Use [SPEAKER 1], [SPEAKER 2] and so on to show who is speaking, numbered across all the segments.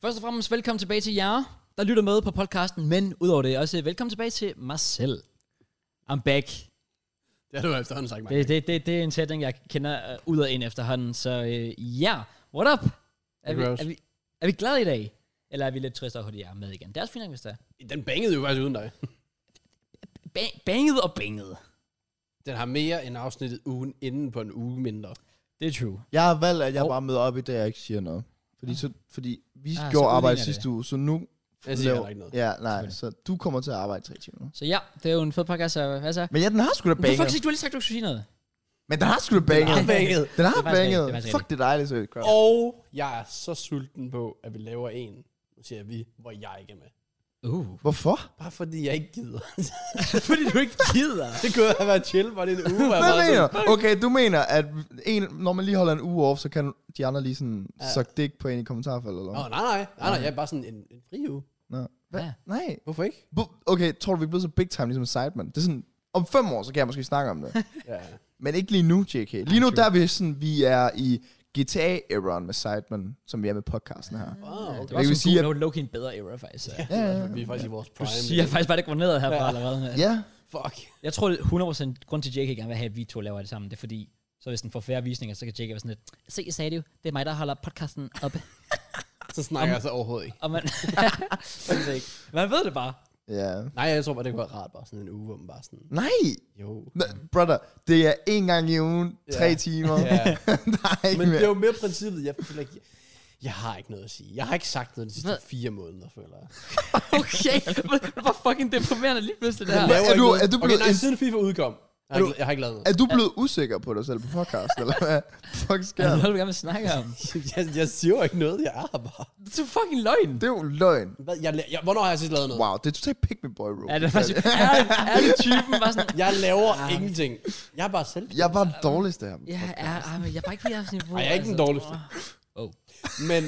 [SPEAKER 1] Først og fremmest velkommen tilbage til jer, der lytter med på podcasten, men udover det også velkommen tilbage til mig selv. I'm back.
[SPEAKER 2] Det har du efterhånden sagt, Mark.
[SPEAKER 1] Det, det, det, det er en sætning, jeg kender uh, ud og ind efterhånden, så ja, uh, yeah. what up? Er
[SPEAKER 2] Det
[SPEAKER 1] vi,
[SPEAKER 2] gør os.
[SPEAKER 1] er, vi, er vi glade i dag? Eller er vi lidt triste over, at jeg er med igen? Det er også fint, nok, hvis det er.
[SPEAKER 2] Den bangede jo faktisk uden dig.
[SPEAKER 1] Ba- banget og banget.
[SPEAKER 2] Den har mere end afsnittet ugen inden på en uge mindre.
[SPEAKER 1] Det er true.
[SPEAKER 3] Jeg har valgt, at jeg
[SPEAKER 1] Hov.
[SPEAKER 3] oh. bare møder op i dag og ikke siger noget. Fordi, så, fordi vi
[SPEAKER 1] Ah,
[SPEAKER 3] ah,
[SPEAKER 1] så
[SPEAKER 3] gjorde arbejde
[SPEAKER 1] udligner det.
[SPEAKER 3] sidste uge, så nu...
[SPEAKER 2] Jeg siger heller ikke noget.
[SPEAKER 3] Ja, nej, så du kommer til at arbejde tre timer.
[SPEAKER 1] Så ja, det er jo en fed podcast, så hvad så?
[SPEAKER 3] Men ja, den har sgu da
[SPEAKER 1] Men du, faktisk,
[SPEAKER 3] banget.
[SPEAKER 1] ikke- du har lige sagt, du skulle sige noget.
[SPEAKER 3] Men den har sgu da banget.
[SPEAKER 2] har banget.
[SPEAKER 3] Den
[SPEAKER 1] Det
[SPEAKER 3] har
[SPEAKER 1] er faktisk rigtigt,
[SPEAKER 3] banget.
[SPEAKER 1] det er faktisk
[SPEAKER 3] Fuck, det er dejligt, så crap.
[SPEAKER 2] Og jeg er så sulten på, at vi laver en, nu siger jeg vi, hvor jeg ikke er med.
[SPEAKER 1] Uh.
[SPEAKER 3] Hvorfor?
[SPEAKER 2] Bare fordi jeg ikke gider.
[SPEAKER 1] Fordi du ikke gider.
[SPEAKER 2] det kunne have været chill, var det en uge, hvor jeg
[SPEAKER 3] Hvad
[SPEAKER 2] bare
[SPEAKER 3] mener
[SPEAKER 2] sådan,
[SPEAKER 3] du? Okay, du mener, at en, når man lige holder en uge off, så kan de andre lige sådan ja. suck dick på en i kommentarfeltet, eller
[SPEAKER 2] Nå, nej,
[SPEAKER 3] hvad?
[SPEAKER 2] nej, nej, nej, jeg er bare sådan en, en fri uge.
[SPEAKER 3] Nå. Hva?
[SPEAKER 1] Ja.
[SPEAKER 3] Nej.
[SPEAKER 2] Hvorfor ikke?
[SPEAKER 3] Bu- Okay, tror du, vi er blevet så big time, ligesom Sideman? Det er sådan, om fem år, så kan jeg måske snakke om det.
[SPEAKER 2] Ja.
[SPEAKER 3] Men ikke lige nu, JK. Lige nu, der er vi sådan, vi er i GTA-eraen med Sideman, som vi er med podcasten her.
[SPEAKER 1] Det
[SPEAKER 2] Wow, okay.
[SPEAKER 1] var
[SPEAKER 3] Jeg vil
[SPEAKER 1] også en
[SPEAKER 3] sige,
[SPEAKER 1] god, low-key en bedre era, faktisk. Ja.
[SPEAKER 3] Ja, ja,
[SPEAKER 2] Vi
[SPEAKER 3] ja.
[SPEAKER 2] er faktisk i vores
[SPEAKER 1] Du
[SPEAKER 2] prime.
[SPEAKER 1] siger faktisk bare, det går nedad herfra
[SPEAKER 2] Ja.
[SPEAKER 1] allerede. mand.
[SPEAKER 3] ja.
[SPEAKER 2] Fuck.
[SPEAKER 1] Jeg tror, det er 100% grund til, at Jake ikke gerne vil have, at vi to laver det sammen. Det er fordi, så hvis den får færre visninger, så kan Jake være sådan lidt, se, jeg sagde det jo, det er mig, der holder podcasten oppe.
[SPEAKER 2] Så snakker jeg så overhovedet ikke.
[SPEAKER 1] Og man, Faktisk ikke. man ved det bare.
[SPEAKER 3] ja.
[SPEAKER 2] Nej, jeg tror bare, det kunne være rart, bare sådan en uge, hvor man bare sådan,
[SPEAKER 3] Nej!
[SPEAKER 2] jo.
[SPEAKER 3] N- brother, det er én gang i ugen, tre
[SPEAKER 2] Ja.
[SPEAKER 3] timer.
[SPEAKER 2] Ja.
[SPEAKER 3] der er ikke
[SPEAKER 2] Men det
[SPEAKER 3] mere.
[SPEAKER 2] er jo mere princippet. Jeg føler ikke, jeg har ikke noget at sige. Jeg har ikke sagt noget de sidste
[SPEAKER 1] Hvad?
[SPEAKER 2] fire måneder, føler jeg.
[SPEAKER 1] Okay, det var fucking deprimerende lige pludselig det her.
[SPEAKER 3] laver
[SPEAKER 2] ikke
[SPEAKER 3] du-
[SPEAKER 2] noget.
[SPEAKER 3] er du
[SPEAKER 2] okay,
[SPEAKER 3] blevet
[SPEAKER 2] nej,
[SPEAKER 3] en-
[SPEAKER 2] siden FIFA udkom. Jeg har,
[SPEAKER 3] Er
[SPEAKER 2] ikke, jeg har ikke lavet noget.
[SPEAKER 3] Er du blevet usikker på dig selv på podcast, eller hvad fuck sker
[SPEAKER 1] Er det
[SPEAKER 3] der?
[SPEAKER 1] noget, du gerne vil snakke om?
[SPEAKER 2] jeg, jeg siger jo ikke noget, jeg er bare.
[SPEAKER 1] Det er fucking løgn.
[SPEAKER 3] Det er jo løgn.
[SPEAKER 2] Hvad, jeg, la- jeg, hvornår har jeg sidst lavet noget?
[SPEAKER 3] Wow, det er totalt pick me boy, bro.
[SPEAKER 1] Ja, det er faktisk, er, er det typen bare sådan,
[SPEAKER 2] Jeg laver
[SPEAKER 3] Ah.
[SPEAKER 2] ingenting. Jeg er bare selv.
[SPEAKER 3] Jeg var den dårligste her.
[SPEAKER 1] ja, er, er, men jeg er bare ikke på jeres niveau.
[SPEAKER 2] Ej, jeg er ikke den
[SPEAKER 1] altså.
[SPEAKER 2] dårligste.
[SPEAKER 1] Åh. Oh.
[SPEAKER 2] Men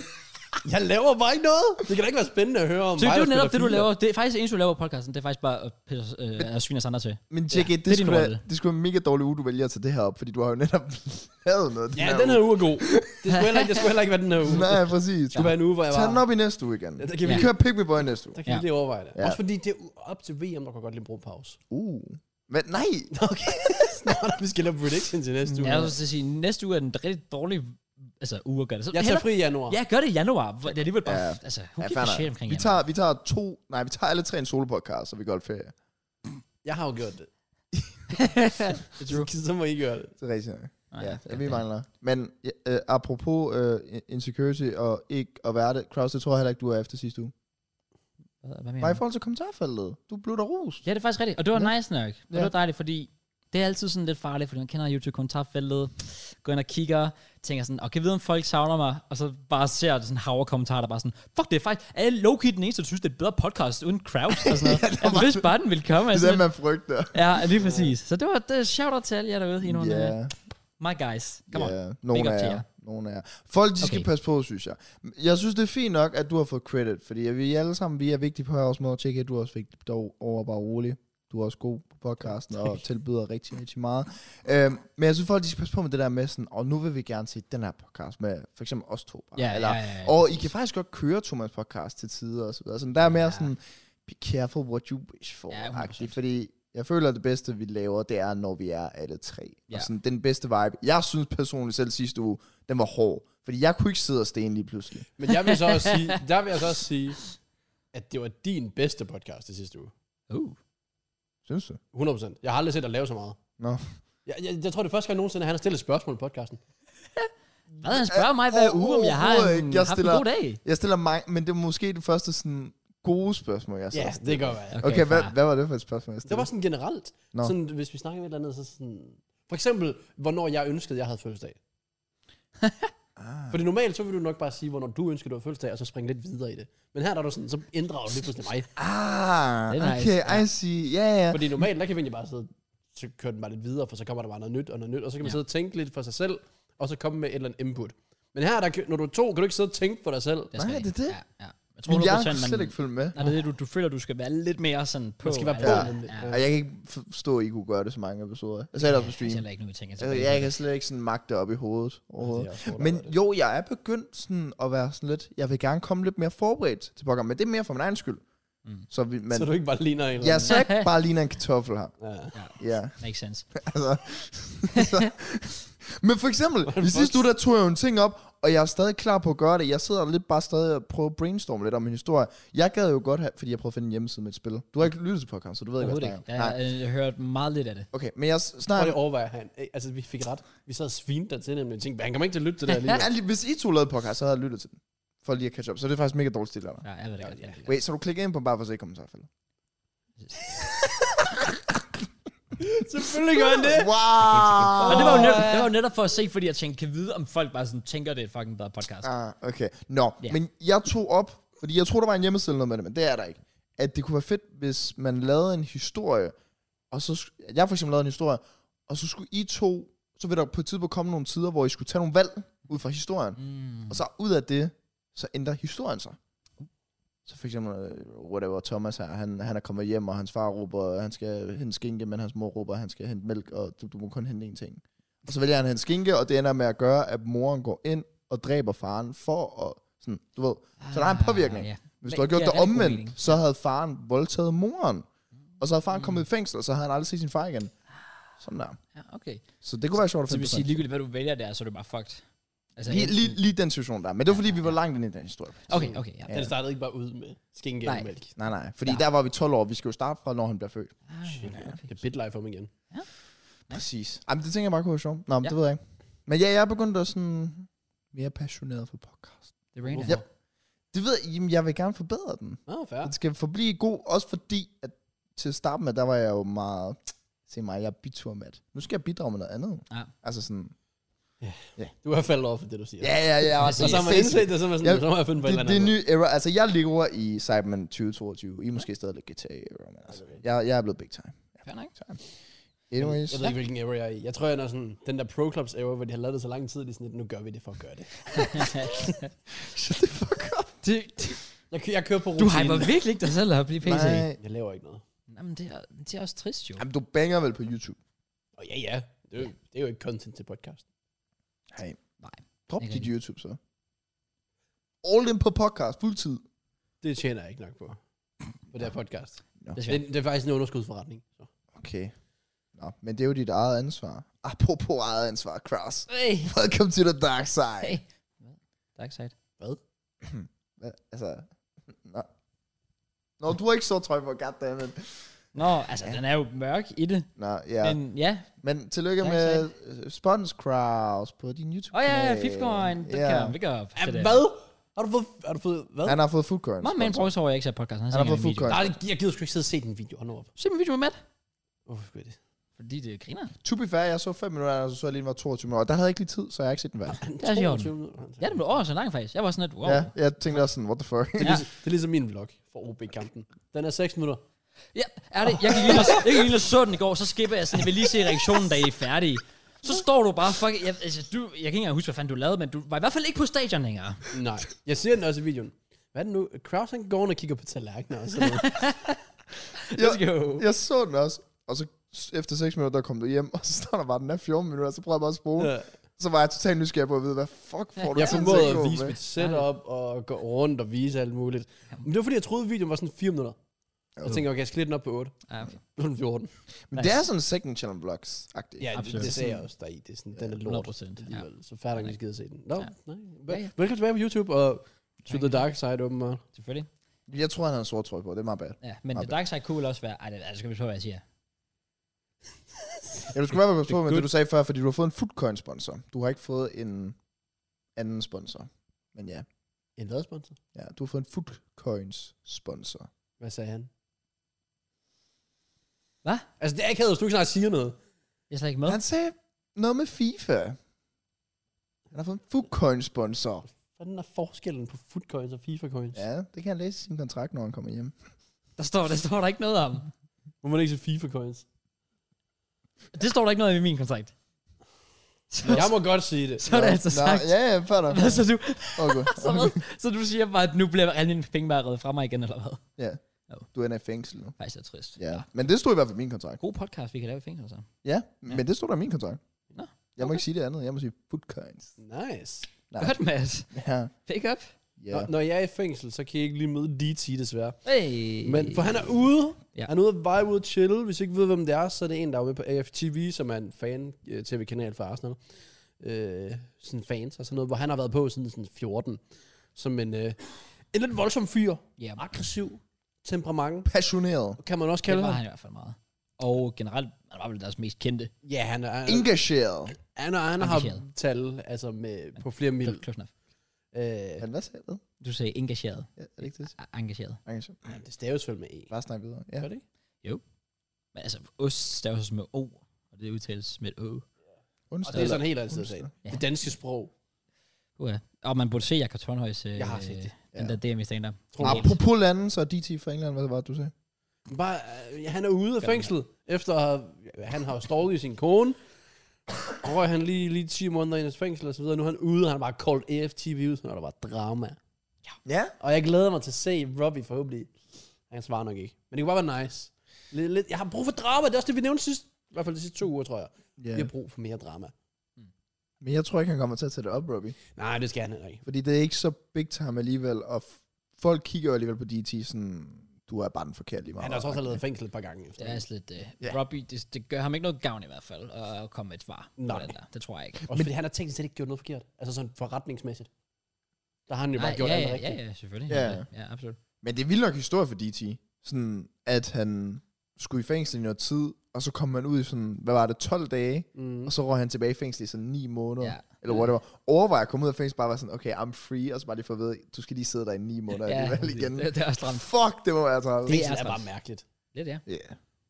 [SPEAKER 2] jeg laver bare ikke noget. Det kan da ikke være spændende at høre om.
[SPEAKER 1] Så det
[SPEAKER 2] mig,
[SPEAKER 1] er jo
[SPEAKER 2] der
[SPEAKER 1] netop det,
[SPEAKER 2] spiller
[SPEAKER 1] du laver. Det er faktisk det eneste, du laver på podcasten. Det er faktisk bare at, pisse, øh, at svine os andre til.
[SPEAKER 3] Men JK,
[SPEAKER 1] det
[SPEAKER 3] det,
[SPEAKER 1] er
[SPEAKER 3] det,
[SPEAKER 1] din
[SPEAKER 3] skulle da,
[SPEAKER 1] rolle.
[SPEAKER 3] det skulle være en mega dårlig uge, du vælger at tage det her op, fordi du har jo netop lavet noget.
[SPEAKER 2] FIFA. Ja, den her uge er god. Det skulle heller ikke, det skulle heller ikke være den her uge.
[SPEAKER 3] uge. Nej, præcis.
[SPEAKER 2] Det skulle være en uge, hvor jeg
[SPEAKER 3] Tag
[SPEAKER 2] var.
[SPEAKER 3] den op i næste uge igen.
[SPEAKER 2] Ja, der kan
[SPEAKER 3] vi
[SPEAKER 2] vi-
[SPEAKER 3] kører pick me boy næste uge.
[SPEAKER 2] Der kan vi
[SPEAKER 1] Ja.
[SPEAKER 2] lige overveje det.
[SPEAKER 3] Ja.
[SPEAKER 2] Også fordi det er u- op til VM, der kan godt lige bruge pause.
[SPEAKER 3] Uh. Hvad? Nej.
[SPEAKER 2] Okay. Snart, vi skal lave prediction til næste uge.
[SPEAKER 1] Jeg vil så sige, næste uge er den rigtig dårlige altså, uge at gøre det. Så
[SPEAKER 2] Jeg tager fri i januar.
[SPEAKER 1] Ja, gør det i januar. Hvor Det er alligevel bare... Ja.
[SPEAKER 3] Ja.
[SPEAKER 1] Altså, who
[SPEAKER 3] Ja,
[SPEAKER 1] gives
[SPEAKER 3] fair
[SPEAKER 1] a
[SPEAKER 3] nok.
[SPEAKER 1] shit omkring
[SPEAKER 3] Vi
[SPEAKER 1] januar?
[SPEAKER 3] tager, vi tager to, nej, vi tager alle tre en solopodcast, så vi går i ferie.
[SPEAKER 2] Jeg har jo gjort det. så må I gøre det.
[SPEAKER 3] Det er rigtigt. nok.
[SPEAKER 1] Nej,
[SPEAKER 3] Ja, ja,
[SPEAKER 1] det
[SPEAKER 3] vi
[SPEAKER 1] er-
[SPEAKER 3] mangler. Men ja, øh, apropos øh, insecurity og ikke at være det, Kraus, det tror jeg heller ikke, du er efter sidste uge.
[SPEAKER 1] Hvad- Hvad mener
[SPEAKER 3] Bare i
[SPEAKER 1] du?
[SPEAKER 3] forhold til kommentarfeltet. Du blev der rost.
[SPEAKER 1] Ja, det er faktisk rigtigt. Og det var nice nok. Og det
[SPEAKER 3] Ja.
[SPEAKER 1] var dejligt, fordi det er altid sådan lidt farligt, fordi man kender YouTube-kommentarfeltet, går ind og kigger, tænker sådan, okay, ved om folk savner mig, og så bare ser det sådan havre kommentarer, der bare sådan, fuck, det er faktisk, er jeg low-key den eneste, der synes, det er et bedre podcast uden crowds og sådan noget. ja, hvis bare den ville komme.
[SPEAKER 3] Det
[SPEAKER 1] Altså,
[SPEAKER 3] er det, man frygter.
[SPEAKER 1] ja, lige præcis. Så det var det er shout-out til alle jer derude. I er nogle, yeah.
[SPEAKER 3] Ja,
[SPEAKER 1] My guys. Come on.
[SPEAKER 3] ja. Nogle
[SPEAKER 1] Big up
[SPEAKER 3] af
[SPEAKER 1] til
[SPEAKER 3] jer.
[SPEAKER 1] jer.
[SPEAKER 3] Nogle af jer. Folk, de skal
[SPEAKER 1] Okay.
[SPEAKER 3] passe på, synes jeg. Jeg synes, det er fint nok, at du har fået credit, fordi vi alle sammen, vi er vigtige på her også måde, og tjekke, at du er også vigtig dog over bare rolig. Du er også god på podcasten og tilbyder rigtig, rigtig meget. Øhm, men jeg synes, folk de skal passe på med det der med sådan, og nu vil vi gerne se den her podcast med for eksempel os to. Bare.
[SPEAKER 1] Ja, ja,
[SPEAKER 3] Eller
[SPEAKER 1] ja, ja, ja.
[SPEAKER 3] Og I kan faktisk godt køre Thomas podcast til tider og så videre. Sådan, der er mere sådan, be careful what you wish for,
[SPEAKER 1] Ja,
[SPEAKER 3] ja,
[SPEAKER 1] 100%.
[SPEAKER 3] fordi jeg føler, at det bedste, vi laver, det er, når vi er alle tre.
[SPEAKER 1] Ja.
[SPEAKER 3] Ja. Og sådan, den bedste vibe. Jeg synes personligt selv sidste uge, den var hård. Fordi jeg kunne ikke sidde og stene lige pludselig.
[SPEAKER 2] Men jeg vil så også sige, der vil jeg så også sige, at det var din bedste podcast i sidste uge.
[SPEAKER 1] Uh.
[SPEAKER 3] Synes du?
[SPEAKER 2] 100%. Jeg har aldrig set dig lave så meget.
[SPEAKER 3] Nå.
[SPEAKER 2] Jeg, jeg, jeg tror, det er første gang nogensinde, at han har stillet et spørgsmål i podcasten.
[SPEAKER 1] Hvad, han spørger mig hver
[SPEAKER 3] Øh,
[SPEAKER 1] uge, om jeg har
[SPEAKER 3] overhovedet
[SPEAKER 1] en,
[SPEAKER 3] ikke. Jeg
[SPEAKER 1] haft en
[SPEAKER 3] stiller-
[SPEAKER 1] god dag.
[SPEAKER 3] Jeg stiller mig, men det er måske det første sådan, gode spørgsmål, jeg så.
[SPEAKER 2] Ja, yes, det gør jeg.
[SPEAKER 3] Okay, okay hvad,
[SPEAKER 1] fair.
[SPEAKER 3] hvad, var det for et spørgsmål, jeg
[SPEAKER 2] Det
[SPEAKER 3] stillede?
[SPEAKER 2] var sådan generelt.
[SPEAKER 3] Nå.
[SPEAKER 2] Sådan, hvis vi snakker om et eller andet, så sådan... For eksempel, hvornår jeg ønskede, jeg havde fødselsdag. ah. Fordi normalt, så vil du nok bare sige, hvornår du ønskede, du havde fødselsdag, og så springe lidt videre i det. Men her der er du sådan, så inddrager du lige pludselig mig.
[SPEAKER 3] Ah,
[SPEAKER 1] Det er nice,
[SPEAKER 3] okay, I see. Ja, ja.
[SPEAKER 2] Fordi normalt, der kan vi egentlig bare sidde, så kører den bare lidt videre, for så kommer der bare noget nyt og noget nyt, og så kan man
[SPEAKER 1] Ja.
[SPEAKER 2] ja. sidde og tænke lidt for sig selv, og så komme med et eller andet input. Men her, der, kan- når du er to, kan du ikke sidde og tænke for dig selv.
[SPEAKER 1] skal
[SPEAKER 3] Nej,
[SPEAKER 1] jeg
[SPEAKER 3] det er
[SPEAKER 1] ikke.
[SPEAKER 3] det.
[SPEAKER 1] Ja, ja. Jeg tror,
[SPEAKER 3] Min
[SPEAKER 1] Min
[SPEAKER 3] hjerne
[SPEAKER 1] 100%,
[SPEAKER 3] kan
[SPEAKER 1] man...
[SPEAKER 3] slet ikke følge med.
[SPEAKER 1] Nej, det er det, du, du føler, du skal være lidt mere sådan på.
[SPEAKER 2] Man skal være
[SPEAKER 1] altså.
[SPEAKER 2] på.
[SPEAKER 3] Ja.
[SPEAKER 2] nemlig.
[SPEAKER 1] Ja.
[SPEAKER 3] Og jeg kan ikke forstå, at I kunne gøre det så mange episoder. Jeg sagde det også på
[SPEAKER 1] Jeg
[SPEAKER 3] stream.
[SPEAKER 1] heller ikke, nu jeg tænker
[SPEAKER 3] Altså,
[SPEAKER 1] tilbage.
[SPEAKER 3] jeg kan slet ikke sådan magte op i hovedet overhovedet.
[SPEAKER 2] Det er også hårdt
[SPEAKER 3] Men
[SPEAKER 2] arbejde.
[SPEAKER 3] jo, jeg er begyndt sådan at være sådan lidt, jeg vil gerne komme lidt mere forberedt til programmet, men det er mere for min egen skyld.
[SPEAKER 1] Mm.
[SPEAKER 3] Mm. Så, vi, man,
[SPEAKER 2] så
[SPEAKER 3] så
[SPEAKER 2] du ikke bare ligner en eller
[SPEAKER 3] jeg så ikke bare ligner en kartoffel her.
[SPEAKER 2] anden. Ja.
[SPEAKER 3] Ja,
[SPEAKER 1] Makes sense.
[SPEAKER 3] altså. så. Men for eksempel, i sidste uge, der tog jeg jo en ting op, og jeg er stadig klar på at gøre det. Jeg sidder lidt bare stadig og prøver at brainstorme lidt om min historie. Jeg gad jo godt have, fordi jeg prøvede at finde en hjemmeside med et spil. Du har ikke lyttet til podcast, så du ved ikke, hvad
[SPEAKER 1] Overhovedet
[SPEAKER 3] jeg
[SPEAKER 1] ikke.
[SPEAKER 3] snakker
[SPEAKER 1] Jeg,
[SPEAKER 3] om. Nej.
[SPEAKER 1] jeg, jeg hørte meget lidt af det.
[SPEAKER 3] Okay, men jeg s-
[SPEAKER 2] Prøv
[SPEAKER 3] snakker...
[SPEAKER 2] lige at overveje, han. eh, Altså, vi fik ret. Vi sad og svinede dig til, nemlig. Jeg tænkte, han kommer ikke til at lytte til det her lige.
[SPEAKER 3] Ja, lige- hvis I to lavede podcast, så havde jeg lyttet til den. For lige at catch up. Så det er faktisk mega dårligt stil af dig.
[SPEAKER 1] Ja, jeg ved det
[SPEAKER 2] Ja,
[SPEAKER 1] godt.
[SPEAKER 2] ja,
[SPEAKER 1] Ja.
[SPEAKER 3] Wait, så du klikker ind på bare for at se kommentarfeltet?
[SPEAKER 2] Selvfølgelig gør han det.
[SPEAKER 3] Wow!
[SPEAKER 1] Og det var, jo netop, det var jo netop for at se, fordi jeg tænkte, kan vide, om folk bare sådan tænker, det er et fucking bedre podcast.
[SPEAKER 3] Ah, okay. Nå,
[SPEAKER 1] Ja.
[SPEAKER 3] yeah. men jeg tog op, fordi jeg troede, der var en hjemmeside eller noget med det, men det er der ikke. At det kunne være fedt, hvis man lavede en historie, og så... sk- Jeg for eksempel lavede en historie, og så skulle I to... Så vil der på et tidspunkt komme nogle tider, hvor I skulle tage nogle valg ud fra historien.
[SPEAKER 1] Mm.
[SPEAKER 3] Og så ud af det, så ændrer historien sig. Så for eksempel, øh, whatever, Thomas her, han, han er kommet hjem, og hans far råber, at han skal hente skinke, men hans mor råber, at han skal hente mælk, og du, du må kun hente én ting. Og så vælger han at hente skinke, og det ender med at gøre, at moren går ind og dræber faren for at, sådan, du ved. Så der er en påvirkning.
[SPEAKER 1] Ah, ja.
[SPEAKER 3] Hvis
[SPEAKER 1] Men
[SPEAKER 3] du havde gjort
[SPEAKER 1] det er
[SPEAKER 3] det
[SPEAKER 1] rigtig god
[SPEAKER 3] omvendt,
[SPEAKER 1] mening.
[SPEAKER 3] så havde faren voldtaget moren. Og så havde faren kommet i fængsel, og så havde han aldrig set sin far igen. Sådan der.
[SPEAKER 1] Ja, okay.
[SPEAKER 3] Så det kunne være sjovt at
[SPEAKER 1] Så det
[SPEAKER 3] finde
[SPEAKER 1] vil
[SPEAKER 3] på.
[SPEAKER 1] sige, ligegyldigt hvad du vælger der, så er det bare fucked. Altså,
[SPEAKER 3] Lige,
[SPEAKER 1] enten-
[SPEAKER 3] lige, lige den situation der. Men det var fordi, vi var langt ind i den historie.
[SPEAKER 1] Okay, okay, ja.
[SPEAKER 3] Ja.
[SPEAKER 2] Den startede ikke bare ud med skinke
[SPEAKER 3] Nej. Ah,
[SPEAKER 2] og mælk.
[SPEAKER 3] Nej, nej. Fordi
[SPEAKER 1] Ja.
[SPEAKER 3] ja. der var vi 12 år. Vi skal jo starte fra, når han bliver født.
[SPEAKER 1] Ah,
[SPEAKER 2] Det er bitlife om igen.
[SPEAKER 3] Præcis. Jamen, det tænker jeg bare kunne være sjovt. Nå, men
[SPEAKER 1] Ja.
[SPEAKER 3] ja. det ved jeg ikke. Men ja, jeg er begyndt at sådan mere passioneret for podcast.
[SPEAKER 1] Det rainer.
[SPEAKER 3] Ja. Det ved jeg, jamen, jeg vil gerne forbedre den.
[SPEAKER 2] Nå, fair.
[SPEAKER 3] Den skal forblive god, også fordi, at til at starte med, der var jeg jo meget, se mig, jeg er bitur med. Nu skal jeg bidrage med noget andet.
[SPEAKER 1] Ja.
[SPEAKER 3] Altså sådan,
[SPEAKER 2] Du har faldet over for det, du siger.
[SPEAKER 3] ja, ja, ja.
[SPEAKER 1] Præcis.
[SPEAKER 2] Og så har man indset det, så har man sådan,
[SPEAKER 3] Ja,
[SPEAKER 2] så må jeg finde på et
[SPEAKER 3] det,
[SPEAKER 2] eller
[SPEAKER 3] det er
[SPEAKER 2] andet.
[SPEAKER 3] en ny era. Altså, jeg lever i Cyberman 2022. I er måske stadig lidt GTA era, men altså, jeg, jeg er blevet big time.
[SPEAKER 1] Fair nok.
[SPEAKER 3] Anyways.
[SPEAKER 2] Jeg ved ikke, hvilken era jeg er i. Jeg tror, jeg er sådan, den der Pro Clubs era, hvor de har lavet det så lang tid, de er sådan, lidt, nu gør vi det for at gøre det.
[SPEAKER 3] Shut the fuck up.
[SPEAKER 1] det,
[SPEAKER 2] Jeg, kø- jeg kører på
[SPEAKER 1] du
[SPEAKER 2] rutinen.
[SPEAKER 1] hyper virkelig ikke dig selv op i PC.
[SPEAKER 3] Nej.
[SPEAKER 2] Jeg laver ikke noget.
[SPEAKER 1] Jamen, det er, det er også trist jo.
[SPEAKER 3] Jamen, du banger vel på YouTube?
[SPEAKER 2] Og ja, ja. Det er, jo, det er jo ikke content til podcast.
[SPEAKER 3] Nej.
[SPEAKER 1] Nej,
[SPEAKER 3] Drop
[SPEAKER 1] ikke
[SPEAKER 3] dit
[SPEAKER 1] rigtig.
[SPEAKER 3] YouTube så. All in på podcast, fuldtid.
[SPEAKER 2] Det tjener jeg ikke nok på. På det her podcast.
[SPEAKER 1] Desværre.
[SPEAKER 2] Det, det er faktisk en underskudsforretning. Så.
[SPEAKER 3] Okay. Nå, men det er jo dit eget ansvar. Apropos eget ansvar, Kraus.
[SPEAKER 1] Hey.
[SPEAKER 3] Welcome to the dark side.
[SPEAKER 1] Hey. Dark side.
[SPEAKER 2] Hvad?
[SPEAKER 3] Hvad? Altså, nå. Nå, du har ikke så tøj på, goddammit.
[SPEAKER 1] Nå, altså, den er jo mørk i det.
[SPEAKER 3] Nå, ja.
[SPEAKER 1] Men
[SPEAKER 3] Men,
[SPEAKER 1] ja.
[SPEAKER 3] men tillykke
[SPEAKER 1] Dark
[SPEAKER 3] med øh, Spons Kraus på din YouTube.
[SPEAKER 1] Åh oh, ja, ja, Fifcoin. Det
[SPEAKER 3] Ja.
[SPEAKER 1] kan vi gøre op.
[SPEAKER 2] Ja, hvad? Har du fået, har du fået hvad?
[SPEAKER 3] Han har fået food coins.
[SPEAKER 1] Nå, men prøv så over, jeg ikke ser podcasten. Han,
[SPEAKER 3] Han har fået food
[SPEAKER 1] food
[SPEAKER 3] coins.
[SPEAKER 2] Nej, jeg gider sgu ikke sidde og se den video. Hold nu op.
[SPEAKER 1] Se min video med Matt.
[SPEAKER 2] Hvorfor skulle jeg det?
[SPEAKER 1] Fordi det griner.
[SPEAKER 3] To be fair, jeg så 5 minutter, og så så jeg lige, den var 22 minutter. Der havde jeg ikke lige tid, så jeg har ikke set den værd.
[SPEAKER 1] Det er i orden.
[SPEAKER 2] 22 minutter.
[SPEAKER 1] Ja, det blev over så langt faktisk. Jeg var sådan lidt, wow.
[SPEAKER 3] Ja, jeg tænkte også sådan, what the fuck.
[SPEAKER 1] Ja.
[SPEAKER 2] Det er ligesom min vlog for OB-kampen. Den er 6 minutter.
[SPEAKER 1] Ja, er det? Jeg gik ind og, jeg gik ind og så den i går, så skipper jeg sådan, jeg vil lige se reaktionen, da I er færdige. Så står du bare, fuck, jeg, altså, du, jeg kan ikke engang huske, hvad fanden du lavede, men du var i hvert fald ikke på stadion længere.
[SPEAKER 2] Nej. Jeg ser den også i videoen. Hvad er det nu? Kraus han går og kigger på tallerkener og sådan noget.
[SPEAKER 3] Let's
[SPEAKER 1] go.
[SPEAKER 3] Jeg så den også, og så s- efter 6 minutter, der kom du hjem, og så står der bare, den er 14 minutter, og så prøvede jeg bare at spole.
[SPEAKER 2] Ja.
[SPEAKER 3] Ja. Så var jeg totalt nysgerrig på at vide, hvad fuck får du
[SPEAKER 2] Jeg
[SPEAKER 3] tiden til
[SPEAKER 2] formåede
[SPEAKER 3] gå
[SPEAKER 2] at vise
[SPEAKER 3] med?
[SPEAKER 2] mit setup og gå rundt og vise alt muligt. Men det var fordi, jeg troede, videoen var sådan 4 minutter. Jeg tænkte, okay, jeg skal lidt den op på 8.
[SPEAKER 1] Ja, okay.
[SPEAKER 2] Nu er den 14.
[SPEAKER 3] Men det er sådan second channel vlogs-agtigt.
[SPEAKER 2] Ja, det,
[SPEAKER 1] Absolut.
[SPEAKER 2] det sagde jeg også deri. Det er sådan, den er lort.
[SPEAKER 1] 100%, ja.
[SPEAKER 2] alligevel. Så færdig, at vi gider se den. Nå,
[SPEAKER 1] Ja.
[SPEAKER 2] nej.
[SPEAKER 1] Ja, ja.
[SPEAKER 2] Vel- Velkommen tilbage på YouTube og To The Dark Side, åbenbart.
[SPEAKER 1] Selvfølgelig.
[SPEAKER 3] Jeg tror, han havde en sort trøje på, det er meget bad.
[SPEAKER 1] Ja, men det dark side kunne vel også være, ej, det, altså, skal vi prøve, hvad jeg siger.
[SPEAKER 3] Ja, du skal være passe på med
[SPEAKER 2] good.
[SPEAKER 3] det, du sagde før, fordi du har fået en Foodcoin-sponsor. Du har ikke fået en anden sponsor. Men ja,
[SPEAKER 2] En hvad sponsor?
[SPEAKER 3] ja du har fået en Foodcoins-sponsor.
[SPEAKER 2] Hvad sagde han?
[SPEAKER 1] Hvad?
[SPEAKER 2] Altså, det er ikke havde, hvis du ikke snart siger noget.
[SPEAKER 1] Jeg er slet ikke med.
[SPEAKER 3] Han sagde noget med FIFA. Han har fået en Foodcoin-sponsor.
[SPEAKER 2] Hvordan er forskellen på foodcoins og FIFA-coins?
[SPEAKER 3] Ja, det kan han læse i sin kontrakt, når han kommer hjem.
[SPEAKER 1] Der står, der står der ikke noget om.
[SPEAKER 2] Må man ikke se FIFA-coins?
[SPEAKER 1] Det står der ikke noget om i min kontrakt. Så,
[SPEAKER 2] Jeg må godt sige det.
[SPEAKER 1] så er det altså
[SPEAKER 3] Nå,
[SPEAKER 1] sagt.
[SPEAKER 3] Ja, ja, fair nok.
[SPEAKER 1] Hvad så du?
[SPEAKER 3] Okay.
[SPEAKER 1] Så, hvad? så du siger bare, at nu bliver alle dine penge bare reddet fra mig igen, eller hvad?
[SPEAKER 3] Ja.
[SPEAKER 1] Jo.
[SPEAKER 3] Du ender i fængsel nu.
[SPEAKER 1] Faktisk er trist.
[SPEAKER 3] Ja. Men det stod i hvert fald i min kontrakt.
[SPEAKER 1] God podcast, vi kan lave i fængsel så.
[SPEAKER 3] Ja, men det stod der i min kontrakt.
[SPEAKER 1] Nå,
[SPEAKER 3] Jeg må ikke sige det andet. Jeg må sige footcoins.
[SPEAKER 2] Nice.
[SPEAKER 3] Ja.
[SPEAKER 1] Godt, Mads.
[SPEAKER 3] Ja.
[SPEAKER 1] Pick up.
[SPEAKER 3] Ja.
[SPEAKER 2] Når, når jeg er i fængsel, så kan jeg ikke lige møde DT desværre.
[SPEAKER 1] Hey.
[SPEAKER 2] Men for han er ude.
[SPEAKER 1] Øh. Ja.
[SPEAKER 2] Ja. Han er ude at vibe ud og chille. Hvis I ikke ved, hvem det er, så er det en, der er med på AFTV, som er en fan-tv-kanal for Arsenal. Øh, sådan fans og sådan noget, hvor han har været på siden sådan 14. Som en, øh, en lidt voldsom fyr.
[SPEAKER 1] Ja,
[SPEAKER 2] Aggressiv. Temperament.
[SPEAKER 3] Passioneret.
[SPEAKER 2] Kan man også
[SPEAKER 1] det
[SPEAKER 2] kalde
[SPEAKER 1] var
[SPEAKER 2] ham.
[SPEAKER 1] han i hvert fald meget. Og generelt, han var vel deres mest kendte.
[SPEAKER 2] Ja, han, er, han, er-
[SPEAKER 3] Engageret.
[SPEAKER 2] han, er- han har
[SPEAKER 1] Engageret.
[SPEAKER 2] tal altså med, på flere mil.
[SPEAKER 1] Close enough.
[SPEAKER 2] Øh,
[SPEAKER 3] Han hvad sagde det?
[SPEAKER 1] Du sagde engageret.
[SPEAKER 3] Ja, er det ikke det?
[SPEAKER 1] A- Engageret.
[SPEAKER 3] Engageret.
[SPEAKER 2] ja, det staves vel med E.
[SPEAKER 3] Bare snak videre. Ja.
[SPEAKER 2] Gør det ikke?
[SPEAKER 1] Men altså, ost staves med O, og det udtales med et Ø.
[SPEAKER 2] Og
[SPEAKER 3] Onsdag.
[SPEAKER 2] det er sådan
[SPEAKER 3] eller-
[SPEAKER 2] helt altid sag.
[SPEAKER 3] onsdag.
[SPEAKER 1] Ja.
[SPEAKER 2] Det danske sprog.
[SPEAKER 1] Uh, og man burde se Jakob Tornhøjs, øh,
[SPEAKER 2] Jeg har set det.
[SPEAKER 1] den der DM i stand-up.
[SPEAKER 2] Tror jeg.
[SPEAKER 3] Apropos lande, så er DT fra England, hvad var det, du sagde?
[SPEAKER 2] Bare, øh, han er ude af fængslet, efter at have- han har stalket sin kone. Røg han lige, lige 10 måneder i hans fængsel og så videre. Nu er han ude, han har bare koldt E AFTV ud, når der var drama.
[SPEAKER 3] Ja.
[SPEAKER 2] Og jeg glæder mig til at se Robbie forhåbentlig. Han svarer nok ikke. Men det kunne bare være nice. Lidt, lidt. Jeg har brug for drama, det er også det, vi nævnte sidst. I hvert fald de sidste to uger, tror jeg.
[SPEAKER 3] ja.
[SPEAKER 2] Vi har brug for mere drama.
[SPEAKER 3] Men jeg tror ikke, han kommer til at tage det op, Robbie.
[SPEAKER 2] Nej, det skal han heller ikke.
[SPEAKER 3] Fordi det er ikke så big time alligevel, og f- folk kigger jo alligevel på DT sådan, du er bare den forkerte lige meget.
[SPEAKER 2] Han har også også lavet fængsel et par gange efter.
[SPEAKER 1] Det er altså lidt... Øh,
[SPEAKER 3] Ja.
[SPEAKER 1] yeah. Robbie, det, det, gør ham ikke noget gavn i hvert fald, at at komme med et svar
[SPEAKER 2] Nej.
[SPEAKER 1] på den der. Det tror jeg ikke.
[SPEAKER 2] Også fordi han har teknisk set ikke gjort noget forkert. Altså sådan forretningsmæssigt. Der har han jo bare gjort
[SPEAKER 1] ja,
[SPEAKER 2] alt
[SPEAKER 1] ja,
[SPEAKER 2] rigtigt.
[SPEAKER 1] ja, ja, selvfølgelig.
[SPEAKER 3] Ja.
[SPEAKER 1] ja, ja absolut.
[SPEAKER 3] Men det er vildt nok historie for DT. Sådan, at han skulle i fængsel i noget tid, og så kom han ud i sådan, hvad var det, 12 dage,
[SPEAKER 2] Mm.
[SPEAKER 3] og så røg han tilbage i fængsel i sådan 9 måneder.
[SPEAKER 1] Ja.
[SPEAKER 3] Ja. Eller whatever. Overvej at komme ud af fængsel, bare være sådan, okay, I'm free, og så bare lige få at vide, du skal lige sidde der i 9 måneder ja, alligevel igen.
[SPEAKER 1] Det, det er også stramt.
[SPEAKER 3] Fuck, det må være træt.
[SPEAKER 1] Det
[SPEAKER 2] Det
[SPEAKER 1] er
[SPEAKER 2] er bare
[SPEAKER 1] træls.
[SPEAKER 2] mærkeligt.
[SPEAKER 1] Lidt, ja.
[SPEAKER 3] Yeah.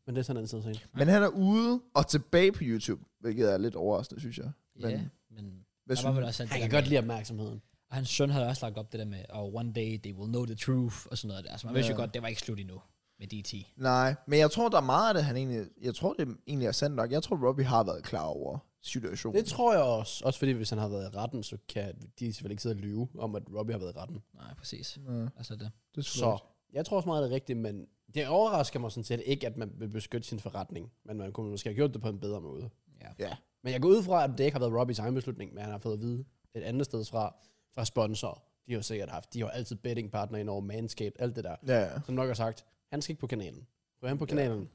[SPEAKER 2] Men det er sådan en side scene.
[SPEAKER 3] Men han er ude og tilbage på YouTube, hvilket er lidt overraskende, synes jeg.
[SPEAKER 1] Men,
[SPEAKER 3] Men-
[SPEAKER 1] ja, men
[SPEAKER 3] Hvad
[SPEAKER 1] der var
[SPEAKER 3] synes
[SPEAKER 1] vel også alt
[SPEAKER 2] Han
[SPEAKER 1] det
[SPEAKER 2] kan
[SPEAKER 1] der
[SPEAKER 2] godt
[SPEAKER 1] med-
[SPEAKER 2] lide opmærksomheden.
[SPEAKER 1] Og hans søn havde også lagt op det der med, oh, one day they will know the truth, og sådan noget der. Så man vidste jo
[SPEAKER 3] Ja.
[SPEAKER 1] godt, det var ikke slut endnu med DT.
[SPEAKER 3] Nej, men jeg tror, der er meget af det, han egentlig... Jeg tror, det egentlig er sandt nok. Jeg tror, Robbie har været klar over situationen.
[SPEAKER 2] Det tror jeg også. Også fordi, hvis han har været i retten, så kan de selvfølgelig ikke sidde og lyve om, at Robbie har været i retten.
[SPEAKER 1] Nej, præcis.
[SPEAKER 3] Ja,
[SPEAKER 1] Altså det.
[SPEAKER 3] det tror
[SPEAKER 2] Så jeg tror også meget, det er rigtigt, men det overrasker mig sådan set ikke, at man vil beskytte sin forretning. Men man kunne måske have gjort det på en bedre måde.
[SPEAKER 1] Ja.
[SPEAKER 3] Ja.
[SPEAKER 2] Men jeg går ud fra, at det ikke har været Robbies egen beslutning, men han har fået at vide et andet sted fra, fra sponsorer. De har jo sikkert haft, de har jo altid bettingpartner ind over Manscaped, alt det der.
[SPEAKER 3] Ja, ja.
[SPEAKER 2] som nok har sagt, han skal ikke på kanalen. Gå han på kanalen. Ja.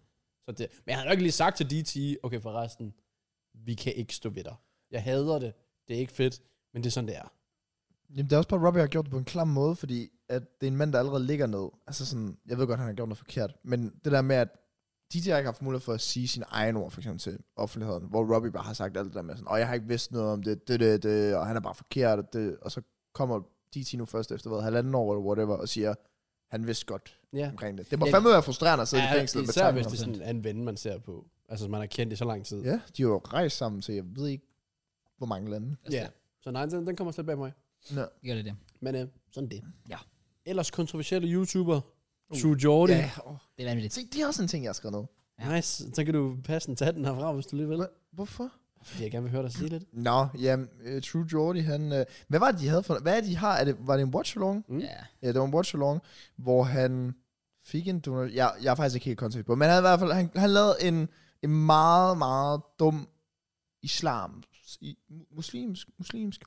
[SPEAKER 2] Så det, men han har nok lige sagt til DT, okay forresten, vi kan ikke stå ved dig. Jeg hader det, det er ikke fedt, men det er sådan, det er.
[SPEAKER 3] Jamen, det er også bare, at Robbie har gjort det på en klam måde, fordi at det er en mand, der allerede ligger ned. Altså sådan, jeg ved godt, han har gjort noget forkert, men det der med, at de har ikke haft mulighed for at sige sine egne ord, for eksempel til offentligheden, hvor Robbie bare har sagt alt det der med sådan, og jeg har ikke vidst noget om det, det, det, det, og han er bare forkert, og, det, og så kommer DT nu først efter, hvad, halvanden år eller whatever, og siger, han vidste godt
[SPEAKER 2] Ja.
[SPEAKER 3] omkring det. Det må
[SPEAKER 1] Ja.
[SPEAKER 3] fandme være frustrerende at sidde i fængslet med
[SPEAKER 2] især hvis
[SPEAKER 3] tanken.
[SPEAKER 2] det er sådan en ven, man ser på. Altså, som man har kendt i så lang tid.
[SPEAKER 3] om- Ja, de har jo rejst sammen til, jeg ved ikke, hvor mange lande.
[SPEAKER 1] Altså,
[SPEAKER 2] Ja. Så nej, den, den kommer slet bag mig.
[SPEAKER 3] Nå.
[SPEAKER 1] det Gør det det.
[SPEAKER 2] Men øh, sådan det.
[SPEAKER 1] Ja.
[SPEAKER 2] Ellers kontroversielle YouTuber, True Jordan.
[SPEAKER 3] Ja, åh.
[SPEAKER 1] Det er vanvittigt.
[SPEAKER 3] Se, det er også en ting, jeg har skrevet ned.
[SPEAKER 1] Ja.
[SPEAKER 2] Nice, så kan du passe den tage den herfra, hvis du lige vil.
[SPEAKER 3] Hvorfor?
[SPEAKER 2] Fordi jeg gerne vil høre dig sige lidt.
[SPEAKER 3] Nå, ja, øh, True Jordy, han... Øh, hvad var det, de havde for... Hvad er det, de har? Er det, var det en watch-along?
[SPEAKER 2] Mm.
[SPEAKER 1] Ja.
[SPEAKER 3] Ja, det var en watch-along, hvor han fik en donor... Jeg, jeg er faktisk ikke helt kontekst på, men han, havde i hvert fald, han, han lavede en, en meget, meget dum islam... I, muslimsk... Muslimsk...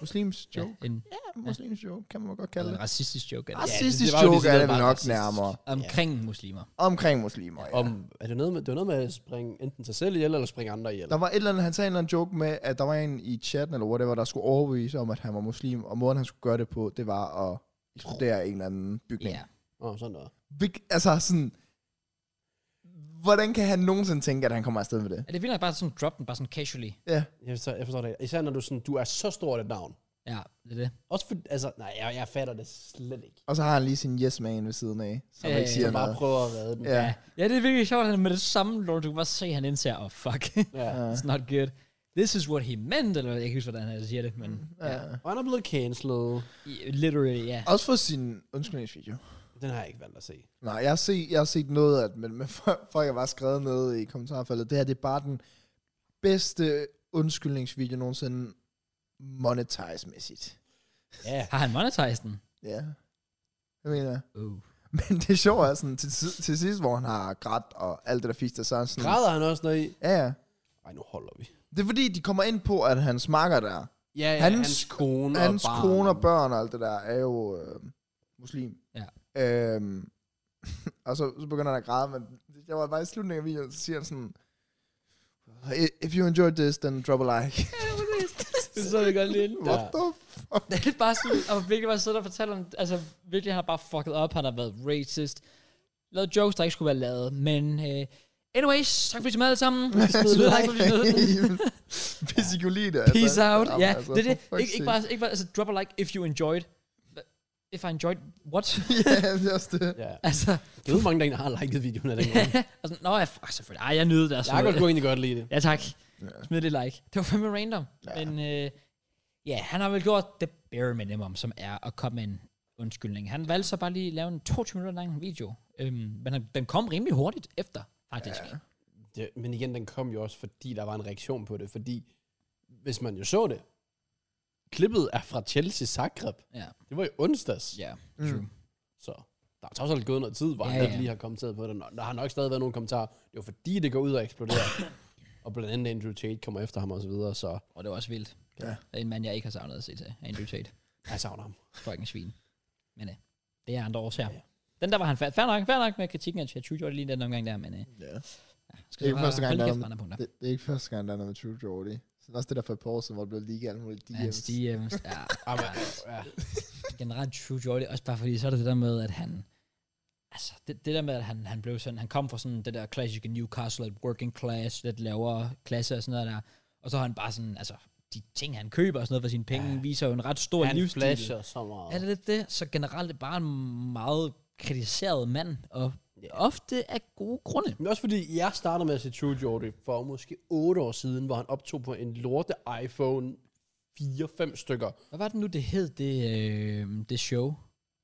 [SPEAKER 3] Muslimsk
[SPEAKER 1] ja
[SPEAKER 3] joke.
[SPEAKER 1] en,
[SPEAKER 3] Ja, muslimsk joke, kan man godt kalde
[SPEAKER 1] en
[SPEAKER 3] det.
[SPEAKER 1] racistisk joke. Er det.
[SPEAKER 2] Ja,
[SPEAKER 3] Racistisk
[SPEAKER 2] det var jo
[SPEAKER 3] joke er
[SPEAKER 2] decideret
[SPEAKER 3] det vel
[SPEAKER 2] bare
[SPEAKER 3] nok
[SPEAKER 2] racistisk.
[SPEAKER 3] nærmere.
[SPEAKER 1] Omkring muslimer.
[SPEAKER 3] Omkring muslimer, ja.
[SPEAKER 2] Om, er det, noget med, det var noget med at springe enten sig selv ihjel, eller springe andre ihjel.
[SPEAKER 3] Der var et eller andet, han sagde en eller anden joke med, at der var en i chatten, eller whatever, der skulle overbevise om, at han var muslim, og måden, han skulle gøre det på, det var at eksplodere en eller anden bygning.
[SPEAKER 1] Ja.
[SPEAKER 2] Åh, sådan noget.
[SPEAKER 3] Hvil- altså sådan, hvordan kan han nogensinde tænke, at han kommer afsted med det?
[SPEAKER 1] Er det vildt nok bare sådan drop den, bare sådan casually?
[SPEAKER 3] Ja,
[SPEAKER 2] Jeg forstår, jeg forstår det. Især når du, sådan, du er så stort et navn.
[SPEAKER 1] Ja, det er det.
[SPEAKER 2] Også for, altså, nej, jeg, jeg fatter det slet ikke.
[SPEAKER 3] og så har han lige sin yes man ved siden af, som
[SPEAKER 1] Ja,
[SPEAKER 3] ja, ikke
[SPEAKER 1] ja,
[SPEAKER 3] siger
[SPEAKER 2] Jeg bare
[SPEAKER 3] noget.
[SPEAKER 2] prøver at redde den.
[SPEAKER 3] Ja.
[SPEAKER 1] Ja, det er virkelig sjovt, at han med det samme, når du kan bare se, at han indser, oh fuck,
[SPEAKER 2] ja.
[SPEAKER 1] it's not good. This is what he meant, eller jeg kan ikke huske, hvordan han siger det, men ja.
[SPEAKER 3] Ja.
[SPEAKER 2] Og han er blevet cancelled.
[SPEAKER 1] literally, ja.
[SPEAKER 3] Også for sin undskyldningsvideo.
[SPEAKER 2] Den har jeg ikke valgt at se.
[SPEAKER 3] Nej, jeg har set, jeg har set noget af det, men, men folk folk har bare skrevet noget i kommentarfeltet. Det her, det er bare den bedste undskyldningsvideo nogensinde monetize-mæssigt.
[SPEAKER 2] Ja.
[SPEAKER 1] Har han monetized den?
[SPEAKER 3] Ja. Jeg mener, jeg.
[SPEAKER 1] Uh.
[SPEAKER 3] men det sjove er sådan, til, sid- til sidst, hvor han har grædt og alt det der fisk, der så er han sådan...
[SPEAKER 2] Græder han også noget i?
[SPEAKER 3] Ja, ja.
[SPEAKER 2] Ej, nu holder vi.
[SPEAKER 3] Det er fordi, de kommer ind på, at hans makker der,
[SPEAKER 2] Ja, ja,
[SPEAKER 3] Hans-
[SPEAKER 2] hans, hans kone
[SPEAKER 3] hans
[SPEAKER 2] og barn.
[SPEAKER 3] kone og børn og alt det der, er jo øh, muslim.
[SPEAKER 1] Ja.
[SPEAKER 3] Øhm, og så, så begynder han at græde, men jeg var bare i slutningen af videoen, så siger han sådan, "I- If you enjoyed this, then drop a like.
[SPEAKER 1] Det så jeg godt lidt.
[SPEAKER 3] What the fuck?
[SPEAKER 1] Det er bare sådan, og virkelig bare sidder og fortæller om, altså virkelig han har bare fucket op, han har været racist, lavet jokes, der ikke skulle være lavet, men uh, anyways, tak fordi I så med alle sammen. Smid lyd, tak fordi I nød den.
[SPEAKER 3] Hvis I kunne lide det. altså.
[SPEAKER 1] Peace out.
[SPEAKER 3] Jamen,
[SPEAKER 1] Ja, det er det.
[SPEAKER 3] for fuck's
[SPEAKER 1] Ikke, ikke, bare, ikke bare, altså drop a like if you enjoyed. Hva- If I enjoyed, what?
[SPEAKER 3] sake. ja, det er også det.
[SPEAKER 2] Ja.
[SPEAKER 1] altså,
[SPEAKER 2] Jeg ved, hvor mange der egentlig har liket videoen af den gang.
[SPEAKER 3] Mm.
[SPEAKER 1] altså, nå ja, fuck selvfølgelig. Ej, jeg nyder det. Altså,
[SPEAKER 2] Jakob kunne egentlig godt lide det.
[SPEAKER 1] ja tak.
[SPEAKER 3] Ja.
[SPEAKER 1] Smid det like. Det var fandme random.
[SPEAKER 3] Ja.
[SPEAKER 1] Ja. Men øh, ja, han har vel gjort det bare minimum, som er at komme med en undskyldning. Han valgte så bare lige at lave en 22 minutter lang video. Øhm, men han, den kom rimelig hurtigt efter, faktisk. Ja.
[SPEAKER 2] det. Men igen, den kom jo også, fordi der var en reaktion på det. Fordi, hvis man jo så det, klippet er fra Chelsea Zagreb.
[SPEAKER 1] Ja.
[SPEAKER 2] Det var i onsdags.
[SPEAKER 1] Ja.
[SPEAKER 3] Mm.
[SPEAKER 2] Så der er trods alt gået noget tid, hvor ja,
[SPEAKER 1] Ja,
[SPEAKER 2] han ikke
[SPEAKER 1] ja.
[SPEAKER 2] lige har kommenteret på det. Og Der har nok stadig været nogle kommentarer. Det var fordi, det går ud og eksploderer. og blandt andet Andrew Tate kommer efter ham og så videre, så
[SPEAKER 1] Og det var også vildt.
[SPEAKER 3] Ja.
[SPEAKER 1] En mand, jeg ikke har savnet at se til. Andrew Tate.
[SPEAKER 2] jeg savner ham.
[SPEAKER 1] Fucking svin. Men øh, det er andre årsager.
[SPEAKER 2] Ja.
[SPEAKER 1] Ja. Den der var han færdig fair nok, fair nok med kritikken af Chachu, gjorde det lige den omgang der, men øh,
[SPEAKER 3] Ja.
[SPEAKER 1] skal
[SPEAKER 3] Det er jo
[SPEAKER 1] bare
[SPEAKER 3] første gang,
[SPEAKER 1] holde
[SPEAKER 3] der er
[SPEAKER 1] kæft på
[SPEAKER 3] en-
[SPEAKER 1] andre punkter.
[SPEAKER 3] Det, det, er ikke første gang, der er noget med True Jordy. Så det er også det der for et par år siden, hvor det blev lige alle mulige DM's.
[SPEAKER 1] Hans DM's. Ja,
[SPEAKER 2] Ah, men,
[SPEAKER 1] ja.
[SPEAKER 2] ja.
[SPEAKER 1] generelt True Jordy, også bare fordi, så er det det der med, at han, altså det, det der med, at han, han blev sådan, han kom fra sådan det der klassiske Newcastle, et working class, lidt lavere klasse og sådan noget der, og så har han bare sådan, altså de ting, han køber og sådan noget for sine penge, ja. viser jo en ret stor
[SPEAKER 2] Han
[SPEAKER 1] livsstil.
[SPEAKER 2] flasher så meget.
[SPEAKER 1] Er det lidt det? Så generelt er bare en meget kritiseret mand, og ofte af gode grunde.
[SPEAKER 2] Men også fordi, jeg startede med at se True Jordy for måske 8 år siden, hvor han optog på en lorte iPhone 4-5 stykker.
[SPEAKER 1] Hvad var det nu, det hed, det, øh, det show?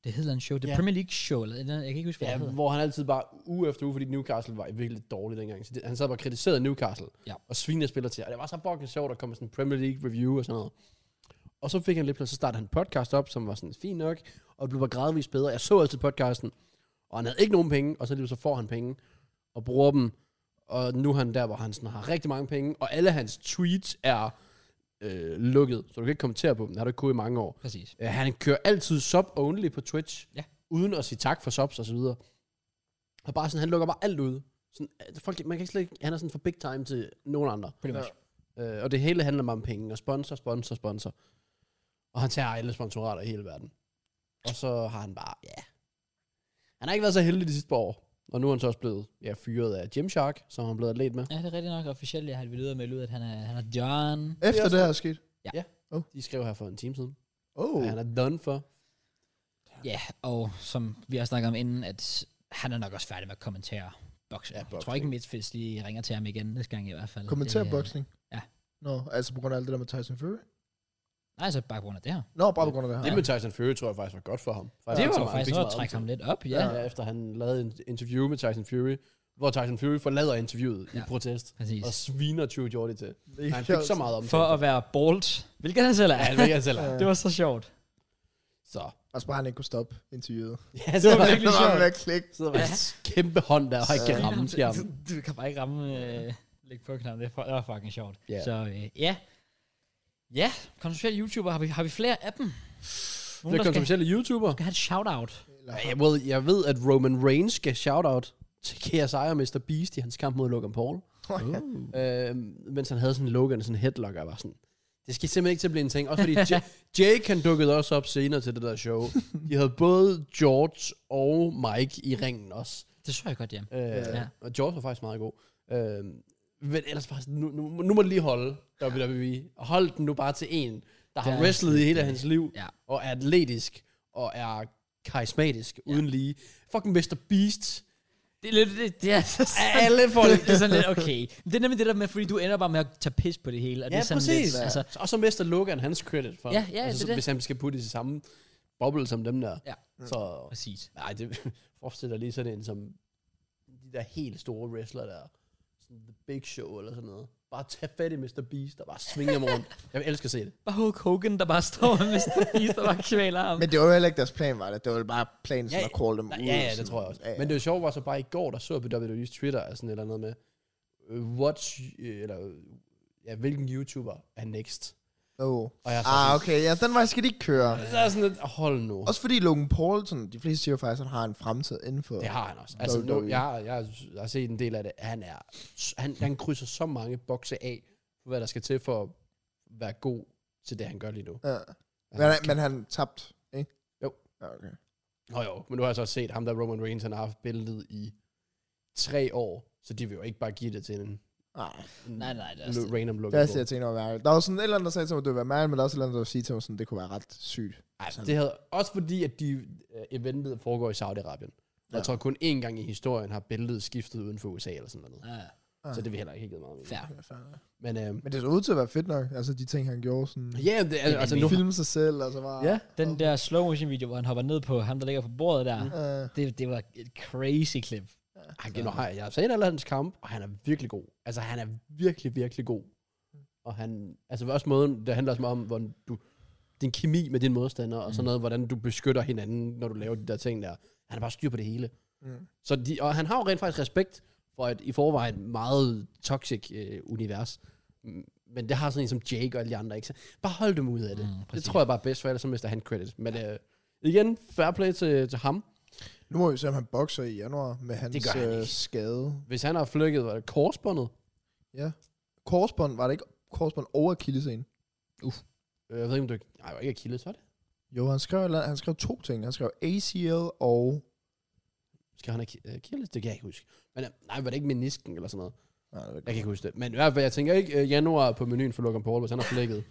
[SPEAKER 1] Det hed en show, det
[SPEAKER 2] Ja.
[SPEAKER 1] Premier League show, eller et eller andet, jeg kan ikke huske, hvad
[SPEAKER 2] Ja,
[SPEAKER 1] det hed.
[SPEAKER 2] hvor han altid bare uge efter uge, fordi Newcastle var virkelig dårlig dengang. Så det, han sad bare og kritiserede Newcastle
[SPEAKER 1] Ja.
[SPEAKER 2] og svinede spillere til. Og det var så fucking sjovt at komme med sådan en Premier League review og sådan noget. Og så fik han lidt plads, så startede han en podcast op, som var sådan fint nok, og blev bare gradvist bedre. Jeg så altid podcasten, og han havde ikke nogen penge, og så lige så får han penge og bruger dem. Og nu er han der, hvor han sådan har rigtig mange penge, og alle hans tweets er øh, lukket, så du kan ikke kommentere på dem. Det har du ikke kunnet i mange år.
[SPEAKER 1] Præcis.
[SPEAKER 2] Øh, han kører altid sub-only på Twitch,
[SPEAKER 1] Ja.
[SPEAKER 2] uden at sige tak for subs og så videre. Og bare sådan, han lukker bare alt ud. Sådan, øh, folk, man kan ikke slet ikke, han er sådan for big time til nogen andre.
[SPEAKER 1] Pretty much.
[SPEAKER 2] Øh, og det hele handler bare om penge, og sponsor, sponsor, sponsor. Og han tager alle sponsorater i hele verden. Og så har han bare, ja. Han har ikke været så heldig de sidste par år. Og nu er han så også blevet ja, fyret af Gymshark, som han blev atlet med.
[SPEAKER 1] Ja, det er rigtigt nok officielt, jeg har været ude og melde ud, at han er, han er John.
[SPEAKER 3] Efter det her er sket.
[SPEAKER 2] De skrev her for en time siden,
[SPEAKER 3] Oh.
[SPEAKER 2] uh. at han er done for.
[SPEAKER 1] Ja, og som vi har snakket om inden, at han er nok også færdig med at kommentere boksning.
[SPEAKER 3] Ja,
[SPEAKER 1] Ja, jeg tror
[SPEAKER 3] boksning.
[SPEAKER 1] ikke, Midtfisk lige ringer til ham igen næste gang i hvert fald.
[SPEAKER 3] Kommenter
[SPEAKER 1] Det er-
[SPEAKER 3] boksning.
[SPEAKER 1] Ja.
[SPEAKER 3] Nå, altså på grund af alt det der med Tyson Fury.
[SPEAKER 1] Nej, så bare på grund af det her.
[SPEAKER 3] Nå, bare på grund af det her.
[SPEAKER 2] Det med Tyson Fury, tror jeg faktisk var godt for ham.
[SPEAKER 1] Ah. det var jo
[SPEAKER 2] så meget- han fik
[SPEAKER 1] faktisk
[SPEAKER 2] så
[SPEAKER 1] noget
[SPEAKER 2] meget
[SPEAKER 1] at trække
[SPEAKER 2] omtale.
[SPEAKER 1] ham lidt op, ja.
[SPEAKER 2] ja. efter han lavede en interview med Tyson Fury, hvor Tyson Fury forlader interviewet ja. i
[SPEAKER 1] Ja.
[SPEAKER 2] protest
[SPEAKER 1] Præcis.
[SPEAKER 2] og sviner True Jordy til.
[SPEAKER 3] Det er
[SPEAKER 2] Han fik så meget om
[SPEAKER 1] For at være bold, hvilket han selv er.
[SPEAKER 2] Ja, han vil jeg selv have.
[SPEAKER 1] Det var så sjovt.
[SPEAKER 2] Så.
[SPEAKER 3] Altså bare, han ikke kunne stoppe interviewet.
[SPEAKER 2] Ja, så var virkelig
[SPEAKER 3] Det var
[SPEAKER 2] sjovt.
[SPEAKER 3] med klik.
[SPEAKER 2] Så var en kæmpe hånd der, og ikke kan ramme skærmen.
[SPEAKER 1] Du, du kan bare ikke ramme, øh, lægge på knappen. Det, er fu- det var fucking sjovt.
[SPEAKER 2] Ja.
[SPEAKER 1] Så øh, ja. Ja, kontroversielle YouTuber, har vi, har vi flere af dem? Nogen,
[SPEAKER 2] Det er
[SPEAKER 1] der skal,
[SPEAKER 2] kontroversielle YouTuber.
[SPEAKER 1] skal have et shout-out.
[SPEAKER 3] Eller,
[SPEAKER 2] Ja, Jeg ved, jeg ved, at Roman Reigns skal shout-out til KSI og Mr. Beast i hans kamp mod Logan Paul. Øh, mens han havde sådan en Logan, sådan en headlock, og jeg var sådan, det skal simpelthen ikke til at blive en ting. Også fordi Ja- Jake, han dukkede også op senere til det der show. De havde både George og Mike i ringen også.
[SPEAKER 1] Det så jeg godt, ja.
[SPEAKER 2] Øh,
[SPEAKER 1] Ja.
[SPEAKER 2] ja. Og George var faktisk meget god. Øh, men ellers bare, sådan, nu, nu, nu må det lige holde WWE. Hold den nu bare til en, der
[SPEAKER 1] Der
[SPEAKER 2] har
[SPEAKER 1] er-
[SPEAKER 2] wrestlet i hele hans liv,
[SPEAKER 1] Ja.
[SPEAKER 2] og er atletisk, og er karismatisk, ja. uden lige. Fucking Mr. Beast.
[SPEAKER 1] Det er lidt, det, det er så
[SPEAKER 2] Alle folk.
[SPEAKER 1] det er sådan lidt, okay. Men det er nemlig det der med, fordi du ender bare med at tage pis på det hele. Og det
[SPEAKER 2] Ja,
[SPEAKER 1] er sådan
[SPEAKER 2] præcis.
[SPEAKER 1] Lidt, altså,
[SPEAKER 2] Og så mister Logan hans credit for,
[SPEAKER 1] Ja, ja, det er
[SPEAKER 2] altså, så,
[SPEAKER 1] det.
[SPEAKER 2] hvis han skal putte i samme boble som dem der.
[SPEAKER 1] Ja.
[SPEAKER 2] Så
[SPEAKER 1] præcis.
[SPEAKER 2] Nej, det forestiller lige sådan en som de der helt store wrestlere der. Sådan The Big Show eller sådan noget. Bare tag fat i Mr. Beast og bare svinge ham rundt. Jeg elsker at se det.
[SPEAKER 1] Bare Hulk Hogan, der bare står med Mr. Beast, der bare kvæler ham.
[SPEAKER 3] Men det var jo heller ikke deres plan, var det? Det var jo bare planen, sådan
[SPEAKER 2] Ja,
[SPEAKER 3] at call dem
[SPEAKER 2] Nej,
[SPEAKER 3] ud.
[SPEAKER 2] ja, ja,
[SPEAKER 3] sådan.
[SPEAKER 2] det tror jeg også.
[SPEAKER 3] Ja, ja.
[SPEAKER 2] Men det sjove var så bare i går, der så jeg på WWE's Twitter, altså sådan et eller andet med, øh, what's, øh, eller, øh, ja, hvilken YouTuber er next?
[SPEAKER 3] Oh.
[SPEAKER 2] Og Altså, jeg er så
[SPEAKER 3] Ah,
[SPEAKER 2] sådan-
[SPEAKER 3] okay. Ja, den vej skal de ikke køre.
[SPEAKER 2] Så er jeg sådan lidt, hold nu.
[SPEAKER 3] Også fordi Logan Paul, sådan, de fleste siger jo faktisk, at han har en fremtid inden for...
[SPEAKER 2] Det har han også. Altså,
[SPEAKER 3] Dog, dog,
[SPEAKER 2] nu, jeg,
[SPEAKER 3] ja.
[SPEAKER 2] har- jeg, har- jeg har set en del af det. Han, er, han, han krydser så mange bokse af, på hvad der skal til for at være god til det, han gør lige nu.
[SPEAKER 3] Ja.
[SPEAKER 2] Han
[SPEAKER 3] Men, han-
[SPEAKER 2] kan-
[SPEAKER 3] men han tabt, ikke?
[SPEAKER 2] Jo.
[SPEAKER 3] Ja, okay.
[SPEAKER 2] Nå jo, men nu har jeg så også set ham, der Roman Reigns, han har haft billedet i tre år, så de vil jo ikke bare give det til en,
[SPEAKER 3] Nej,
[SPEAKER 2] en
[SPEAKER 1] Nej, nej, det er også
[SPEAKER 2] l-
[SPEAKER 1] det.
[SPEAKER 2] random look.
[SPEAKER 3] Ah, det er også det, jeg tænker over mærkeligt. Der var sådan et eller andet, der sagde til mig, at det ville være mærkeligt, men der var også et eller andet, der ville sige til mig, sådan, det kunne være ret sygt.
[SPEAKER 2] det havde, også fordi, at de øh, eventet foregår i Saudi-Arabien. Og
[SPEAKER 3] Ja.
[SPEAKER 2] jeg tror kun én gang i historien har billedet skiftet uden for USA eller sådan noget.
[SPEAKER 1] Ja,
[SPEAKER 2] Så det vil heller ikke give meget mening.
[SPEAKER 1] ah, fair.
[SPEAKER 2] Men øhm,
[SPEAKER 3] Men det så ud til at være fedt nok, altså de ting, han gjorde, sådan...
[SPEAKER 2] ja, det, altså, altså nu...
[SPEAKER 3] Nu filme sig selv, og så var...
[SPEAKER 2] Ja,
[SPEAKER 1] Den der slow motion video, hvor han hopper ned på ham, der ligger på bordet der,
[SPEAKER 2] Mm.
[SPEAKER 3] Øh,
[SPEAKER 1] det, det var et crazy klip.
[SPEAKER 2] Han, gennem, har, jeg har set alle hans kamp, og han er virkelig god. Altså, han er virkelig, virkelig god. Og han, altså også måden, det handler også meget om, hvordan du, din kemi med dine modstandere, og sådan
[SPEAKER 1] Mm.
[SPEAKER 2] noget, hvordan du beskytter hinanden, når du laver de der ting der. Han er bare styr på det hele.
[SPEAKER 3] Mm.
[SPEAKER 2] Så de, og han har jo rent faktisk respekt for et i forvejen meget toxic øh, univers. Mm, Men det har sådan en som Jake og alle de andre, ikke? Så bare hold dem ud af det.
[SPEAKER 1] Mm,
[SPEAKER 2] Mm, det
[SPEAKER 1] præcis.
[SPEAKER 2] tror jeg bare er bedst, for ellers så mister han credit. Men øh, igen, fair play til, til ham.
[SPEAKER 3] nu må vi se, om han bokser i januar med hans
[SPEAKER 2] gør han
[SPEAKER 3] øh,
[SPEAKER 2] ikke.
[SPEAKER 3] skade.
[SPEAKER 2] Hvis han har flykket var det korsbåndet,
[SPEAKER 3] Ja. Korsbånd, var det ikke korsbånd over kildescenen?
[SPEAKER 2] Øh, Jeg ved ikke, om du... Nej, det var ikke Achilles, var det?
[SPEAKER 3] Jo, han skrev, et eller andet- han skrev to ting. Han skrev ACL og...
[SPEAKER 2] Skal han have Ach- Achilles? Det kan jeg ikke huske. Men, øh, nej, var det ikke menisken eller sådan noget?
[SPEAKER 3] Nej, det er
[SPEAKER 2] Jeg kan ikke huske det. Men i hvert fald, jeg tænker ikke øh, januar på menuen for Logan Paul, hvis han har flækket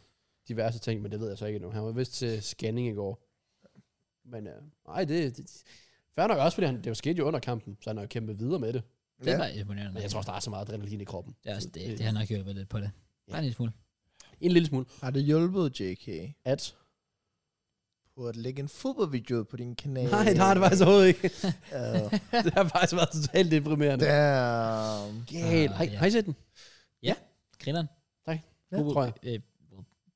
[SPEAKER 2] diverse ting, men det ved jeg så ikke endnu. Han var vist til scanning i går. Men øh, nej, det, det... Fair nok også, fordi han, det jo skete jo under kampen, så han har jo kæmpet videre med det.
[SPEAKER 1] Det
[SPEAKER 3] Ja.
[SPEAKER 1] var imponerende.
[SPEAKER 2] Men jeg tror også, der er så meget adrenalin i kroppen. Øh,
[SPEAKER 1] det, er også, altså, det, det har nok hjulpet lidt på det. Bare en lille smule.
[SPEAKER 2] En lille smule.
[SPEAKER 3] Har det hjulpet JK
[SPEAKER 2] At...
[SPEAKER 3] på at lægge en fodboldvideo på din kanal?
[SPEAKER 2] Nej, det altså- har det faktisk overhovedet ikke.
[SPEAKER 3] Uh,
[SPEAKER 2] det har faktisk været totalt deprimerende.
[SPEAKER 3] damn.
[SPEAKER 2] Galt. Har, I- har I set den?
[SPEAKER 1] Grineren.
[SPEAKER 3] Ja,
[SPEAKER 1] Ubo-
[SPEAKER 2] tror jeg.
[SPEAKER 1] Øh,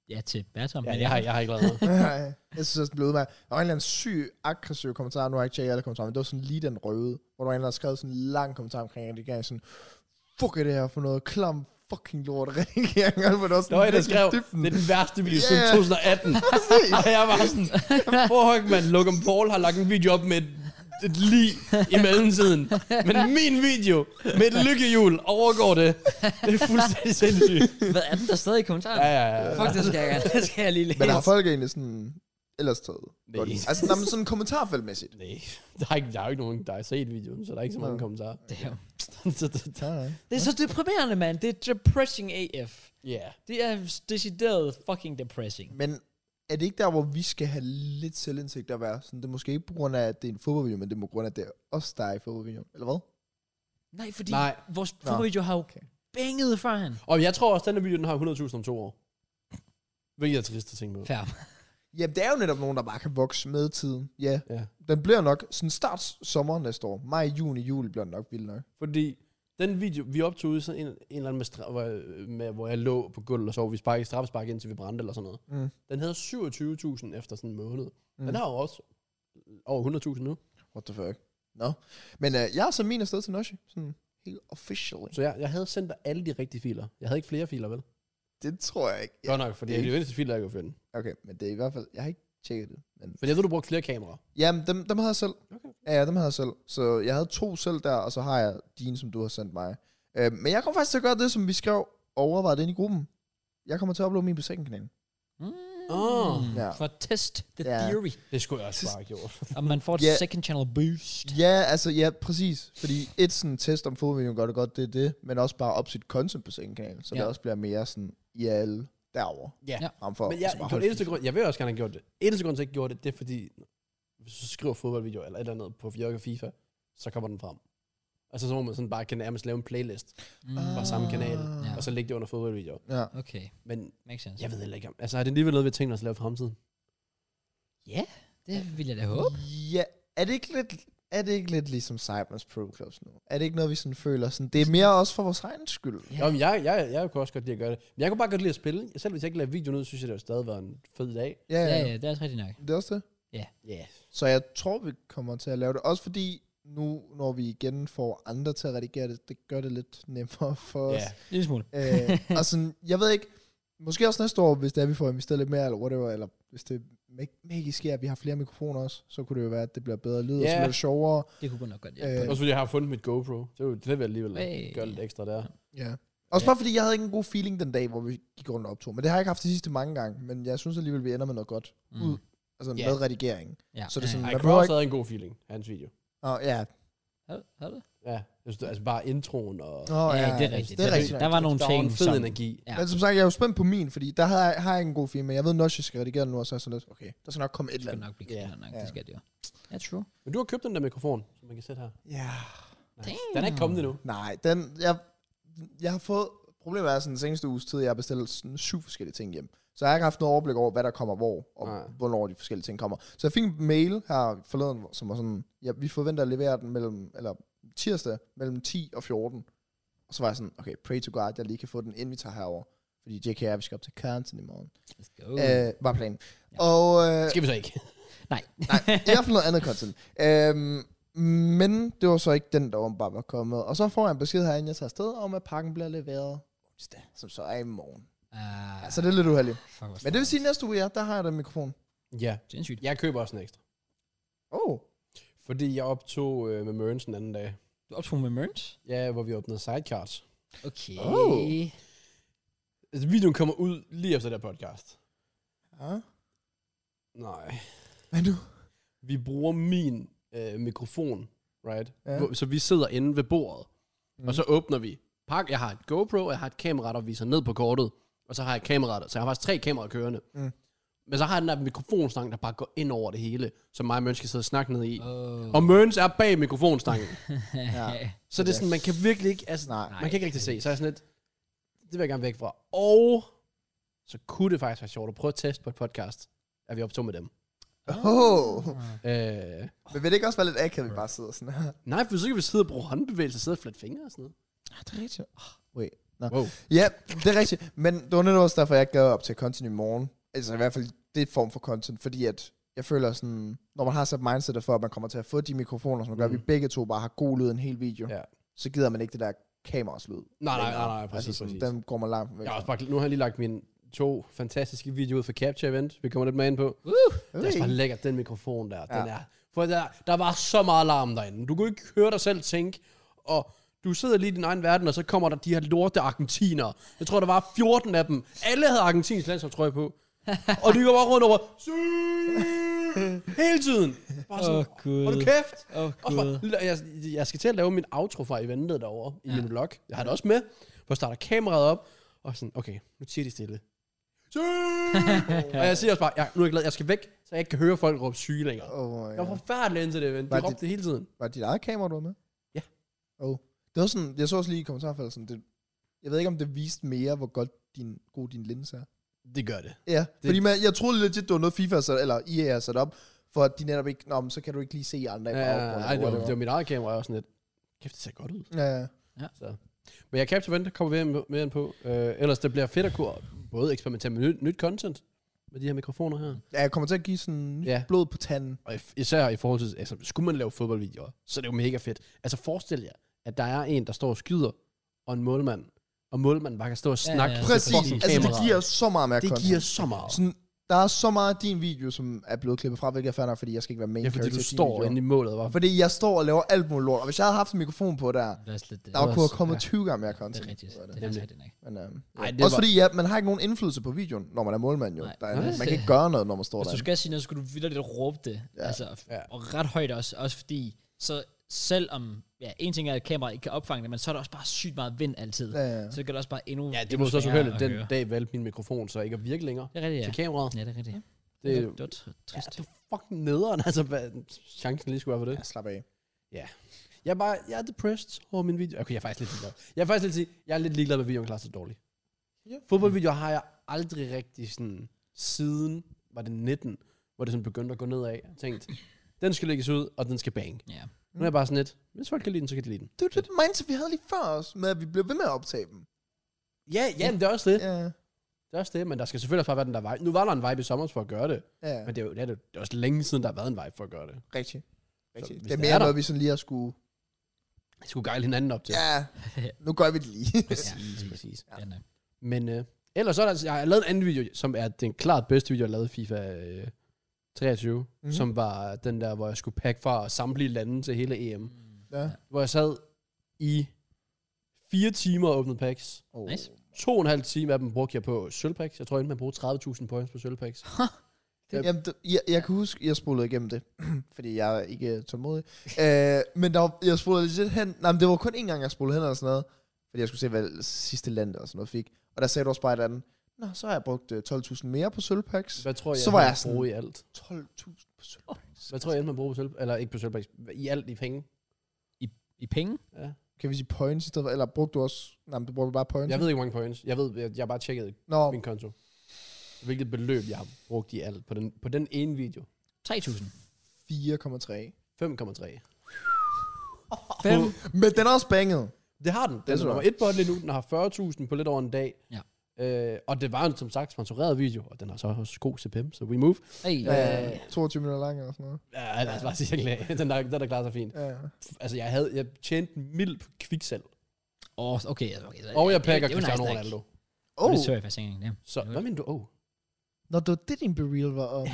[SPEAKER 1] ja, til Batom.
[SPEAKER 2] Ja, jeg har, jeg har ikke lavet noget.
[SPEAKER 3] Nej, jeg synes også, den blev udmærket. Der var en eller anden syg, aggressiv kommentar. Nu har jeg ikke tjekket alle kommentarer, men det var sådan lige den røde, hvor der var en, der skrev sådan en lang kommentar omkring, at de gav sådan, fuck er det her for noget klam fucking lort regering. Og det var
[SPEAKER 2] Der
[SPEAKER 3] sådan
[SPEAKER 2] var en, der
[SPEAKER 3] virkelig
[SPEAKER 2] skrev,
[SPEAKER 3] dybden.
[SPEAKER 2] det er den værste video siden
[SPEAKER 3] Ja.
[SPEAKER 2] 2018. og jeg var sådan, prøv at man, Logan Paul har lagt en video op med et, et lig i mellemtiden. Men min video med et lykkehjul overgår det. Det er fuldstændig sindssygt.
[SPEAKER 1] Hvad er den, der stadig i kommentaren?
[SPEAKER 2] Ja, ja, ja.
[SPEAKER 1] Fuck, det skal jeg, det skal jeg lige læse.
[SPEAKER 3] Men har folk egentlig sådan ellers taget?
[SPEAKER 2] Nej.
[SPEAKER 3] godt i- Altså, nej, men sådan kommentarfeltmæssigt.
[SPEAKER 2] Nej, der er, ikke, der er jo ikke nogen, der har set videoen, så der er ikke så mange
[SPEAKER 3] Nej.
[SPEAKER 2] kommentarer.
[SPEAKER 1] Damn.
[SPEAKER 2] Så det-
[SPEAKER 3] Nej, nej.
[SPEAKER 1] Det er så deprimerende, mand. Det er depressing AF.
[SPEAKER 2] Ja,
[SPEAKER 1] Det er decideret fucking depressing.
[SPEAKER 3] Men er det ikke der, hvor vi skal have lidt selvindsigt at være? Sådan, det er måske ikke på grund af, at det er en fodboldvideo, men det er på grund af, at det er os, der er i fodboldvideoen. Eller hvad?
[SPEAKER 1] Nej, fordi
[SPEAKER 2] nej.
[SPEAKER 1] vores fodboldvideo har jo
[SPEAKER 3] Okay.
[SPEAKER 1] banget fra han.
[SPEAKER 2] Og jeg tror også, at denne video den har 100.000 om to år. Hvilket er trist at tænke på.
[SPEAKER 1] Fair.
[SPEAKER 3] Jamen, det er jo netop nogen, der bare kan vokse med tiden. Ja,
[SPEAKER 2] Ja.
[SPEAKER 3] den bliver nok sådan start sommer næste år. Maj, juni, juli bliver den nok vild nok.
[SPEAKER 2] Fordi den video, vi optog ude, sådan en, en eller anden med, stra- hvor, jeg- med, hvor jeg lå på gulvet og sov, vi sparkede straffespark indtil vi brændte eller sådan noget.
[SPEAKER 3] Mm.
[SPEAKER 2] Den havde 27.000 efter sådan en måned. Mm.
[SPEAKER 3] Mm.
[SPEAKER 2] Den har jo også over 100.000 nu.
[SPEAKER 3] What the fuck? Nå. No. Men øh, jeg er så min afsted til Noshi. Sådan helt officially.
[SPEAKER 2] Så jeg, jeg havde sendt dig alle de rigtige filer. Jeg havde ikke flere filer, vel?
[SPEAKER 3] Det tror jeg ikke.
[SPEAKER 2] Ja, Godt nok, fordi
[SPEAKER 3] det er
[SPEAKER 2] det er de eneste filer, jeg kunne finde.
[SPEAKER 3] Okay, men det er i hvert fald... Jeg har ikke tjekket det. Men,
[SPEAKER 2] For jeg ved, du brugte flere kameraer.
[SPEAKER 3] jamen, dem, dem havde jeg selv.
[SPEAKER 2] Okay.
[SPEAKER 3] Ja, ja, dem havde jeg selv. Så jeg havde to selv der, og så har jeg dine, som du har sendt mig. Øh, men jeg kommer faktisk til at gøre det, som vi skrev overvejet ind i gruppen. Jeg kommer til at uploade min på second kanal.
[SPEAKER 1] Mm.
[SPEAKER 2] Åh.
[SPEAKER 3] Ja.
[SPEAKER 1] For test the
[SPEAKER 3] Ja.
[SPEAKER 1] theory.
[SPEAKER 2] Det skulle jeg også bare have gjort.
[SPEAKER 1] Om man får et
[SPEAKER 3] Ja.
[SPEAKER 1] second channel boost.
[SPEAKER 3] Ja, altså ja, præcis. Fordi et sådan test om fodboldvideoen gør det godt, det er det. Men også bare op sit content på sin kanal, så ja.
[SPEAKER 1] Ja.
[SPEAKER 3] det også bliver mere sådan i alle derovre.
[SPEAKER 2] Ja.
[SPEAKER 1] Ja.
[SPEAKER 3] Frem for,
[SPEAKER 2] Men jeg,
[SPEAKER 3] altså bare
[SPEAKER 2] på
[SPEAKER 3] holde
[SPEAKER 2] eneste grund, jeg vil også gerne have gjort det. Eneste grund til, at jeg ikke gjorde det, det er fordi, hvis du skriver fodboldvideo eller et eller andet på Fjørke FIFA, så kommer den frem. Altså så må man sådan bare kan nærmest lave en playlist.
[SPEAKER 1] Mm.
[SPEAKER 2] fra samme kanal,
[SPEAKER 1] Ja.
[SPEAKER 2] og så lægge det under fodboldvideo.
[SPEAKER 3] Ja.
[SPEAKER 1] Ah. Okay,
[SPEAKER 2] Men
[SPEAKER 1] makes sense.
[SPEAKER 2] jeg ved heller ikke om... Altså, er det alligevel noget, vi tænker os at lave i fremtiden?
[SPEAKER 1] Ja, det vil jeg da håbe.
[SPEAKER 3] ja, er det ikke lidt... Er det ikke lidt ligesom Cyberns Pro Clubs nu? Er det ikke noget, vi sådan føler? Sådan, det er mere også for vores egen skyld.
[SPEAKER 1] Ja.
[SPEAKER 2] Ja. Jamen, jeg, jeg, jeg kunne også godt lide at gøre det. Men jeg kunne bare godt lide at spille. Selv hvis jeg ikke lavede videoen ud, synes jeg, det var stadig var en fed dag.
[SPEAKER 3] Ja,
[SPEAKER 1] Ja,
[SPEAKER 3] ja,
[SPEAKER 1] ja, det er også rigtigt nok.
[SPEAKER 3] Det er også det.
[SPEAKER 2] Ja. Yeah.
[SPEAKER 3] Så jeg tror, vi kommer til at lave det. Også fordi, nu når vi igen får andre til at redigere det, det gør det lidt nemmere for os.
[SPEAKER 2] Ja.
[SPEAKER 1] Lille smule.
[SPEAKER 3] Øh, og sådan, jeg ved ikke, måske også næste år, hvis det er, vi får investeret lidt mere, eller whatever, eller hvis det mag- magisk sker, at vi har flere mikrofoner også, så kunne det jo være, at det bliver bedre lyd, og så
[SPEAKER 2] Ja.
[SPEAKER 3] bliver det sjovere.
[SPEAKER 1] Det kunne godt nok godt
[SPEAKER 3] Øh,
[SPEAKER 1] hjælpe. Øh,
[SPEAKER 2] Også fordi jeg har fundet mit GoPro. Det, var, det vil jeg alligevel
[SPEAKER 1] Hey.
[SPEAKER 2] hey. gøre lidt ekstra der.
[SPEAKER 3] Ja. Også
[SPEAKER 1] Ja.
[SPEAKER 3] bare fordi, jeg havde ikke en god feeling den dag, hvor vi gik rundt og optog. Men det har jeg ikke haft de sidste mange gange, men jeg synes alligevel, vi ender med noget godt.
[SPEAKER 1] Mm.
[SPEAKER 3] Mm. Ud, altså
[SPEAKER 2] Ja.
[SPEAKER 3] med redigeringen.
[SPEAKER 1] ja.
[SPEAKER 3] så er det sådan-
[SPEAKER 2] Ej,
[SPEAKER 3] Man behøver
[SPEAKER 2] Kraus havde en god feeling af hans video.
[SPEAKER 3] Og ja,
[SPEAKER 1] Har du- har du det?
[SPEAKER 2] Ja, jeg synes, det- altså bare introen og...
[SPEAKER 3] Nå,
[SPEAKER 1] Ja, det er rigtigt.
[SPEAKER 3] Det er rigtigt.
[SPEAKER 1] Der var nogle
[SPEAKER 2] der
[SPEAKER 1] ting,
[SPEAKER 2] var en fed
[SPEAKER 1] som...
[SPEAKER 2] energi.
[SPEAKER 1] Ja.
[SPEAKER 3] Men som sagt, jeg er jo spændt på min, fordi der har jeg, har jeg ikke en god film, men jeg ved, at jeg skal redigere den nu, og så er jeg sådan lidt, okay, der skal nok komme et
[SPEAKER 1] Det
[SPEAKER 3] eller
[SPEAKER 1] skal
[SPEAKER 3] andet.
[SPEAKER 1] nok blive
[SPEAKER 2] Ja.
[SPEAKER 1] yeah. nok. Det
[SPEAKER 3] Ja.
[SPEAKER 1] skal det jo. Ja, true.
[SPEAKER 2] Men du har købt den der mikrofon, som man kan sætte her.
[SPEAKER 3] Ja.
[SPEAKER 1] Damn.
[SPEAKER 2] Den er ikke kommet endnu.
[SPEAKER 3] Nej, den, jeg, jeg har fået, problemet er sådan, den seneste uges tid, jeg har bestilt sådan syv forskellige ting hjem. Så jeg har ikke haft noget overblik over, hvad der kommer hvor, og
[SPEAKER 2] Nej.
[SPEAKER 3] hvornår de forskellige ting kommer. Så jeg fik en mail her forleden, hvor- som var sådan, ja, vi forventer at levere den mellem, eller tirsdag mellem 10 og 14. Og så var jeg sådan, okay, pray to god, jeg lige kan få den, inden vi tager herover. Fordi JK og jeg, vi skal op til Carrington i morgen.
[SPEAKER 1] Let's go.
[SPEAKER 3] Uh. Øh, var planen.
[SPEAKER 1] Mm. Ja.
[SPEAKER 3] Ja. Og, øh,
[SPEAKER 2] Skal vi så ikke?
[SPEAKER 1] Nej.
[SPEAKER 3] Nej, i hvert fald noget andet content. Øhm, men det var så ikke den, der åbenbart var kommet. Og så får jeg en besked herinde, jeg tager afsted, om at pakken bliver leveret onsdag, som så er i morgen.
[SPEAKER 1] Uh,
[SPEAKER 3] Ja, så det er lidt uheldigt.
[SPEAKER 1] fuck, hvor
[SPEAKER 3] altså, Men det vil sige, at næste uge, ja, der har jeg den mikrofon.
[SPEAKER 2] Ja.
[SPEAKER 1] Sindssygt.
[SPEAKER 2] Jeg køber også en ekstra.
[SPEAKER 3] Åh, oh,
[SPEAKER 2] Fordi jeg optog øh, med Mørens den anden dag.
[SPEAKER 1] Du optog med Merns?
[SPEAKER 2] Ja, hvor vi åbnede sidecards.
[SPEAKER 1] Okay.
[SPEAKER 3] Oh.
[SPEAKER 2] Altså, videoen kommer ud lige efter det her podcast.
[SPEAKER 3] ja.
[SPEAKER 2] Nej.
[SPEAKER 3] Hvad nu?
[SPEAKER 2] Vi bruger min øh, mikrofon, right?
[SPEAKER 3] Ja.
[SPEAKER 2] Ja. Så vi sidder inde ved bordet, mm. og så åbner vi. Pak, jeg har et GoPro, og jeg har et kamera, der viser ned på kortet. Og så har jeg kameraet, så jeg har faktisk tre kameraer kørende.
[SPEAKER 3] Mm.
[SPEAKER 2] Men så har jeg den der mikrofonstang, der bare går ind over det hele, som mig og Mørns skal sidde og snakke ned i.
[SPEAKER 1] Oh.
[SPEAKER 2] Og Mørns er bag mikrofonstangen.
[SPEAKER 3] Ja.
[SPEAKER 2] Så det er sådan, man kan virkelig ikke, altså,
[SPEAKER 3] Nej.
[SPEAKER 2] Nej, man kan ikke rigtig se. Så er jeg sådan lidt, det vil jeg gerne væk fra. Og så kunne det faktisk være sjovt at prøve at teste på et podcast, at vi optog med dem.
[SPEAKER 3] Oh.
[SPEAKER 2] Øh,
[SPEAKER 3] Men vil det ikke også være lidt akavet, at vi bare sidder sådan her?
[SPEAKER 2] nej, for så kan vi sidde og bruge håndbevægelser, sidde og flatte fingre og sådan noget.
[SPEAKER 3] det er rigtigt. Wait. Nå.
[SPEAKER 2] Wow.
[SPEAKER 3] Ja, det er rigtigt. Men det var netop også derfor, jeg ikke gav op til content i morgen. Altså i hvert fald det form for content, fordi at jeg føler sådan, når man har sat mindsetet for, at man kommer til at få de mikrofoner, som gør, at vi
[SPEAKER 2] Mm.
[SPEAKER 3] begge to bare har god lyd en hel video,
[SPEAKER 2] Ja.
[SPEAKER 3] så gider man ikke det der kameras lyd.
[SPEAKER 2] Nej, nej, nej, nej, præcis,
[SPEAKER 3] altså, sådan,
[SPEAKER 2] præcis.
[SPEAKER 3] Den går man langt væk.
[SPEAKER 2] Jeg har også bare, nu har jeg lige lagt mine to fantastiske videoer ud fra Capture Event. Vi kommer lidt mere ind på. Det er også bare lækkert, den mikrofon der. Ja. Den
[SPEAKER 3] Ja.
[SPEAKER 2] er, for der, der var så meget larm derinde. Du kunne ikke høre dig selv tænke, og du sidder lige i din egen verden, og så kommer der de her lorte argentiner. Jeg tror, der var 14 af dem. Alle havde argentinsk landsholdstrøje på. og de går bare rundt over. "Sy!" Hele tiden. Bare
[SPEAKER 1] Åh,
[SPEAKER 2] sådan,
[SPEAKER 1] Gud.
[SPEAKER 2] Hold du kæft.
[SPEAKER 1] Åh,
[SPEAKER 2] Også
[SPEAKER 1] Gud.
[SPEAKER 2] bare, jeg, jeg skal til at lave min outro fra eventet derovre i min vlog. Jeg har det også med, hvor jeg starter kameraet op, og sådan, okay, nu siger de stille. Syg! og jeg siger også bare, jeg, nu er jeg glad, jeg skal væk, så jeg ikke kan høre folk råbe syge længere.
[SPEAKER 3] Oh my
[SPEAKER 2] Jeg var
[SPEAKER 3] God.
[SPEAKER 2] forfærdelig ind til det event.
[SPEAKER 3] Var
[SPEAKER 2] De
[SPEAKER 3] det-
[SPEAKER 2] råbte det hele tiden.
[SPEAKER 3] Var det dit eget kamera, du var med?
[SPEAKER 2] Ja.
[SPEAKER 3] Oh. Det var sådan, jeg så også lige i kommentarfeltet, sådan, det, jeg ved ikke, om det viste mere, hvor godt din, god din linse er.
[SPEAKER 2] Det gør det.
[SPEAKER 3] Ja, det... fordi man, jeg troede legit, det var noget FIFA, så, eller EA har sat op, for at de netop ikke, nå, men så kan du ikke lige se andre i
[SPEAKER 2] Ja,
[SPEAKER 3] baggrunden,
[SPEAKER 2] ej, det, var,
[SPEAKER 3] whatever."
[SPEAKER 2] det var mit eget kamera, jeg var sådan lidt, kæft, det ser godt ud.
[SPEAKER 3] Ja, ja.
[SPEAKER 2] Så. Men jeg Capture Event kommer vi med- med ind på. Øh, ellers det bliver fedt at kunne både eksperimentere med nyt, nyt content, med de her mikrofoner her.
[SPEAKER 3] ja, jeg kommer til at give sådan nyt
[SPEAKER 2] Ja.
[SPEAKER 3] blod på tanden.
[SPEAKER 2] Og if- især i forhold til, altså, skulle man lave fodboldvideoer, så er det jo mega fedt. Altså forestil jer, at der er en, der står og skyder, og en målmand, og målmanden bare kan stå og
[SPEAKER 1] Ja,
[SPEAKER 2] snakke
[SPEAKER 1] ja.
[SPEAKER 2] ja, ja.
[SPEAKER 3] Præcis, altså det giver så meget mere
[SPEAKER 2] det
[SPEAKER 3] content.
[SPEAKER 2] giver så meget.
[SPEAKER 3] Sådan, der er så meget af din video, som er blevet klippet fra, hvilket er fair nok, fordi jeg skal ikke være main
[SPEAKER 2] Ja, fordi
[SPEAKER 3] character
[SPEAKER 2] du
[SPEAKER 3] i din
[SPEAKER 2] står
[SPEAKER 3] video.
[SPEAKER 2] inde i målet. Var.
[SPEAKER 3] Fordi jeg står og laver alt muligt lort, og hvis jeg havde haft en mikrofon på der,
[SPEAKER 1] Det er også lidt...
[SPEAKER 3] der var
[SPEAKER 2] også-
[SPEAKER 3] kunne have kommet
[SPEAKER 2] ja.
[SPEAKER 3] 20 gange mere
[SPEAKER 1] Det
[SPEAKER 3] content.
[SPEAKER 1] er rigtigt.
[SPEAKER 3] ud af
[SPEAKER 1] Det
[SPEAKER 3] det.
[SPEAKER 1] er også rigtigt nok.
[SPEAKER 3] Men, øhm,
[SPEAKER 2] Ej,
[SPEAKER 3] ja.
[SPEAKER 2] det
[SPEAKER 3] Også
[SPEAKER 2] var-
[SPEAKER 3] fordi, ja, man har ikke nogen indflydelse på videoen, når man er målmand jo.
[SPEAKER 1] Nej.
[SPEAKER 3] Der er,
[SPEAKER 1] Nej,
[SPEAKER 3] man
[SPEAKER 1] det-
[SPEAKER 3] kan ikke gøre noget, når man står
[SPEAKER 1] Hvis
[SPEAKER 3] der.
[SPEAKER 1] du skal sige noget, skulle du vildt lidt råbe det. Ja.
[SPEAKER 3] Ja.
[SPEAKER 1] Altså, ja.
[SPEAKER 2] Ja.
[SPEAKER 1] Og ret højt også, også fordi, så selvom, ja, en ting er, at kameraet ikke kan opfange det, men så er der også bare sygt meget vind altid. Ja.
[SPEAKER 3] Ja, ja.
[SPEAKER 1] Så det gør det også bare endnu
[SPEAKER 2] Ja, det
[SPEAKER 1] endnu
[SPEAKER 2] var så så
[SPEAKER 1] sværere
[SPEAKER 2] uheldigt,
[SPEAKER 1] at
[SPEAKER 2] den
[SPEAKER 1] høre.
[SPEAKER 2] dag valgte min mikrofon, så ikke at virke længere
[SPEAKER 1] Det er rigtigt,
[SPEAKER 2] ja.
[SPEAKER 1] ja.
[SPEAKER 2] til kameraet.
[SPEAKER 1] Ja, det er rigtigt. Ja.
[SPEAKER 2] Det,
[SPEAKER 1] Det,
[SPEAKER 2] er
[SPEAKER 1] det, det var
[SPEAKER 2] ja,
[SPEAKER 1] trist.
[SPEAKER 2] det er fucking nederen, altså hvad, chancen lige skulle være for det.
[SPEAKER 3] Ja, slap af.
[SPEAKER 2] Jeg er bare, jeg er depressed over min video. Okay, jeg er faktisk lidt ligeglad. Jeg er faktisk lidt, sige- jeg er lidt ligeglad med, at videoen klarer sig dårligt.
[SPEAKER 3] Ja.
[SPEAKER 2] Fodboldvideoer har jeg aldrig rigtig sådan, siden var det 19, hvor det sådan begyndte at gå nedad. Jeg tænkte, den skal lægges ud, og den skal bang.
[SPEAKER 1] Ja.
[SPEAKER 2] Nu er jeg bare sådan lidt, hvis folk kan lide den, så kan de lide den.
[SPEAKER 3] Det er jo det mindset, vi havde lige før os, med at vi blev ved med at optage dem.
[SPEAKER 2] Ja, ja, men det er også det.
[SPEAKER 3] Ja,
[SPEAKER 2] Det er også det, men der skal selvfølgelig også bare være den der vibe. Nu var der en vibe i sommer for at gøre det,
[SPEAKER 3] ja.
[SPEAKER 2] men det er jo det er, det er også længe siden, der har været en vibe for at gøre det.
[SPEAKER 3] Rigtig. Rigtig.
[SPEAKER 2] hvis
[SPEAKER 3] Det er
[SPEAKER 2] det
[SPEAKER 3] mere
[SPEAKER 2] er der-
[SPEAKER 3] noget, vi sådan lige har skulle...
[SPEAKER 2] Vi skulle gejle hinanden op til.
[SPEAKER 3] Ja, nu gør vi det lige.
[SPEAKER 2] Præcis, præcis.
[SPEAKER 1] Ja, nej.
[SPEAKER 2] Men øh, ellers så er der, altså- jeg har lavet en anden video, som er den klart bedste video, jeg lavede i FIFA øh, 23,
[SPEAKER 3] Mhm.
[SPEAKER 2] mm-hmm. som var den der, hvor jeg skulle pakke fra samtlige lande til hele EM.
[SPEAKER 3] ja.
[SPEAKER 2] Hvor jeg sad i fire timer og åbnede packs.
[SPEAKER 3] Oh.
[SPEAKER 1] Nice.
[SPEAKER 2] To og en halv time af dem brugte jeg på sølvpacks. Jeg tror, jeg endte med at bruge 30.000 points på sølvpacks.
[SPEAKER 3] Det, jamen, det, jeg, jeg kan huske, jeg spolede igennem det, fordi jeg er ikke øh, tålmodig. Øh, men der var, jeg spolede lidt hen. Nej, men det var kun én gang, jeg spolede hen eller sådan noget. Fordi jeg skulle se, hvad sidste land eller sådan noget fik. Og der sagde du også bare et andet. Nå, så har jeg brugt øh, 12.000 mere på sølvpacks.
[SPEAKER 2] Hvad tror jeg,
[SPEAKER 3] Så var
[SPEAKER 2] endte
[SPEAKER 3] jeg
[SPEAKER 2] med at
[SPEAKER 3] sådan-
[SPEAKER 2] bruge i alt?
[SPEAKER 3] 12.000 på sølvpacks.
[SPEAKER 2] Hvad tror jeg, jeg endte med at bruge på sølv... Eller ikke på sølvpacks. I alt i penge.
[SPEAKER 1] I penge?
[SPEAKER 2] Ja.
[SPEAKER 3] Kan vi sige points i stedet for? Eller brugte du også... Nej, men du brugte bare points.
[SPEAKER 2] Jeg ved ikke, hvor mange points. Jeg ved, jeg, jeg har bare tjekket
[SPEAKER 3] Nå,
[SPEAKER 2] min konto. Hvilket beløb, jeg har brugt i alt på den, på den ene video.
[SPEAKER 1] 3.000.
[SPEAKER 3] 4,3.
[SPEAKER 2] 5,3.
[SPEAKER 1] 5.
[SPEAKER 3] Men den er også banget.
[SPEAKER 2] Det har den. Den
[SPEAKER 3] Det
[SPEAKER 2] er
[SPEAKER 3] tror
[SPEAKER 2] nummer
[SPEAKER 3] jeg.
[SPEAKER 2] et på lige nu. Den har 40.000 på lidt over en dag.
[SPEAKER 1] Ja.
[SPEAKER 2] Øh, og det var en, som sagt, sponsoreret video. Og den har så også god CPM, så we move.
[SPEAKER 1] Hey.
[SPEAKER 3] Ja, 22 minutter lang eller sådan noget.
[SPEAKER 2] Ja, lad os bare sige, jeg er glad. den, der, den der klarer sig fint.
[SPEAKER 3] Ja.
[SPEAKER 2] Altså, jeg, havde, jeg tjente en mild på kviksel.
[SPEAKER 1] Åh, okay. altså, okay så-
[SPEAKER 2] Og jeg
[SPEAKER 1] det-
[SPEAKER 2] pakker
[SPEAKER 1] det er jo
[SPEAKER 2] Cristiano
[SPEAKER 1] nice,
[SPEAKER 2] Ronaldo.
[SPEAKER 1] Oh.
[SPEAKER 3] Oh,
[SPEAKER 1] Det tør jeg faktisk ikke engang. ja.
[SPEAKER 2] Så, hvad mener du? Oh.
[SPEAKER 3] når det var det, din bereal var om.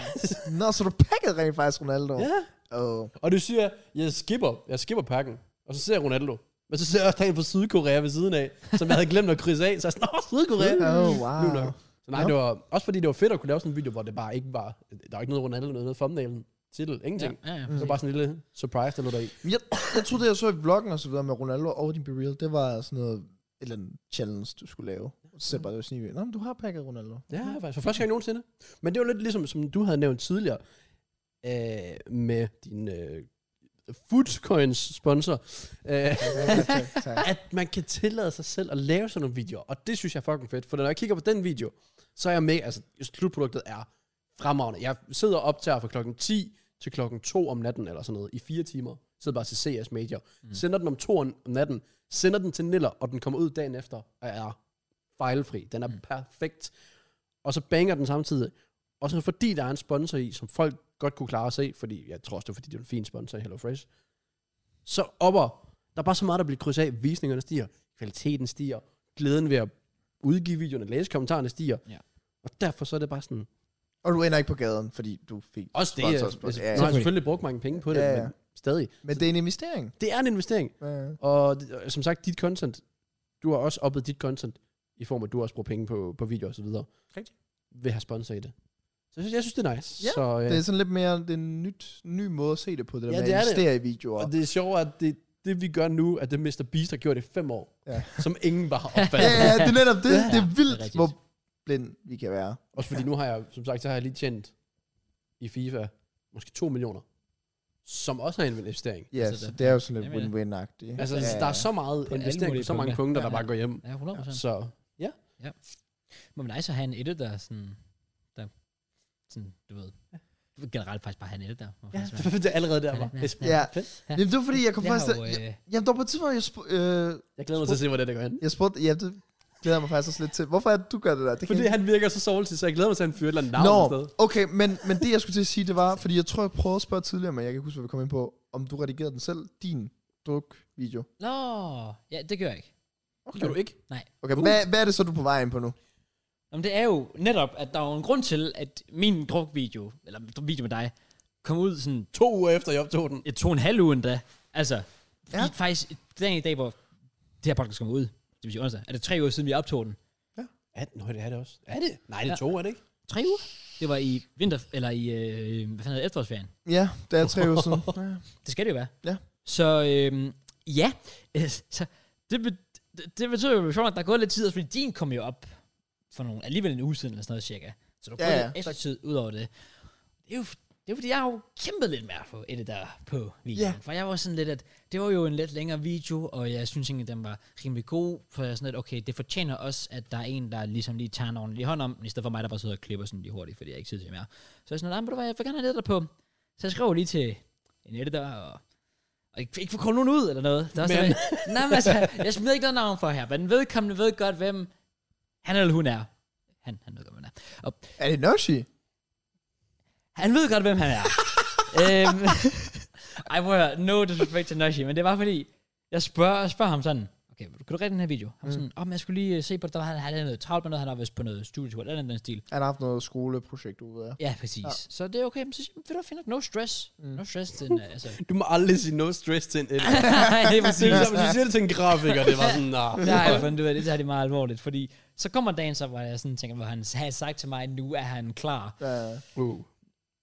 [SPEAKER 3] Nå, så du pakkede rent faktisk Ronaldo.
[SPEAKER 2] Ja.
[SPEAKER 3] Oh.
[SPEAKER 2] Og du siger, jeg, jeg skipper, jeg skipper pakken. Og så ser jeg Ronaldo. Men så ser jeg også der en fra Sydkorea ved siden af, som jeg havde glemt at krydse af. Så jeg er sådan, åh, Sydkorea.
[SPEAKER 3] Oh,
[SPEAKER 2] Nu
[SPEAKER 3] wow.
[SPEAKER 2] nok. Så nej,
[SPEAKER 3] Nå.
[SPEAKER 2] det var, også fordi det var fedt at kunne lave sådan en video, hvor det bare ikke var, der var ikke noget Ronaldo, noget, noget thumbnailen, titel,
[SPEAKER 1] Ja,
[SPEAKER 2] ingenting.
[SPEAKER 1] ja, ja.
[SPEAKER 2] Det var bare sådan en lille surprise, der lå der i.
[SPEAKER 3] Men Jeg, jeg troede, det jeg så i vloggen og så videre med Ronaldo og din bereal, det var sådan noget, et eller andet challenge, du skulle lave. Så sagde jeg bare, det var sådan, Nå, men du har pakket Ronaldo.
[SPEAKER 2] Ja, faktisk. For første gang nogensinde. Men det var lidt ligesom, som du havde nævnt tidligere, øh, med din øh, Foodcoins sponsor, øh,
[SPEAKER 3] tak, tak.
[SPEAKER 2] at man kan tillade sig selv at lave sådan nogle videoer. Og det synes jeg er fucking fedt, for når jeg kigger på den video, så er jeg med, altså slutproduktet er fremragende. Jeg sidder og optager fra klokken 10 til klokken 2 om natten, eller sådan noget, i fire timer. Sidder bare til CS Major. Mm. Sender den om 2 om natten, sender den til Niller, og den kommer ud dagen efter, og er fejlfri. Den er mm. perfekt. Og så banger den samtidig. Og så fordi der er en sponsor i, som folk godt kunne klare at se, fordi jeg tror også, det er fordi, det er en fin sponsor i HelloFresh, så opper, der er bare så meget, der bliver krydset af, visningerne stiger, kvaliteten stiger, glæden ved at udgive videoerne, læse kommentarerne stiger.
[SPEAKER 1] Ja.
[SPEAKER 2] Og derfor så er det bare sådan,
[SPEAKER 3] Og du ender ikke på gaden, fordi du fik...
[SPEAKER 2] også det,
[SPEAKER 3] Sponsor,
[SPEAKER 2] øh,
[SPEAKER 3] sponsor,
[SPEAKER 2] altså, nu har
[SPEAKER 3] ja,
[SPEAKER 2] jeg
[SPEAKER 1] selvfølgelig.
[SPEAKER 2] selvfølgelig brugt mange penge på det,
[SPEAKER 3] Ja,
[SPEAKER 2] ja,
[SPEAKER 3] ja.
[SPEAKER 2] ja. men stadig.
[SPEAKER 3] Men det er en investering.
[SPEAKER 2] Det er en investering,
[SPEAKER 3] Ja.
[SPEAKER 2] og det- og som sagt, dit content, du har også oppet dit content, i form af, at du også bruger penge på, på video og så videre.
[SPEAKER 1] Rigtigt.
[SPEAKER 2] Vil have sponsor i det. Så jeg synes, jeg synes det er nice.
[SPEAKER 3] Ja,
[SPEAKER 2] så, øh,
[SPEAKER 3] Det er sådan lidt mere det er en nyt, ny måde at se det på, det der
[SPEAKER 2] Ja,
[SPEAKER 3] med
[SPEAKER 2] det er
[SPEAKER 3] at
[SPEAKER 2] det.
[SPEAKER 3] investere i videoer.
[SPEAKER 2] Og det er sjovt, at det, det vi gør nu, at det Mr. Beast har gjort i fem år,
[SPEAKER 3] Ja.
[SPEAKER 2] ja. som ingen bare har
[SPEAKER 3] Ja,
[SPEAKER 2] opfattet.
[SPEAKER 3] ja, det er netop det.
[SPEAKER 1] Ja,
[SPEAKER 3] det er vildt,
[SPEAKER 1] det er rigtigt.
[SPEAKER 3] hvor blind vi kan være.
[SPEAKER 2] Også fordi nu har jeg, som sagt, så har jeg lige tjent i FIFA måske 2 millioner, som også er en investering.
[SPEAKER 3] Ja,
[SPEAKER 1] Altså,
[SPEAKER 3] så
[SPEAKER 1] det-
[SPEAKER 3] det er jo sådan lidt
[SPEAKER 1] Jamen, ja.
[SPEAKER 3] win-win-agtigt.
[SPEAKER 2] Altså,
[SPEAKER 3] ja,
[SPEAKER 2] ja, der er så meget
[SPEAKER 1] På alle
[SPEAKER 2] investering
[SPEAKER 1] mulige
[SPEAKER 2] på så mange punkter, der
[SPEAKER 1] Ja, ja.
[SPEAKER 2] bare går hjem.
[SPEAKER 1] Ja, 100 procent.
[SPEAKER 2] Så
[SPEAKER 1] Må man nice at have en editor, der sådan, der, sådan, du ved, du ved generelt faktisk bare have en editor. må
[SPEAKER 2] ja,
[SPEAKER 1] faktisk være.
[SPEAKER 2] det er allerede der, var.
[SPEAKER 1] Ja.
[SPEAKER 2] Det er
[SPEAKER 3] Ja.
[SPEAKER 2] fedt.
[SPEAKER 3] Jamen, det var fordi, jeg kom
[SPEAKER 1] Jeg
[SPEAKER 3] faktisk...
[SPEAKER 1] har
[SPEAKER 3] til-
[SPEAKER 1] jo,
[SPEAKER 3] jeg-
[SPEAKER 1] øh,
[SPEAKER 3] Jamen, der var på et tidspunkt, jeg, sp- øh,
[SPEAKER 2] Jeg glæder mig til at se, hvordan det går hen.
[SPEAKER 3] jeg spurgte... Ja, det glæder jeg mig faktisk også lidt til. Hvorfor er det, du gør det der? Det kan
[SPEAKER 2] Fordi
[SPEAKER 3] jeg-
[SPEAKER 2] han virker så soveltig, så jeg glæder mig til, at han fyrer et eller andet navn no.
[SPEAKER 3] Nå,
[SPEAKER 2] sted.
[SPEAKER 3] okay, men, men det jeg skulle til at sige, det var, fordi jeg tror, jeg prøvede at spørge tidligere, men jeg kan ikke huske, hvad vi kom ind på, om du redigerede den selv, din druk-video.
[SPEAKER 1] Nå, ja, det gør jeg ikke.
[SPEAKER 2] Okay. Kan du ikke?
[SPEAKER 3] Okay, hvad, hvad er det så, du er på vej ind på nu?
[SPEAKER 1] Jamen, det er jo netop, at der er jo en grund til, at min drukvideo, eller video med dig, kom ud sådan
[SPEAKER 2] To uger efter, jeg optog den.
[SPEAKER 1] et to og en halv uge endda. Altså, fordi
[SPEAKER 3] Ja.
[SPEAKER 1] ja. faktisk, den i dag, hvor det her podcast kommer ud, det vil sige onsdag, er det tre uger siden, vi optog den.
[SPEAKER 2] Ja, nå, det er det også. Er det? Nej, det er to, er det ikke?
[SPEAKER 1] Tre uger? Det var i vinter, eller i, øh, hvad fanden hedder det, efterårsferien.
[SPEAKER 3] Ja, det er tre uger siden. Ja.
[SPEAKER 1] Det skal det jo være.
[SPEAKER 3] Ja.
[SPEAKER 1] Så øhm, ja, øh, så det, be, det, det betyder jo sjovt, at der er gået lidt tid, også fordi din kom jo op for nogle, alligevel en uge siden eller sådan noget cirka. Så du har ja,
[SPEAKER 3] Ja, ja.
[SPEAKER 1] ja. lidt ekstra tid ud over det. Det er jo det er fordi, jeg har jo kæmpet lidt mere for et der på videoen.
[SPEAKER 3] Ja.
[SPEAKER 1] For jeg var sådan lidt, at det var jo en lidt længere video, og jeg synes egentlig, den var rimelig god. For jeg er sådan lidt, okay, det fortjener også, at der er en, der ligesom lige tager en ordentlig hånd om, den, i stedet for mig, der bare sidder og klipper sådan lige hurtigt, fordi jeg ikke har tid til mere. Så jeg er sådan, nej, men ved du hvad, jeg vil gerne have det der på. Så jeg skrev lige til en editor, og Og ikke, ikke få koldt nogen ud eller noget. Det er også
[SPEAKER 2] Men-
[SPEAKER 1] men. Nej, men altså, jeg smider ikke noget navn for her, men vedkommende ved godt, hvem han eller hun er. Han, han ved godt, hvem han er. Og
[SPEAKER 3] Er det Noshi?
[SPEAKER 1] han ved godt, hvem han er. øhm, ej, prøv at høre, no disrespect til Noshi, men det var fordi, jeg spørger, jeg spørger ham sådan, okay, kan du redde den her video? Han var sådan, åh, men jeg skulle lige øh, se på det, der var han, han havde noget travlt med noget, han har vist på noget studietur, eller andet den stil.
[SPEAKER 3] Han har haft noget skoleprojekt ude af.
[SPEAKER 1] Ja, præcis. Ja. Så det er okay, men så siger jeg, ved du, finder no stress. Mm. No stress, den, øh, altså.
[SPEAKER 2] Du må aldrig sige no stress til en elsker.
[SPEAKER 1] Nej, det er
[SPEAKER 2] Det er
[SPEAKER 1] præcis.
[SPEAKER 2] ligesom, hvis du siger det til en grafiker, det var sådan, nah.
[SPEAKER 1] Der har jeg fundet ud af, det tager det meget alvorligt, fordi så kommer dagen så, hvor jeg sådan tænker, hvor han havde sagt til mig, nu er han klar.
[SPEAKER 3] Ja.
[SPEAKER 2] Uh.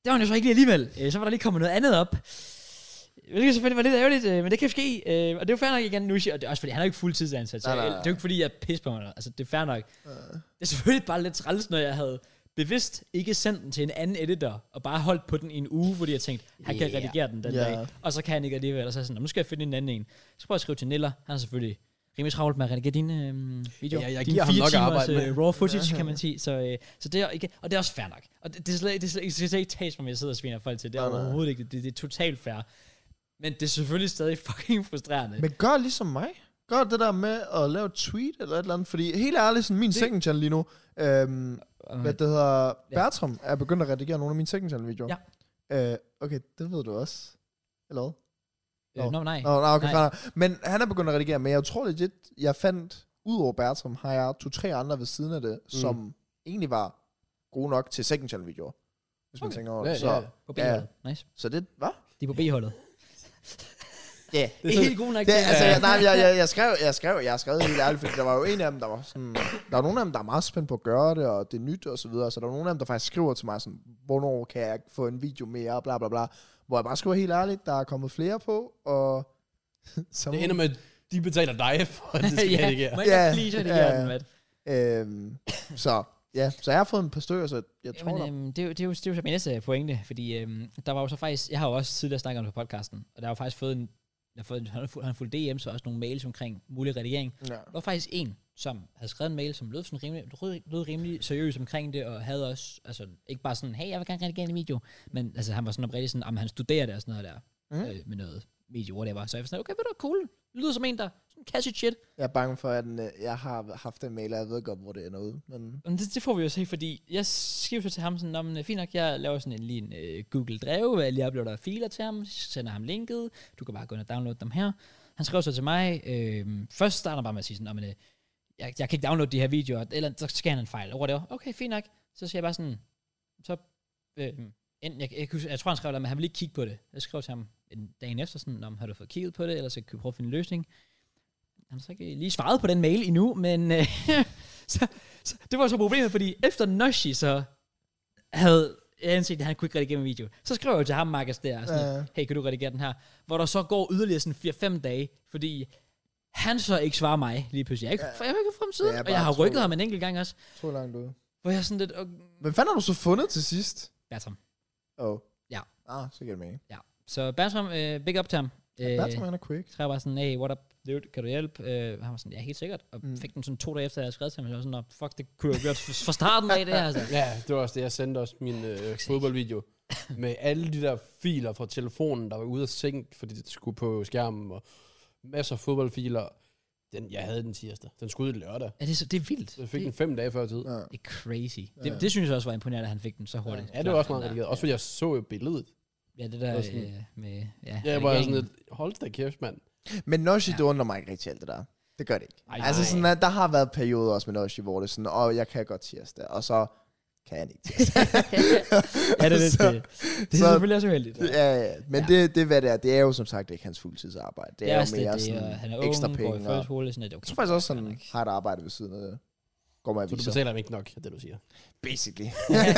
[SPEAKER 1] Det var han jo så ikke lige alligevel. Øh, Så var der lige kommet noget andet op. Hvilket selvfølgelig var lidt ærgerligt, øh, men det kan ske. Øh, Og det er jo fair nok igen, Nushi. Og det er også fordi, han er jo ikke fuldtidsansat. Så
[SPEAKER 3] Nej, nej,
[SPEAKER 1] jeg-
[SPEAKER 3] nej.
[SPEAKER 1] det er jo ikke fordi, jeg pisser på mig. Altså, det er fair nok. Det er selvfølgelig bare lidt træls, når jeg havde bevidst ikke sendt den til en anden editor, og bare holdt på den i en uge, fordi jeg tænkte, han kan
[SPEAKER 2] Yeah.
[SPEAKER 1] redigere den den
[SPEAKER 3] Ja.
[SPEAKER 1] dag, og så kan han ikke alligevel, og så er jeg sådan, "Nå, nu skal jeg finde en anden en. Så prøver jeg at skrive til Niller, han er selvfølgelig rimelig travlt med at redigere dine øhm, videoer.
[SPEAKER 2] Ja, jeg
[SPEAKER 1] Dine
[SPEAKER 2] giver ham
[SPEAKER 1] fire
[SPEAKER 2] nok at
[SPEAKER 1] timers,
[SPEAKER 2] arbejde med.
[SPEAKER 1] øh, raw footage, kan man sige. Så, øh, så det er, ikke, og det er også fair nok. Og det, det, er slet, det, er slet, det skal slet ikke tages mig, at jeg sidder og sviner folk til. Det er
[SPEAKER 3] Nej, nej.
[SPEAKER 1] overhovedet ikke, det, det er totalt fair. Men det er selvfølgelig stadig fucking frustrerende.
[SPEAKER 3] Men gør ligesom mig. Gør det der med at lave et tweet eller et eller andet. Fordi helt ærligt, sådan min det... second channel lige nu, øhm, hvad det hedder, Bertram er begyndt at redigere nogle af mine second channel videoer. Ja. Øh, okay, det ved du også. Eller hvad?
[SPEAKER 1] øh, nå, nej.
[SPEAKER 3] Nå, nej, okay,
[SPEAKER 1] Nej.
[SPEAKER 3] fair nok. Men han er begyndt at redigere, men jeg tror legit, jeg fandt, udover Bertram, har jeg to-tre andre ved siden af det, mm. som egentlig var gode nok til second channel videoer. Hvis man
[SPEAKER 1] Okay.
[SPEAKER 3] tænker over det.
[SPEAKER 2] Ja,
[SPEAKER 3] så,
[SPEAKER 2] ja.
[SPEAKER 1] På
[SPEAKER 3] Ja.
[SPEAKER 1] B-holdet. Nice.
[SPEAKER 3] så det var.
[SPEAKER 1] De er på B-holdet.
[SPEAKER 3] Ja. Yeah.
[SPEAKER 1] Det er helt god nok.
[SPEAKER 3] Det,
[SPEAKER 1] til- øh,
[SPEAKER 3] altså, jeg, nej, jeg, jeg, jeg, skrev, jeg skrev, jeg skrev helt ærligt, fordi der var jo en af dem, der var sådan, der var nogle af dem, der er meget spændt på at gøre det, og det er nyt og så videre, så der var nogle af dem, der faktisk skriver til mig sådan, hvornår kan jeg få en video mere, bla bla bla, hvor jeg bare skriver helt ærligt, der er kommet flere på, og så
[SPEAKER 2] Det ender med, at de betaler dig for, at det skal
[SPEAKER 1] ja,
[SPEAKER 2] redigere.
[SPEAKER 1] må jeg
[SPEAKER 3] Ja,
[SPEAKER 1] godt please
[SPEAKER 3] ja,
[SPEAKER 1] redigere
[SPEAKER 3] ja.
[SPEAKER 1] den, Matt?
[SPEAKER 3] øhm, så, ja, så jeg har fået en par stykker, så jeg tror,
[SPEAKER 1] Jamen,
[SPEAKER 3] Jamen,
[SPEAKER 1] øhm, det, er jo- det, er jo, det er jo så min næste pointe, fordi øhm, der var jo så faktisk, jeg har jo også tidligere snakket om det på podcasten, og der har jo faktisk fået en, jeg har fået en, han har fået- han har fået DM, så også nogle mails omkring mulig redigering.
[SPEAKER 3] ja.
[SPEAKER 1] Der var faktisk en, som havde skrevet en mail, som lød, sådan rimelig, lød, lød rimelig seriøs omkring det, og havde også, altså ikke bare sådan, hey, jeg vil gerne redigere en video, men altså han var sådan oprigtig sådan, om han studerer det og sådan noget der,
[SPEAKER 3] Mhm.
[SPEAKER 1] mm. øh, med noget video, whatever. Så jeg var sådan, okay, ved du, hvad, cool. Det lyder som en, der sådan catchy shit.
[SPEAKER 3] jeg er bange for, at den, øh, jeg har haft en mail, og jeg ved godt, hvor det ender ud, men
[SPEAKER 1] Men det, det får vi jo se, fordi jeg skriver så til ham sådan, "Nå, men øh, fint nok, jeg laver sådan en, lige en øh, Google Drive, hvor jeg lige uploader filer til ham, sender ham linket, du kan bare gå ind og downloade dem her. Han skrev så til mig, øh, først starter han bare med at sige sådan, "Nå, men, øh, jeg, jeg kan ikke downloade de her videoer, eller så skal han en fejl, og whatever. Okay, fint nok. Så siger jeg bare sådan, så, øh, enten, jeg, jeg, jeg, jeg, tror han skrev, at han ville ikke kigge på det. Jeg skrev til ham en dagen efter sådan, om har du fået kigget på det, eller så kan vi prøve at finde en løsning. Han har så ikke lige svaret på den mail endnu, men øh, så, så, det var så problemet, fordi efter Noshi så havde anset, at han kunne ikke redigere min video, så skrev jeg jo til ham, Marcus, der, sådan,
[SPEAKER 3] Ja.
[SPEAKER 1] uh. hey, kan du redigere den her? Hvor der så går yderligere sådan 4-5 dage, fordi han så ikke svarer mig lige pludselig. Jeg er ikke, for jeg er ikke frem
[SPEAKER 3] Det
[SPEAKER 1] siden,
[SPEAKER 3] er
[SPEAKER 1] og jeg
[SPEAKER 3] bare
[SPEAKER 1] har rykket
[SPEAKER 3] utroligt.
[SPEAKER 1] ham en enkelt gang også.
[SPEAKER 3] jeg tror langt ud.
[SPEAKER 1] Hvor jeg er sådan lidt, okay,
[SPEAKER 3] Hvem fanden har du så fundet til sidst?
[SPEAKER 1] Bertram.
[SPEAKER 3] Åh. Oh.
[SPEAKER 1] Ja.
[SPEAKER 3] Ah, så giver det mening.
[SPEAKER 1] Ja. Så Bertram, øh, big up til ham. Øh,
[SPEAKER 3] Bertram, han er quick.
[SPEAKER 1] skrev bare sådan, hey, what up, dude, kan du hjælpe? Øh, han var sådan, ja, helt sikkert. Og
[SPEAKER 3] Mm.
[SPEAKER 1] mm. fik den sådan to dage efter, jeg havde skrevet til ham. Jeg var sådan, "Nå, fuck, det kunne jeg jo gjort fra starten af, det her. Altså.
[SPEAKER 2] Ja, det var også det, jeg sendte også min øh, fodboldvideo. Med alle de der filer fra telefonen, der var ude af sænk, fordi det skulle på skærmen, og masser af fodboldfiler. Den, jeg havde den tirsdag. Den skulle ud lørdag.
[SPEAKER 1] Ja, det, er, så, det er vildt.
[SPEAKER 2] Så jeg fik den
[SPEAKER 1] det,
[SPEAKER 2] fem dage før tid.
[SPEAKER 3] Ja.
[SPEAKER 1] det er crazy. Ja.
[SPEAKER 3] Ja.
[SPEAKER 1] Det, det, synes jeg også var imponerende, at han fik den så hurtigt.
[SPEAKER 2] Ja, det var også meget redigeret. Også fordi jeg så jo billedet.
[SPEAKER 1] Ja, det der
[SPEAKER 2] Det var sådan-
[SPEAKER 1] øh, med... Ja,
[SPEAKER 2] Ja, jeg var
[SPEAKER 1] redigeringen.
[SPEAKER 2] sådan lidt, hold da kæft, mand.
[SPEAKER 3] Men Noshi, ja.
[SPEAKER 1] Ja.
[SPEAKER 3] det undrer mig ikke rigtig alt det der. Det gør det ikke.
[SPEAKER 1] Ej,
[SPEAKER 3] Ej, altså
[SPEAKER 1] nej.
[SPEAKER 3] sådan, at der har været perioder også med Noshi, hvor det er sådan, åh, jeg kan godt tirsdag, og så kan jeg ikke tirsdag.
[SPEAKER 1] ja, det er lidt
[SPEAKER 3] Så-
[SPEAKER 1] det. Det er
[SPEAKER 3] så-
[SPEAKER 1] selvfølgelig også uheldigt.
[SPEAKER 3] ja, ja. Men
[SPEAKER 1] Ja.
[SPEAKER 3] ja. Det, det, er, hvad det er, det er jo som sagt ikke hans fuldtidsarbejde. Det er,
[SPEAKER 1] også
[SPEAKER 3] jo mere
[SPEAKER 1] lidt det,
[SPEAKER 3] sådan
[SPEAKER 1] og han er
[SPEAKER 3] ekstra
[SPEAKER 1] ung, går i
[SPEAKER 3] penge. Og, jeg
[SPEAKER 1] folkeskole, sådan lidt, okay.
[SPEAKER 3] tror faktisk også,
[SPEAKER 1] fair
[SPEAKER 3] sådan
[SPEAKER 1] nok.
[SPEAKER 3] har et arbejde ved siden af det. Går med
[SPEAKER 2] Så du
[SPEAKER 3] aviser.
[SPEAKER 2] betaler dem ikke nok, er det du siger.
[SPEAKER 3] Basically.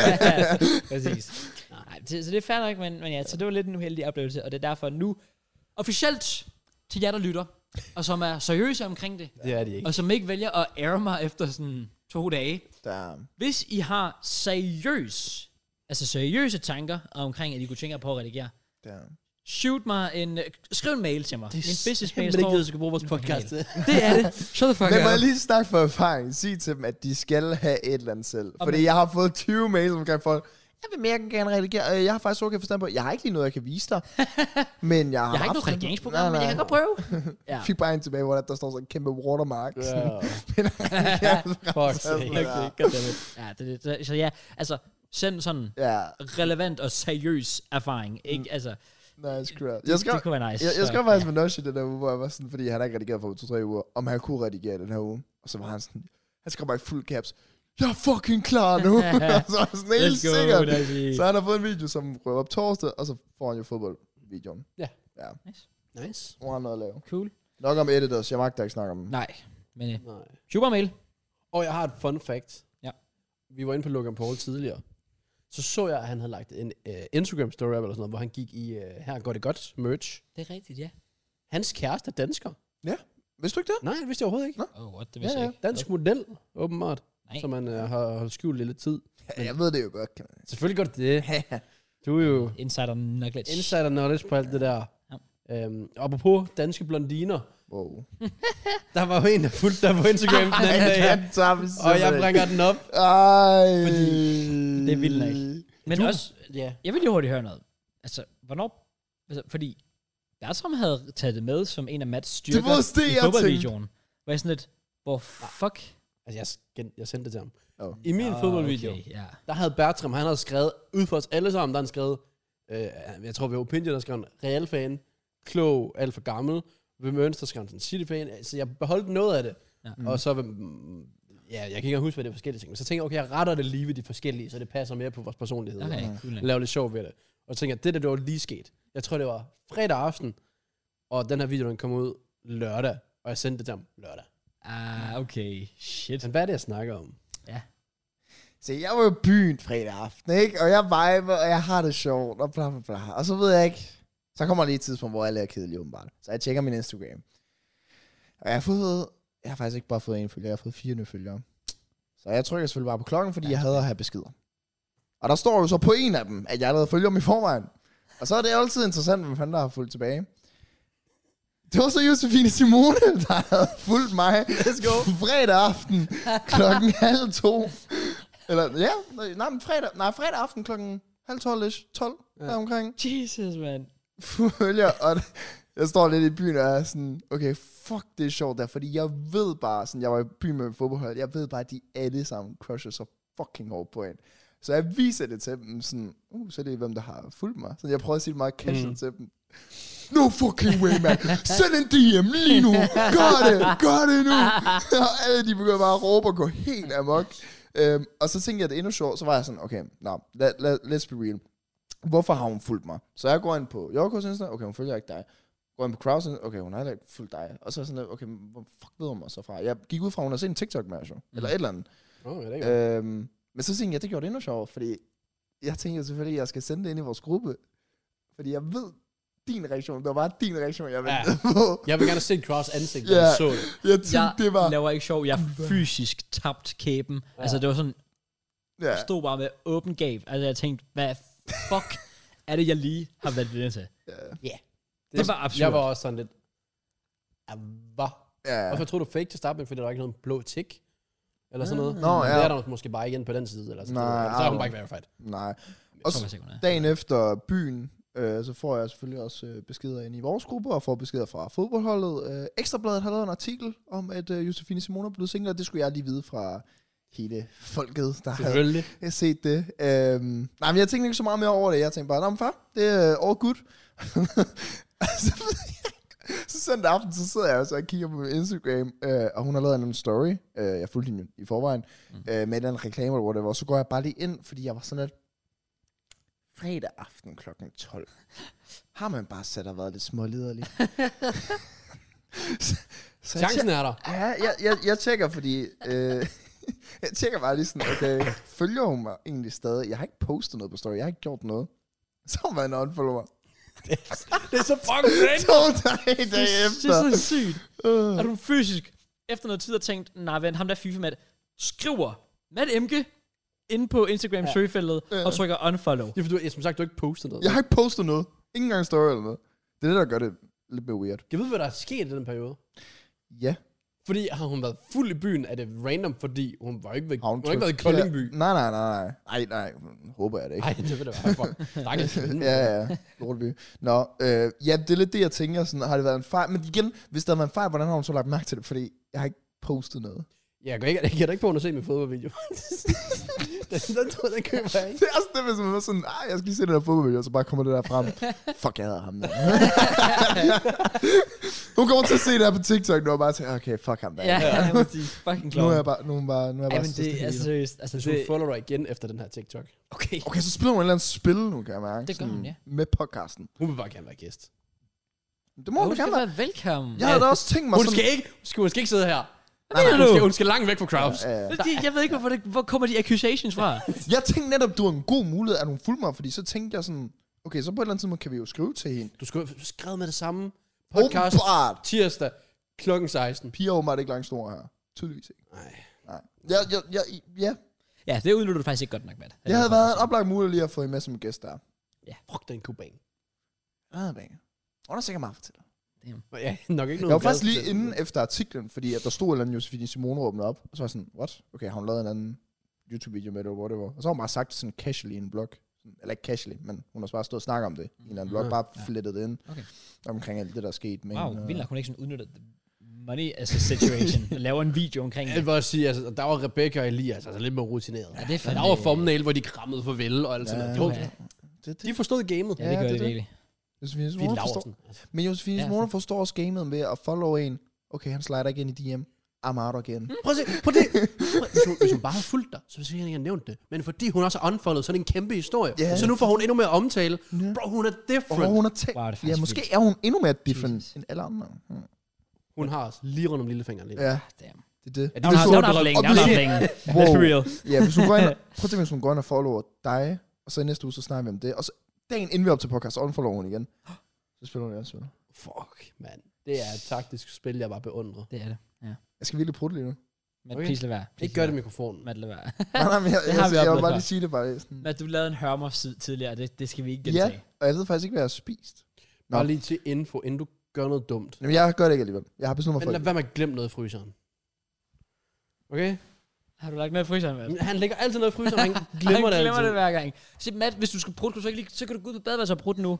[SPEAKER 1] Præcis. Nej, det, så det er fair nok, men, men ja, så det var lidt en uheldig oplevelse, og det er derfor nu officielt til jer, der lytter, og som er seriøse omkring det,
[SPEAKER 2] Det er de ikke.
[SPEAKER 1] og som ikke vælger at ære mig efter sådan to dage.
[SPEAKER 3] Der,
[SPEAKER 1] Hvis I har seriøs, altså seriøse tanker omkring, at I kunne tænke jer på at redigere,
[SPEAKER 3] der.
[SPEAKER 1] shoot mig en, skriv en mail til mig. Det Min business mail
[SPEAKER 2] ikke
[SPEAKER 1] står,
[SPEAKER 2] det, du skal bruge vores
[SPEAKER 1] på
[SPEAKER 2] podcast til.
[SPEAKER 1] det er det. Shut the fuck
[SPEAKER 3] Men må jeg
[SPEAKER 1] up.
[SPEAKER 3] lige snakke for erfaring? Sig til dem, at de skal have et eller andet selv.
[SPEAKER 1] Og
[SPEAKER 3] Fordi
[SPEAKER 1] men-
[SPEAKER 3] jeg har fået 20 mails omkring folk. jeg vil mere gerne redigere. Øh, Jeg har faktisk okay forstand på, jeg har ikke lige noget, jeg kan vise dig. men jeg har,
[SPEAKER 1] Jeg har ikke noget redigeringsprogram, men jeg kan godt prøve. Ja.
[SPEAKER 3] Jeg fik bare en tilbage, hvor der- der står sådan en kæmpe watermark.
[SPEAKER 2] Ja.
[SPEAKER 3] Sådan. Men jeg kan
[SPEAKER 2] Fuck
[SPEAKER 3] altså-
[SPEAKER 2] sake.
[SPEAKER 1] Okay, goddammit. Ja, det, det, det, så ja, altså, send sådan
[SPEAKER 3] Ja,
[SPEAKER 1] relevant og seriøs erfaring. Ikke? Altså,
[SPEAKER 3] nice crap.
[SPEAKER 1] det,
[SPEAKER 3] Jeg skal,
[SPEAKER 1] det kunne være nice.
[SPEAKER 3] jeg, jeg
[SPEAKER 1] Så,
[SPEAKER 3] skrev faktisk med Noshi den der uge, hvor jeg var sådan, fordi han har ikke redigeret for to-tre uger, om han kunne redigere den her uge. Og så var han sådan, han skrev bare i fuld caps, jeg er fucking klar nu. Og så var jeg sådan
[SPEAKER 1] ja.
[SPEAKER 3] helt
[SPEAKER 1] Let's go,
[SPEAKER 3] sikkert.
[SPEAKER 1] lad os sige.
[SPEAKER 3] Så han har fået en video, som røver op torsdag, og så får han jo fodboldvideoen.
[SPEAKER 2] Nice.
[SPEAKER 3] Nu har han noget at lave.
[SPEAKER 1] Cool.
[SPEAKER 3] Nok om editors, jeg magter ikke snakke om dem.
[SPEAKER 1] Nej, men øh,
[SPEAKER 2] Nej.
[SPEAKER 1] Supermail.
[SPEAKER 2] Og jeg har et fun fact.
[SPEAKER 1] Ja.
[SPEAKER 2] Vi var inde på Logan Paul tidligere. Så så jeg, at han havde lagt en uh, Instagram-story op eller sådan noget, hvor han gik i, uh, her går det godt, merch.
[SPEAKER 1] Det er rigtigt, ja.
[SPEAKER 2] Hans kæreste er dansker.
[SPEAKER 3] Vidste du ikke det?
[SPEAKER 2] Nej, det vidste jeg overhovedet ikke.
[SPEAKER 1] Oh, what, det vidste
[SPEAKER 3] Ja,
[SPEAKER 1] jeg
[SPEAKER 3] ja.
[SPEAKER 1] ikke.
[SPEAKER 2] Dansk model, åbenbart,
[SPEAKER 1] Nej.
[SPEAKER 2] som man uh, har holdt skjult i lidt tid.
[SPEAKER 3] Ja, jeg ved det jo godt, kan man.
[SPEAKER 2] Selvfølgelig godt det. Du er jo
[SPEAKER 1] Insider Nuggets.
[SPEAKER 2] insider knowledge på alt det der.
[SPEAKER 1] Ja.
[SPEAKER 2] Øhm, apropos danske blondiner,
[SPEAKER 3] Wow.
[SPEAKER 2] der var jo en, der fulgte dig på Instagram den anden dag,
[SPEAKER 3] Ja, den tager vi
[SPEAKER 2] og jeg
[SPEAKER 3] simpelthen.
[SPEAKER 2] bringer den op.
[SPEAKER 3] Ej.
[SPEAKER 2] Fordi
[SPEAKER 1] det er vildt nok. Men
[SPEAKER 2] Du-
[SPEAKER 1] også,
[SPEAKER 2] Ja.
[SPEAKER 1] jeg vil lige hurtigt høre noget. Altså, hvornår... Altså, fordi der som havde taget det med som en af Mats styrker
[SPEAKER 3] Det var også det,
[SPEAKER 1] i
[SPEAKER 3] jeg tænkte.
[SPEAKER 1] fodboldvideoen. Var jeg sådan lidt, hvor fuck...
[SPEAKER 2] Altså, jeg, sken- jeg sendte det til ham.
[SPEAKER 3] Oh.
[SPEAKER 2] I min
[SPEAKER 1] Ah,
[SPEAKER 2] fodboldvideo,
[SPEAKER 1] Okay, ja.
[SPEAKER 2] der havde Bertram, han havde skrevet, ud for os alle sammen, der han skrevet, øh, jeg tror, vi var Opinion, der skrev en real fan, klog, alt for gammel, ved Mønster skrev han sådan City fan, så jeg beholdt noget af det.
[SPEAKER 1] Ja.
[SPEAKER 2] Ja. Og så, ved- mm, ja, jeg kan ikke engang huske, hvad det er forskellige ting, men så tænkte jeg, okay, jeg retter det lige ved de forskellige, så det passer mere på vores personlighed.
[SPEAKER 1] Okay,
[SPEAKER 2] Og
[SPEAKER 1] cool. nok.
[SPEAKER 2] laver lidt sjov ved det. Og så tænkte jeg, det der, det var lige sket. Jeg tror, det var fredag aften, og den her video, den kom ud lørdag, og jeg sendte det til ham lørdag.
[SPEAKER 1] Ah, okay. Shit.
[SPEAKER 2] Men hvad er det, jeg snakker om?
[SPEAKER 3] Se, jeg var i byen fredag aften, ikke? Og jeg viber, og jeg har det sjovt, og bla bla bla. Og så ved jeg ikke... Så kommer der lige et tidspunkt, hvor alle er kedelige, åbenbart. Så jeg tjekker min Instagram. Og jeg har fået... Jeg har faktisk ikke bare fået en følger, jeg har fået fire nye følgere. Så jeg trykker selvfølgelig bare på klokken, fordi jeg havde at have beskeder. Og der står jo så på en af dem, at jeg allerede følger dem i forvejen. Og så er det altid interessant, hvem fanden der har fulgt tilbage. Det var så Josefine Simone, der havde fulgt mig Let's go. fredag aften klokken halv to. Eller, ja, nej, men fredag, nej, fredag aften klokken halv tolv, 12 ja. omkring
[SPEAKER 1] Jesus, man.
[SPEAKER 3] følger, og jeg står lidt i byen og er sådan, okay, fuck, det er sjovt der, fordi jeg ved bare, sådan, jeg var i byen med fodboldhold, jeg ved bare, at de alle sammen crusher så fucking hårdt på en. Så jeg viser det til dem, sådan, uh, så er det hvem, der har fulgt mig. Så jeg prøver at sige det meget casual mm. til dem. No fucking way, man. Send en DM lige nu. Gør det, gør det nu. og alle de begynder bare at råbe og gå helt amok. Øhm, og så tænkte jeg, at det er endnu sjovt, så var jeg sådan, okay, nå, no, let's be real hvorfor har hun fulgt mig? Så jeg går ind på Jorkos Insta, okay, hun følger ikke dig. Går ind på Kraus Insta, okay, hun har heller ikke fulgt dig. Og så er jeg sådan, lidt, okay, men hvor fuck ved hun mig så fra? Jeg gik ud fra, at hun har set en tiktok med mm. eller et eller andet.
[SPEAKER 2] Oh, ja, det er ikke
[SPEAKER 3] Øhm, men så tænkte jeg, det gjorde det endnu sjovere, fordi jeg tænkte jo selvfølgelig, at jeg skal sende det ind i vores gruppe. Fordi jeg ved din reaktion. Det var bare din reaktion, jeg
[SPEAKER 2] Ja.
[SPEAKER 3] ventede ja. på.
[SPEAKER 2] Jeg vil gerne se Cross ansigt, når
[SPEAKER 3] Ja.
[SPEAKER 2] jeg så det.
[SPEAKER 3] Jeg tænkte,
[SPEAKER 1] Jeg
[SPEAKER 3] det var...
[SPEAKER 1] laver ikke sjov. Jeg fysisk tabt kæben. Ja. Altså, det var sådan,
[SPEAKER 3] Ja.
[SPEAKER 1] jeg stod bare med åben gab. Altså, jeg tænkte, hvad fuck er det, jeg lige har været vidne til? Det var absurd.
[SPEAKER 2] Jeg var også sådan lidt, ah, hvad?
[SPEAKER 3] ja.
[SPEAKER 2] Hvorfor troede du fake til start med, fordi der var ikke noget blå tik? Eller sådan noget.
[SPEAKER 3] Mm. Nå,
[SPEAKER 2] Men
[SPEAKER 3] ja.
[SPEAKER 2] Det er der måske bare igen på den side. Eller sådan
[SPEAKER 3] Nej,
[SPEAKER 2] noget. Så er hun
[SPEAKER 3] ah.
[SPEAKER 2] bare ikke verified.
[SPEAKER 3] Nej.
[SPEAKER 1] Jeg
[SPEAKER 3] Og
[SPEAKER 1] tror,
[SPEAKER 3] så,
[SPEAKER 1] jeg sikkert, hun er.
[SPEAKER 3] Dagen efter byen, øh, så får jeg selvfølgelig også øh, beskeder ind i vores gruppe, og får beskeder fra fodboldholdet. Øh, Ekstrabladet har lavet en artikel om, at øh, Josefine Simone er blevet single, og det skulle jeg lige vide fra hele folket, der havde
[SPEAKER 2] Selvfølgelig.
[SPEAKER 3] jeg har set det. Øhm, nej, men jeg tænkte ikke så meget mere over det. Jeg tænkte bare, nå, men far, det er øh, all good. så, så søndag aften, så sidder jeg og så kigger på min Instagram, øh, og hun har lavet en story. Øh, jeg fulgte hende jo i forvejen mm. øh, med en eller anden reklame eller whatever. Og så går jeg bare lige ind, fordi jeg var sådan lidt, fredag aften kl. 12. Har man bare sat og været lidt småliderlig. så, så jeg
[SPEAKER 2] Chancen er der.
[SPEAKER 3] Ja, jeg, jeg, jeg tjekker, fordi... Øh, jeg tjekker bare lige sådan, okay, følger hun mig egentlig stadig? Jeg har ikke postet noget på story, jeg har ikke gjort noget. Så var man unfollow mig.
[SPEAKER 2] Det er så fucking rent.
[SPEAKER 3] To dage,
[SPEAKER 1] Det
[SPEAKER 3] dage
[SPEAKER 1] er
[SPEAKER 3] efter.
[SPEAKER 1] så sygt.
[SPEAKER 3] Øh,
[SPEAKER 1] Har du fysisk, efter noget tid, har tænkt, nej, vent, ham der FIFA med skriver Matt Emke inde på Instagram ja. søgefeltet og trykker unfollow.
[SPEAKER 2] Det er fordi, du, som sagt, du har ikke postet noget.
[SPEAKER 3] Jeg har ikke postet noget. Ingen engang story eller noget. Det er det, der gør det lidt mere weird.
[SPEAKER 2] Jeg ved, hvad der er sket i den periode.
[SPEAKER 3] Ja.
[SPEAKER 2] Fordi har hun været fuld i byen, er det random, fordi hun var ikke, ved,
[SPEAKER 3] Har
[SPEAKER 2] hun har
[SPEAKER 3] trykt
[SPEAKER 2] ikke været i
[SPEAKER 3] forkert?
[SPEAKER 2] Koldingby.
[SPEAKER 3] Nej, nej, nej, nej. Ej, nej, håber jeg det ikke.
[SPEAKER 2] Nej, det vil det være for. Stakkels hende.
[SPEAKER 3] ja, ja, ja. Lorteby. Nå, øh, ja, det er lidt det, jeg tænker. Sådan, har det været en fejl? Men igen, hvis der har været en fejl, hvordan har hun så lagt mærke til det? Fordi jeg har ikke postet noget.
[SPEAKER 2] Jeg kan ikke, jeg kan da ikke på, at hun har set min fodboldvideo. den, den, tror jeg, den køber jeg ikke.
[SPEAKER 3] Det er også det, hvis man er sådan, Ej, jeg skal lige se det der fodboldvideo, og så bare kommer det der frem. Fuck, jeg hader ham der. hun kommer til at se det her på TikTok nu, og bare tænker, okay, fuck ham der.
[SPEAKER 1] Ja, ja, præcis. Fucking
[SPEAKER 3] nu
[SPEAKER 1] klar.
[SPEAKER 3] er jeg bare, nu er hun bare, nu er jeg
[SPEAKER 1] Ja,
[SPEAKER 3] bare
[SPEAKER 1] men
[SPEAKER 3] så
[SPEAKER 1] det
[SPEAKER 3] stille
[SPEAKER 1] er
[SPEAKER 3] i det.
[SPEAKER 1] seriøst. Altså,
[SPEAKER 2] Så
[SPEAKER 1] det,
[SPEAKER 2] hun follower dig igen efter den her TikTok.
[SPEAKER 1] okay.
[SPEAKER 3] Okay, så spiller hun et eller andet spil nu, kan jeg mærke.
[SPEAKER 1] Det gør hun, ja.
[SPEAKER 3] Med podcasten.
[SPEAKER 2] Hun vil bare gerne være gæst.
[SPEAKER 3] Det må hun,
[SPEAKER 1] Hun
[SPEAKER 3] gerne
[SPEAKER 1] skal
[SPEAKER 3] være.
[SPEAKER 1] være velkommen.
[SPEAKER 3] Jeg havde da også tænkt mig
[SPEAKER 2] Hun
[SPEAKER 3] sådan...
[SPEAKER 2] skal ikke, hun skal, hun skal ikke sidde her.
[SPEAKER 1] Hvad mener
[SPEAKER 2] Hun
[SPEAKER 1] du?
[SPEAKER 2] skal, hun skal langt væk fra crowds.
[SPEAKER 3] Ja, ja.
[SPEAKER 1] Det- Jeg ved ikke, hvorfor det, hvor kommer de accusations fra?
[SPEAKER 3] Jeg tænkte netop, det var en god mulighed, at hun fulgte mig, fordi så tænkte jeg sådan, okay, så på et eller andet tidspunkt kan vi jo skrive til hende.
[SPEAKER 2] Du skulle have skrevet med det samme. Podcast
[SPEAKER 3] Åbenbart.
[SPEAKER 2] tirsdag klokken 16.
[SPEAKER 3] Piger er åbenbart ikke langt store her. Tydeligvis ikke.
[SPEAKER 2] Nej.
[SPEAKER 3] Nej. Jeg, jeg, jeg, ja.
[SPEAKER 1] ja, det udnytter du faktisk ikke godt nok, Matt.
[SPEAKER 3] jeg havde været en oplagt mulighed lige at få hende med som gæst der.
[SPEAKER 2] Fuck den kuban.
[SPEAKER 3] Ah, bang. Og der sikkert meget til dig.
[SPEAKER 2] Ja, nok ikke noget.
[SPEAKER 3] Jeg var faktisk
[SPEAKER 2] glad
[SPEAKER 3] lige
[SPEAKER 2] for.
[SPEAKER 3] inde efter artiklen, fordi at der stod en eller anden Josefine Simone åbnet op, og så var jeg sådan, what? Okay, har hun lavet en anden YouTube-video med det, eller whatever. Og så har hun bare sagt det sådan casually i en blog. Sådan, Eller ikke casually, men hun har bare stået og snakket om det i en eller anden blog,
[SPEAKER 2] Mhm.
[SPEAKER 3] bare
[SPEAKER 1] Mm-hmm. Ja.
[SPEAKER 3] flettet det ind
[SPEAKER 1] Okay.
[SPEAKER 3] omkring alt det, der er sket. med
[SPEAKER 1] Wow,
[SPEAKER 3] hende, og-
[SPEAKER 1] vildt nok, hun ikke sådan udnytter the money as a situation. laver en video omkring
[SPEAKER 2] Jeg
[SPEAKER 1] det.
[SPEAKER 2] vil også sige, altså, der var Rebecca og Elias, altså lidt mere rutineret.
[SPEAKER 1] Ja, det er fandme...
[SPEAKER 2] der var thumbnail, hvor de krammede farvel og alt sådan
[SPEAKER 3] Ja.
[SPEAKER 1] Puh,
[SPEAKER 2] noget. Det
[SPEAKER 1] Ja,
[SPEAKER 2] var- De forstod gamet.
[SPEAKER 1] ja, det
[SPEAKER 3] Ja,
[SPEAKER 1] gør
[SPEAKER 3] det
[SPEAKER 1] det
[SPEAKER 3] er det.
[SPEAKER 1] virkelig.
[SPEAKER 3] Josefine
[SPEAKER 2] Vi
[SPEAKER 3] Simone forstår,
[SPEAKER 2] Laursen.
[SPEAKER 3] men Josefine
[SPEAKER 1] Ja, altså.
[SPEAKER 3] Simone forstår også gamet med at follow en. Okay, han slider igen i DM. I'm out
[SPEAKER 1] Mm.
[SPEAKER 3] again.
[SPEAKER 2] Prøv at se, prøv det. Prøv, hvis, hun, hvis hun bare havde fulgt dig, så ville hun ikke have nævnt det. Men fordi hun også har unfollowed, så er det en kæmpe historie.
[SPEAKER 3] Ja.
[SPEAKER 2] Yeah. Så nu får hun endnu mere omtale.
[SPEAKER 3] Ja.
[SPEAKER 2] Bro, hun er
[SPEAKER 3] Og
[SPEAKER 2] different.
[SPEAKER 3] hun har tænkt,
[SPEAKER 1] Wow, det er
[SPEAKER 3] wow,
[SPEAKER 1] faktisk
[SPEAKER 3] ja, måske er hun endnu mere different
[SPEAKER 1] Jesus.
[SPEAKER 3] Jesus. end alle andre. Hmm.
[SPEAKER 2] Hun har os lige rundt om lillefingeren lige.
[SPEAKER 3] Ja,
[SPEAKER 1] Damn.
[SPEAKER 3] det er det.
[SPEAKER 2] Ja,
[SPEAKER 1] Nå, hun har-
[SPEAKER 2] så
[SPEAKER 1] hun har haft længe,
[SPEAKER 3] og
[SPEAKER 1] hun har haft
[SPEAKER 3] det-
[SPEAKER 1] længe.
[SPEAKER 3] Wow.
[SPEAKER 1] Let's be real.
[SPEAKER 3] Ja, hvis hun går ind, og- prøv at tænke, hvis hun går ind og follower dig, og så i næste uge, så snakker vi om det. Og så dagen inden vi op til podcast, så unfollower hun igen. Så spiller hun det også spil.
[SPEAKER 2] Fuck, mand. Det er et taktisk spil, jeg bare beundrer.
[SPEAKER 1] Det er det.
[SPEAKER 3] Jeg skal virkelig prutte lige nu.
[SPEAKER 1] Matt,
[SPEAKER 2] Okay.
[SPEAKER 1] please lad være. Please
[SPEAKER 2] Ikke gør
[SPEAKER 1] lad
[SPEAKER 2] det i
[SPEAKER 1] være.
[SPEAKER 2] mikrofonen.
[SPEAKER 1] Matt, lad være.
[SPEAKER 3] Nej, nej, men jeg,
[SPEAKER 1] Det
[SPEAKER 3] jeg,
[SPEAKER 1] har
[SPEAKER 3] jeg,
[SPEAKER 1] vi
[SPEAKER 3] jeg,
[SPEAKER 1] oplevet
[SPEAKER 3] vil bare
[SPEAKER 1] før.
[SPEAKER 3] lige sige det bare. Sådan.
[SPEAKER 1] Matt, du lavede en hørmer tidligere, det, det skal vi ikke
[SPEAKER 3] Ja,
[SPEAKER 1] gentage.
[SPEAKER 3] og jeg ved faktisk ikke, hvad jeg har spist. Nå.
[SPEAKER 2] Bare lige til info, inden du gør noget dumt.
[SPEAKER 3] Jamen, jeg gør det ikke alligevel. Jeg har besluttet mig
[SPEAKER 2] Men
[SPEAKER 3] for
[SPEAKER 2] lad
[SPEAKER 3] det.
[SPEAKER 2] være med at glemme noget i fryseren. Okay?
[SPEAKER 1] Har du lagt med i fryseren, Matt?
[SPEAKER 2] Men Han lægger altid noget i fryseren, han glemmer,
[SPEAKER 1] han
[SPEAKER 2] det
[SPEAKER 1] glemmer
[SPEAKER 2] altid.
[SPEAKER 1] det hver gang. Se, Matt, hvis du skal prutte, kan du så, ikke lige, så kan du gå ud på badeværelset og prutte nu.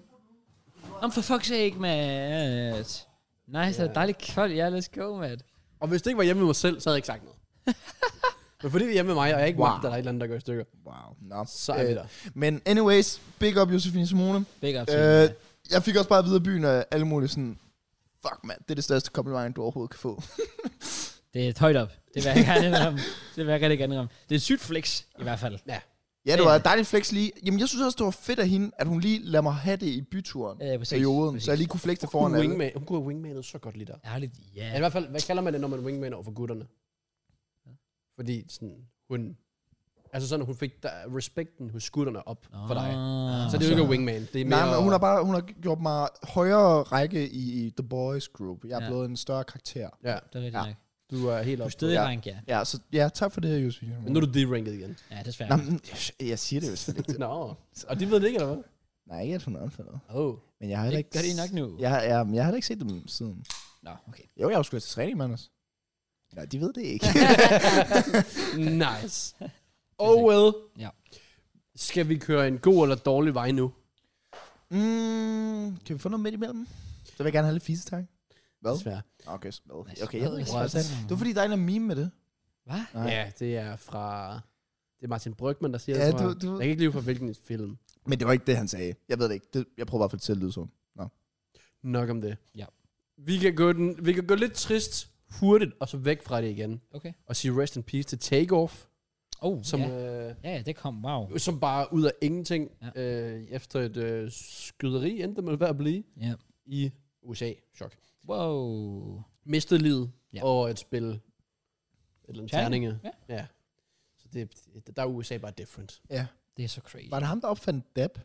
[SPEAKER 1] Om for fuck's sake, Matt. Nice, det er dejligt koldt. Ja, let's go, Matt.
[SPEAKER 2] Og hvis det ikke var hjemme med mig selv, så havde jeg ikke sagt noget. Men fordi det er hjemme med mig, og jeg ikke wow.
[SPEAKER 3] Wow.
[SPEAKER 2] magter, at der er et eller andet, der går i stykker,
[SPEAKER 3] Wow. Nå.
[SPEAKER 2] så er øh. vi der.
[SPEAKER 3] Men anyways, big up Josefine Simone.
[SPEAKER 1] Big up til
[SPEAKER 3] Øh, jeg fik også bare at vide af byen og alle mulige sådan, fuck mand, det er det største kompliment, du overhovedet kan få.
[SPEAKER 1] Det er et højt op. Det vil jeg gerne indrømme. Det vil jeg rigtig gerne indrømme. Det er et sygt flex, i hvert fald.
[SPEAKER 3] ja,
[SPEAKER 1] Ja,
[SPEAKER 3] det var
[SPEAKER 1] ja.
[SPEAKER 3] et dejligt flex lige. Jamen, jeg synes også, det var fedt af hende, at hun lige lader mig have det i byturen.
[SPEAKER 1] Ja, ja, Øh, præcis.
[SPEAKER 3] perioden,
[SPEAKER 1] Præcis.
[SPEAKER 3] så jeg lige kunne flexe foran
[SPEAKER 2] Hun,
[SPEAKER 3] alle.
[SPEAKER 2] wingman, hun kunne have wingmanet så godt lige der.
[SPEAKER 1] Ærligt, ja.
[SPEAKER 2] Ja. I hvert fald, hvad kalder man det, når man wingmaner over for gutterne? Fordi sådan, hun... Altså sådan, hun fik der, respekten hos gutterne op oh. for dig.
[SPEAKER 1] Ah,
[SPEAKER 2] Så det er jo ikke at wingman. Det er mere...
[SPEAKER 3] Nej, men hun har bare hun har gjort mig højere række i, i The Boys Group. Jeg er
[SPEAKER 1] Ja.
[SPEAKER 3] ja. blevet en større karakter.
[SPEAKER 1] Det
[SPEAKER 2] Ja,
[SPEAKER 1] er rigtigt
[SPEAKER 3] Ja.
[SPEAKER 1] nok.
[SPEAKER 2] du er helt
[SPEAKER 1] Du er
[SPEAKER 2] oppe. på-
[SPEAKER 1] stadig
[SPEAKER 3] Ja.
[SPEAKER 1] rank, ja.
[SPEAKER 3] Ja, så ja, tak for det her, Josefine.
[SPEAKER 2] Men nu er du deranket igen.
[SPEAKER 1] Ja, desværre.
[SPEAKER 3] Nå, men, jeg siger det jo slet ikke.
[SPEAKER 2] Nå, og de ved det ikke, eller hvad?
[SPEAKER 3] Nej, ikke at hun er anfaldet.
[SPEAKER 2] Oh.
[SPEAKER 3] Men jeg har
[SPEAKER 1] det
[SPEAKER 3] heller ikke...
[SPEAKER 1] gør de nok nu.
[SPEAKER 3] Jeg, har- ja, men jeg har heller ikke set dem siden.
[SPEAKER 1] Nå, okay.
[SPEAKER 3] Jo, jeg har jo sgu til træning, Magnus. Nej, de ved det ikke.
[SPEAKER 2] Nice. Oh well.
[SPEAKER 1] Ja.
[SPEAKER 2] Skal vi køre en god eller dårlig vej nu?
[SPEAKER 3] mm, kan vi få noget midt imellem? Så vil jeg gerne have lidt fise, tak. Hvad?
[SPEAKER 2] Desværre.
[SPEAKER 3] Okay, hvad?
[SPEAKER 1] Nice.
[SPEAKER 3] Okay, jeg ved ikke,
[SPEAKER 1] Hvad?
[SPEAKER 3] hvad det er. Det var fordi, der er en eller anden meme med det.
[SPEAKER 1] Hvad?
[SPEAKER 3] Nej.
[SPEAKER 2] Ja, det er fra... Det er Martin Brygman, der siger
[SPEAKER 3] Ja,
[SPEAKER 2] det, tror
[SPEAKER 3] du-
[SPEAKER 2] jeg.
[SPEAKER 3] du-
[SPEAKER 2] Jeg kan ikke lide fra hvilken film.
[SPEAKER 3] Men det var ikke det, han sagde. Jeg ved det ikke. Det, jeg prøver bare at få det til at lyde som.
[SPEAKER 2] Nok om det.
[SPEAKER 1] Ja.
[SPEAKER 2] Vi kan gå, den, vi kan gå lidt trist, hurtigt, og så væk fra det igen.
[SPEAKER 1] Okay.
[SPEAKER 2] Og sige rest in peace til Takeoff,
[SPEAKER 1] Oh,
[SPEAKER 2] som,
[SPEAKER 1] ja.
[SPEAKER 2] ja. øh,
[SPEAKER 1] Ja, ja, det kom. Wow.
[SPEAKER 2] som bare ud af ingenting, ja. øh, efter et øh, skyderi, endte med at blive
[SPEAKER 1] Ja.
[SPEAKER 2] i USA. Chok.
[SPEAKER 1] Wow.
[SPEAKER 2] Mistede livet
[SPEAKER 1] Ja.
[SPEAKER 2] ja. og et spil. Et eller andet
[SPEAKER 1] Terninger,
[SPEAKER 2] terninge. Ja. ja. Så det, der er USA bare different.
[SPEAKER 3] Ja.
[SPEAKER 1] Det er så crazy.
[SPEAKER 3] Var det ham, der opfandt dab?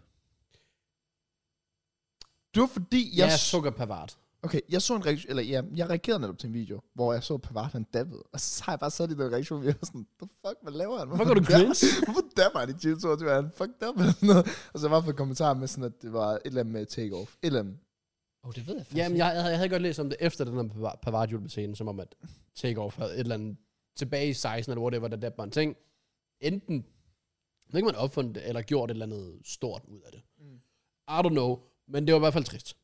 [SPEAKER 3] Det var fordi,
[SPEAKER 2] Jeg
[SPEAKER 3] jeg,
[SPEAKER 2] er
[SPEAKER 3] s-
[SPEAKER 2] sukker pervert.
[SPEAKER 3] okay, jeg så en reaktion, eller ja, jeg reagerede netop til en video, hvor jeg så Pavard, han dabbede. Og så har jeg bare sat i den reaktion, hvor jeg var sådan, the fuck, hvad laver han?
[SPEAKER 2] Hvorfor går du
[SPEAKER 3] dabber-
[SPEAKER 2] cringe?
[SPEAKER 3] Hvorfor dabber han i 2022? Er Han fuck dabber eller sådan noget. Og så var jeg fået kommentarer med sådan, at det var et eller andet med take-off. Et eller andet.
[SPEAKER 1] Oh, det ved jeg faktisk.
[SPEAKER 2] Jamen, jeg, jeg, havde, jeg havde godt læst om det efter den der Pavard julebescene, som om at Takeoff havde et eller andet tilbage i 16 eller whatever, der der var en ting. Enten, jeg ved ikke, om man opfundet det, eller gjort et eller andet stort ud af det.
[SPEAKER 3] Mm.
[SPEAKER 2] I don't know, men det var i hvert fald trist.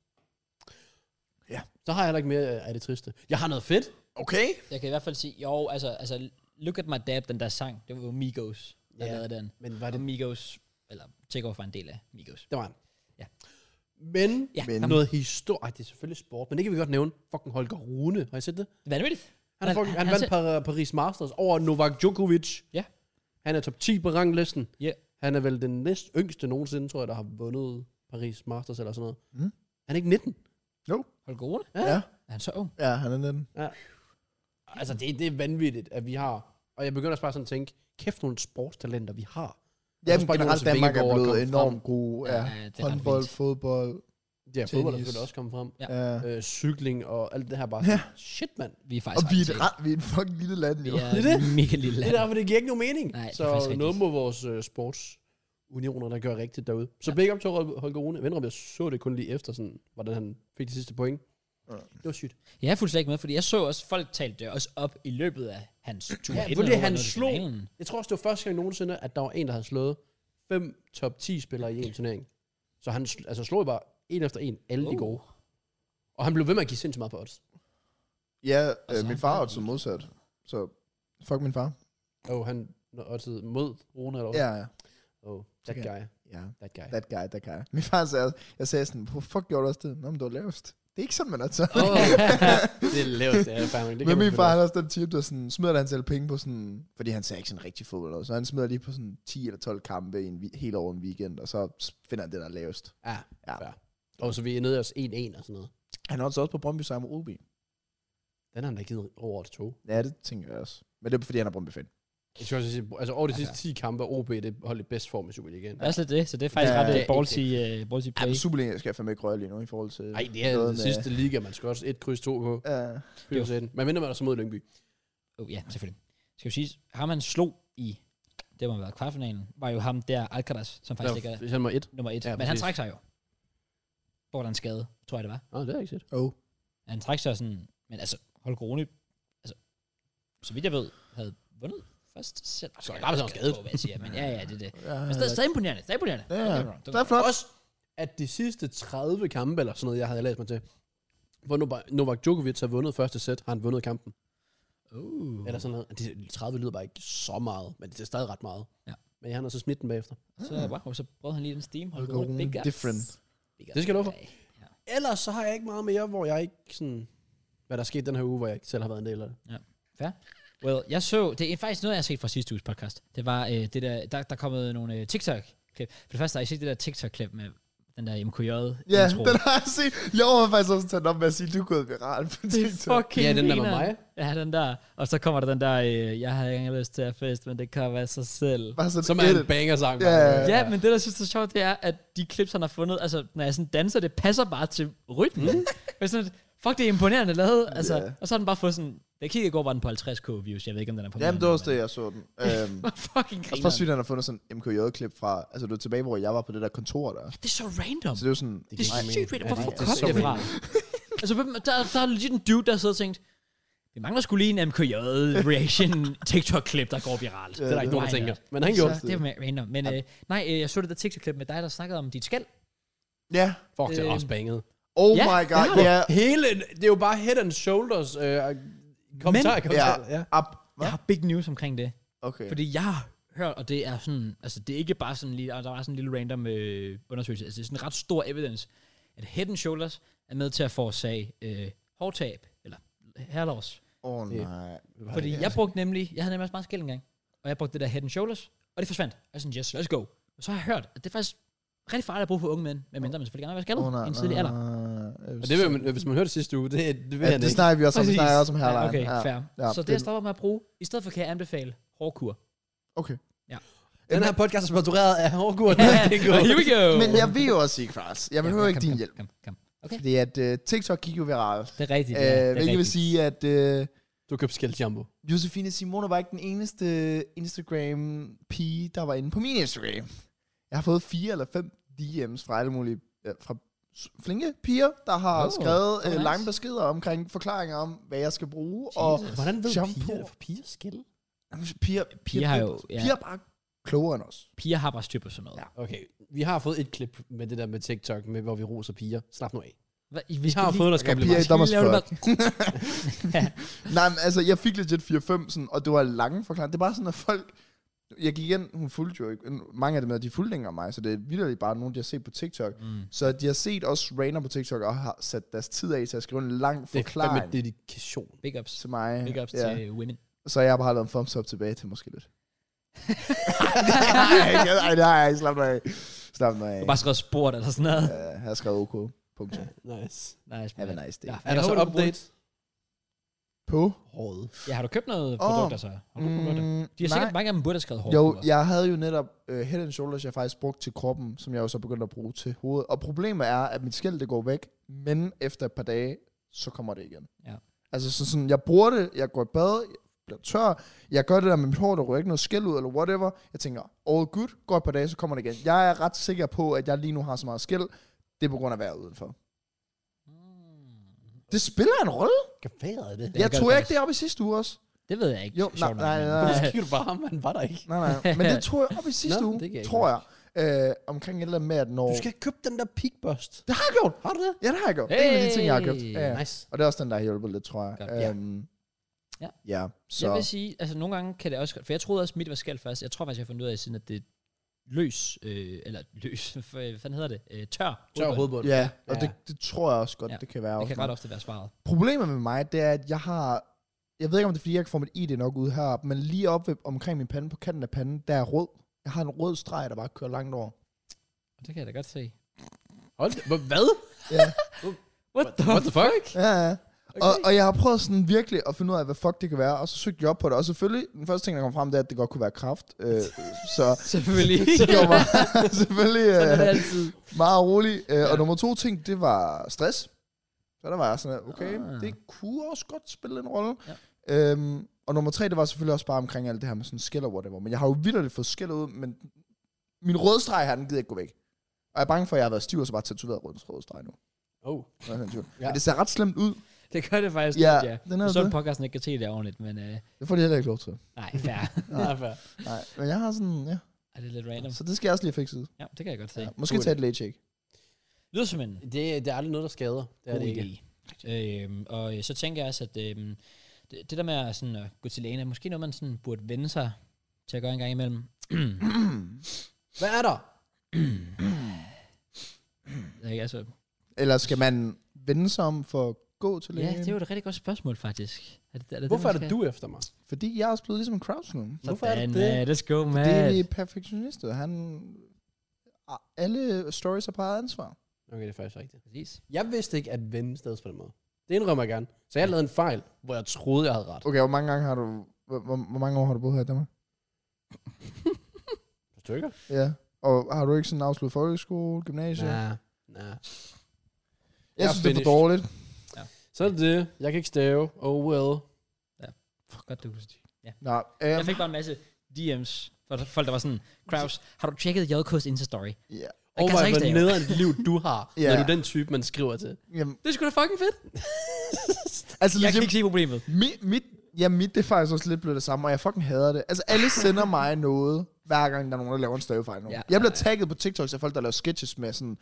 [SPEAKER 3] Ja.
[SPEAKER 2] Så har jeg heller ikke mere øh, af det triste. Jeg har noget fedt.
[SPEAKER 3] Okay.
[SPEAKER 1] Jeg kan i hvert fald sige, jo, altså, altså Look at my dad, den der sang, det var jo Migos, der
[SPEAKER 2] Ja.
[SPEAKER 1] lavede den.
[SPEAKER 2] Men var
[SPEAKER 1] Og
[SPEAKER 2] det...
[SPEAKER 1] det Migos, eller Takeoff var en del af Migos.
[SPEAKER 2] Det var han.
[SPEAKER 1] Ja.
[SPEAKER 2] Men,
[SPEAKER 1] Ja,
[SPEAKER 3] Men-
[SPEAKER 1] men.
[SPEAKER 2] noget historie. Ej, det er selvfølgelig sport, men det kan vi godt nævne. Fucking Holger Rune. Har I set det?
[SPEAKER 1] Vanvittigt. Han-
[SPEAKER 2] Han, han, fucking, han,
[SPEAKER 1] Altså, han-
[SPEAKER 2] han vandt Par- Paris Masters over Novak Djokovic.
[SPEAKER 1] Ja.
[SPEAKER 2] Han er top 10 på ranglisten.
[SPEAKER 1] Ja.
[SPEAKER 2] Han er vel den næst yngste nogensinde, tror jeg, der har vundet Paris Masters eller sådan noget.
[SPEAKER 3] Mm.
[SPEAKER 2] Han er ikke 19.
[SPEAKER 1] Hold gode.
[SPEAKER 3] Ja.
[SPEAKER 1] Er han så ung?
[SPEAKER 3] Ja, han er den.
[SPEAKER 2] Altså, det, det er vanvittigt, at vi har... Og jeg begynder også bare sådan at tænke, kæft nogle sportstalenter, vi har.
[SPEAKER 3] Ja,
[SPEAKER 2] så
[SPEAKER 3] men
[SPEAKER 2] bare
[SPEAKER 3] generelt
[SPEAKER 2] Josef
[SPEAKER 3] Danmark er
[SPEAKER 2] Vingegaard
[SPEAKER 3] blevet
[SPEAKER 2] kom
[SPEAKER 3] enormt gode. Ja,
[SPEAKER 1] det er ret
[SPEAKER 3] håndbold,
[SPEAKER 1] vildt.
[SPEAKER 3] fodbold.
[SPEAKER 2] Ja, fodbold er
[SPEAKER 3] Tennis.
[SPEAKER 2] selvfølgelig også kommet frem.
[SPEAKER 1] Ja.
[SPEAKER 3] Ja.
[SPEAKER 2] Øh, cykling og alt det her bare sådan, shit mand.
[SPEAKER 1] Vi er
[SPEAKER 3] Og
[SPEAKER 1] faktisk
[SPEAKER 3] vi er,
[SPEAKER 1] ret
[SPEAKER 3] et
[SPEAKER 1] tæt.
[SPEAKER 3] ret, vi er et fucking lille land,
[SPEAKER 1] Vi
[SPEAKER 3] jo.
[SPEAKER 1] er
[SPEAKER 2] Det er det.
[SPEAKER 1] mega lille
[SPEAKER 2] Det
[SPEAKER 1] land.
[SPEAKER 2] er derfor, det giver ikke nogen mening.
[SPEAKER 1] Nej, det er faktisk
[SPEAKER 2] så
[SPEAKER 1] rigtigt.
[SPEAKER 2] noget må vores øh, sportsunioner, der gør rigtigt derude. Så ja. big up til Hol- Holger Rune. Venner, jeg så det kun lige efter, sådan, hvordan han fik de sidste point.
[SPEAKER 3] Ja.
[SPEAKER 2] Det var sygt.
[SPEAKER 1] Jeg er fuldstændig med, fordi jeg så også, folk talte det også op i løbet af hans tur.
[SPEAKER 2] Ja,
[SPEAKER 1] Inden
[SPEAKER 2] fordi
[SPEAKER 1] overhovedet
[SPEAKER 2] han
[SPEAKER 1] nåede til
[SPEAKER 2] slog-
[SPEAKER 1] finalen.
[SPEAKER 2] Jeg tror også, det var første gang nogensinde, at der var en, der havde slået fem top 10 spillere i en turnering. Så han sl- altså, slog jo bare en efter en, alle oh. de
[SPEAKER 1] Oh.
[SPEAKER 2] gode. Og han blev ved med at give sindssygt meget på odds.
[SPEAKER 3] Ja, øh,
[SPEAKER 1] Altså,
[SPEAKER 3] min
[SPEAKER 1] han
[SPEAKER 3] far
[SPEAKER 1] er
[SPEAKER 3] er også modsat. Så fuck min far.
[SPEAKER 2] Og han nåede oddsede mod Rune eller
[SPEAKER 3] Ja, ja.
[SPEAKER 2] Oh, that
[SPEAKER 3] Okay.
[SPEAKER 2] guy.
[SPEAKER 3] Ja,
[SPEAKER 2] That guy.
[SPEAKER 3] that guy, that guy. Min far sagde, også- jeg sagde sådan, hvor fuck gjorde du også det? Nå, men du var lavest. Det er ikke sådan, man er så.
[SPEAKER 2] Oh, det er lavt, det er fandme. Det kan
[SPEAKER 3] Men
[SPEAKER 2] man
[SPEAKER 3] min
[SPEAKER 2] finde
[SPEAKER 3] far,
[SPEAKER 2] ud
[SPEAKER 3] han er også den type, der sådan, smider et antal penge på sådan, fordi han ser ikke sådan rigtig fodbold, og så han smider lige på sådan 10 eller 12 kampe i en, vi- helt over en weekend, og så s- finder han det, der er lavest.
[SPEAKER 2] af. Ja,
[SPEAKER 3] Ja.
[SPEAKER 2] fair. Og så vi er nede i os 1-1 og sådan noget.
[SPEAKER 3] Han er også også på Brøndby sammen med OB.
[SPEAKER 2] Den har han da givet over til to.
[SPEAKER 3] Ja, det tænker jeg også. Men det er fordi, han er Brøndby fan.
[SPEAKER 2] Jeg skal også sige, altså over de
[SPEAKER 1] Altså.
[SPEAKER 2] sidste 10 kampe, er OB det holdt i bedst form i Superligaen. Altså,
[SPEAKER 1] Det er også lidt det, så det er faktisk
[SPEAKER 3] Ja,
[SPEAKER 1] ja, ret
[SPEAKER 3] det
[SPEAKER 1] øh,
[SPEAKER 2] er
[SPEAKER 1] ballsy, uh, ballsy
[SPEAKER 3] Ja,
[SPEAKER 1] play.
[SPEAKER 3] men Superliga skal jeg fandme ikke røre lige nu i forhold til...
[SPEAKER 2] Nej, det er
[SPEAKER 3] noget
[SPEAKER 2] den
[SPEAKER 3] med-
[SPEAKER 2] sidste liga, man skal også et kryds to på.
[SPEAKER 3] Ja,
[SPEAKER 1] Det var-
[SPEAKER 2] Ja. Man minder man også mod Lyngby.
[SPEAKER 1] Oh, ja, selvfølgelig. Skal vi sige, ham han slog i, det må have været kvartfinalen, var jo ham der, Alcaraz, som faktisk ligger
[SPEAKER 2] Hvis han var et.
[SPEAKER 1] nummer et.
[SPEAKER 2] Ja,
[SPEAKER 1] Ja, men han
[SPEAKER 2] præcis.
[SPEAKER 1] trak sig jo. Hvor der en skade, tror jeg det var.
[SPEAKER 2] Nå, det har jeg ikke set.
[SPEAKER 3] oh.
[SPEAKER 1] Han trak sig sådan, men altså, hold Rune, altså, så vidt jeg ved, havde vundet først selv.
[SPEAKER 2] Så er der bare sådan skadet.
[SPEAKER 1] Hvad jeg siger, men ja, ja, det er det.
[SPEAKER 3] Ja,
[SPEAKER 1] Men stadig, stadig imponerende, stadig imponerende.
[SPEAKER 3] Øh, Ja,
[SPEAKER 1] Don't get me wrong, don't
[SPEAKER 3] det er
[SPEAKER 1] get me
[SPEAKER 3] flot.
[SPEAKER 2] Også at de sidste 30 kampe, eller sådan noget, jeg havde læst mig til, hvor Nova- Novak Djokovic har vundet første sæt, har han vundet kampen.
[SPEAKER 1] wrong.
[SPEAKER 2] Eller sådan noget. De 30 lyder bare ikke så meget, men det er stadig ret meget.
[SPEAKER 1] Ja.
[SPEAKER 2] Men han har så smidt den bagefter.
[SPEAKER 1] Så, wow, så brød han lige den steam. Hold
[SPEAKER 3] Holger
[SPEAKER 1] Rune,
[SPEAKER 3] Rune,
[SPEAKER 1] big ups.
[SPEAKER 3] different.
[SPEAKER 1] Big
[SPEAKER 2] Det skal du
[SPEAKER 1] ups.
[SPEAKER 2] for. Ellers så har jeg ikke meget mere, hvor jeg ikke sådan... Hvad der er sket den her uge, hvor jeg ikke selv har været en del af det.
[SPEAKER 1] Well, jeg så, det er faktisk noget, jeg har set fra sidste uges podcast. Det var øh, det der, der, der kommet nogle øh, TikTok-klip. For det første har jeg set det der TikTok-klip med den der MKJ.
[SPEAKER 3] Ja, den har jeg set. Jeg var faktisk også taget den op med at sige, du er gået viral på TikTok.
[SPEAKER 1] fucking
[SPEAKER 2] Ja, den der med
[SPEAKER 1] grineren.
[SPEAKER 2] mig.
[SPEAKER 1] Ja, den der. Og så kommer der den der, øh, jeg havde ikke engang lyst til at fest, men det kan være sig selv.
[SPEAKER 3] Bare sådan
[SPEAKER 2] Som er en
[SPEAKER 3] edit.
[SPEAKER 2] banger-sang.
[SPEAKER 3] Ja, ja,
[SPEAKER 1] Ja, men det, der jeg synes er sjovt, det er, at de klips, han har fundet, altså, når jeg sådan danser, det passer bare til rytmen. Mm. Men sådan, fuck, det er imponerende lavet. Altså,
[SPEAKER 3] Ja.
[SPEAKER 1] Og så har den bare fået sådan, jeg kiggede i går, var den på 50k views. Jeg ved ikke, om den er på mere
[SPEAKER 3] Jamen,
[SPEAKER 1] end
[SPEAKER 3] det var også
[SPEAKER 1] men-
[SPEAKER 3] det, jeg så den. Øhm,
[SPEAKER 1] Hvor fucking
[SPEAKER 3] og så
[SPEAKER 1] griner.
[SPEAKER 3] sygt, at han har fundet sådan en MKJ-klip fra, altså du er tilbage, hvor jeg var på det der kontor der.
[SPEAKER 1] Det er så random.
[SPEAKER 3] Så det er jo sådan,
[SPEAKER 1] Det er
[SPEAKER 2] Nej,
[SPEAKER 1] sygt
[SPEAKER 2] men-
[SPEAKER 1] random. Hvorfor
[SPEAKER 2] Ja,
[SPEAKER 1] kom
[SPEAKER 2] det er
[SPEAKER 1] det
[SPEAKER 2] så
[SPEAKER 1] fra? altså, hvem, der, der er legit en dude, der sidder og tænkt, vi mangler skulle lige en MKJ reaction TikTok-klip, der går viralt.
[SPEAKER 3] Ja,
[SPEAKER 2] Det er der ikke nogen, der
[SPEAKER 1] Why
[SPEAKER 2] tænker.
[SPEAKER 1] not?
[SPEAKER 2] Men han gjorde
[SPEAKER 1] Så
[SPEAKER 2] det.
[SPEAKER 1] det er mere random. Men øh, nej, øh, jeg så det der TikTok-klip med dig, der snakkede om dit skæld.
[SPEAKER 3] ja.
[SPEAKER 2] Fuck, det er
[SPEAKER 1] Øh,
[SPEAKER 2] også banget.
[SPEAKER 3] Oh
[SPEAKER 1] Ja,
[SPEAKER 3] my god,
[SPEAKER 1] det har
[SPEAKER 3] ja.
[SPEAKER 2] Hele, det er jo bare head and shoulders. Øh, kommentar,
[SPEAKER 3] Ja,
[SPEAKER 2] kommentar. Ja.
[SPEAKER 3] up. Hva?
[SPEAKER 1] Jeg har big news omkring det.
[SPEAKER 3] Okay.
[SPEAKER 1] Fordi jeg har hørt, og det er sådan, altså det er ikke bare sådan lige, og der var sådan en lille random øh, undersøgelse, altså det er sådan ret stor evidence, at Head and Shoulders er med til at forårsage øh, hårtab, eller hairloss.
[SPEAKER 3] Åh oh,
[SPEAKER 2] Det- altså?
[SPEAKER 3] nej.
[SPEAKER 1] Fordi jeg brugte nemlig, jeg havde nemlig også meget skæld engang, og jeg brugte det der Head and Shoulders, og det forsvandt. Jeg er sådan, yes, let's go. Og så har jeg hørt, at det er faktisk rigtig farligt at bruge for unge mænd, medmindre man selvfølgelig gerne vil være skaldet
[SPEAKER 3] Åh, nej,
[SPEAKER 1] i en tidlig alder.
[SPEAKER 2] Og det vil man, hvis man hørte sidste uge, det, det vil
[SPEAKER 3] Ja,
[SPEAKER 2] han
[SPEAKER 3] det
[SPEAKER 2] ikke.
[SPEAKER 3] snakker vi også om. Vi
[SPEAKER 1] Præcis.
[SPEAKER 3] snakker også om
[SPEAKER 1] Ja,
[SPEAKER 3] hairline.
[SPEAKER 1] okay,
[SPEAKER 3] ja.
[SPEAKER 1] fair.
[SPEAKER 3] Ja,
[SPEAKER 1] så det,
[SPEAKER 3] det-
[SPEAKER 1] jeg stopper med at bruge, i stedet for kan jeg anbefale hårdkur.
[SPEAKER 3] Okay.
[SPEAKER 2] Den her podcast er sponsoreret af Hårdgurten.
[SPEAKER 1] Here we go!
[SPEAKER 3] Men jeg ved jo også ikke, Kras. Jeg
[SPEAKER 1] Ja,
[SPEAKER 3] behøver
[SPEAKER 1] ja,
[SPEAKER 3] ikke
[SPEAKER 1] kom,
[SPEAKER 3] din
[SPEAKER 1] kom,
[SPEAKER 3] hjælp.
[SPEAKER 1] Kom, kom. Okay,
[SPEAKER 3] Fordi at øh, TikTok gik jo viralt.
[SPEAKER 1] det er rigtigt. ja, det
[SPEAKER 3] Øh,
[SPEAKER 1] er
[SPEAKER 3] Hvilket vil
[SPEAKER 1] rigtigt.
[SPEAKER 3] sige, at øh,
[SPEAKER 2] Du købte skæld jumbo.
[SPEAKER 3] Josefine Simone var ikke den eneste Instagram-pige, der var inde på min Instagram. Jeg har fået fire eller fem DM's fra alle mulige, øh, fra s- flinke piger, der har
[SPEAKER 1] Oh,
[SPEAKER 3] oh, skrevet
[SPEAKER 1] oh,
[SPEAKER 3] øh,
[SPEAKER 1] nice.
[SPEAKER 3] lange beskeder omkring forklaringer om, hvad jeg skal bruge. Og
[SPEAKER 2] Hvordan ved
[SPEAKER 3] shampoo.
[SPEAKER 2] piger, for piger skille?
[SPEAKER 3] Jamen, piger, piger,
[SPEAKER 1] Piger har jo- ja.
[SPEAKER 3] piger er bare klogere end os.
[SPEAKER 1] Piger har bare styr på sådan noget. Ja.
[SPEAKER 2] Ja, okay. Vi har fået et klip med det der med TikTok, med, hvor vi roser piger. Slap nu af.
[SPEAKER 1] Hva, I,
[SPEAKER 2] Vi
[SPEAKER 1] vi
[SPEAKER 2] har fået deres
[SPEAKER 3] Ja, piger er
[SPEAKER 2] kompliment.
[SPEAKER 3] i dommers
[SPEAKER 1] Skal vi lave
[SPEAKER 3] fuck. Nej, men altså, jeg fik legit 4-5, sådan, og det var lange forklaringer. Det er bare sådan, at folk... Jeg gik igen, hun fulgte jo ikke. Mange af dem, der, de fulgte ikke engang mig, så det er vildt bare nogen, de har set på TikTok.
[SPEAKER 1] Mm.
[SPEAKER 3] Så de har set os random på TikTok og har sat deres tid af til at skrive en lang
[SPEAKER 2] Det er fandme
[SPEAKER 3] forklaring det,
[SPEAKER 2] dedikation.
[SPEAKER 1] Big ups.
[SPEAKER 3] til mig.
[SPEAKER 1] Big ups ja. til women.
[SPEAKER 3] Så jeg har bare lavet en thumbs up tilbage til måske lidt. nej, ikke. Ej, det har jeg ikke. Slap mig af. Slap mig
[SPEAKER 1] Du
[SPEAKER 3] af.
[SPEAKER 1] har bare skrevet sport eller sådan noget.
[SPEAKER 3] Ja, jeg har skrevet OK. Punktum.
[SPEAKER 2] Nice.
[SPEAKER 1] Nice,
[SPEAKER 3] Have
[SPEAKER 1] man.
[SPEAKER 3] a nice day.
[SPEAKER 1] Ja,
[SPEAKER 2] Er der så update?
[SPEAKER 3] På?
[SPEAKER 2] Håret.
[SPEAKER 1] Ja, har du købt noget produkter så? Har du købt produkter?
[SPEAKER 3] Mm,
[SPEAKER 1] De har sikkert mange af dem burde have skrevet hårdt.
[SPEAKER 3] Jo, jeg havde jo netop uh, head and shoulders, jeg faktisk brugte til kroppen, som jeg jo så begyndte at bruge til hovedet. Og problemet er, at mit skæld det går væk, men efter et par dage, så kommer det igen.
[SPEAKER 1] Ja.
[SPEAKER 3] Altså så sådan, jeg bruger det, jeg går i bad, jeg bliver tør, jeg gør det der med mit hår, der ryger ikke noget skæld ud, eller whatever. Jeg tænker, all good, går et par dage, så kommer det igen. Jeg er ret sikker på, at jeg lige nu har så meget skæld, det er på grund af vejret udenfor. Hmm. Det spiller en rolle.
[SPEAKER 2] Kan vejret det?
[SPEAKER 1] det
[SPEAKER 3] Jeg
[SPEAKER 1] gør
[SPEAKER 3] tog
[SPEAKER 1] det
[SPEAKER 3] ikke det op i sidste uge også.
[SPEAKER 1] Det ved jeg ikke.
[SPEAKER 3] Jo,
[SPEAKER 1] sjovt
[SPEAKER 3] nej, nej,
[SPEAKER 1] nok, men-
[SPEAKER 3] nej.
[SPEAKER 2] Hvorfor kigger du bare ham? Han var der ikke.
[SPEAKER 3] Nej, nej. Men det tog jeg op i sidste
[SPEAKER 2] Nå,
[SPEAKER 3] uge,
[SPEAKER 2] det kan jeg ikke
[SPEAKER 3] tror jeg. Øh, omkring et eller andet med, at når...
[SPEAKER 2] Du skal købe den der peakbust.
[SPEAKER 3] Det har jeg gjort.
[SPEAKER 2] Har du det?
[SPEAKER 3] Ja, det har jeg gjort. Hey. Det er en af de ting, jeg har købt. Ja, ja.
[SPEAKER 2] Nice.
[SPEAKER 3] Og det er også den, der har hjulpet lidt, tror jeg.
[SPEAKER 1] Godt, ja.
[SPEAKER 3] Øhm,
[SPEAKER 1] Ja.
[SPEAKER 3] ja,
[SPEAKER 1] Så.
[SPEAKER 3] så...
[SPEAKER 1] Jeg vil sige, altså nogle gange kan det også... For jeg troede også, mit var skæld først. Jeg tror faktisk, jeg har fundet ud af siden, at det er løs... Øh, eller løs... Hvad fanden hedder det? Øh, tør.
[SPEAKER 2] Tør
[SPEAKER 1] hovedbund.
[SPEAKER 2] hovedbund.
[SPEAKER 3] Ja, og
[SPEAKER 2] Ja.
[SPEAKER 3] det, det tror jeg også godt,
[SPEAKER 1] Ja,
[SPEAKER 3] ja. det kan være.
[SPEAKER 1] Det kan
[SPEAKER 3] også
[SPEAKER 1] ret
[SPEAKER 3] noget.
[SPEAKER 1] ofte være svaret.
[SPEAKER 3] Problemet med mig, det er, at jeg har... Jeg ved ikke, om det er, fordi jeg ikke får mit ID nok ud heroppe, men lige oppe ved- omkring min pande, på kanten af panden, der er rød. Jeg har en rød streg, der bare kører langt over.
[SPEAKER 1] Og det kan jeg da godt se.
[SPEAKER 2] Hold da- Hva- Hvad?
[SPEAKER 1] What the,
[SPEAKER 2] What the fuck?
[SPEAKER 3] Ja, ja. Okay. Og, og jeg har prøvet sådan virkelig at finde ud af, hvad fuck det kan være, og så søgte jeg op på det. Og selvfølgelig, den første ting, der kom frem, det er, at det godt kunne være kraft. Øh, så
[SPEAKER 1] Selvfølgelig.
[SPEAKER 3] det gjorde mig selvfølgelig
[SPEAKER 1] Sådan er det
[SPEAKER 3] øh,
[SPEAKER 1] altid.
[SPEAKER 3] meget rolig. Øh, ja.
[SPEAKER 1] Ja.
[SPEAKER 3] Og nummer to ting, det var stress. Så der var jeg sådan, at okay,
[SPEAKER 1] Ah.
[SPEAKER 3] ah. det kunne også godt spille en rolle.
[SPEAKER 1] Ja.
[SPEAKER 3] Ja. Øhm, og nummer tre, det var selvfølgelig også bare omkring alt det her med sådan skæld og whatever. Men jeg har jo vildt fået skæld ud, men min røde streg her, den gider ikke gå væk. Og jeg er bange for, at jeg har været stiv, og så bare tatoveret rød røde streg nu.
[SPEAKER 2] Oh.
[SPEAKER 3] Når jeg er sådan i tvivl.
[SPEAKER 2] Ja.
[SPEAKER 3] Men det ser ret slemt ud.
[SPEAKER 1] Det gør det faktisk
[SPEAKER 3] Ja,
[SPEAKER 1] ja, lidt, ja.
[SPEAKER 3] den er
[SPEAKER 1] Så
[SPEAKER 3] det.
[SPEAKER 1] er podcasten ikke kan se det ordentligt, men øh,
[SPEAKER 3] Det får de heller ikke lov til.
[SPEAKER 1] nej, fair.
[SPEAKER 2] Ja, fair.
[SPEAKER 3] Nej, men jeg har sådan, ja.
[SPEAKER 1] er det er lidt random?
[SPEAKER 3] Så det skal jeg også lige have fikset.
[SPEAKER 1] Ja, det kan jeg godt se.
[SPEAKER 3] Ja, måske
[SPEAKER 2] god
[SPEAKER 3] tage et læge check.
[SPEAKER 1] Lyder som en
[SPEAKER 2] Det, det er aldrig noget, der skader. Det er
[SPEAKER 1] god
[SPEAKER 2] det ikke.
[SPEAKER 1] idé. Øhm, og øh, så tænker jeg også, at øhm, det, det der med at, sådan, at gå til lægen, er måske noget, man sådan burde vende sig til at gøre en gang imellem.
[SPEAKER 2] Hvad er der?
[SPEAKER 1] Ikke? Altså,
[SPEAKER 3] Eller skal man vende sig om for at gå til
[SPEAKER 1] ja,
[SPEAKER 3] lægen?
[SPEAKER 1] det er jo et rigtig godt spørgsmål, faktisk. Er det, er det
[SPEAKER 2] Hvorfor er
[SPEAKER 1] man
[SPEAKER 2] det
[SPEAKER 1] skal-
[SPEAKER 2] du efter mig?
[SPEAKER 3] Fordi jeg er også blevet ligesom en Kraus nu.
[SPEAKER 2] Hvorfor er det
[SPEAKER 1] Sådan,
[SPEAKER 2] det?
[SPEAKER 1] øh, Let's go, man.
[SPEAKER 3] Det er lige perfektionister. Han... Alle stories er på eget ansvar.
[SPEAKER 2] Okay, det er faktisk rigtigt.
[SPEAKER 1] Præcis.
[SPEAKER 2] Jeg vidste ikke, at vende stadig på den måde. Det indrømmer jeg gerne. Så jeg lavede en fejl, hvor jeg troede, jeg havde ret.
[SPEAKER 3] Okay, hvor mange gange har du... Hvor, hvor- hvor mange år har du boet her i Danmark?
[SPEAKER 2] Stykker?
[SPEAKER 3] Ja. Og har du ikke sådan afsluttet folkeskole, gymnasium?
[SPEAKER 2] Nej. Nej.
[SPEAKER 3] jeg
[SPEAKER 2] jeg
[SPEAKER 3] synes, det er for
[SPEAKER 2] finished.
[SPEAKER 3] dårligt.
[SPEAKER 2] Så er det det. Jeg kan ikke stave. Oh well.
[SPEAKER 1] Godt, du kunne
[SPEAKER 3] Nej. Um,
[SPEAKER 1] Jeg fik bare en masse DM's fra folk, der var sådan, Kraus, har du tjekket JK's Insta-story?
[SPEAKER 3] ja.
[SPEAKER 2] Og
[SPEAKER 1] kan så ikke
[SPEAKER 2] hvor
[SPEAKER 1] stave.
[SPEAKER 2] nederen liv du har,
[SPEAKER 3] Ja.
[SPEAKER 2] når du er den type, man skriver til.
[SPEAKER 3] Jamen,
[SPEAKER 1] Det skulle sgu da fucking fedt.
[SPEAKER 3] altså,
[SPEAKER 1] Jeg kan
[SPEAKER 3] legit-
[SPEAKER 1] ikke se problemet.
[SPEAKER 3] Mit, mit, ja, mit det er faktisk også lidt blevet det samme, og jeg fucking hader det. Altså, alle sender mig noget, hver gang der er nogen, der laver en stavefejl.
[SPEAKER 1] Ja.
[SPEAKER 3] Ja, jeg bliver tagget på TikTok af folk, der laver sketches med sådan,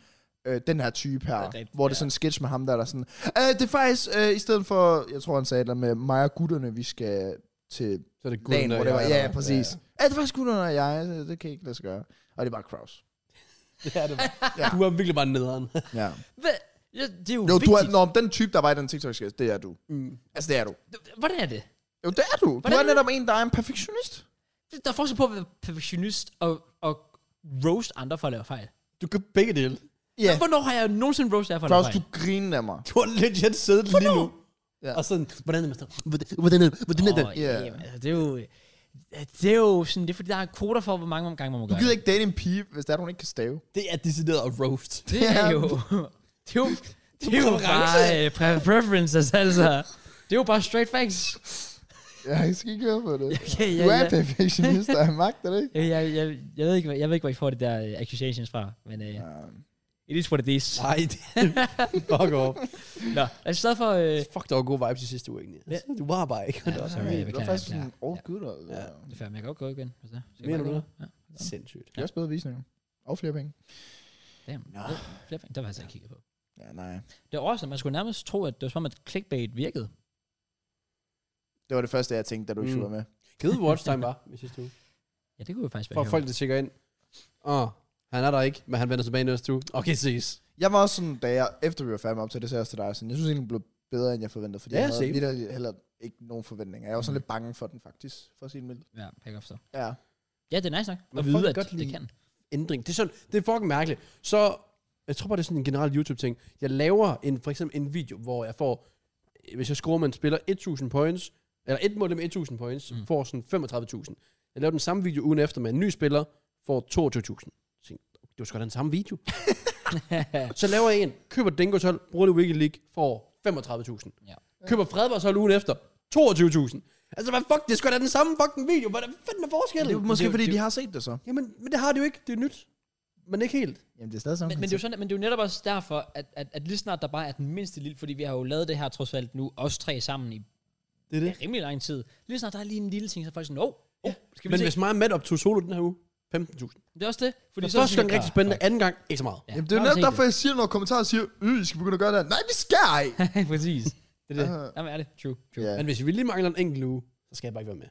[SPEAKER 3] øh, den her type her,
[SPEAKER 1] Det er rigtigt,
[SPEAKER 3] hvor det
[SPEAKER 1] ja.
[SPEAKER 3] er sådan en sketch med ham, der der er sådan, øh, det er faktisk, øh, i stedet for, jeg tror han sagde et eller andet med mig og gutterne, vi skal til
[SPEAKER 2] Så er det
[SPEAKER 3] dagen,
[SPEAKER 2] og
[SPEAKER 3] hvor det var,
[SPEAKER 2] jeg,
[SPEAKER 3] ja,
[SPEAKER 2] der-
[SPEAKER 3] ja, præcis. Ja, ja. Er det er faktisk gutterne og jeg, det, det kan ikke lade sig gøre. Og det er bare Kraus.
[SPEAKER 2] Ja, det er det. Du er virkelig bare nederen.
[SPEAKER 3] Ja.
[SPEAKER 1] Hvad? Ja, det er jo,
[SPEAKER 3] Jo,
[SPEAKER 1] vigtigt.
[SPEAKER 3] du er, nå, men den type, der var i den TikTok-sketch, det er du.
[SPEAKER 2] Mm.
[SPEAKER 3] Altså, det er du.
[SPEAKER 1] Hvordan er det?
[SPEAKER 3] Jo, det er du. Du
[SPEAKER 1] Hvordan-
[SPEAKER 3] er netop en, der er en perfektionist.
[SPEAKER 1] Der er forskel på at være perfektionist og, og roast andre for at lave fejl.
[SPEAKER 2] Du kan begge dele.
[SPEAKER 3] Ja.
[SPEAKER 1] Hvornår har jeg nogensinde roast jer for at lave
[SPEAKER 3] Kraus,
[SPEAKER 1] fejl?
[SPEAKER 3] du griner af mig.
[SPEAKER 2] Du har legit siddet lige nu.
[SPEAKER 3] Ja.
[SPEAKER 2] Og sådan, hvordan er man sådan, hvordan, hvordan, er- hvordan er den?
[SPEAKER 1] Åh,
[SPEAKER 3] Ja.
[SPEAKER 1] jamen, altså, det er jo... Det er jo sådan, det er fordi, der er kvoter for, hvor mange gange man må
[SPEAKER 3] Du
[SPEAKER 1] gøre
[SPEAKER 3] gider
[SPEAKER 1] det.
[SPEAKER 3] ikke date en pige, hvis det er, hun ikke kan stave.
[SPEAKER 2] Det er decideret at roast.
[SPEAKER 1] Det er
[SPEAKER 3] Ja.
[SPEAKER 1] jo... Det er jo, det er jo
[SPEAKER 2] Præference.
[SPEAKER 1] bare øh, pre- preferences, altså. Det er jo bare straight facts.
[SPEAKER 3] Jeg skal ikke høre på det.
[SPEAKER 1] Ja, ja,
[SPEAKER 3] Du er
[SPEAKER 1] ja.
[SPEAKER 3] en perfektionist, og jeg magter det ikke.
[SPEAKER 1] Jeg, jeg, jeg, jeg, ved ikke, hvad- jeg ved ikke, hvor I får det der øh, accusations fra, men øh, It is what it is.
[SPEAKER 2] Nej, det fuck off.
[SPEAKER 1] Nå, jeg er så glad for... Øh,
[SPEAKER 2] Fuck, der var gode vibes i sidste uge, egentlig. Altså, Du var bare ikke.
[SPEAKER 1] ja, sorry, jeg
[SPEAKER 3] det var
[SPEAKER 1] beklager,
[SPEAKER 3] faktisk
[SPEAKER 1] jeg
[SPEAKER 3] sådan
[SPEAKER 1] beklager.
[SPEAKER 3] all
[SPEAKER 1] Ja,
[SPEAKER 3] good. altså. Og,
[SPEAKER 2] Ja.
[SPEAKER 3] ja.
[SPEAKER 1] det er fair, men jeg kan godt gå igen, hvis det er. Så kan jeg
[SPEAKER 2] Mener du
[SPEAKER 1] bare
[SPEAKER 2] det?
[SPEAKER 1] gå. Ja.
[SPEAKER 2] Sindssygt.
[SPEAKER 3] Det er også bedre visninger. Og flere penge.
[SPEAKER 1] Damn.
[SPEAKER 2] Nå.
[SPEAKER 1] Flere penge. Der var jeg altså ikke kigget på.
[SPEAKER 3] Ja, nej.
[SPEAKER 1] Det var også, man skulle nærmest tro, at det var som om, at clickbait virkede.
[SPEAKER 3] Det var det første, jeg tænkte, da du ikke
[SPEAKER 2] Mm.
[SPEAKER 3] skulle være med.
[SPEAKER 2] Givet watch time var i sidste uge.
[SPEAKER 1] Ja, det kunne jo faktisk være
[SPEAKER 2] For
[SPEAKER 1] sjovt.
[SPEAKER 2] folk, der tjekker ind. Åh, oh, han er der ikke, men han vender tilbage næste uge. Okay, ses.
[SPEAKER 3] Jeg var også sådan, da jeg, efter vi var færdige med op til det, sagde jeg også til dig, sådan, jeg synes egentlig, den blev bedre, end jeg forventede, fordi
[SPEAKER 2] Ja,
[SPEAKER 3] jeg havde
[SPEAKER 2] same.
[SPEAKER 3] vidt heller ikke nogen forventninger. Jeg var sådan
[SPEAKER 1] Mm.
[SPEAKER 3] lidt bange for den, faktisk, for at sige det mildt.
[SPEAKER 1] Ja, jeg kan godt forstå.
[SPEAKER 3] Ja.
[SPEAKER 1] Ja, det er nice nok.
[SPEAKER 2] Men
[SPEAKER 1] At
[SPEAKER 2] folk
[SPEAKER 1] vide,
[SPEAKER 2] kan
[SPEAKER 1] at
[SPEAKER 2] godt
[SPEAKER 1] det
[SPEAKER 2] lide-
[SPEAKER 1] kan.
[SPEAKER 2] ændring. Det er, sådan, det er fucking mærkeligt. Så, jeg tror bare, det er sådan en generel YouTube-ting. Jeg laver en, for eksempel en video, hvor jeg får, hvis jeg scorer med en spiller 1000 points, eller et mål med 1000 points,
[SPEAKER 1] Mm.
[SPEAKER 2] mm. får sådan 35.000. Jeg laver den samme video ugen efter med en ny spiller, får 22.000. Jeg tænkte, Det var sgu da den samme video. Så laver jeg en, køber Dingos hold, bruger det i Weekend League, får 35.000.
[SPEAKER 1] Ja.
[SPEAKER 2] Ja. Køber Fredbergs hold ugen efter, 22.000. Altså, hvad fuck, det er sgu da den samme fucking video. Hvad er fanden er forskellen?
[SPEAKER 3] Det er måske,
[SPEAKER 1] det er jo-
[SPEAKER 3] fordi
[SPEAKER 1] det er
[SPEAKER 3] de har set det så.
[SPEAKER 2] Jamen, men det har det jo ikke. Det er nyt. Men ikke helt.
[SPEAKER 3] Jamen, det er stadig sådan.
[SPEAKER 1] Men, men, det er jo sådan, men det er jo netop også derfor, at, at, at lige snart der bare er den mindste lille, fordi vi har jo lavet det her trods alt nu, os tre sammen i
[SPEAKER 2] Det er
[SPEAKER 1] ja, rimelig lang tid. Lige snart der er lige en lille ting, så er folk sådan, åh, oh, oh, skal vi
[SPEAKER 2] Men
[SPEAKER 1] se?
[SPEAKER 2] hvis mig og Matt optog solo den her uge, 15.000.
[SPEAKER 1] Det er også det. Fordi
[SPEAKER 2] Det
[SPEAKER 1] er det
[SPEAKER 2] er første
[SPEAKER 1] sådan,
[SPEAKER 2] gang rigtig spændende, anden gang ikke så meget.
[SPEAKER 1] Ja,
[SPEAKER 3] Jamen, det er jo
[SPEAKER 1] der
[SPEAKER 3] netop
[SPEAKER 1] set
[SPEAKER 3] derfor, jeg siger nogle kommentarer og siger, øh, I skal begynde at gøre det her." Nej, vi skal ej!
[SPEAKER 1] det. Præcis.
[SPEAKER 2] Det er det.
[SPEAKER 3] Øh,
[SPEAKER 1] Jamen er det. True. True.
[SPEAKER 3] ja.
[SPEAKER 2] Men hvis vi lige mangler en enkelt uge, så skal jeg bare ikke være med.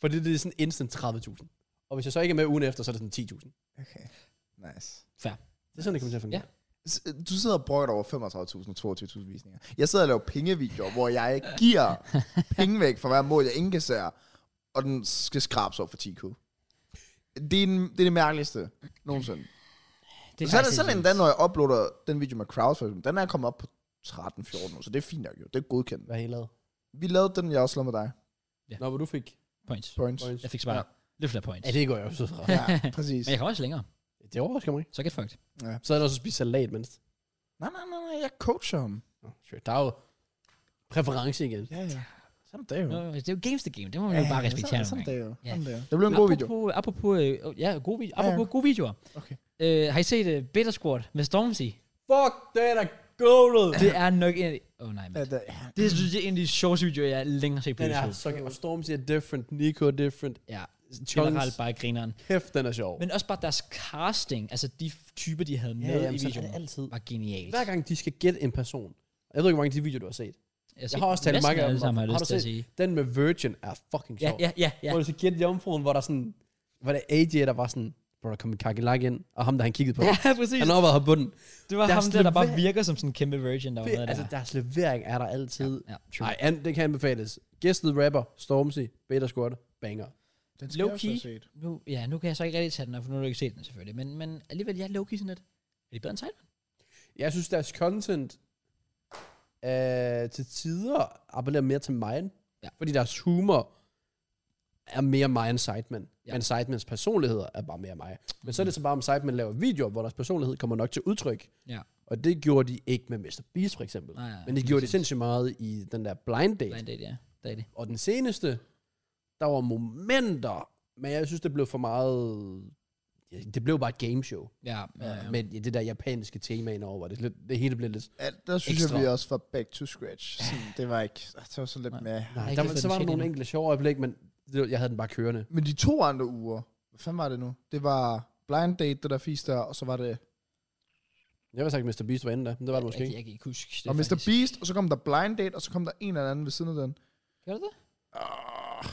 [SPEAKER 2] Fordi det er sådan instant 30.000. Og hvis jeg så ikke er med ugen efter, så er det sådan 10.000.
[SPEAKER 3] Okay, nice.
[SPEAKER 1] Fair.
[SPEAKER 2] Det er sådan, det kommer til at fungere.
[SPEAKER 3] S- Du sidder og brokker dig over 35.000 22.000 visninger. Jeg sidder og laver pengevideoer, hvor jeg giver penge væk for hver mål, jeg indkasserer, og den skal skrabes op for 10k. Det er, den, det er det mærkeligste nogensinde.
[SPEAKER 1] Det
[SPEAKER 3] Så er det sådan en dag, når jeg uploader den video med crowds, for eksempel, den er kommet op på 13-14 nu, så det er fint nok jo. Det er godkendt.
[SPEAKER 2] Hvad har I lavet?
[SPEAKER 3] Vi lavede den, jeg også lavede med dig.
[SPEAKER 2] Nå, hvor du fik
[SPEAKER 1] Points.
[SPEAKER 3] Points.
[SPEAKER 2] points.
[SPEAKER 1] Jeg fik bare
[SPEAKER 3] Ja.
[SPEAKER 1] lidt flere points.
[SPEAKER 2] Ja, det går jeg også ud fra.
[SPEAKER 3] Ja, præcis.
[SPEAKER 1] Men jeg kan også længere.
[SPEAKER 2] Det overrasker mig ikke.
[SPEAKER 1] Så get fucked.
[SPEAKER 2] Så er der også spist salat, mens.
[SPEAKER 3] Nej, nej, nej, nej, jeg coacher ham.
[SPEAKER 2] Nå, shit. Der er jo præference igen.
[SPEAKER 3] Ja, ja. Sådan det er
[SPEAKER 1] Nå,
[SPEAKER 3] jo.
[SPEAKER 1] det er jo games the game. Det må man jo bare respektere.
[SPEAKER 3] Sådan
[SPEAKER 1] nogle gange.
[SPEAKER 3] det er jo.
[SPEAKER 1] Ja.
[SPEAKER 3] Sådan det er jo. Det blev en god video.
[SPEAKER 1] Apropos- Apropos, øh, ja, gode video,
[SPEAKER 3] Ja, ja.
[SPEAKER 1] apropos gode videoer.
[SPEAKER 3] Okay.
[SPEAKER 1] Øh, har I set uh, Bitter Squad med Stormzy?
[SPEAKER 2] Fuck, det er da goldet.
[SPEAKER 1] Det er nok en... Åh oh, nej,
[SPEAKER 3] Ja,
[SPEAKER 1] men.
[SPEAKER 3] det- ja.
[SPEAKER 1] Det synes jeg er en af de sjoveste videoer, jeg længere har set på
[SPEAKER 2] Mhm. Den er
[SPEAKER 1] YouTube.
[SPEAKER 2] så Og Storm siger different, Nico er different.
[SPEAKER 1] Ja, generelt
[SPEAKER 2] Chunks,
[SPEAKER 1] bare grineren.
[SPEAKER 2] kæft, den er sjov.
[SPEAKER 1] Men også bare deres casting, altså de f- typer, de havde med i
[SPEAKER 2] sådan er
[SPEAKER 1] videoen,
[SPEAKER 2] det altid.
[SPEAKER 1] var genialt.
[SPEAKER 2] Hver gang de skal gætte en person. Jeg ved ikke, hvor mange af de videoer, du har set.
[SPEAKER 1] set
[SPEAKER 2] Jeg har også talt
[SPEAKER 1] næsten
[SPEAKER 2] mange om
[SPEAKER 1] alle
[SPEAKER 2] dem.
[SPEAKER 1] sammen, har jeg lyst
[SPEAKER 2] Har du
[SPEAKER 1] til at
[SPEAKER 2] set?
[SPEAKER 1] sige.
[SPEAKER 2] Den med Virgin er fucking
[SPEAKER 1] Ja,
[SPEAKER 2] sjov.
[SPEAKER 1] ja, ja, ja.
[SPEAKER 2] Hvor du skal gætte jomfruen, hvor der sådan... Hvor der er AJ, der var sådan... Hvor der kom en kakelak ind, og ham, der han kiggede på.
[SPEAKER 1] Ja, præcis.
[SPEAKER 2] Han har været her på den.
[SPEAKER 1] Det var
[SPEAKER 2] Der er
[SPEAKER 1] ham der,
[SPEAKER 2] sådan
[SPEAKER 1] der bare
[SPEAKER 2] lidt-
[SPEAKER 1] virker som sådan en kæmpe virgin, der var med
[SPEAKER 2] Altså,
[SPEAKER 1] der.
[SPEAKER 2] deres levering er der altid.
[SPEAKER 1] Ja, true.
[SPEAKER 2] Nej, an, det kan anbefales. Gæstet rapper, Stormzy, Beta Squad, banger.
[SPEAKER 3] Den
[SPEAKER 1] skal jeg Low-key. også have Nu, ja, nu kan jeg så ikke rigtig tage den op, for nu har du ikke set den selvfølgelig. Men, men alligevel, jeg er low-key sådan lidt. Er de bedre end Titan?
[SPEAKER 2] Jeg synes, deres content øh, til tider appellerer mere til mig.
[SPEAKER 1] Ja.
[SPEAKER 2] Ja. Fordi deres humor er mere mig end Sidemen.
[SPEAKER 1] Ja.
[SPEAKER 2] Ja. Men Sidemans personlighed er bare mere mig. Men så er det så bare, om Sidemen laver videoer, hvor deres personlighed kommer nok til udtryk.
[SPEAKER 1] Ja.
[SPEAKER 2] Og det gjorde de ikke med Mr. Beast for eksempel.
[SPEAKER 1] Nej, nej,
[SPEAKER 2] Men det
[SPEAKER 1] præcis.
[SPEAKER 2] gjorde de sindssygt meget i den der Blind Date.
[SPEAKER 1] Blind Date, ja. Det er det.
[SPEAKER 2] Og den seneste, der var momenter, men jeg synes, det blev for meget... ja, Det blev bare et gameshow.
[SPEAKER 1] Ja, ja,
[SPEAKER 2] Ja.
[SPEAKER 1] ja.
[SPEAKER 2] Med det der japanske tema indover, hvor det, lidt- det hele blev lidt
[SPEAKER 3] Ja, der synes
[SPEAKER 2] Ekstra.
[SPEAKER 3] jeg, vi også var back to scratch. Sådan, det var ikke... altså, Det var så lidt
[SPEAKER 1] Nej.
[SPEAKER 3] mere...
[SPEAKER 1] Jeg har
[SPEAKER 2] Nej,
[SPEAKER 1] ikke
[SPEAKER 2] der,
[SPEAKER 1] lige
[SPEAKER 2] var,
[SPEAKER 1] fået
[SPEAKER 2] så
[SPEAKER 1] den
[SPEAKER 2] var der
[SPEAKER 1] set
[SPEAKER 2] nogle
[SPEAKER 1] endnu.
[SPEAKER 2] enkelte sjove øjeblik, men det, var- jeg havde den bare kørende.
[SPEAKER 3] Men de to andre uger... Hvad fanden var det nu? Det var blind date, det der fisk der, og så var det...
[SPEAKER 2] Jeg vil sagt, at Mr. Beast var inde der, men det var det måske
[SPEAKER 1] Jeg,
[SPEAKER 2] ikke.
[SPEAKER 1] jeg kan ikke huske.
[SPEAKER 3] Og Mr. Beast, og så kom der blind date, og så kom der en eller anden ved siden af den.
[SPEAKER 1] Gør det det?
[SPEAKER 3] Arh,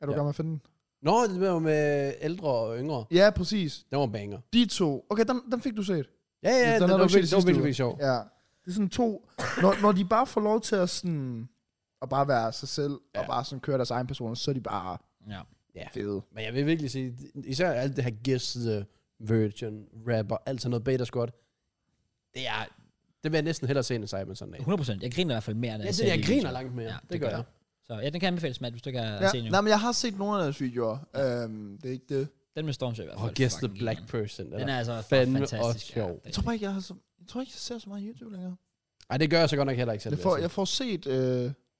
[SPEAKER 3] er du ja.
[SPEAKER 2] Ja.
[SPEAKER 3] gammel med at finde den?
[SPEAKER 2] Nå, det var med ældre og yngre.
[SPEAKER 3] Ja, præcis.
[SPEAKER 2] Den var en banger.
[SPEAKER 3] De to. Okay, den, den fik du set.
[SPEAKER 2] Ja, ja, den, den,
[SPEAKER 3] havde
[SPEAKER 2] var,
[SPEAKER 3] du ikke
[SPEAKER 2] virkelig, den var
[SPEAKER 3] set i sidste
[SPEAKER 2] virkelig,
[SPEAKER 3] uge.
[SPEAKER 2] virkelig sjov. Ja.
[SPEAKER 3] Ja. Det er sådan to... Når, når de bare får lov til at sådan... Og bare være sig selv, ja. og
[SPEAKER 2] Ja.
[SPEAKER 3] bare sådan køre deres egen person, så er de bare
[SPEAKER 1] Ja.
[SPEAKER 3] fede.
[SPEAKER 2] Men jeg vil virkelig sige, især alt det her Guess the Virgin, rapper, alt sådan noget beta squad. Det er, det vil jeg næsten hellere se end Simon sådan en dag.
[SPEAKER 1] 100%. Jeg griner i hvert fald mere, når
[SPEAKER 2] Ja,
[SPEAKER 1] jeg
[SPEAKER 2] det,
[SPEAKER 1] ser
[SPEAKER 2] jeg
[SPEAKER 1] de
[SPEAKER 2] griner
[SPEAKER 1] videoer.
[SPEAKER 2] langt mere.
[SPEAKER 1] Ja,
[SPEAKER 2] det, gør jeg.
[SPEAKER 1] Så ja, den kan anbefales, Matt, hvis du ikke har
[SPEAKER 3] Ja,
[SPEAKER 1] set den
[SPEAKER 3] nej,
[SPEAKER 1] endnu.
[SPEAKER 3] men jeg har set nogle af deres videoer. Øhm, det er ikke det.
[SPEAKER 1] Den med Stormsø i hvert
[SPEAKER 2] Og
[SPEAKER 1] fald.
[SPEAKER 2] Guess the
[SPEAKER 1] fucking
[SPEAKER 2] Black
[SPEAKER 1] grineren.
[SPEAKER 2] Person. Den
[SPEAKER 1] Den
[SPEAKER 2] er.
[SPEAKER 1] er altså
[SPEAKER 2] fandme
[SPEAKER 1] fantastisk.
[SPEAKER 2] også sjov.
[SPEAKER 1] Ja, det
[SPEAKER 3] Jeg
[SPEAKER 1] er
[SPEAKER 3] tror bare ikke, jeg, har så, jeg, tror ikke, jeg ser så meget YouTube længere.
[SPEAKER 2] Ej, det gør jeg så godt nok heller ikke selv.
[SPEAKER 3] Jeg
[SPEAKER 2] vil
[SPEAKER 3] får,
[SPEAKER 2] sige.
[SPEAKER 3] jeg får set... Øh,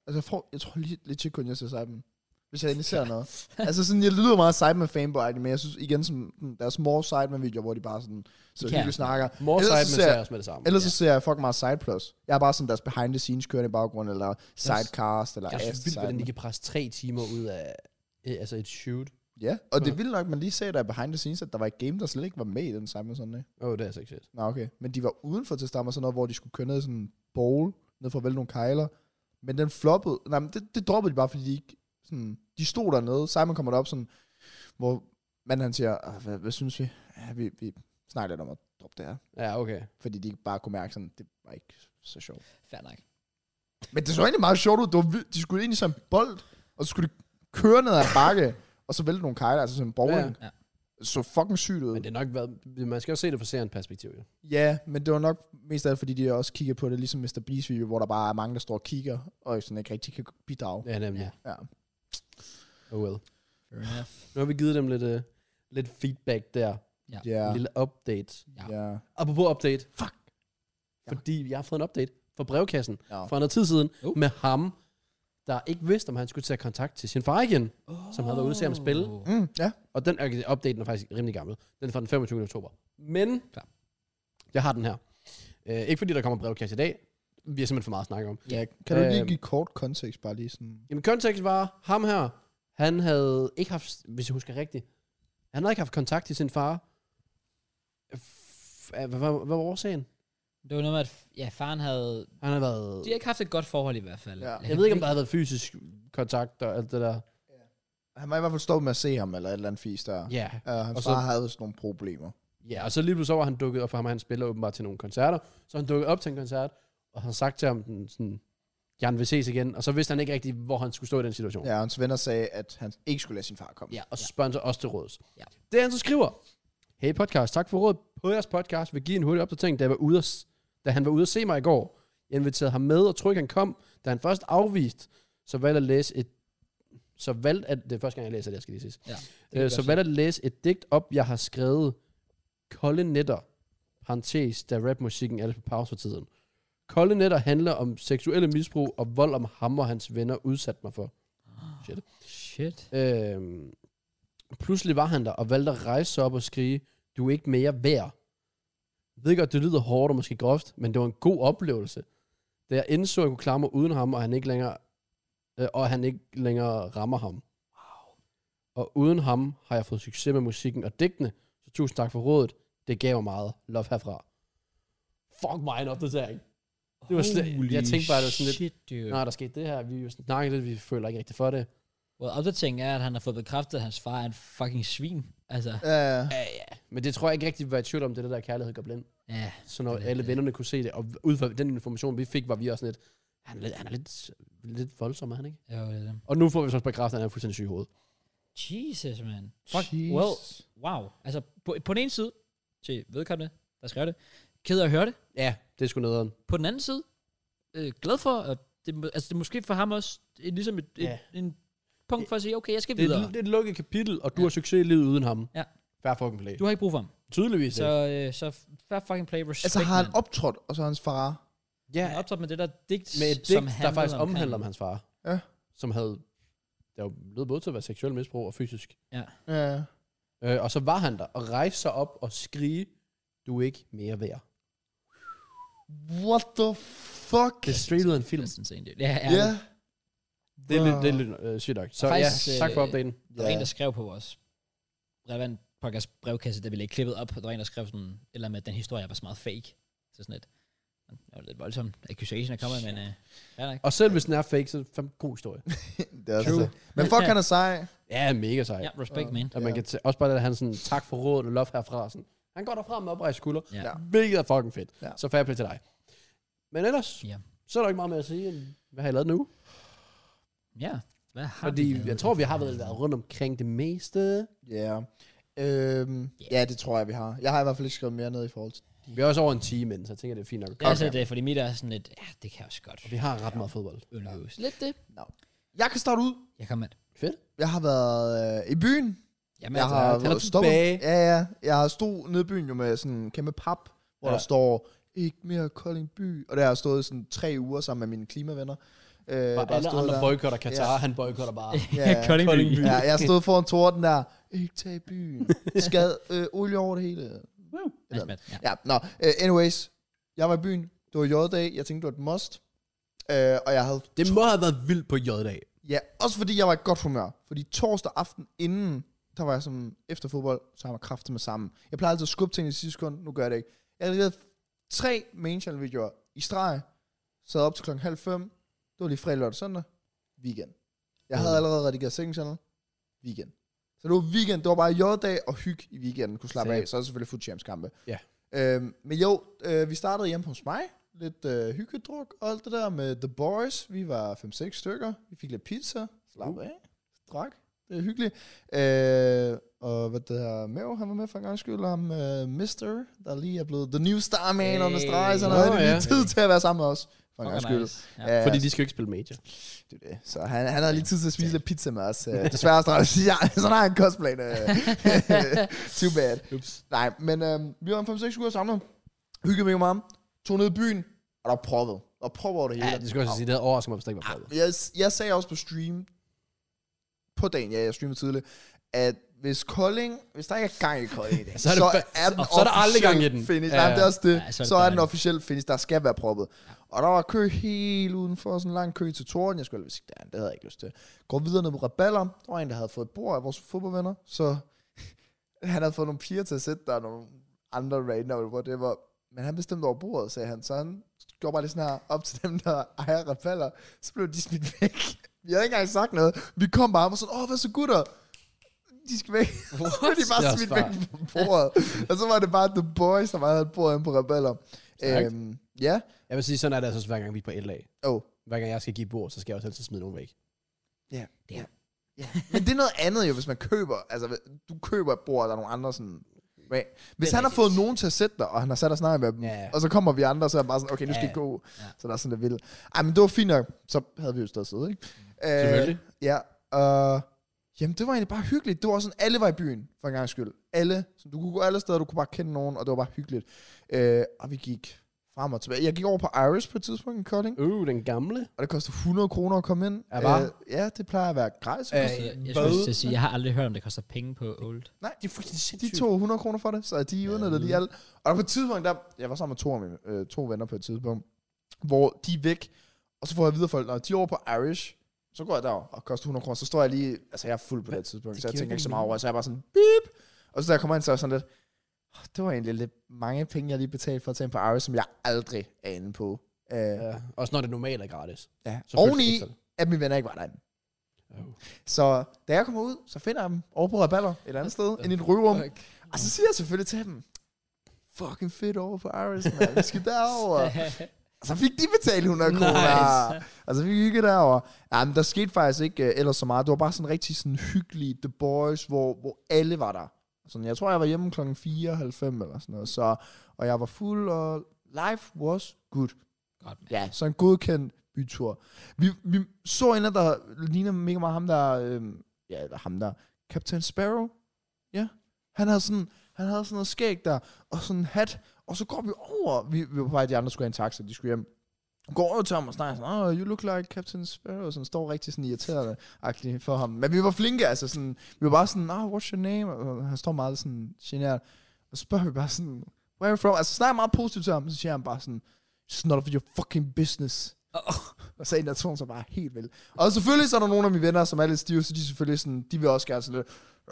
[SPEAKER 3] altså, jeg, får, jeg tror lige, lidt kun, jeg ser Simon. hvis jeg endelig ser noget. altså sådan, jeg lyder meget side med fanboy, men jeg synes igen, som, mm, der er små side med videoer, hvor de bare sådan, så
[SPEAKER 1] kan.
[SPEAKER 3] hyggeligt snakker.
[SPEAKER 2] More
[SPEAKER 3] Ellers så
[SPEAKER 2] side, men
[SPEAKER 3] ser
[SPEAKER 2] ser
[SPEAKER 3] jeg-
[SPEAKER 2] også med det samme.
[SPEAKER 3] Ellers så ser jeg fucking meget side plus. Jeg er bare sådan deres behind the scenes kørende i baggrunden, eller sidecast, eller
[SPEAKER 2] jeg er så
[SPEAKER 3] ass
[SPEAKER 2] vildt, hvordan de
[SPEAKER 3] side.
[SPEAKER 2] kan presse tre timer ud af øh, altså et shoot.
[SPEAKER 3] Ja, og det er vildt nok, man lige ser der behind the scenes, at der var et game, der slet ikke var med i den samme sådan noget.
[SPEAKER 2] Åh, oh, det er altså ikke shit.
[SPEAKER 3] Nå, okay. Men de var udenfor til stammer sådan noget, hvor de skulle køre ned i sådan en bowl, ned for at vælge nogle kejler. Men den floppede. Nej, men det, det droppede de bare, fordi de ikke... Sådan, de stod dernede. Simon kommer derop sådan, hvor manden han siger, "Ah, hvad, hvad, synes vi? Ja, vi, vi snakker lidt om at droppe det her.
[SPEAKER 2] Ja, okay.
[SPEAKER 3] Fordi de bare kunne mærke sådan, det var ikke så sjovt.
[SPEAKER 1] Fair nok.
[SPEAKER 3] Men det så egentlig meget sjovt ud. Det var vildt. De skulle ind i sådan en bold, og så skulle de køre ned ad en bakke, og så vælte nogle kejler, altså sådan en bowling.
[SPEAKER 1] Ja. Ja.
[SPEAKER 3] Så fucking sygt ud.
[SPEAKER 2] Men det er nok været, man skal jo se det fra serien perspektiv, jo.
[SPEAKER 3] Ja, men det var nok mest af alt, fordi de også kigger på det, ligesom Mr. Beast video, hvor der bare er mange, der står og kigger, og sådan ikke rigtig kan bidrage.
[SPEAKER 2] Ja, nemlig.
[SPEAKER 3] Ja.
[SPEAKER 2] Oh well.
[SPEAKER 1] Fair enough.
[SPEAKER 2] Nu har vi givet dem lidt, uh, lidt feedback der.
[SPEAKER 3] Ja.
[SPEAKER 2] En lille update.
[SPEAKER 1] Ja.
[SPEAKER 3] Ja.
[SPEAKER 2] Apropos update. Fuck.
[SPEAKER 3] Ja.
[SPEAKER 2] Fordi jeg har fået en update fra brevkassen
[SPEAKER 3] Ja.
[SPEAKER 2] fra noget tid siden
[SPEAKER 1] Oh.
[SPEAKER 2] med ham, der ikke vidste, om han skulle tage kontakt til sin far igen. Som havde været ude til at spille.
[SPEAKER 3] Mm, ja.
[SPEAKER 2] Og den okay, update er faktisk rimelig gammel. Den er fra den 25. oktober. Men
[SPEAKER 1] Klar.
[SPEAKER 2] jeg har den her. Uh, ikke fordi der kommer brevkasse i dag. Vi har simpelthen for meget at snakke om.
[SPEAKER 3] ja. Kan du lige
[SPEAKER 2] Øhm.
[SPEAKER 3] give kort kontekst, bare lige sådan...
[SPEAKER 2] Jamen kontekst var, ham her, han havde ikke haft, hvis jeg husker rigtigt, han havde ikke haft kontakt til sin far. F- Hvad var, hvad var årsagen?
[SPEAKER 1] Det var noget med, at ja, faren havde...
[SPEAKER 2] Han har været...
[SPEAKER 1] De har ikke haft et godt forhold i hvert fald.
[SPEAKER 3] Ja.
[SPEAKER 2] Jeg ved ikke, om der har været fysisk kontakt og alt det der.
[SPEAKER 3] Han var i hvert fald stoppet med at se ham, eller et eller andet fis der.
[SPEAKER 2] Ja.
[SPEAKER 3] Uh, hans
[SPEAKER 2] Og så-
[SPEAKER 3] far havde sådan nogle problemer.
[SPEAKER 2] Ja, og så lige pludselig så var han dukket op for ham, og han spiller åbenbart til nogle koncerter. Så han dukkede op til en koncert, og har sagt til ham den sådan, jeg vil ses igen. Og så vidste han ikke rigtigt, hvor han skulle stå i den situation.
[SPEAKER 3] Ja, hans venner sagde, at han ikke skulle lade sin far komme.
[SPEAKER 2] Ja, og så spørger han så også til råds.
[SPEAKER 1] Ja.
[SPEAKER 2] Det han så skriver. Hey podcast, tak for rådet på jeres podcast. Vil give en hurtig opdatering, da, jeg var ude at, s- da han var ude at se mig i går. Jeg inviterede ham med, og tror ikke, han kom. Da han først afvist, så valgte at læse et... Så valgte at... Det er første gang, jeg læser det, jeg skal lige sige.
[SPEAKER 1] Ja, det
[SPEAKER 2] det øh, så valgte at læse et digt op, jeg har skrevet. Kolde netter. Parentes, da rapmusikken er lidt på pause for tiden. Kolde netter handler om seksuelle misbrug og vold om ham og hans venner udsat mig for.
[SPEAKER 1] Shit.
[SPEAKER 2] Øhm, pludselig var han der og valgte at rejse sig op og skrige, du er ikke mere værd. Jeg ved godt, det lyder hårdt og måske groft, men det var en god oplevelse. Da jeg indså, at jeg kunne klare mig uden ham, og han ikke længere, øh, og han ikke længere rammer ham. Wow. Og uden ham har jeg fået succes med musikken og digtene, så tusind tak for rådet. Det gav mig meget. Love herfra. Fuck mig en opdatering. Det var slet, jeg tænkte bare, det var sådan lidt,
[SPEAKER 1] Shit, dude.
[SPEAKER 2] nej, der skete det her, vi er jo snakkede lidt, vi føler ikke rigtig for det.
[SPEAKER 1] Well, opdateringen er, at han har fået bekræftet, at hans far er en fucking svin. Altså,
[SPEAKER 3] Uh,
[SPEAKER 2] Ja, ja. Men det tror jeg ikke rigtig var i tvivl om, det er det der kærlighed gør blind.
[SPEAKER 1] ja.
[SPEAKER 2] Så når
[SPEAKER 1] Det er
[SPEAKER 2] alle
[SPEAKER 1] det.
[SPEAKER 2] vennerne kunne se det, og ud fra den information, vi fik, var vi også sådan lidt, han er lidt, han er lidt, lidt voldsom, er han ikke?
[SPEAKER 1] Jo, det er det.
[SPEAKER 2] Og nu får vi så også bekræftet, at han er fuldstændig syg i hovedet.
[SPEAKER 1] Jesus, man. Fuck, well, wow. Altså, på, på den ene side, til vedkommende, der skrev det, ked af at høre det.
[SPEAKER 2] Ja, det er sgu nederen.
[SPEAKER 1] På den anden side, øh, glad for, at det, må- altså, det er måske for ham også et, ligesom et, et,
[SPEAKER 2] Ja.
[SPEAKER 1] en punkt for at sige, okay, jeg skal
[SPEAKER 2] Det er,
[SPEAKER 1] videre.
[SPEAKER 2] et- det er et lukket kapitel, og du har succes i livet uden ham.
[SPEAKER 1] Ja.
[SPEAKER 2] Fair fucking play.
[SPEAKER 1] Du har ikke brug for ham.
[SPEAKER 2] Tydeligvis
[SPEAKER 1] Så,
[SPEAKER 2] ikke.
[SPEAKER 1] øh, så fair fucking play, respect,
[SPEAKER 3] altså har han
[SPEAKER 1] man.
[SPEAKER 3] optrådt, og så hans far.
[SPEAKER 2] Ja,
[SPEAKER 1] Han optrådte med det der digt,
[SPEAKER 2] med et
[SPEAKER 1] som
[SPEAKER 2] digt, der faktisk
[SPEAKER 1] handlede
[SPEAKER 2] omhandler om hans far.
[SPEAKER 3] Ja.
[SPEAKER 2] Som havde, der jo lød både til at være seksuel misbrug og fysisk.
[SPEAKER 3] Ja.
[SPEAKER 2] Øh, og så var han der, og rejste sig op og skrige, du er ikke mere værd.
[SPEAKER 3] What the fuck?
[SPEAKER 2] Det er straight ud af en film.
[SPEAKER 1] Det er sådan set. Ja, ja.
[SPEAKER 3] Ja.
[SPEAKER 1] Yeah.
[SPEAKER 2] Det er lidt, det er lidt øh, sygt nok. Så
[SPEAKER 1] Og
[SPEAKER 2] faktisk,
[SPEAKER 1] faktisk,
[SPEAKER 2] ja, tak for
[SPEAKER 1] øh,
[SPEAKER 2] opdaten.
[SPEAKER 1] Der var en, der skrev på vores relevant podcast brevkasse, der ville ikke klippet op. Der var en, der skrev sådan, eller med, at den historie var så meget fake. Så sådan lidt. Det var lidt voldsomt. Accusation er kommet, men øh, fair nok.
[SPEAKER 2] Og selv hvis den er fake, så er det fandme god historie.
[SPEAKER 3] det er
[SPEAKER 2] True.
[SPEAKER 3] altså. Men fuck, han er sej.
[SPEAKER 2] Ja, mega sej.
[SPEAKER 1] Ja,
[SPEAKER 2] Ja.
[SPEAKER 1] respect,
[SPEAKER 3] Ja.
[SPEAKER 1] man.
[SPEAKER 2] Og man kan tæ- også bare det, at han sådan, tak for rådet og love herfra. Sådan. Han går derfra med oprejst skulder,
[SPEAKER 1] Ja.
[SPEAKER 3] Ja.
[SPEAKER 2] hvilket er fucking fedt.
[SPEAKER 3] Ja.
[SPEAKER 2] Så fair play til dig. Men ellers,
[SPEAKER 1] Ja.
[SPEAKER 2] så er der ikke meget mere at sige, end hvad har I lavet nu?
[SPEAKER 1] Ja. Hvad har vi
[SPEAKER 2] Fordi
[SPEAKER 1] lavet?
[SPEAKER 2] jeg tror, vi har vel været rundt omkring det meste.
[SPEAKER 3] Ja. Øhm, ja, det tror jeg, vi har. Jeg har i hvert fald ikke skrevet mere ned i forhold til...
[SPEAKER 2] Vi er også over en time inden, så jeg tænker, det er fint nok.
[SPEAKER 1] Ja, altså, det er fordi mit er sådan lidt, ja, det kan jeg også godt
[SPEAKER 2] Vi har ret meget fodbold.
[SPEAKER 1] undgås. Lidt det.
[SPEAKER 3] Jeg kan starte ud.
[SPEAKER 1] Jeg kommer med.
[SPEAKER 2] Fedt.
[SPEAKER 3] Jeg har været øh, i byen.
[SPEAKER 1] Jamen,
[SPEAKER 3] jeg
[SPEAKER 1] altså,
[SPEAKER 3] har
[SPEAKER 2] han er
[SPEAKER 3] været stoppet.
[SPEAKER 2] tilbage.
[SPEAKER 3] Ja, ja. Jeg har stået nede i byen jo med sådan en kæmpe pap, hvor
[SPEAKER 2] Ja.
[SPEAKER 3] ja. der står, ikke mere Kolding by. Og der har jeg stået i sådan tre uger sammen med mine klimavenner. Øh, der
[SPEAKER 2] Og alle
[SPEAKER 3] stod
[SPEAKER 2] andre
[SPEAKER 3] der.
[SPEAKER 2] boykotter Katar,
[SPEAKER 3] Ja.
[SPEAKER 2] han boykotter bare.
[SPEAKER 3] Ja,
[SPEAKER 1] Koldingby.
[SPEAKER 2] Koldingby.
[SPEAKER 3] ja, jeg stod foran torden der. Ikke tag i byen. Skad øh, olie over det hele.
[SPEAKER 1] Nice, man. Ja.
[SPEAKER 3] Ja, nå. Uh, anyways, jeg var i byen. Det var J-dag. Jeg tænkte, det var et must. Uh, og jeg havde...
[SPEAKER 2] Det må have været vildt på J-dag.
[SPEAKER 3] Ja, også fordi jeg var i godt humør. Fordi torsdag aften inden, der var jeg som efter fodbold, så har jeg kraftet med sammen. Jeg plejer altid at skubbe ting i sidste sekund. Nu gør jeg det ikke. Jeg havde lavet tre main channel videoer i streg. Sad op til klokken halv fem. Det var lige fredag, lørdag, søndag. Weekend. Jeg havde
[SPEAKER 2] Mm.
[SPEAKER 3] allerede redigeret second channel. Weekend. Så det var weekend. Det var bare J-dag og hyg i weekenden. Kunne slappe
[SPEAKER 2] Same.
[SPEAKER 3] af. Så er det selvfølgelig fuld champs kampe.
[SPEAKER 2] Ja.
[SPEAKER 3] Øhm, men jo, øh, vi startede hjemme hos mig. Lidt øh, hyggedruk og alt det der med The Boys. Vi var 5-6 stykker. Vi fik lidt pizza. Slap
[SPEAKER 2] Uh.
[SPEAKER 3] af. Drak. Det er hyggeligt. Øh, og hvad det her, Mav, han var med for en gang skyld, om øh, Mister, der lige er blevet The New Star Man hey. on the
[SPEAKER 1] Hey.
[SPEAKER 3] Stars. Han
[SPEAKER 2] Nå,
[SPEAKER 3] havde lige
[SPEAKER 2] ja.
[SPEAKER 3] tid til at være sammen med os. For en
[SPEAKER 1] Fuck,
[SPEAKER 3] gang
[SPEAKER 1] hvor
[SPEAKER 3] skyld.
[SPEAKER 1] nice. Ja.
[SPEAKER 3] Ja,
[SPEAKER 2] Fordi de skal jo ikke spille major.
[SPEAKER 3] det er det. Så han, han havde lige tid til at spise lidt pizza med os. Øh, desværre strategien, ja, sådan har han cosplay. Too bad.
[SPEAKER 2] Ups.
[SPEAKER 3] Nej, men øh, vi var en 5-6 uger samlet. Hyggede mega meget. Tog ned i byen, og der var proppet. Der var proppet over det hele.
[SPEAKER 2] Ja, det skal jeg også sige, det havde overrasket mig, hvis det
[SPEAKER 1] Ah.
[SPEAKER 2] ikke var prøvet.
[SPEAKER 3] jeg, jeg sagde også på stream, på dagen, ja, jeg streamede tidligt, at hvis Kolding, hvis der ikke er gang i Kolding i dag,
[SPEAKER 2] Så er det
[SPEAKER 3] så
[SPEAKER 2] fa-
[SPEAKER 3] er den
[SPEAKER 2] så er der aldrig gang i
[SPEAKER 3] officiel
[SPEAKER 2] den.
[SPEAKER 3] Finish.
[SPEAKER 2] Ja,
[SPEAKER 3] Nej,
[SPEAKER 2] ja.
[SPEAKER 3] det er også det.
[SPEAKER 1] Ja,
[SPEAKER 3] så,
[SPEAKER 1] så er det
[SPEAKER 3] så er den
[SPEAKER 1] dejligt.
[SPEAKER 3] officielle finish, der skal være proppet. Og der var kø helt udenfor, sådan en lang kø til torden. Jeg skulle heldigvis ikke derhen, det havde jeg ikke lyst til. Går videre ned på Raballer. Der var en, der havde fået et bord af vores fodboldvenner, så han havde fået nogle piger til at sætte der, og nogle andre random, hvor det var... Men han bestemte over bordet, sagde han. Så han gjorde bare lige sådan her op til dem, der ejer Raballer. Så blev de smidt væk. Vi havde ikke engang sagt noget. Vi kom bare op og sådan, åh, hvad så gutter? De skal væk. What? så blev de
[SPEAKER 2] Det er
[SPEAKER 3] bare
[SPEAKER 2] også
[SPEAKER 3] smidt væk på bordet. og så var det bare The Boys, der bare havde et bord inde på Raballer.
[SPEAKER 2] Stærkt.
[SPEAKER 3] Øhm, ja.
[SPEAKER 2] Jeg vil sige, sådan er det altså også, hver gang vi er på LA.
[SPEAKER 3] Oh.
[SPEAKER 2] Hver gang jeg skal give et bord, så skal jeg også altid smide nogen væk.
[SPEAKER 3] Ja.
[SPEAKER 1] Ja.
[SPEAKER 3] ja. Men det er noget andet jo, hvis man køber. Altså, du køber et bord, og der er nogle andre sådan... Right. Hvis
[SPEAKER 1] Det er
[SPEAKER 3] han har
[SPEAKER 1] rigtigt.
[SPEAKER 3] fået nogen til at sætte dig, og han har sat og snakket med dem,
[SPEAKER 2] Ja, ja.
[SPEAKER 3] og så kommer vi andre, så er han bare sådan, okay, nu skal
[SPEAKER 1] Ja,
[SPEAKER 3] I gå.
[SPEAKER 1] ja.
[SPEAKER 3] Så der er sådan lidt vildt. Ej, men det var fint nok. Så havde vi jo stadig siddet, ikke? Øh,
[SPEAKER 2] Selvfølgelig.
[SPEAKER 3] Ja, og... Jamen, det var egentlig bare hyggeligt. Det var sådan, alle var i byen, for en gang skyld. Alle. Så du kunne gå alle steder, du kunne bare kende nogen, og det var bare hyggeligt. Øh, og vi gik frem og tilbage. Jeg gik over på Iris på et tidspunkt i Kolding,
[SPEAKER 2] Øh, den gamle.
[SPEAKER 3] og det kostede 100 kroner at komme ind.
[SPEAKER 2] Ja, hva'?
[SPEAKER 3] Øh, ja, det plejer at være gratis.
[SPEAKER 2] Øh,
[SPEAKER 3] Øh,
[SPEAKER 1] Så altså, jeg- jeg
[SPEAKER 2] Hvad?
[SPEAKER 1] skulle også til at sige, jeg har aldrig hørt, om det koster penge på old.
[SPEAKER 3] Nej,
[SPEAKER 2] Det er fuldstændig
[SPEAKER 3] de tog 100 kroner for det, så de udnyttede lige alt. Og på et tidspunkt, der, jeg var sammen med to, af mine, øh, to venner på et tidspunkt, hvor de er væk, og så får jeg videre folk, når de er over på Irish, så går jeg der og koster 100 kroner, så står jeg lige, altså jeg er fuld på det, her tidspunkt,
[SPEAKER 2] Det
[SPEAKER 3] så jeg
[SPEAKER 2] giver
[SPEAKER 3] tænker
[SPEAKER 2] ikke
[SPEAKER 3] ikke så meget
[SPEAKER 2] mening.
[SPEAKER 3] over, så jeg er bare sådan, beep, og så da jeg kommer ind, så er jeg sådan lidt, "Åh, det var egentlig lidt mange penge, jeg lige betalte for at tage ind på Irish, som jeg aldrig anede på. Øh, ja.
[SPEAKER 2] Ja. Også når det normalt er gratis.
[SPEAKER 3] ja.
[SPEAKER 2] Så føles det
[SPEAKER 3] Oveni,
[SPEAKER 2] ikke sådan.
[SPEAKER 3] at mine venner ikke var derinde.
[SPEAKER 2] Oh.
[SPEAKER 3] Så da jeg kommer ud, så finder jeg dem over på Raballer et andet sted, end i et rygerum. Og så siger jeg selvfølgelig til dem, fucking fedt over på Iris, man. Vi skal derover. Og så fik de betalt 100
[SPEAKER 2] Nice.
[SPEAKER 3] nice. kroner. Og så fik Altså, vi hygget derover. Ja, men der skete faktisk ikke uh, ellers så meget. Det var bare sådan rigtig sådan hyggelig The Boys, hvor, hvor alle var der. Sådan, jeg tror, jeg var hjemme klokken 4.90 eller sådan noget. Så, og jeg var fuld, og life was good.
[SPEAKER 1] Godt, man.
[SPEAKER 3] Ja, så en godkendt bytur. Vi, vi så en, af, der ligner mega meget ham der, øhm, ja, eller ham der, Captain Sparrow. Ja, han havde sådan, han havde sådan noget skæg der, og sådan en hat, og så går vi over, vi, vi var på vej, de andre skulle have en taxa, de skulle hjem. Går over til ham og snakker sådan, oh, you look like Captain Sparrow, sådan står rigtig sådan irriterende agtig for ham. Men vi var flinke, altså sådan, vi var bare sådan, ah, oh, what's your name? Og han står meget sådan genert. Og så spørger vi bare sådan, where are you from? Altså snakker meget positivt til ham, og så siger han bare sådan, It's none of your fucking business. Og så en der tog så bare helt vel. Og selvfølgelig så er der nogle af mine venner, som er lidt stive, så de er selvfølgelig sådan, de vil også gerne sådan lidt.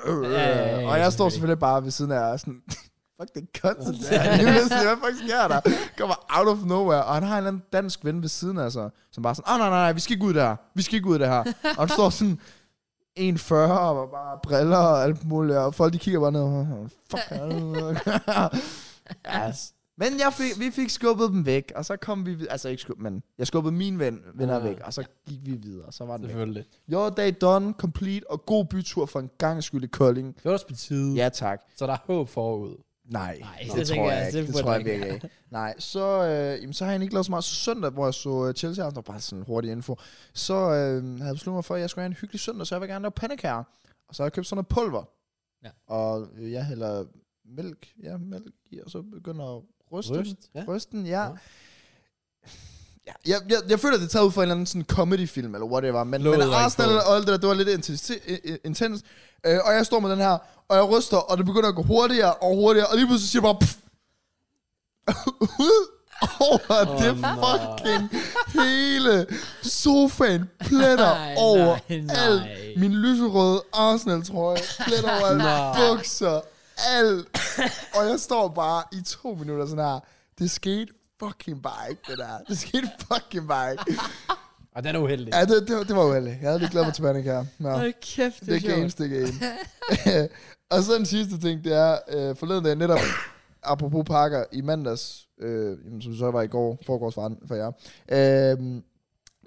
[SPEAKER 3] Øh, øh,
[SPEAKER 1] Ja, ja, ja, ja,
[SPEAKER 3] og jeg står
[SPEAKER 1] selvfølgelig.
[SPEAKER 3] selvfølgelig bare ved siden af jer og sådan, fuck det er content der. Jeg er sådan, hvad fuck sker der? Kommer out of nowhere. Og han har en eller anden dansk ven ved siden af sig, som bare sådan, ah nej, nej, nej, vi skal ikke ud der. Vi skal ikke ud der her. og han står sådan, 1,40 og bare briller og alt muligt, og folk de kigger bare ned og fuck. yes. Men jeg fik, vi fik skubbet dem væk, og så kom vi, vid- altså ikke skubbet, men jeg skubbede min ven, venner
[SPEAKER 2] Ah,
[SPEAKER 3] væk, og så gik vi videre, og så var det væk.
[SPEAKER 2] Selvfølgelig.
[SPEAKER 3] Jo, dag done, complete, og god bytur for en gang skyld i Kolding.
[SPEAKER 2] Det var også på tide.
[SPEAKER 3] Ja tak.
[SPEAKER 2] Så der er håb forud.
[SPEAKER 3] Nej,
[SPEAKER 1] Nej,
[SPEAKER 3] Nej
[SPEAKER 1] det
[SPEAKER 3] det, det
[SPEAKER 1] tænker
[SPEAKER 3] tror
[SPEAKER 1] jeg,
[SPEAKER 3] jeg ikke.
[SPEAKER 1] det
[SPEAKER 3] Det,
[SPEAKER 1] burde
[SPEAKER 3] tror jeg
[SPEAKER 1] man ikke.
[SPEAKER 3] virkelig ikke. Nej, så, øh, jamen, så har jeg ikke lavet så meget. Så søndag, hvor jeg så øh, Chelsea, og bare sådan en hurtig info, så øh, havde jeg besluttet mig for, at jeg skulle have en hyggelig søndag, så jeg vil gerne lave pandekager. Og så har jeg købt sådan noget pulver.
[SPEAKER 1] Ja.
[SPEAKER 3] Og øh, jeg hælder mælk, ja, mælk i, og så begynder at ryste den.
[SPEAKER 2] Ja.
[SPEAKER 3] Rysten, ja.
[SPEAKER 2] Ja.
[SPEAKER 3] ja. Ja, jeg, jeg, jeg føler, det er taget ud fra en eller anden sådan comedy-film, eller whatever. Men,
[SPEAKER 2] Lå
[SPEAKER 3] men
[SPEAKER 2] det var ikke
[SPEAKER 3] Arsenal
[SPEAKER 2] på.
[SPEAKER 3] og alt det der, det var lidt intensi- i- i- intens. Øh, og jeg står med den her, og jeg ryster, og det begynder at gå hurtigere og hurtigere. Og lige pludselig siger jeg bare... Pff, ud over oh, det fucking hele sofaen pletter
[SPEAKER 1] Nej,
[SPEAKER 3] over
[SPEAKER 1] nej, nej.
[SPEAKER 3] alt. Min lyserøde Arsenal-trøje pletter over alt. Bukser, alt. Og jeg står bare i to minutter sådan her. Det skete fucking bare ikke, det der. Det skete fucking bare ikke.
[SPEAKER 2] Og den er uheldig.
[SPEAKER 3] Ja, det, det, det var uheldigt. Jeg havde lige glædet mig til Panic her. Nå,
[SPEAKER 1] Hold kæft, det,
[SPEAKER 3] det er games, det er game. og så den sidste ting, det er, øh, forleden dag netop, apropos pakker, i mandags, øh, jamen, som så var i går, foregårs for, an- for jer, øh,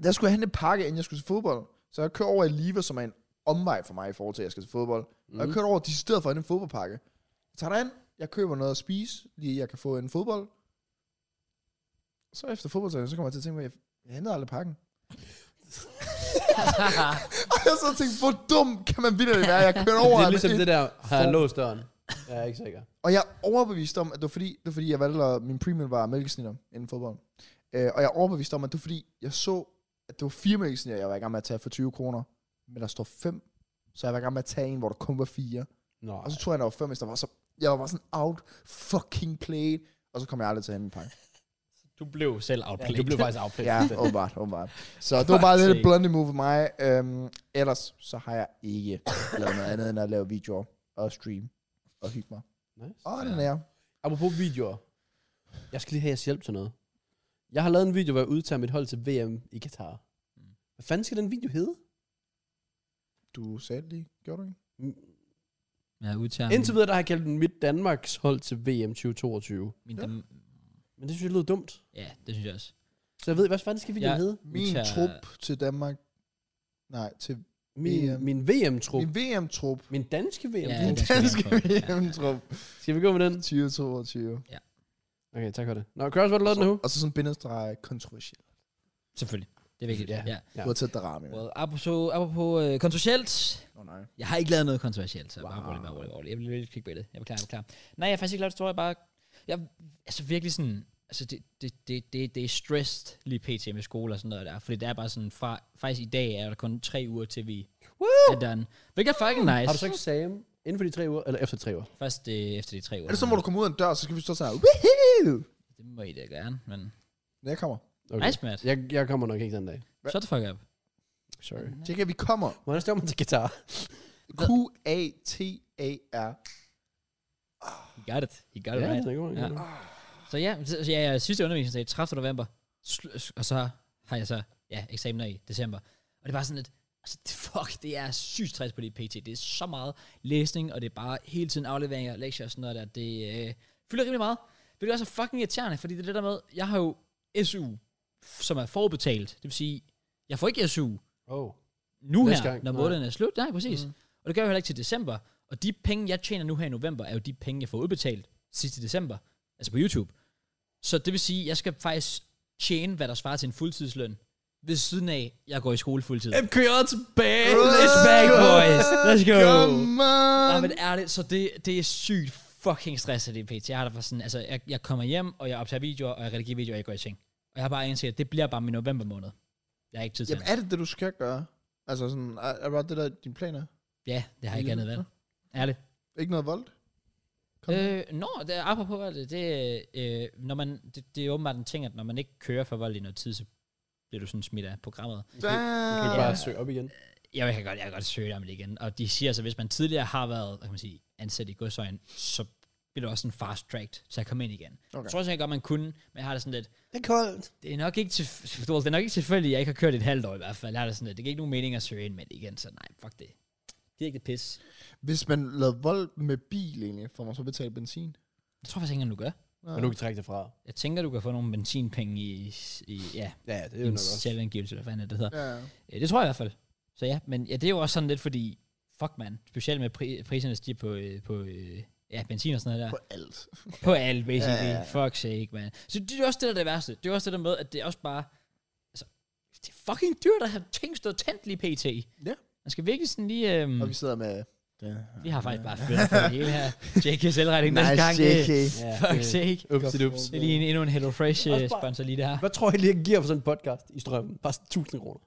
[SPEAKER 3] der skulle jeg hente en pakke, inden jeg skulle til fodbold. Så jeg kørte over i Liva, som er en omvej for mig i forhold til, at jeg skal til fodbold. Mm. Og jeg kørte over decideret for at hente en fodboldpakke. Jeg tager derind, jeg køber noget at spise, lige jeg kan få en fodbold. Så efter fodboldtræningen, så kommer jeg til at tænke på, at jeg- jeg hentede aldrig pakken. Og jeg så tænkte, hvor dum kan man vildt være, jeg kører over.
[SPEAKER 2] Det er
[SPEAKER 3] at-
[SPEAKER 2] ligesom det der, har jeg låst døren? Jeg er ikke sikker.
[SPEAKER 3] Og jeg er overbevist om, at det var fordi, det var fordi jeg valgte, at min premium var mælkesnitter inden fodbold. Øh, og jeg er overbevist om, at det var fordi, jeg så, at det var fire mælkesnitter, jeg var i gang med at tage for 20 kroner. Men der står fem, så jeg var i gang med at tage en, hvor der kun var fire.
[SPEAKER 2] Nå,
[SPEAKER 3] Og så tror jeg, der var fem, hvis der var så... Jeg var bare sådan out fucking played. Og så kom jeg aldrig til at hente en pakke.
[SPEAKER 1] Du blev selv outplayed.
[SPEAKER 2] ja, du blev faktisk afplæst.
[SPEAKER 3] Ja, åbenbart, åbenbart. Så det var bare lidt et blondie move af mig. Øhm, ellers så har jeg ikke lavet noget andet, end at lave videoer og stream og hygge mig.
[SPEAKER 2] Nice.
[SPEAKER 3] Åh, den er jeg.
[SPEAKER 2] Apropos videoer. Jeg skal lige have jeres hjælp til noget. Jeg har lavet en video, hvor jeg udtager mit hold til VM i Katar. Hvad fanden skal den video hedde?
[SPEAKER 3] Du sagde det lige, gjorde du ikke?
[SPEAKER 1] Ja, udtager
[SPEAKER 2] Indtil videre, der har jeg kaldt den mit Danmarks hold til VM 2022.
[SPEAKER 1] min, min, dem-
[SPEAKER 2] Men det synes jeg lyder dumt.
[SPEAKER 1] ja, det synes jeg også.
[SPEAKER 2] Så jeg ved, hvad fanden skal videoen
[SPEAKER 1] Ja.
[SPEAKER 2] hedde?
[SPEAKER 3] Min
[SPEAKER 1] tager-
[SPEAKER 3] trup til Danmark. Nej, til VM.
[SPEAKER 2] Min, min VM-trup.
[SPEAKER 3] min VM-trup.
[SPEAKER 2] Min danske VM-trup.
[SPEAKER 1] Ja,
[SPEAKER 3] Min
[SPEAKER 1] den skal
[SPEAKER 3] danske
[SPEAKER 1] jeg have på.
[SPEAKER 3] VM-trup.
[SPEAKER 2] Skal vi gå med den?
[SPEAKER 3] 2022.
[SPEAKER 2] Okay, tak for det. Nå, Kraus, hvad har du lavet den nu?
[SPEAKER 3] Og så sådan bindestreg kontroversiel.
[SPEAKER 1] Selvfølgelig. Det er vigtigt.
[SPEAKER 2] Ja.
[SPEAKER 1] Ja. ja.
[SPEAKER 2] Ja.
[SPEAKER 3] Du har taget Darami med.
[SPEAKER 1] Well, apropos, apropos øh, kontroversielt,
[SPEAKER 3] Åh, nej.
[SPEAKER 1] Jeg har ikke lavet noget kontroversielt, så wow. bare
[SPEAKER 3] Wow.
[SPEAKER 1] rolig, bare rolig, rolig. Jeg vil lidt clickbaitet. Jeg beklager, jeg beklager. Nej, jeg har faktisk ikke lavet det store. Jeg bare... Jeg, altså virkelig sådan... Altså det, det, det, det, det er stressed lige pt med skole og sådan noget der. Fordi det er bare sådan... Fra, faktisk i dag er der kun tre uger til vi Woo! er done. Hvilket er fucking nice.
[SPEAKER 2] Har du så eksamen inden for de tre uger, eller efter tre uger?
[SPEAKER 1] Først øh, efter de tre uger.
[SPEAKER 3] Er det så, hvor du kommer ud af en dør, så skal vi stå sådan her. Woohoo!
[SPEAKER 1] Det må I da gerne, men...
[SPEAKER 3] Jeg kommer.
[SPEAKER 1] Okay. Nice, Matt.
[SPEAKER 2] Jeg, jeg kommer nok ikke den dag.
[SPEAKER 1] Shut the fuck up.
[SPEAKER 2] Sorry.
[SPEAKER 3] Tjek, at vi kommer.
[SPEAKER 2] Hvordan står man til guitar?
[SPEAKER 3] Q-A-T-A-R.
[SPEAKER 1] You got it. You got it
[SPEAKER 2] Ja,
[SPEAKER 1] right.
[SPEAKER 2] det er godt,
[SPEAKER 1] Ja.
[SPEAKER 2] ja.
[SPEAKER 1] Så ja, så, så ja, ja sidste undervisning sagde 30. november, sl- s- og så har jeg så ja, eksamener i december. Og det er bare sådan lidt, altså det, fuck, det er sygt stress på det PT. Det er så meget læsning, og det er bare hele tiden afleveringer, lektier og sådan noget der. Det øh, fylder rimelig meget. Hvilket også er fucking irriterende, fordi det er det der med, jeg har jo SU, f- som er forbetalt. Det vil sige, jeg får ikke SU
[SPEAKER 2] Oh.
[SPEAKER 1] nu
[SPEAKER 2] Næste
[SPEAKER 1] her,
[SPEAKER 2] gang,
[SPEAKER 1] når
[SPEAKER 2] nej.
[SPEAKER 1] måneden er slut. Nej, præcis. Mm. Og det gør jeg heller ikke til december. Og de penge, jeg tjener nu her i november, er jo de penge, jeg får udbetalt sidst i december. Altså på YouTube. Så det vil sige, jeg skal faktisk tjene, hvad der svarer til en fuldtidsløn. Ved siden af, jeg går i skole fuldtid.
[SPEAKER 2] MK er tilbage!
[SPEAKER 1] Let's back, boys. Let's go.
[SPEAKER 3] Come
[SPEAKER 1] Nej,
[SPEAKER 3] on!
[SPEAKER 1] men ærligt, så det, det er sygt fucking stresset, det PT. Jeg har det for sådan, altså, jeg, jeg kommer hjem, og jeg optager videoer, og jeg redigerer videoer, og jeg går i seng. Og jeg har bare indset, at det bliver bare min november måned. Jeg har ikke tid til
[SPEAKER 3] Jamen,
[SPEAKER 1] andet.
[SPEAKER 3] er det det, du skal gøre? Altså sådan, er er det bare det der, dine planer?
[SPEAKER 1] Ja, det har jeg ikke andet valg. Ærligt.
[SPEAKER 3] Ikke noget vold? Kom.
[SPEAKER 1] Øh, nå, det er apropos vold, det, det, øh, når man, det, det er åbenbart en ting, at når man ikke kører for vold i noget tid, så bliver du sådan smidt af programmet.
[SPEAKER 2] Kan
[SPEAKER 3] Damn.
[SPEAKER 2] vi bare søge op igen?
[SPEAKER 1] Jeg kan godt, jeg kan godt søge om det igen. Og de siger så, hvis man tidligere har været hvad kan man sige, ansat i godsøjen, så bliver du også sådan fast tracked til at komme ind igen. Okay. Jeg tror også, jeg godt, man kunne, men jeg har det sådan lidt,
[SPEAKER 2] Det er koldt.
[SPEAKER 1] det er nok ikke, tilf- det er nok ikke tilfældigt, at jeg ikke har kørt i et halvt år i hvert fald. Jeg har det sådan lidt, det giver ikke nogen mening at søge ind med det igen, så nej, fuck det. Det er ikke det pis.
[SPEAKER 3] Hvis man lavede vold med bil egentlig, får man så betalt benzin?
[SPEAKER 1] Det tror jeg faktisk ikke, engang, du gør.
[SPEAKER 3] Nå.
[SPEAKER 2] Men du kan trække det fra.
[SPEAKER 1] Jeg tænker, du kan få nogle benzinpenge i, i ja,
[SPEAKER 2] Ja, ja, det er jo
[SPEAKER 1] en
[SPEAKER 2] nok også.
[SPEAKER 1] selvangivelse, eller hvad fanden det hedder.
[SPEAKER 3] Ja, ja.
[SPEAKER 1] Øh, Det tror jeg i hvert fald. Så ja, men ja, det er jo også sådan lidt, fordi fuck man, specielt med pri- priserne stiger på, øh, på øh, ja, benzin og sådan noget der.
[SPEAKER 3] På
[SPEAKER 1] På,
[SPEAKER 3] alt.
[SPEAKER 1] på alt, basically.
[SPEAKER 3] Ja,
[SPEAKER 1] Ja,
[SPEAKER 3] ja,
[SPEAKER 1] ja, ja. Fuck sake, man. Så det er jo også det, der er det værste. Det er jo også det der med, at det er også bare, altså, det er fucking dyrt at have ting stået tændt lige pt.
[SPEAKER 3] Ja.
[SPEAKER 1] Man skal virkelig sådan lige, øhm,
[SPEAKER 3] Og vi sidder med Mm. Det-
[SPEAKER 1] Vi har faktisk bare fyldt for det hele her. JK selvretning nice, næste gang.
[SPEAKER 3] Nice,
[SPEAKER 1] JK.
[SPEAKER 3] JK.
[SPEAKER 2] Ja.
[SPEAKER 1] Fuck sake.
[SPEAKER 2] Ups, ups.
[SPEAKER 1] Det er lige en, endnu en Hello Fresh
[SPEAKER 2] Øh. Også bare-
[SPEAKER 1] sponsor lige det her.
[SPEAKER 2] Hvad tror I lige, jeg giver for sådan en podcast i strømmen? Bare sådan 1000 kroner.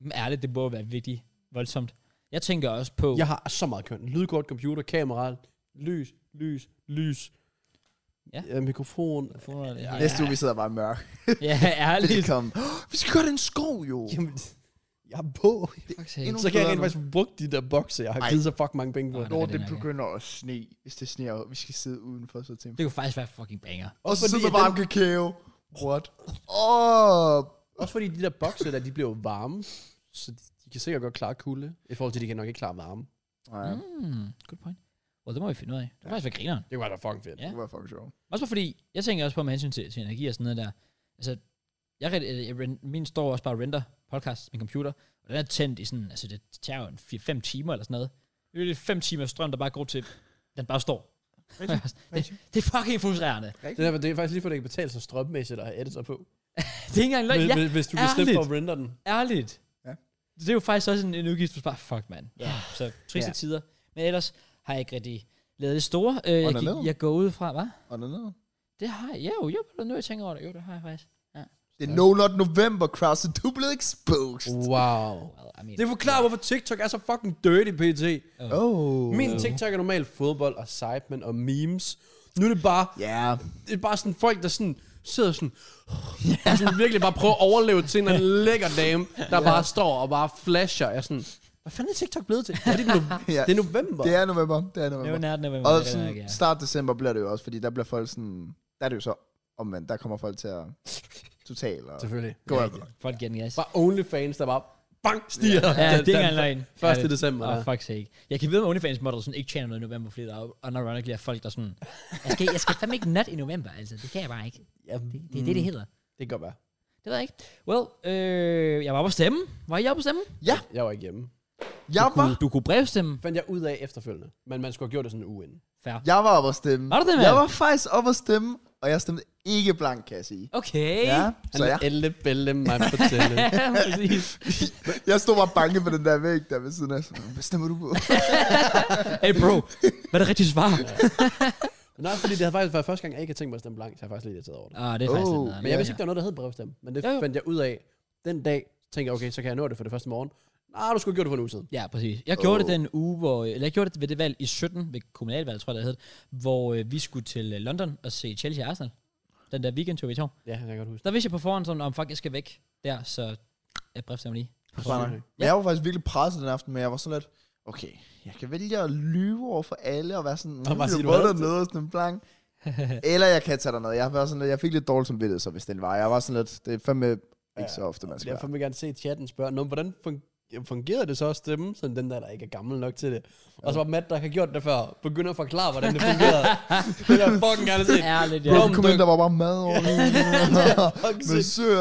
[SPEAKER 1] Men Ærligt, det må være virkelig voldsomt. Jeg tænker også på...
[SPEAKER 2] Jeg har så meget køn. Lydkort, computer, kamera, lys, lys, lys.
[SPEAKER 1] Ja.
[SPEAKER 2] Øh, mikrofon.
[SPEAKER 1] Telefoner og det hele.
[SPEAKER 3] Næste uge, vi sidder bare mørk.
[SPEAKER 1] Ja, ærligt.
[SPEAKER 3] Velkommen. Vi skal gøre det en skov, jo.
[SPEAKER 2] Jamen, jeg er på.
[SPEAKER 1] Fuck sake.
[SPEAKER 3] endnu-
[SPEAKER 2] Så kan jeg rent
[SPEAKER 3] Federe nu.
[SPEAKER 2] faktisk få brugt de der bokse, jeg har
[SPEAKER 3] Ej.
[SPEAKER 2] givet så fucking mange penge på.
[SPEAKER 1] Ej.
[SPEAKER 3] Når
[SPEAKER 1] det
[SPEAKER 3] det
[SPEAKER 1] nok, ja.
[SPEAKER 3] begynder at sne, hvis det sneer, og vi skal sidde udenfor, så tænker
[SPEAKER 1] Det kunne faktisk være fucking banger.
[SPEAKER 3] Og så
[SPEAKER 2] fordi,
[SPEAKER 3] sidder
[SPEAKER 2] at
[SPEAKER 3] varm kakao. What? Åh,
[SPEAKER 2] Også fordi de der bokse der, de bliver jo varme, så de kan sikkert godt klare kulde, i forhold til, at de kan nok ikke klare varme.
[SPEAKER 3] Nej,
[SPEAKER 1] Mm, good point. Well, det må vi finde ud af. Det er faktisk være grineren.
[SPEAKER 2] Det kunne være fucking fedt.
[SPEAKER 1] Ja.
[SPEAKER 3] det var fucking sjovt.
[SPEAKER 1] Også bare fordi, jeg tænker også på med hensyn til, til energi og sådan noget der. Altså, jeg, rent- øh, jeg, rent- min står også bare og render podcast, min computer, og den er tændt i sådan, altså det tager jo en 4-5 timer eller sådan noget. Det er jo 5 timer strøm, der bare går til, den bare står. det, det, er fucking frustrerende.
[SPEAKER 2] Det, er, det er faktisk lige for, at det kan betale sig strømmæssigt at have editor på.
[SPEAKER 1] Det er ikke engang løgn.
[SPEAKER 2] Hvis,
[SPEAKER 1] Ja,
[SPEAKER 2] hvis- hvis du kan slippe for
[SPEAKER 1] ærligt.
[SPEAKER 2] at render den.
[SPEAKER 1] ærligt.
[SPEAKER 3] Ja.
[SPEAKER 1] Det er jo faktisk også en, en udgift, du bare, fuck mand. Ja. Så triste
[SPEAKER 3] Ja.
[SPEAKER 1] tider. Men ellers har jeg ikke rigtig lavet det store. Øh, jeg,
[SPEAKER 3] Underlaget?
[SPEAKER 1] gik, jeg går ud fra, hvad?
[SPEAKER 3] Og noget andet.
[SPEAKER 1] Det har jeg. Jo, jo, nu jeg tænker over det. Jo, det har jeg faktisk. Ja.
[SPEAKER 3] Det er No Not November, Kraus, så du er blevet exposed.
[SPEAKER 2] Wow.
[SPEAKER 1] Well, I mean,
[SPEAKER 2] Det forklarer, hvorfor TikTok er så fucking dirty, pt.
[SPEAKER 3] Oh.
[SPEAKER 2] Min
[SPEAKER 1] øh,
[SPEAKER 2] TikTok er normalt fodbold og sidemen og memes. Nu er det bare,
[SPEAKER 3] Ja.
[SPEAKER 2] det er bare sådan folk, der sådan sidder sådan, og sådan virkelig bare prøver at overleve til en eller anden lækker dame, der bare står og bare flasher. Jeg er sådan, hvad fanden er TikTok blevet til? Er det, no-
[SPEAKER 3] Ja.
[SPEAKER 2] det er november.
[SPEAKER 3] Det er november. Det er
[SPEAKER 1] Det var
[SPEAKER 3] november.
[SPEAKER 1] nært, når man
[SPEAKER 3] Og
[SPEAKER 1] var det,
[SPEAKER 3] sådan,
[SPEAKER 1] nok, ja.
[SPEAKER 3] start december bliver det jo også, fordi der bliver folk sådan... Der er det jo så omvendt. Der kommer folk til at... Totalt. Og
[SPEAKER 2] Selvfølgelig.
[SPEAKER 3] gå af.
[SPEAKER 1] Folk giver den gas.
[SPEAKER 2] Bare OnlyFans, der bare bang,
[SPEAKER 1] Ja,
[SPEAKER 2] stiger. den-
[SPEAKER 1] det er ikke
[SPEAKER 2] den
[SPEAKER 1] engang løgn.
[SPEAKER 2] første december,
[SPEAKER 1] Åh,
[SPEAKER 2] ja.
[SPEAKER 1] oh, fuck sake. Jeg kan vide, at OnlyFans model sådan ikke tjener noget i november, fordi der er unironically er folk, der sådan... Jeg skal, jeg skal fandme ikke nat i november, altså. Det kan jeg bare ikke.
[SPEAKER 2] Ja, mm.
[SPEAKER 1] Det, det er det, det hedder.
[SPEAKER 2] det kan godt være.
[SPEAKER 1] Det ved jeg ikke. Well, øh, jeg var på stemme. Var I oppe på stemme?
[SPEAKER 2] Jeg var ikke hjemme.
[SPEAKER 3] Jeg
[SPEAKER 1] Du,
[SPEAKER 3] var...
[SPEAKER 1] kunne- du kunne brevstemme.
[SPEAKER 2] Fandt jeg ud af efterfølgende. Men man skulle have gjort det sådan en uge inden.
[SPEAKER 1] Fair.
[SPEAKER 3] Jeg var oppe at stemme.
[SPEAKER 1] Var du det, mand?
[SPEAKER 3] Jeg var faktisk oppe at stemme, og jeg stemte ikke blank, kan jeg sige.
[SPEAKER 1] Okay.
[SPEAKER 3] Ja, så
[SPEAKER 2] Så
[SPEAKER 3] jeg,
[SPEAKER 2] jeg... Elle, belle, mig fortælle.
[SPEAKER 1] Præcis.
[SPEAKER 3] jeg stod bare bange på den der væg der ved siden af. Sådan, Hvad stemmer du på?
[SPEAKER 1] Hey bro, hvad er det rigtige svar?
[SPEAKER 2] Nej, fordi det havde faktisk været første gang, jeg ikke havde tænkt mig at stemme blank, så jeg er faktisk lidt irriteret over det.
[SPEAKER 1] Ah, det er faktisk
[SPEAKER 3] Oh.
[SPEAKER 1] lidt nederen.
[SPEAKER 2] Men jeg vidste ikke, der var noget, der hed brevstemme. Men det
[SPEAKER 1] Jo, jo.
[SPEAKER 2] fandt jeg ud af den dag. Så tænkte jeg, okay, så kan jeg nå det for det første morgen. Nej, du skulle have gjort det for en uge siden.
[SPEAKER 1] Ja, præcis. Jeg gjorde
[SPEAKER 3] Åh.
[SPEAKER 1] det den uge, hvor... Eller jeg gjorde det ved det valg i 17, ved kommunalvalget, tror jeg, det hed, hvor øh, vi skulle til øh, London og se Chelsea og Arsenal. Den der weekendtur, vi tog.
[SPEAKER 2] Ja, jeg kan godt huske.
[SPEAKER 1] Der vidste jeg på forhånd, sådan, om fuck, jeg skal væk der, så jeg brevstemmer lige.
[SPEAKER 3] Men jeg var faktisk virkelig presset den aften, men jeg var sådan lidt, okay, jeg kan vælge at lyve over for alle og være sådan,
[SPEAKER 2] bare sige,
[SPEAKER 3] jeg
[SPEAKER 2] du
[SPEAKER 3] var
[SPEAKER 2] havde
[SPEAKER 3] dernede og sådan blank. Eller jeg kan tage dernede. Jeg, var sådan lidt, jeg fik lidt dårligt som vidtighed, så hvis den var. Jeg var sådan lidt, det er fandme ikke så ofte, man skal
[SPEAKER 2] Derfor
[SPEAKER 3] være.
[SPEAKER 2] vil jeg gerne se chatten spørge, Nå, men hvordan fun- fungerede det så at stemme, sådan den der, der ikke er gammel nok til det? Og så var Matt, der har gjort det før, begynder at forklare, hvordan det fungerede. det vil jeg fucking gerne se.
[SPEAKER 1] Ærligt, ja.
[SPEAKER 2] Bro,
[SPEAKER 3] Jeg kom ind, der var bare mad over det.
[SPEAKER 2] Fucking sindssygt.
[SPEAKER 3] Monsieur.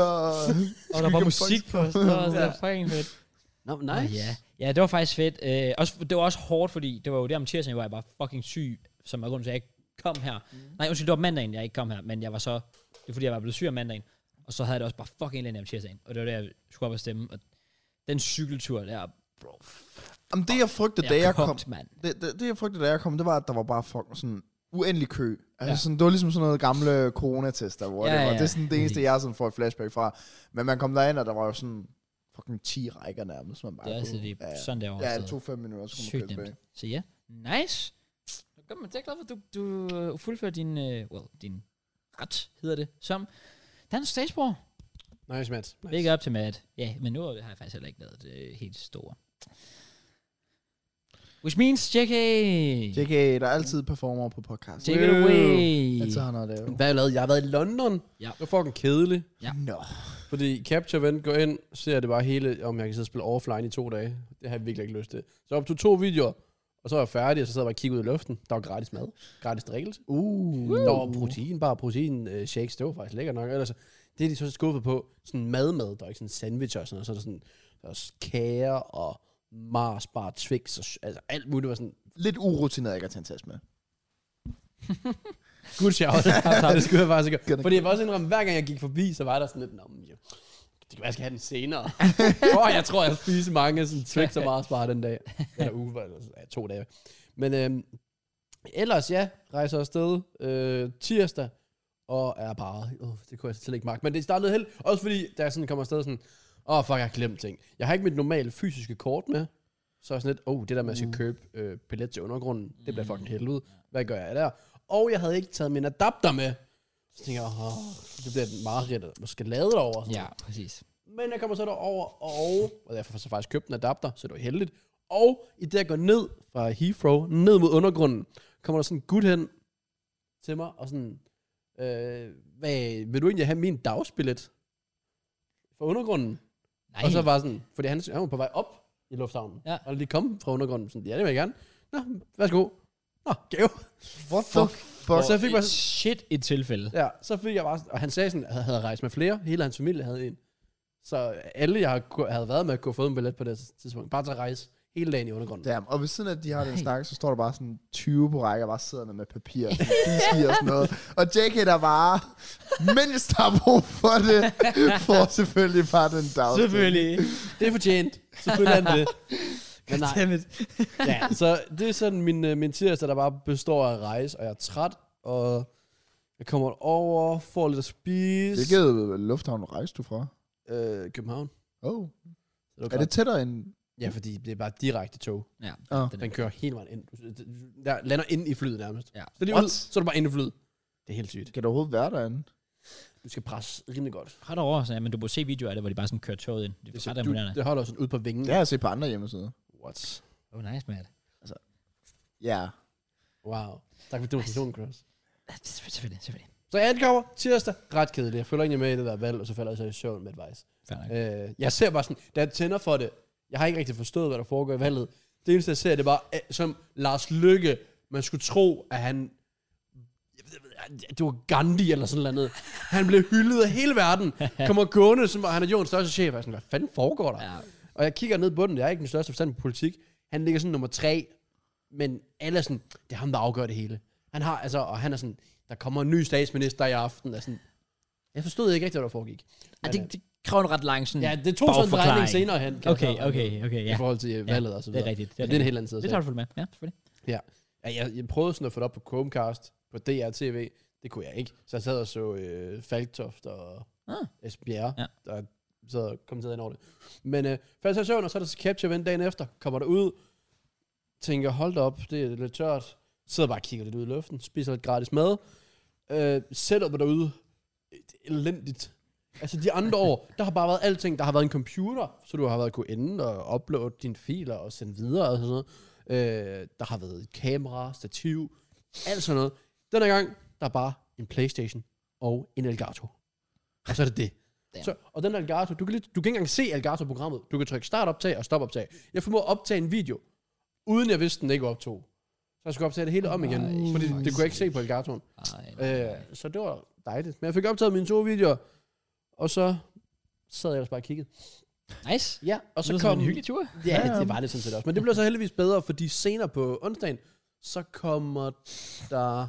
[SPEAKER 1] Og der var musik på, så det var
[SPEAKER 2] Ja.
[SPEAKER 1] sådan fucking fedt.
[SPEAKER 2] Nå,
[SPEAKER 1] Åh,
[SPEAKER 2] nice.
[SPEAKER 1] Ja, ja det var faktisk fedt. Øh, også, det var også hårdt, fordi det var jo der om tirsdagen, hvor jeg var fucking syg, som var grunden til, at jeg ikke kom her. Mm. Nej, undskyld, det var mandagen, jeg ikke kom her, men jeg var så... Det er fordi, jeg var blevet syg om mandagen, og så havde jeg det også bare fucking elendigt om tirsdagen, og det var der, jeg skulle op og stemme, og den cykeltur der, bro,
[SPEAKER 3] Jamen, det jeg frygtede, da
[SPEAKER 1] jeg
[SPEAKER 3] jeg kom,
[SPEAKER 1] kogt, mand.
[SPEAKER 3] det, det, det, jeg frygtede, da jeg kom, det var, at der var bare fucking sådan uendelig kø. Altså,
[SPEAKER 1] Ja.
[SPEAKER 3] ja. sådan, det var ligesom sådan noget gamle coronatester, hvor
[SPEAKER 1] Ja,
[SPEAKER 3] ja, det var.
[SPEAKER 1] ja,
[SPEAKER 3] Ja, det er sådan det eneste,
[SPEAKER 1] præcis.
[SPEAKER 3] jeg sådan får et flashback fra. Men man kom derind, og der var jo sådan fucking 10 rækker nærmest. Man bare
[SPEAKER 1] Det er altid
[SPEAKER 3] kunne-
[SPEAKER 1] lige
[SPEAKER 3] ja,
[SPEAKER 1] sådan der over.
[SPEAKER 3] Ja, det tog fem minutter, så kunne man
[SPEAKER 1] Sygt
[SPEAKER 3] køre tilbage.
[SPEAKER 1] nemt. Så ja, nice. Så gør man det er glad for, at du, du øh, fuldfører din, uh, well, din ret, hedder det, som dansk statsborger.
[SPEAKER 2] Nice, Matt. Nice.
[SPEAKER 1] Big up til Matt. Ja, men nu har jeg faktisk heller ikke lavet det helt store. Which means, JK,
[SPEAKER 3] JK, der er altid performer på podcast.
[SPEAKER 1] take it away.
[SPEAKER 2] Altså.
[SPEAKER 3] Altid har noget at lave.
[SPEAKER 2] Hvad har jeg lavet? Jeg har været i London.
[SPEAKER 1] Ja.
[SPEAKER 2] Det var fucking kedeligt.
[SPEAKER 1] Ja.
[SPEAKER 3] Nå.
[SPEAKER 2] Fordi Capture Vent går ind, ser det bare hele, om jeg kan sidde og spille offline i to dage. Det har jeg virkelig ikke lyst til. Så jeg optog to videoer, og så var jeg færdig, og så sad jeg bare og kiggede ud i luften. Der var gratis mad, gratis drikkelse.
[SPEAKER 3] Uh.
[SPEAKER 2] Der var protein, bare protein øh, shakes, det var faktisk lækker nok. Ellers, det er de så skuffet på, sådan madmad, der er ikke sådan sandwich og sådan noget, så er der sådan der er også kager og Mars, bare Twix, og, s- altså alt muligt var sådan,
[SPEAKER 3] Lidt urutineret, ikke at tage en test med.
[SPEAKER 2] good shout, det skulle jeg faktisk ikke gøre.
[SPEAKER 3] Gonna
[SPEAKER 2] Fordi jeg var også indrømme, hver gang jeg gik forbi, så var der sådan lidt, nå, men jeg Det kan være, jeg skal have den senere. Åh, jeg tror, jeg spiser mange sådan Twix og Mars bare den dag. Eller uge, eller sådan, ja, to dage. Men øhm, ellers, ja, rejser afsted øh, tirsdag og er bare... Uh, det kunne jeg selv ikke magt. Men det startede helt, også fordi, da jeg sådan kommer afsted sådan... Åh, oh, fuck, jeg har glemt ting. Jeg har ikke mit normale fysiske kort med. Så er jeg sådan lidt, oh, det der med, at jeg skal købe øh, billet til undergrunden, det bliver fucking helvede. Hvad gør jeg der? Og jeg havde ikke taget min adapter med. Så tænker jeg, åh, det bliver et mareridt, at man skal lade det over.
[SPEAKER 1] Ja, præcis.
[SPEAKER 2] Men jeg kommer så derover, og, og derfor får jeg så faktisk købt en adapter, så det var heldigt. Og i det, jeg går ned fra Heathrow, ned mod undergrunden, kommer der sådan en gut hen til mig, og sådan, øh, hvad, vil du egentlig have min dagsbillet fra undergrunden?
[SPEAKER 1] Nej.
[SPEAKER 2] Og så var sådan, fordi han, han var på vej op i lufthavnen,
[SPEAKER 1] Ja.
[SPEAKER 2] og lige kom fra undergrunden, sådan, ja, det vil jeg gerne. Nå, værsgo. Nå, gave.
[SPEAKER 3] What the
[SPEAKER 1] Fuck.
[SPEAKER 3] fuck?
[SPEAKER 2] Så jeg fik bare
[SPEAKER 1] Et shit et tilfælde.
[SPEAKER 2] Ja, så fik jeg bare sådan, og han sagde sådan, at han havde rejst med flere, hele hans familie havde en. Så alle, jeg har ku- havde været med, kunne have fået en billet på det tidspunkt. Bare til at rejse hele dagen i undergrunden.
[SPEAKER 3] Damn. Og ved siden af, at de har den
[SPEAKER 1] Nej.
[SPEAKER 3] snak, så står der bare sådan 20 på række, og bare sidder med papir og sådan fliski og sådan noget. Og JK der bare, mens der er brug for det, får selvfølgelig bare den dag.
[SPEAKER 1] Selvfølgelig.
[SPEAKER 2] Det er fortjent. Selvfølgelig er den det. Men nej,
[SPEAKER 1] Goddammit.
[SPEAKER 2] ja, så det er sådan min, øh, min tirsdag, der bare består af at rejse, og jeg er træt, og jeg kommer over, får lidt at spise.
[SPEAKER 3] Hvilket øh, lufthavn rejste du fra?
[SPEAKER 2] Øh, København.
[SPEAKER 3] Oh.
[SPEAKER 2] Så det
[SPEAKER 3] Er
[SPEAKER 2] er
[SPEAKER 3] det
[SPEAKER 2] det?
[SPEAKER 3] tættere end...
[SPEAKER 2] Ja, fordi det er bare direkte tog.
[SPEAKER 1] Ja,
[SPEAKER 3] Åh.
[SPEAKER 1] den
[SPEAKER 2] Den kører hele vejen ind. Du- du- Der lander ind i flyet nærmest.
[SPEAKER 1] Ja.
[SPEAKER 2] Så, lige
[SPEAKER 3] What?
[SPEAKER 2] ud, så er du bare ind i flyet. Det er helt sygt.
[SPEAKER 3] Kan du overhovedet være derinde?
[SPEAKER 2] Du skal presse rimelig godt.
[SPEAKER 1] ret over, så, ja, men du må se videoer af det, hvor de bare sådan kører toget ind. Det er ret
[SPEAKER 2] du,
[SPEAKER 1] imponerende.
[SPEAKER 2] det holder sådan ud på vingen.
[SPEAKER 3] Det har jeg set på andre hjemmesider.
[SPEAKER 2] What?
[SPEAKER 1] Oh, nice, man.
[SPEAKER 3] Ja.
[SPEAKER 2] Wow. Tak for demonstrationen, Cross.
[SPEAKER 1] Ja, Selvfølgelig, selvfølgelig.
[SPEAKER 2] Så jeg ankommer tirsdag. Ret kedelig. Jeg følger ikke med i det der valg, og så falder jeg så i søvn med advice.
[SPEAKER 1] Fair nok.
[SPEAKER 2] Øh, jeg ser bare sådan, da jeg tænder for det, jeg har ikke rigtig forstået, hvad der foregår i valget. Det eneste, jeg ser, det var øh, som Lars Lykke. Man skulle tro, at han... Det var Gandhi eller sådan noget. Han blev hyldet af hele verden. Kommer gående, som og han er jordens største chef. Jeg er sådan, hvad fanden foregår der?
[SPEAKER 1] Ja.
[SPEAKER 2] Og jeg kigger ned på den, jeg er ikke den største forstand på politik. Han ligger sådan nummer tre, men alle er sådan, det er ham, der afgør det hele. Han har, altså, og han er sådan, der kommer en ny statsminister i aften. Er sådan, jeg forstod ikke rigtigt, hvad der foregik.
[SPEAKER 1] Ja, det, det kræver en ret lang sådan...
[SPEAKER 2] Ja, det tog så en
[SPEAKER 1] Bagforklaring.
[SPEAKER 2] drejning senere hen.
[SPEAKER 1] Hmm.
[SPEAKER 2] kan
[SPEAKER 1] Okay,
[SPEAKER 2] jeg så-
[SPEAKER 1] okay, okay, ja.
[SPEAKER 2] I forhold til øh, valget og så
[SPEAKER 1] det
[SPEAKER 2] videre.
[SPEAKER 1] er rigtigt.
[SPEAKER 2] Det er, det er en helt anden side. af
[SPEAKER 1] Det
[SPEAKER 2] sagen.
[SPEAKER 1] tager du fuldt med. Ja, selvfølgelig.
[SPEAKER 2] Ja. ja jeg, jeg prøvede sådan at få det op på Chromecast, på DR TV. Det kunne jeg ikke. Så jeg sad og så øh, Falktoft og
[SPEAKER 1] Ah.
[SPEAKER 2] ah. Esbjerg,
[SPEAKER 1] Ja.
[SPEAKER 2] ja. der sad og kommenterede ind over det. Men øh, faldt så i søvn, og så er der så Capture Event dagen efter. Kommer der ud, tænker, hold da op, det er lidt tørt. Sidder bare og kigger lidt ud i luften, spiser lidt gratis mad. Øh, sætter mig derude. Det er Elendigt. Altså de andre år, der har bare været alting. Der har været en computer, så du har været kunne ende og uploade dine filer og sende videre og sådan noget. Øh, der har været et kamera, stativ, alt sådan noget. Den her gang, der er bare en Playstation og en Elgato. Og så er det det.
[SPEAKER 1] Damn.
[SPEAKER 2] Så, og den Elgato, du kan, lige, du kan ikke engang se Elgato-programmet. Du kan trykke start optag og stop optag. Jeg formåede at optage en video, uden jeg vidste, den ikke optog. Så jeg skulle optage det hele om igen,
[SPEAKER 1] Nej,
[SPEAKER 2] fordi det
[SPEAKER 1] for
[SPEAKER 2] kunne jeg ikke se på Elgatoen.
[SPEAKER 1] Ej,
[SPEAKER 2] Øh, så det var dejligt. Men jeg fik optaget mine to videoer, og så sad jeg ellers bare og kiggede.
[SPEAKER 1] nice.
[SPEAKER 2] Ja, og
[SPEAKER 1] Og så
[SPEAKER 2] så
[SPEAKER 1] det kom...
[SPEAKER 2] kom...
[SPEAKER 1] en hyggelig tur.
[SPEAKER 2] Ja, det var det sådan set også. Men det blev så heldigvis bedre, fordi senere på onsdagen, så kommer der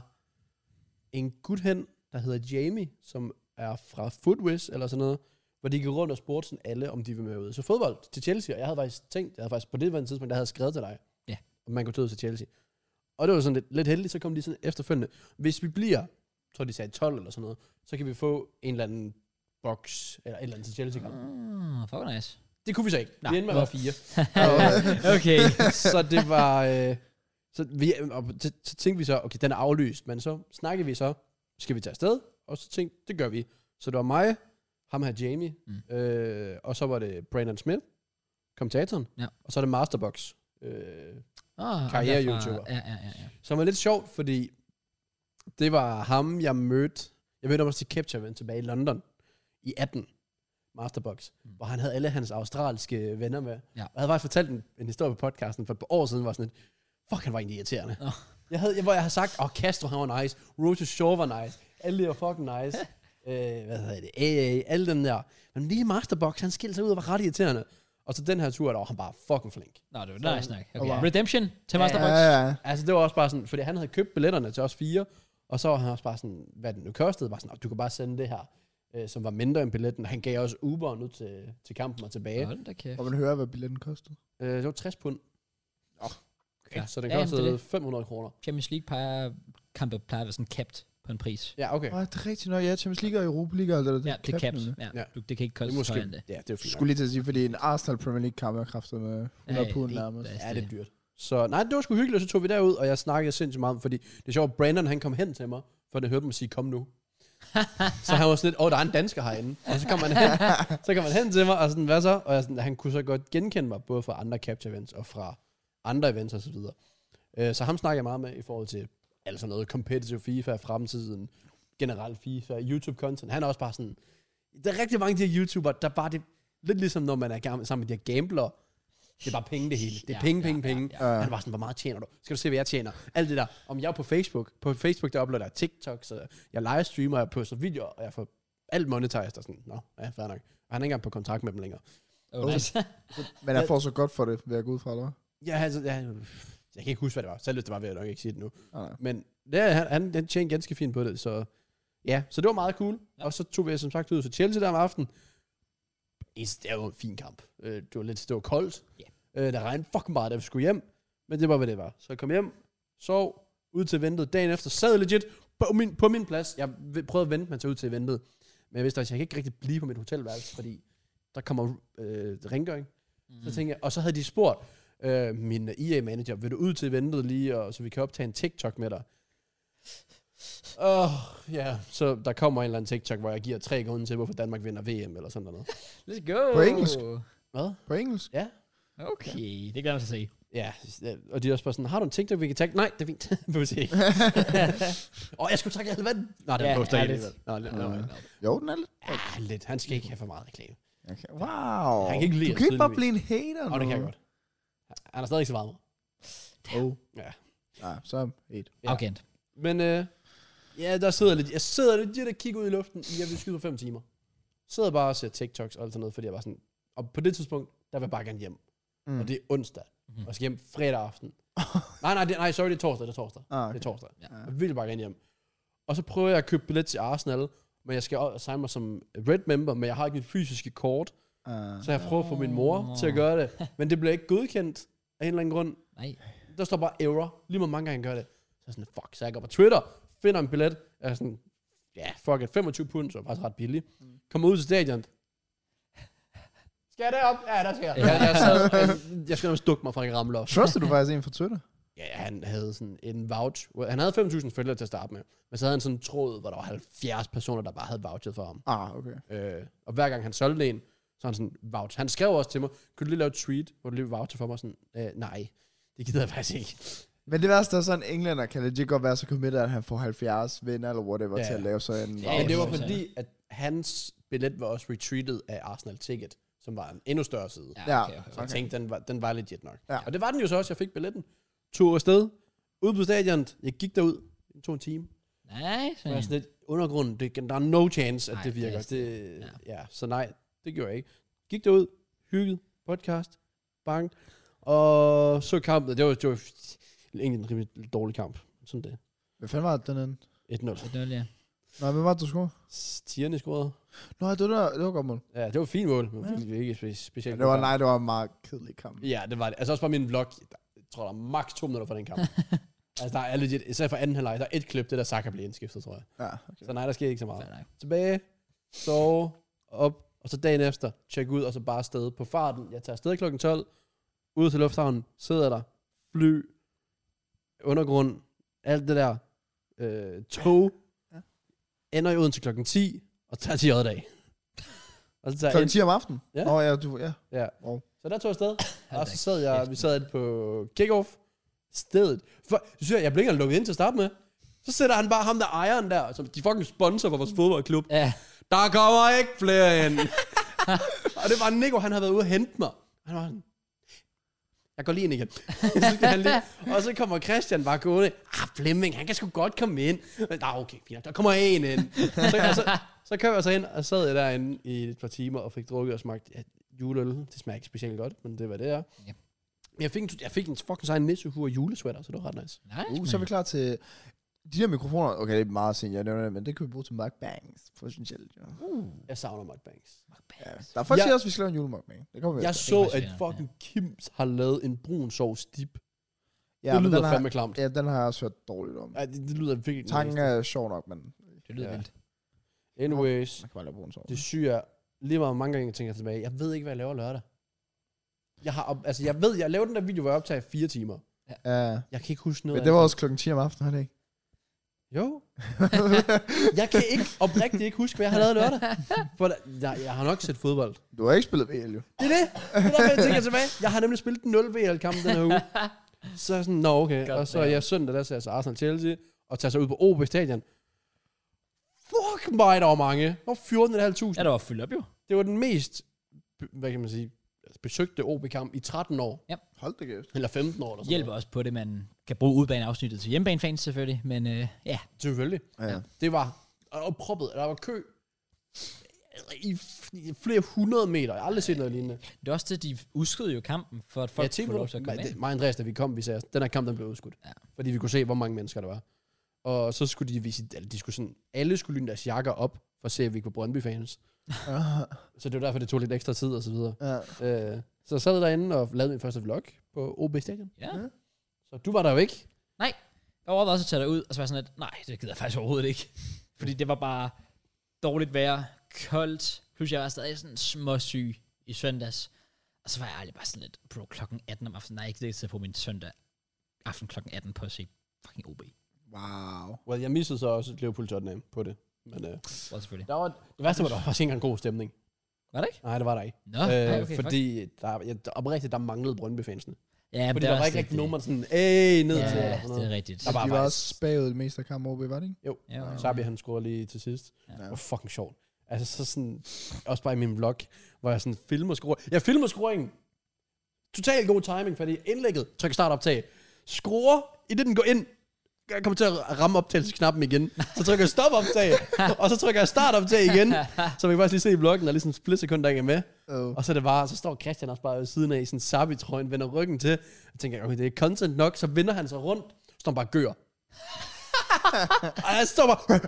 [SPEAKER 2] en gut hen, der hedder Jamie, som er fra Footwiz eller sådan noget, hvor de gik rundt og spurgte sådan alle, om de ville med ud. Så fodbold til Chelsea, og jeg havde faktisk tænkt, jeg havde faktisk på det var en tidspunkt, der havde jeg skrevet til dig,
[SPEAKER 1] Ja.
[SPEAKER 2] om man kunne tage ud til Chelsea. Og det var sådan lidt, lidt heldigt, så kom de sådan efterfølgende. Hvis vi bliver, jeg tror de sagde 12 eller sådan noget, så kan vi få en eller anden boks, eller et eller andet til Chelsea. kamp
[SPEAKER 1] Mm, fuck nice.
[SPEAKER 2] Det kunne vi så ikke.
[SPEAKER 1] Nej.
[SPEAKER 2] vi endte med at være fire.
[SPEAKER 1] okay.
[SPEAKER 2] så det var... Øh, så, vi, og så, så tænkte vi så, okay, den er aflyst, men så snakkede vi så, skal vi tage afsted? Og så tænkte det gør vi. Så det var mig, ham her Jamie,
[SPEAKER 1] Mm.
[SPEAKER 2] mm. øh, og så var det Brandon Smith, kommentatoren,
[SPEAKER 1] Ja.
[SPEAKER 2] og så er det Masterbox, øh,
[SPEAKER 1] Oh,
[SPEAKER 2] Karriere-youtuber.
[SPEAKER 1] Ja, ja, ja. ja.
[SPEAKER 2] som var lidt sjovt, fordi det var ham, jeg mødte. Jeg mødte ham også til Capture Event tilbage i London i 18. Masterbox, mm. hvor han havde alle hans australske venner med.
[SPEAKER 1] Ja.
[SPEAKER 2] Og jeg havde faktisk fortalt en, en historie på podcasten for et par år siden, var sådan lidt, fuck, han var egentlig irriterende.
[SPEAKER 1] Nå.
[SPEAKER 2] Jeg havde, jeg, hvor jeg har sagt, åh, oh, Castro, han var nice, Road to Shore var nice, alle de var fucking nice, øh, hvad hedder det, AA, alle dem der. Men lige Masterbox, han skilte sig ud og var ret irriterende. Og så den her tur, der var han bare fucking flink.
[SPEAKER 1] Nå, det var
[SPEAKER 2] Så-
[SPEAKER 1] nice snak. Okay.
[SPEAKER 3] Og
[SPEAKER 1] Okay.
[SPEAKER 3] var-
[SPEAKER 1] Redemption til
[SPEAKER 2] Ja,
[SPEAKER 1] Masterbox.
[SPEAKER 3] Ja, ja.
[SPEAKER 2] Altså, det var også bare sådan, fordi han havde købt billetterne til os fire, og så var han også bare sådan, hvad den nu kostede, bare sådan, "Nå, du kan bare sende det her øh, som var mindre end billetten. Han gav også Uber ud til, til kampen og tilbage.
[SPEAKER 1] Hold da kæft.
[SPEAKER 3] Og man hører, hvad billetten kostede.
[SPEAKER 2] Øh, det var 60 pund. Oh, okay.
[SPEAKER 1] Ja.
[SPEAKER 2] ja. Så den
[SPEAKER 1] Ja, jamen, det er
[SPEAKER 2] kostede ja,
[SPEAKER 1] det.
[SPEAKER 2] 500 kroner.
[SPEAKER 1] Champions League plejer, kampe plejer at være sådan capped på en pris.
[SPEAKER 2] Ja, okay.
[SPEAKER 3] Okay. Oh, det er rigtigt nok. Ja, Champions League og Europa League og alt det der.
[SPEAKER 1] Ja, det er
[SPEAKER 3] kan
[SPEAKER 1] capped.
[SPEAKER 3] man jo.
[SPEAKER 1] Ja.
[SPEAKER 2] Ja.
[SPEAKER 1] Du, det kan ikke koste
[SPEAKER 2] Det er
[SPEAKER 1] så
[SPEAKER 2] måske,
[SPEAKER 1] højere end det.
[SPEAKER 2] ja, det er jo fint. nok.
[SPEAKER 3] Skulle lige til at sige, fordi en Arsenal Premier League kamp er kraftet med 100
[SPEAKER 1] Ja,
[SPEAKER 3] pund
[SPEAKER 1] det-
[SPEAKER 3] nærmest.
[SPEAKER 1] det-
[SPEAKER 2] Ja, det er dyrt. Så nej, det var sgu hyggeligt, og så tog vi derud, og jeg snakkede sindssygt meget om, fordi det er sjovt, Brandon han kom hen til mig, for han hørte mig sige, kom nu. så han var sådan lidt, åh, oh, der er en dansker herinde. Og så kom han hen, så kom han hen til mig, og sådan, hvad så? Og jeg sådan, han kunne så godt genkende mig, både fra andre capture events og fra andre events og så videre. Øh, Så ham snakker jeg meget med i forhold til altså noget competitive FIFA, fremtiden, generelt FIFA, YouTube-content. Han er også bare sådan, der er rigtig mange af de her YouTubere, der bare det, lidt ligesom når man er gammel, sammen med de her gamblere, det er bare penge det hele. Det er
[SPEAKER 1] Ja,
[SPEAKER 2] penge,
[SPEAKER 1] ja,
[SPEAKER 2] penge,
[SPEAKER 1] ja,
[SPEAKER 2] penge.
[SPEAKER 1] ja.
[SPEAKER 2] Han var sådan, hvor meget tjener du? Skal du se, hvad jeg tjener? Alt det der. Om jeg er på Facebook. På Facebook, der uploader jeg TikTok, så jeg livestreamer, jeg poster videoer, og jeg får alt monetized og sådan. Nå, ja, fair nok. Og han er ikke engang på kontakt med dem længere.
[SPEAKER 1] Oh,
[SPEAKER 3] Okay.
[SPEAKER 1] nice.
[SPEAKER 3] Men jeg får så godt for det, vil jeg gå ud fra, eller hvad?
[SPEAKER 2] Ja, altså, ja, jeg kan ikke huske, hvad det var. Selv hvis det var, vil jeg nok ikke sige det nu.
[SPEAKER 3] Nej, nej.
[SPEAKER 2] Men det, er- han, han, han tjente ganske fint på det, så ja, så det var meget cool.
[SPEAKER 1] Ja.
[SPEAKER 2] Ja. Og så tog vi som sagt ud til Chelsea der om aftenen. Eneste, Det var en fin kamp. Øh, Det var lidt, det var koldt.
[SPEAKER 1] Ja.
[SPEAKER 2] Yeah. Der regnede fucking meget, da vi skulle hjem. Men det var, hvad det var. Så jeg kom hjem, sov, ud til ventet. Dagen efter sad legit på min, på min plads. Jeg v- prøvede at vente mig til ud til ventet. Men jeg vidste også, at jeg kan ikke rigtig blive på mit hotelværelse, fordi der kommer øh, rengøring.
[SPEAKER 1] Mm.
[SPEAKER 2] Så tænkte jeg, og så havde de spurgt øh, min EA-manager, vil du ud til eventet lige, og, så vi kan optage en TikTok med dig? Åh, oh, ja. Yeah. Så der kommer en eller anden TikTok, hvor jeg giver tre grunde til, hvorfor Danmark vinder VM eller sådan noget.
[SPEAKER 1] Let's go.
[SPEAKER 3] På engelsk.
[SPEAKER 2] Hvad?
[SPEAKER 3] På engelsk?
[SPEAKER 2] Ja.
[SPEAKER 1] Okay, det glæder jeg mig til at se.
[SPEAKER 2] Ja, og de er også bare sådan, har du en TikTok, vi kan tage? Nej, det er fint. Må vi se. Åh, oh, jeg skulle trække alt vand. Nej, det
[SPEAKER 1] Ja,
[SPEAKER 2] er poster
[SPEAKER 1] ja,
[SPEAKER 2] ikke
[SPEAKER 1] lidt.
[SPEAKER 2] alligevel. Nå, lidt.
[SPEAKER 3] Nå,
[SPEAKER 2] Nå,
[SPEAKER 3] ja.
[SPEAKER 2] lidt.
[SPEAKER 3] Jo, den er lidt.
[SPEAKER 2] Ja, lidt. Han skal ikke have for meget reklame.
[SPEAKER 3] Okay. Wow.
[SPEAKER 2] Han kan ikke lide
[SPEAKER 3] Du
[SPEAKER 2] os,
[SPEAKER 3] kan ikke bare
[SPEAKER 2] tydeligvis.
[SPEAKER 3] blive en hater
[SPEAKER 2] Åh, oh, det kan jeg godt. Han er stadig ikke så varm.
[SPEAKER 3] Oh.
[SPEAKER 2] Ja.
[SPEAKER 3] Nej, så et.
[SPEAKER 2] Ja.
[SPEAKER 1] Arrogant.
[SPEAKER 2] Men øh, ja, der sidder lidt, jeg sidder lidt der og kigger ud i luften, i, jeg vil skyde på fem timer. Sidder bare og ser TikToks og alt sådan noget, fordi jeg var sådan, og på det tidspunkt, der vil jeg bare gerne hjem. Mm.
[SPEAKER 3] Mm. Mm-hmm.
[SPEAKER 2] Og det er onsdag,
[SPEAKER 1] Mhm.
[SPEAKER 2] mm. og skal hjem fredag aften. nej, nej, det, nej, sorry, det er torsdag, det er torsdag.
[SPEAKER 3] Ah,
[SPEAKER 2] Okay.
[SPEAKER 3] okay.
[SPEAKER 2] Det er torsdag.
[SPEAKER 1] Ja.
[SPEAKER 2] Ja. Jeg vil bare gerne hjem. Og så prøver jeg at købe billet til Arsenal, men jeg skal også signe mig som Red Member, men jeg har ikke mit fysiske kort,
[SPEAKER 3] Ah.
[SPEAKER 2] så jeg prøver at få min mor
[SPEAKER 1] Nå.
[SPEAKER 2] til at gøre det. Men det bliver ikke godkendt af en eller anden grund.
[SPEAKER 1] Nej.
[SPEAKER 2] Der står bare error. Lige meget mange gange han gør det. Så er jeg sådan, fuck. Så jeg går på Twitter, finder en billet. Jeg er sådan, ja, yeah, fuck it. 25 pund, så er faktisk ret billigt. Kommer ud til stadion. Skal jeg derop? Ja, der skal jeg.
[SPEAKER 1] Ja.
[SPEAKER 2] jeg, jeg, sad, jeg, jeg skal nærmest dukke mig fra, at jeg ramler op.
[SPEAKER 3] Truster du faktisk en fra Twitter?
[SPEAKER 2] Ja, han havde sådan en vouch. Han havde 5.000 følgere til at starte med. Men så havde han sådan en tråd, hvor der var 70 personer, der bare havde vouchet for ham.
[SPEAKER 3] Ah, okay.
[SPEAKER 2] Øh, og hver gang han solgte en, så var han sådan, vouch. Han skrev også til mig, kunne du lige lave et tweet, hvor du lige voucher for mig? Sådan, øh, nej, det gider jeg faktisk ikke.
[SPEAKER 3] Men det værste er sådan, at englænder kan legit godt være så committed, at han får 70 venner eller whatever
[SPEAKER 2] Ja.
[SPEAKER 3] til at lave sådan en...
[SPEAKER 1] Ja,
[SPEAKER 2] Ja, men det var
[SPEAKER 1] præcis.
[SPEAKER 2] fordi, at hans billet var også retreated af Arsenal Ticket, som var en endnu større side. Ja.
[SPEAKER 3] Ja.
[SPEAKER 1] okay.
[SPEAKER 2] Så jeg tænkte, den var, den var legit nok.
[SPEAKER 3] Ja.
[SPEAKER 2] Ja. Og det var den jo så også, jeg fik billetten. Tog afsted, ud på stadion, jeg gik derud, det tog en time.
[SPEAKER 1] Nice.
[SPEAKER 2] Mm. Jeg var sådan lidt, undergrunden, det, der er no chance, at
[SPEAKER 1] Nej,
[SPEAKER 2] det
[SPEAKER 1] det er
[SPEAKER 2] virker.
[SPEAKER 1] sådan,
[SPEAKER 2] Det, ja. ja. så nej, det gjorde jeg ikke. Gik derud, hygget, podcast, bang, og så kampen. Det var, det var egentlig en rimelig dårlig kamp. Sådan det.
[SPEAKER 3] Hvad fanden var det, den anden?
[SPEAKER 2] 1-0.
[SPEAKER 1] Det er dårligt, ja.
[SPEAKER 3] Nej, hvem var det, du scorede?
[SPEAKER 2] Tierne scorede.
[SPEAKER 3] Nå, det var, det var godt mål.
[SPEAKER 2] Ja, det var et fint mål, men det var ikke spe-
[SPEAKER 3] Ja,
[SPEAKER 2] specielt.
[SPEAKER 3] det var,
[SPEAKER 2] god kamp.
[SPEAKER 3] nej, det var en meget kedelig kamp.
[SPEAKER 2] Ja, det var det. Altså også bare min vlog. Jeg tror, der er maks to minutter for den kamp. altså, der er legit, især for anden halvleg, der er et klip, det der Saka bliver indskiftet, tror jeg.
[SPEAKER 3] Ja,
[SPEAKER 2] Så nej, der sker ikke så meget.
[SPEAKER 1] Fair nok.
[SPEAKER 2] Tilbage, sove, op, og så dagen efter, tjek ud, og så bare afsted på farten. Jeg tager afsted kl. 12, ud til lufthavnen, sidder der, fly, undergrund, alt det der, øh, tog,
[SPEAKER 3] Ja.
[SPEAKER 2] ender i Odense kl. 10, og tager til J-dag. Og så tager jeg
[SPEAKER 3] Klokken 10 om aftenen?
[SPEAKER 2] Ja.
[SPEAKER 3] Nå, ja, du, ja.
[SPEAKER 2] Så der tog jeg afsted,
[SPEAKER 1] Hold
[SPEAKER 2] og
[SPEAKER 1] da
[SPEAKER 2] så sad jeg,
[SPEAKER 1] kæft,
[SPEAKER 2] vi sad inde på kickoff stedet. For, så synes jeg, jeg blev ikke engang lukket ind til at starte med. Så sætter han bare ham der ejeren der, som de fucking sponsor for vores fodboldklub.
[SPEAKER 1] Ja.
[SPEAKER 2] Der kommer ikke flere ind. og det var Nico, han havde været ude og hente mig. Han var sådan, jeg går lige ind igen. så skal han lige. Og så kommer Christian bare gående. Ah, Flemming, han kan sgu godt komme ind. Men, Nå, okay, fint. nok. Der kommer en ind. så, og så, så kører jeg så ind, og sad jeg derinde i et par timer og fik drukket og smagt ja, juleøl. Det smager ikke specielt godt, men det var det, er.
[SPEAKER 1] Ja.
[SPEAKER 2] Men Jeg fik, en, jeg fik en fucking sejn nissehue og julesweater, så det var ret nice.
[SPEAKER 1] Nice,
[SPEAKER 3] Uh, så er vi
[SPEAKER 1] man.
[SPEAKER 3] klar til de der mikrofoner, okay, det er meget sent, jeg nævner det, men det kan vi bruge til mukbangs, potentielt. Ja.
[SPEAKER 2] Jeg savner mukbangs.
[SPEAKER 3] Ja.
[SPEAKER 1] altså.
[SPEAKER 3] Der er folk, der
[SPEAKER 2] Jeg-
[SPEAKER 3] siger også, at vi skal lave en julemukbang. Det kommer vi
[SPEAKER 2] Jeg
[SPEAKER 3] efter.
[SPEAKER 2] så,
[SPEAKER 1] faktisk
[SPEAKER 2] at
[SPEAKER 1] være,
[SPEAKER 2] fucking Kims har lavet en brun sovs dip.
[SPEAKER 3] ja,
[SPEAKER 2] det
[SPEAKER 3] men
[SPEAKER 2] lyder
[SPEAKER 3] den har,
[SPEAKER 2] fandme klamt.
[SPEAKER 3] Ja, den har jeg også hørt dårligt om.
[SPEAKER 2] Ej, det, det lyder virkelig
[SPEAKER 3] Tanken
[SPEAKER 2] næste.
[SPEAKER 3] er sjov nok, men
[SPEAKER 1] Det lyder
[SPEAKER 2] Ja.
[SPEAKER 1] ja. vildt.
[SPEAKER 2] Anyways,
[SPEAKER 3] man kan bare lave brun sovs.
[SPEAKER 2] det syge er, lige meget hvor mange gange jeg tænker tilbage, jeg ved ikke, hvad jeg laver lørdag. Jeg har, op- altså jeg ved, jeg lavede den der video, hvor jeg optager i fire timer.
[SPEAKER 3] Ja.
[SPEAKER 2] Jeg kan ikke huske noget
[SPEAKER 3] Men
[SPEAKER 2] af
[SPEAKER 3] det var også klokken 10 om aftenen, var det ikke?
[SPEAKER 2] Jo. jeg kan ikke oprigtigt ikke huske, hvad jeg har lavet lørdag. For der, jeg, jeg har nok set fodbold.
[SPEAKER 3] Du har ikke spillet VL, jo.
[SPEAKER 2] Det er det. Det er derfor, jeg tænker tilbage. Jeg har nemlig spillet 0 VL-kampen den her uge. Så er jeg sådan, nå okay.
[SPEAKER 1] God
[SPEAKER 2] og så er jeg søndag, der ser jeg så Arsenal-Chelsea, og tager sig ud på OB Stadion. Fuck mig, der var mange. Der var 14.500.
[SPEAKER 1] Ja, der var fyldt op jo.
[SPEAKER 2] Det var den mest, be- hvad kan man sige, altså besøgte OB-kamp i 13 år.
[SPEAKER 3] Hold da kæft.
[SPEAKER 2] Eller 15 år. Eller sådan
[SPEAKER 1] Hjælper også på det, man kan bruge udbaneafsnittet til hjemmebanefans selvfølgelig, men øh, ja,
[SPEAKER 2] noget. Selvfølgelig.
[SPEAKER 3] Ja.
[SPEAKER 2] Det var og og proppet. Der var kø altså i f- i flere hundrede meter. Jeg har aldrig set noget lignende.
[SPEAKER 1] det er også det, de udskød jo kampen, for at folk ja, får lov til at komme
[SPEAKER 2] mig,
[SPEAKER 1] ind.
[SPEAKER 2] mig og Andreas, da vi kom, vi sagde, den her kamp, den blev udskudt.
[SPEAKER 1] Ja.
[SPEAKER 2] Fordi vi kunne se, hvor mange mennesker der var. Og så skulle de vise, eller de skulle sådan, alle skulle lyne deres jakker op, for at se, at vi ikke var Brøndby-fans. Så det var derfor, det tog lidt ekstra tid og så videre.
[SPEAKER 3] ja.
[SPEAKER 2] Øh, så jeg sad derinde og lavede min første vlog på OB Stadion.
[SPEAKER 1] Ja.
[SPEAKER 2] Så du var der jo ikke.
[SPEAKER 1] Jeg overvejede også at tage dig ud, og så var jeg sådan, at nej, det gider jeg faktisk overhovedet ikke. Fordi det var bare dårligt vejr, koldt, plus jeg var stadig sådan småsyg i søndags. Og så var jeg aldrig bare sådan lidt, bro, klokken 18 om aftenen, nej, jeg gider ikke sidde på min søndag aften klokken 18 på at se fucking OB.
[SPEAKER 3] Wow.
[SPEAKER 2] Well, jeg missede så også Liverpool Tottenham på det. Men øh,
[SPEAKER 1] Well, selvfølgelig.
[SPEAKER 2] der var, det værste var, der var faktisk ikke engang god stemning.
[SPEAKER 1] Var det ikke?
[SPEAKER 2] Nej, det var der ikke.
[SPEAKER 1] Nå, øh, okay, fordi,
[SPEAKER 2] fordi der, jeg, der, oprigtigt, der manglede Brøndby-fansene.
[SPEAKER 1] ja, men
[SPEAKER 2] Fordi
[SPEAKER 1] det
[SPEAKER 2] der var
[SPEAKER 1] også lidt
[SPEAKER 2] ikke rigtig
[SPEAKER 1] det.
[SPEAKER 2] nogen, man sådan, æh, ned til.
[SPEAKER 1] Ja,
[SPEAKER 2] eller sådan
[SPEAKER 1] det
[SPEAKER 2] noget.
[SPEAKER 1] er rigtigt.
[SPEAKER 2] Der var
[SPEAKER 3] de var
[SPEAKER 2] faktisk-
[SPEAKER 3] også bagud det meste af kampen OB, var det ikke?
[SPEAKER 2] Jo,
[SPEAKER 1] Ja, okay.
[SPEAKER 2] Sabi han scorede lige til sidst. Ja.
[SPEAKER 1] Ja.
[SPEAKER 2] Det var fucking sjovt. Altså så sådan, også bare i min vlog, hvor jeg sådan filmer score. Jeg filmer scoringen. Total god timing, fordi indlægget, tryk start optag. Score, i det den går ind, jeg kommer til at ramme optagelsesknappen igen. Så trykker jeg stop optag, og så trykker jeg start optag igen. Så vi kan faktisk lige se i vloggen, der er lige sådan en splitsekund, der ikke er med.
[SPEAKER 3] Oh.
[SPEAKER 2] Og så er det bare, så står Christian også bare ved siden af i sådan sabi trøjen vender ryggen til. Jeg tænker, okay, det er content nok, så vender han sig rundt, så står han bare og gør. og jeg står bare,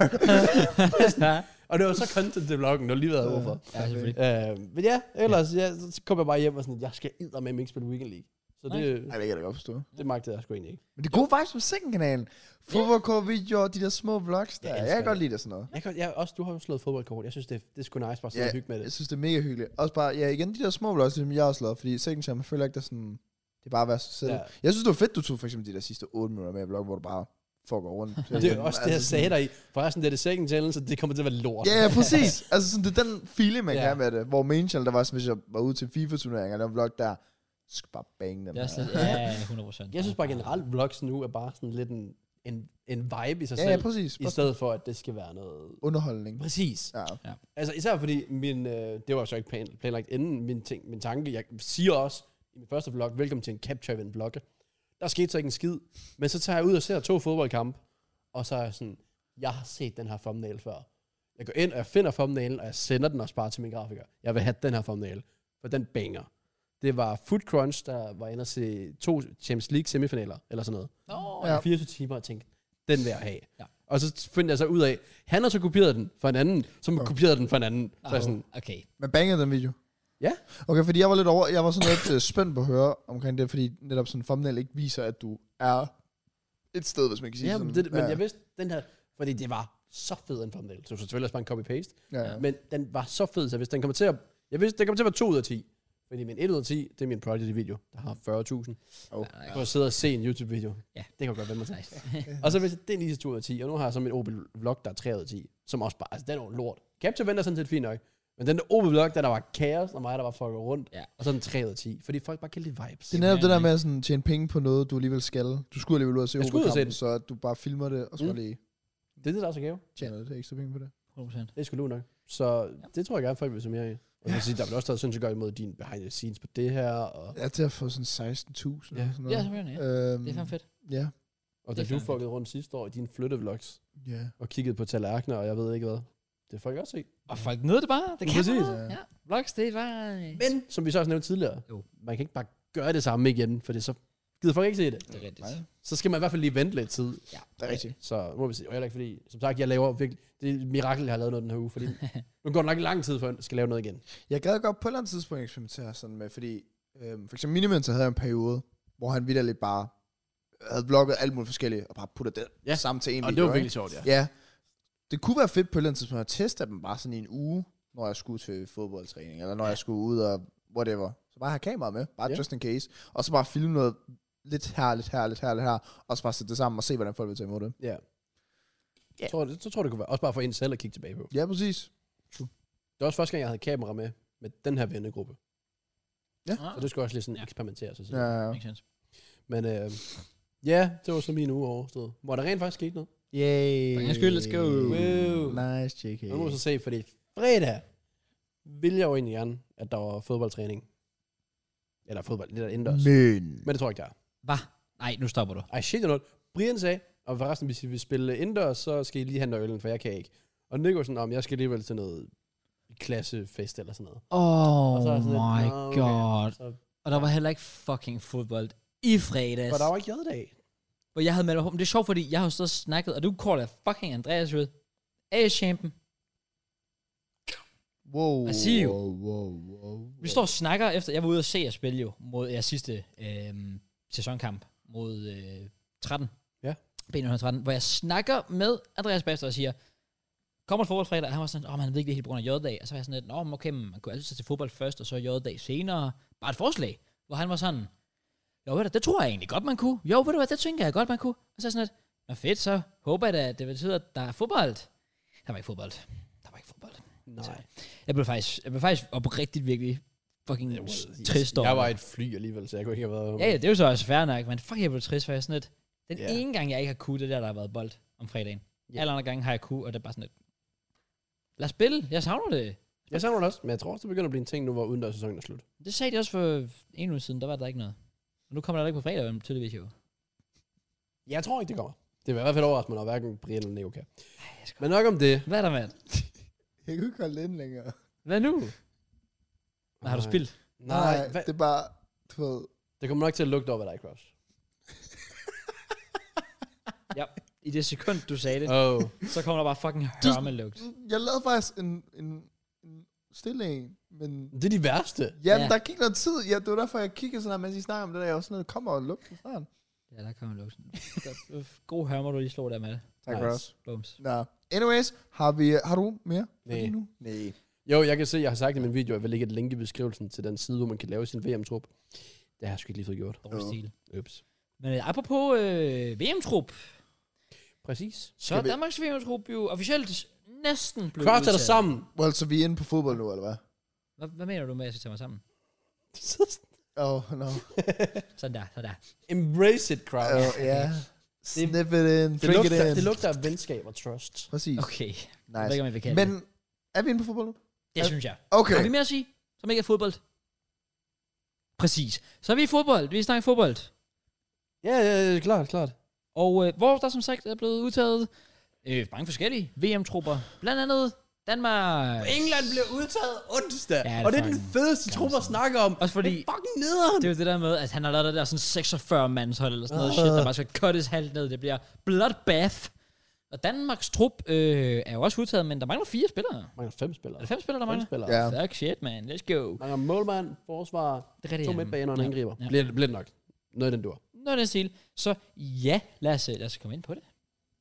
[SPEAKER 1] ja,
[SPEAKER 2] og det var så content til vloggen, det var lige været overfor.
[SPEAKER 1] ja, selvfølgelig.
[SPEAKER 2] Øh, men ja, ellers ja, så kom jeg bare hjem og sådan, jeg skal med ikke spille Weekend League. Så det,
[SPEAKER 3] Ej, det kan jeg da godt forstå.
[SPEAKER 2] det magtede jeg sgu egentlig ikke.
[SPEAKER 3] Men det gode vibes på Sikken-kanalen. Fodboldkår-videoer, de der små vlogs der.
[SPEAKER 2] Jeg
[SPEAKER 3] Jeg,
[SPEAKER 2] elsker
[SPEAKER 3] jeg kan
[SPEAKER 2] det.
[SPEAKER 3] godt lide det sådan noget.
[SPEAKER 2] Jeg kan, jeg, også, du har jo slået fodboldkort. Jeg synes, det, det er sgu nice bare at sidde og hygge med
[SPEAKER 3] jeg
[SPEAKER 2] det.
[SPEAKER 3] synes, det er mega hyggeligt. Også bare, ja, igen, de der små vlogs, som jeg også lavede, fordi second time, jeg føler ikke, det er sådan, det er bare at være sig selv.
[SPEAKER 2] Ja.
[SPEAKER 3] Ja. Jeg synes, det var fedt, du tog for eksempel de der sidste 8 minutter med vlog, hvor du bare fucker rundt. Altså,
[SPEAKER 2] Det er jo også det, jeg sagde dig i. Forresten, det er det second challenge, så det kommer til at være lort.
[SPEAKER 3] Ja, ja, præcis. altså sådan, det er den feeling, man
[SPEAKER 2] Ja.
[SPEAKER 3] ja. kan have med det. Hvor main channel, der var sådan, hvis jeg var ude til FIFA-turneringer, der var vlog der, så skal bare bang dem.
[SPEAKER 1] Det er også
[SPEAKER 3] her.
[SPEAKER 1] lidt, ja, 100 procent.
[SPEAKER 2] Jeg synes bare generelt, vlogs nu er bare sådan lidt en, en, en vibe i sig
[SPEAKER 3] ja, ja,
[SPEAKER 2] selv.
[SPEAKER 3] præcis.
[SPEAKER 2] I stedet for, at det skal være noget...
[SPEAKER 3] Underholdning.
[SPEAKER 2] Præcis.
[SPEAKER 3] Ja.
[SPEAKER 2] Altså især fordi, min, øh, det var jo så ikke plan, planlagt inden min, ting, min tanke. Jeg siger også i min første vlog, velkommen til en capture event vlog. Der skete så ikke en skid. Men så tager jeg ud og ser to fodboldkampe. Og så er jeg sådan, jeg har set den her thumbnail før. Jeg går ind, og jeg finder thumbnailen, og jeg sender den også bare til min grafiker. Jeg vil have den her thumbnail, for den banger. Det var Food Crunch, der var inde og se to Champions League semifinaler, eller sådan noget
[SPEAKER 1] Oh,
[SPEAKER 3] Ja.
[SPEAKER 2] ja. 24 timer og tænkte, den vil jeg have.
[SPEAKER 1] Ja.
[SPEAKER 2] Ja. Og så fandt jeg så ud af, han har så kopieret den for en anden, som har kopieret den for en anden. Så jeg sådan,
[SPEAKER 1] okay.
[SPEAKER 3] Men bangede den video?
[SPEAKER 2] Ja.
[SPEAKER 3] Okay, fordi jeg var lidt over, jeg var sådan lidt øh, spændt på at høre omkring det, fordi netop sådan en thumbnail ikke viser, at du er et sted, hvis man kan sige
[SPEAKER 2] ja,
[SPEAKER 3] sådan.
[SPEAKER 2] men, det, men
[SPEAKER 3] ja.
[SPEAKER 2] jeg vidste, den her, fordi det var så fed en thumbnail. Så selvfølgelig også bare en copy-paste.
[SPEAKER 3] Ja,
[SPEAKER 2] Ja.
[SPEAKER 3] ja.
[SPEAKER 2] Men den var så fed, så hvis den kommer til at, jeg vidste, den kommer til at være 2 ud af 10. Fordi min 1 ud af 10, det er min Prodigy-video, der har 40.000.
[SPEAKER 3] Oh.
[SPEAKER 2] Jeg kunne sidde og se en YouTube-video.
[SPEAKER 1] Ja.
[SPEAKER 2] Det kan godt være mig til.
[SPEAKER 1] Nice.
[SPEAKER 2] Og så hvis det er lige 2 ud af 10, og nu har jeg så min Opel-vlog, der er 3 ud af 10, som også bare, altså den er jo lort. Capture venter sådan set fint nok, men den der Opel-vlog, der, der var kaos, og mig, der var fucket rundt,
[SPEAKER 1] Ja.
[SPEAKER 2] og så den 3 ud af 10, fordi folk bare kan lide vibes.
[SPEAKER 3] Det er netop det der med at sådan, tjene penge på noget, du alligevel skal. Du skulle alligevel ud og se
[SPEAKER 2] Jeg skulle ud og se
[SPEAKER 3] OB-kampen,
[SPEAKER 2] det.
[SPEAKER 3] så at du bare filmer det, og så
[SPEAKER 2] Mm.
[SPEAKER 3] mm. lige
[SPEAKER 2] Det er det, der også er gave.
[SPEAKER 3] tjener lidt ekstra penge på det.
[SPEAKER 1] 100 procent.
[SPEAKER 2] Det er sgu lurt nok. Så det tror jeg gerne, folk vil se mere i. Og jeg vil sige, der bliver også taget sindssygt godt imod din behind the scenes på det her, og,
[SPEAKER 3] Ja, til at få sådan 16.000 eller sådan noget.
[SPEAKER 1] Ja, selvfølgelig. Ja.
[SPEAKER 3] Øhm,
[SPEAKER 1] Det er fandme fedt.
[SPEAKER 3] Ja.
[SPEAKER 2] og da
[SPEAKER 1] Det er
[SPEAKER 2] du
[SPEAKER 1] fandme
[SPEAKER 2] fuckede rundt sidste år i dine flyttevlogs,
[SPEAKER 3] Ja.
[SPEAKER 2] og kiggede på tallerkener, og jeg ved ikke hvad. Det får jeg også se.
[SPEAKER 1] Og folk nød det bare. Det kan
[SPEAKER 2] Præcis.
[SPEAKER 1] noget. Ja. Vlogs, det er bare...
[SPEAKER 2] Men, som vi så også nævnte tidligere,
[SPEAKER 1] Jo.
[SPEAKER 2] man kan ikke bare gøre det samme igen, for det er så Gider folk ikke se det?
[SPEAKER 1] Det er rigtigt.
[SPEAKER 3] Nej.
[SPEAKER 2] Så skal man i hvert fald lige vente lidt tid.
[SPEAKER 3] Det er rigtigt.
[SPEAKER 2] Så må vi se. Og heller ikke fordi, som sagt, jeg laver virkelig... Det er et mirakel, jeg har lavet noget den her uge, fordi nu går det nok lang tid, før jeg skal lave noget igen.
[SPEAKER 3] Jeg gad godt på et eller andet tidspunkt eksperimentere sådan med, fordi øhm, for eksempel Miniman, så havde jeg en periode, hvor han vidderligt bare havde vlogget alt muligt forskelligt, og bare puttet det
[SPEAKER 2] Ja.
[SPEAKER 3] ja. sammen til en
[SPEAKER 2] Og det
[SPEAKER 3] video,
[SPEAKER 2] var
[SPEAKER 3] ikke?
[SPEAKER 2] virkelig sjovt, ja.
[SPEAKER 3] Ja. Det kunne være fedt på et eller andet tidspunkt at teste dem bare sådan i en uge, når jeg skulle til fodboldtræning, eller når jeg skulle ud og whatever. Så bare have kameraet med, bare
[SPEAKER 2] Ja.
[SPEAKER 3] yeah. just in case. Og så bare filme noget lidt her, lidt her, lidt her, lidt her, og så bare sætte det sammen og se, hvordan folk vil tage imod det.
[SPEAKER 2] Ja.
[SPEAKER 3] Ja.
[SPEAKER 2] Jeg tror, det, så tror jeg, det kunne være. Også bare for en selv at kigge tilbage på.
[SPEAKER 3] Ja, præcis.
[SPEAKER 2] Det var også første gang, jeg havde kamera med, med den her vennegruppe.
[SPEAKER 1] Ah,
[SPEAKER 2] Så det skulle også lige sådan
[SPEAKER 1] Ja.
[SPEAKER 2] eksperimentere sig selv.
[SPEAKER 3] Ja, ja.
[SPEAKER 1] makes sense.
[SPEAKER 2] Men øh, ja, det var så min uge overstået. Hvor der rent faktisk skete noget.
[SPEAKER 3] Yay.
[SPEAKER 1] For en skyld, let's go. Woo.
[SPEAKER 3] Nice, JK.
[SPEAKER 2] Og nu må vi så se, fordi fredag ville jeg jo egentlig gerne, at der var fodboldtræning. Eller fodbold, det der indendørs.
[SPEAKER 3] Men.
[SPEAKER 2] Men det tror jeg ikke, der er.
[SPEAKER 1] Hvad? Nej, nu stopper du.
[SPEAKER 2] Ej, shit, noget. Brian sagde, og forresten, hvis I vil spille indendørs, så skal I lige handle øllen, for jeg kan ikke. Og Nico var sådan, om jeg skal alligevel til noget klassefest eller sådan noget.
[SPEAKER 1] Oh
[SPEAKER 2] Og så er jeg sådan lidt,
[SPEAKER 1] my
[SPEAKER 2] "Nå, okay."
[SPEAKER 1] god.
[SPEAKER 2] Så,
[SPEAKER 1] Og der var heller ikke fucking fodbold i fredags.
[SPEAKER 2] og der var ikke jøddag.
[SPEAKER 1] hvor jeg havde meldt mig på. Men det er sjovt, fordi jeg har jo så snakket, og du kalder fucking Andreas ud. A-champen.
[SPEAKER 3] Wow,
[SPEAKER 1] I see you.
[SPEAKER 3] wow, wow, wow.
[SPEAKER 1] Vi står og snakker efter, jeg var ude og se jer spille jo, mod jeres sidste øh, sæsonkamp mod øh, 13.
[SPEAKER 2] Ja.
[SPEAKER 1] B113, hvor jeg snakker med Andreas Baster og siger, kommer et fodboldfredag, og han var sådan, åh, oh, han ved ikke det helt på grund af J-dag, og så var jeg sådan lidt, nå, men okay, men man kunne altid tage til fodbold først, og så J-dag senere. Bare et forslag, hvor han var sådan, jo, ved du, det tror jeg egentlig godt, man kunne. Jo, ved du hvad, det tænker jeg godt, man kunne. Og så er jeg sådan lidt, nå fedt, så håber jeg da, at det betyder, at der er fodbold. Der var ikke fodbold. Der var ikke fodbold.
[SPEAKER 2] Nej.
[SPEAKER 1] Jeg blev faktisk, jeg blev faktisk oprigtigt virkelig fucking
[SPEAKER 2] Jeg var-
[SPEAKER 1] trist over.
[SPEAKER 2] Jeg var
[SPEAKER 1] det.
[SPEAKER 2] i et fly alligevel, så jeg kunne ikke have været...
[SPEAKER 1] Ja, ja, det er jo så også fair nok, men fuck, jeg blev trist, for jeg er sådan lidt, den
[SPEAKER 2] Ja.
[SPEAKER 1] ene gang, jeg ikke har kunne, det er der, der har været bold om fredagen.
[SPEAKER 2] Ja.
[SPEAKER 1] Alle andre gange har jeg kunne, og det er bare sådan lidt, lad os spille, jeg savner det.
[SPEAKER 2] Jeg savner det også, men jeg tror også, det begynder at blive en ting nu, hvor udendørssæsonen er slut.
[SPEAKER 1] Det sagde de også for en uge siden, der var der ikke noget. Og nu kommer der ikke på fredag, men tydeligvis jo.
[SPEAKER 2] Jeg tror ikke, det kommer. Det vil i hvert fald overraske mig, når hverken Brian eller Neo kan. Men nok om det.
[SPEAKER 1] Hvad er der, mand?
[SPEAKER 3] Jeg kunne ikke holde ind længere.
[SPEAKER 1] Hvad nu? Hvad har du
[SPEAKER 2] Nej.
[SPEAKER 1] spildt?
[SPEAKER 2] Nej, Nej
[SPEAKER 3] det er bare, du ved,
[SPEAKER 2] det kommer nok til at lugte op af dig, Cross.
[SPEAKER 1] I det sekund, du sagde det,
[SPEAKER 2] Oh.
[SPEAKER 1] så kommer der bare fucking
[SPEAKER 3] Du-
[SPEAKER 1] hørmelugt.
[SPEAKER 3] jeg lavede faktisk en, en, en stille en, men...
[SPEAKER 2] Det er de værste.
[SPEAKER 3] Ja,
[SPEAKER 1] Ja.
[SPEAKER 3] men der gik noget tid. Ja, det var derfor, jeg kiggede sådan her, mens I snakker om det der. Jeg var sådan, lidt, kommer og luk den snart.
[SPEAKER 1] Ja, der kommer lugten. Godt. God hørmer, du lige slår der med det.
[SPEAKER 3] Tak,
[SPEAKER 2] Nice.
[SPEAKER 3] Ross.
[SPEAKER 1] Bums.
[SPEAKER 3] Nå. Anyways, har, vi, har du mere? for
[SPEAKER 2] Nej.
[SPEAKER 3] lige Nu? Nej.
[SPEAKER 2] Jo, jeg kan se, jeg har sagt i min video, at jeg vil lægge et link i beskrivelsen til den side, hvor man kan lave sin VM-trup. Det har jeg sgu ikke lige fået gjort.
[SPEAKER 1] Dårlig
[SPEAKER 3] Jo.
[SPEAKER 1] stil.
[SPEAKER 2] Ups.
[SPEAKER 1] Men øh, apropos øh, VM-trup,
[SPEAKER 2] Præcis.
[SPEAKER 1] så er
[SPEAKER 3] Skal vi-
[SPEAKER 1] Danmarks VM-trup jo officielt næsten blevet
[SPEAKER 2] Cross er der
[SPEAKER 1] udtaget.
[SPEAKER 2] sammen.
[SPEAKER 3] Well, så vi er inde på fodbold nu, eller hvad?
[SPEAKER 1] Hvad, hvad mener du med, at jeg skal tage mig sammen?
[SPEAKER 3] Oh, no.
[SPEAKER 1] Sådan der, sådan der.
[SPEAKER 2] Embrace it, Cross.
[SPEAKER 3] Oh, ja. Sniff it in,
[SPEAKER 2] Det,
[SPEAKER 3] drink it
[SPEAKER 2] lugter,
[SPEAKER 3] in.
[SPEAKER 2] det lugter af venskab og trust.
[SPEAKER 3] Præcis.
[SPEAKER 1] Okay, jeg ved
[SPEAKER 3] Nice.
[SPEAKER 1] ikke, om jeg vil kalde
[SPEAKER 3] Men
[SPEAKER 1] det.
[SPEAKER 3] er vi inde på fodbold nu?
[SPEAKER 1] Det
[SPEAKER 3] er-
[SPEAKER 1] synes Altså, jeg.
[SPEAKER 3] Okay.
[SPEAKER 1] Har vi mere at sige, som ikke er fodbold? Præcis. Så er vi i fodbold. Vi snakker fodbold.
[SPEAKER 2] Ja, ja, ja, klart, klart.
[SPEAKER 1] Og øh, hvor der som sagt er blevet udtaget øh, mange forskellige VM-trupper. Blandt andet Danmark.
[SPEAKER 2] England bliver udtaget onsdag,
[SPEAKER 1] Ja, det
[SPEAKER 2] ja,
[SPEAKER 1] er
[SPEAKER 2] og det er den
[SPEAKER 1] fucking
[SPEAKER 2] fedeste trup at snakke om.
[SPEAKER 1] Også fordi-
[SPEAKER 2] Det er fucking nederen.
[SPEAKER 1] Det er jo det der med, at han har lavet det der sådan 46 mands hold eller sådan noget shit, der bare skal cuttes halvt ned. Det bliver bloodbath. Og Danmarks trup øh, er jo også udtaget, men der mangler fire spillere.
[SPEAKER 2] Mangler fem
[SPEAKER 1] Er
[SPEAKER 2] spillere.
[SPEAKER 1] det fem spillere, der
[SPEAKER 2] Fem
[SPEAKER 1] mangler?
[SPEAKER 2] spillere.
[SPEAKER 3] Ja.
[SPEAKER 1] Fuck shit, man. Let's go.
[SPEAKER 2] Mangler målmand, forsvar,
[SPEAKER 1] Det er rigtigt.
[SPEAKER 2] to
[SPEAKER 1] ja.
[SPEAKER 2] midtbaner og en
[SPEAKER 1] Ja.
[SPEAKER 2] angriber.
[SPEAKER 1] Ja.
[SPEAKER 2] Bliver, det- bliver det nok. Noget af den dur.
[SPEAKER 1] Nå, det er stil. Så ja, lad os, øh, lad os komme ind på det.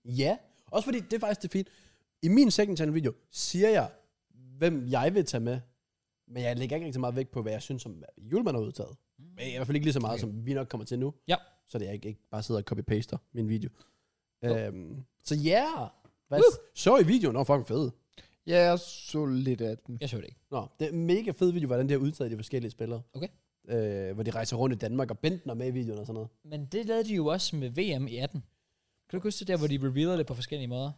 [SPEAKER 2] Ja. Også fordi, det er faktisk det fint. I min second channel video siger jeg, hvem jeg vil tage med. Men jeg lægger ikke rigtig så meget vægt på, hvad jeg synes, som Julemand har udtaget. Men i hvert fald ikke lige så meget, okay. som vi nok kommer til nu.
[SPEAKER 1] Mm. Ja.
[SPEAKER 2] Så det er ikke, ikke bare sidder og copy-paster min video. Øhm, så ja. Yeah. Hvad
[SPEAKER 1] Woo!
[SPEAKER 2] så i videoen? Nå, fucking fed.
[SPEAKER 3] Ja, jeg så lidt af den.
[SPEAKER 1] Jeg så det ikke.
[SPEAKER 2] Nå, det er en mega fed video, hvordan det har udtaget de forskellige spillere.
[SPEAKER 1] Okay.
[SPEAKER 2] Øh, hvor de rejser rundt i Danmark, og Benten er med i videoen og sådan noget.
[SPEAKER 1] Men det lavede de jo også med VM i 18. Kan du ikke huske det der, hvor de revealer det på forskellige måder?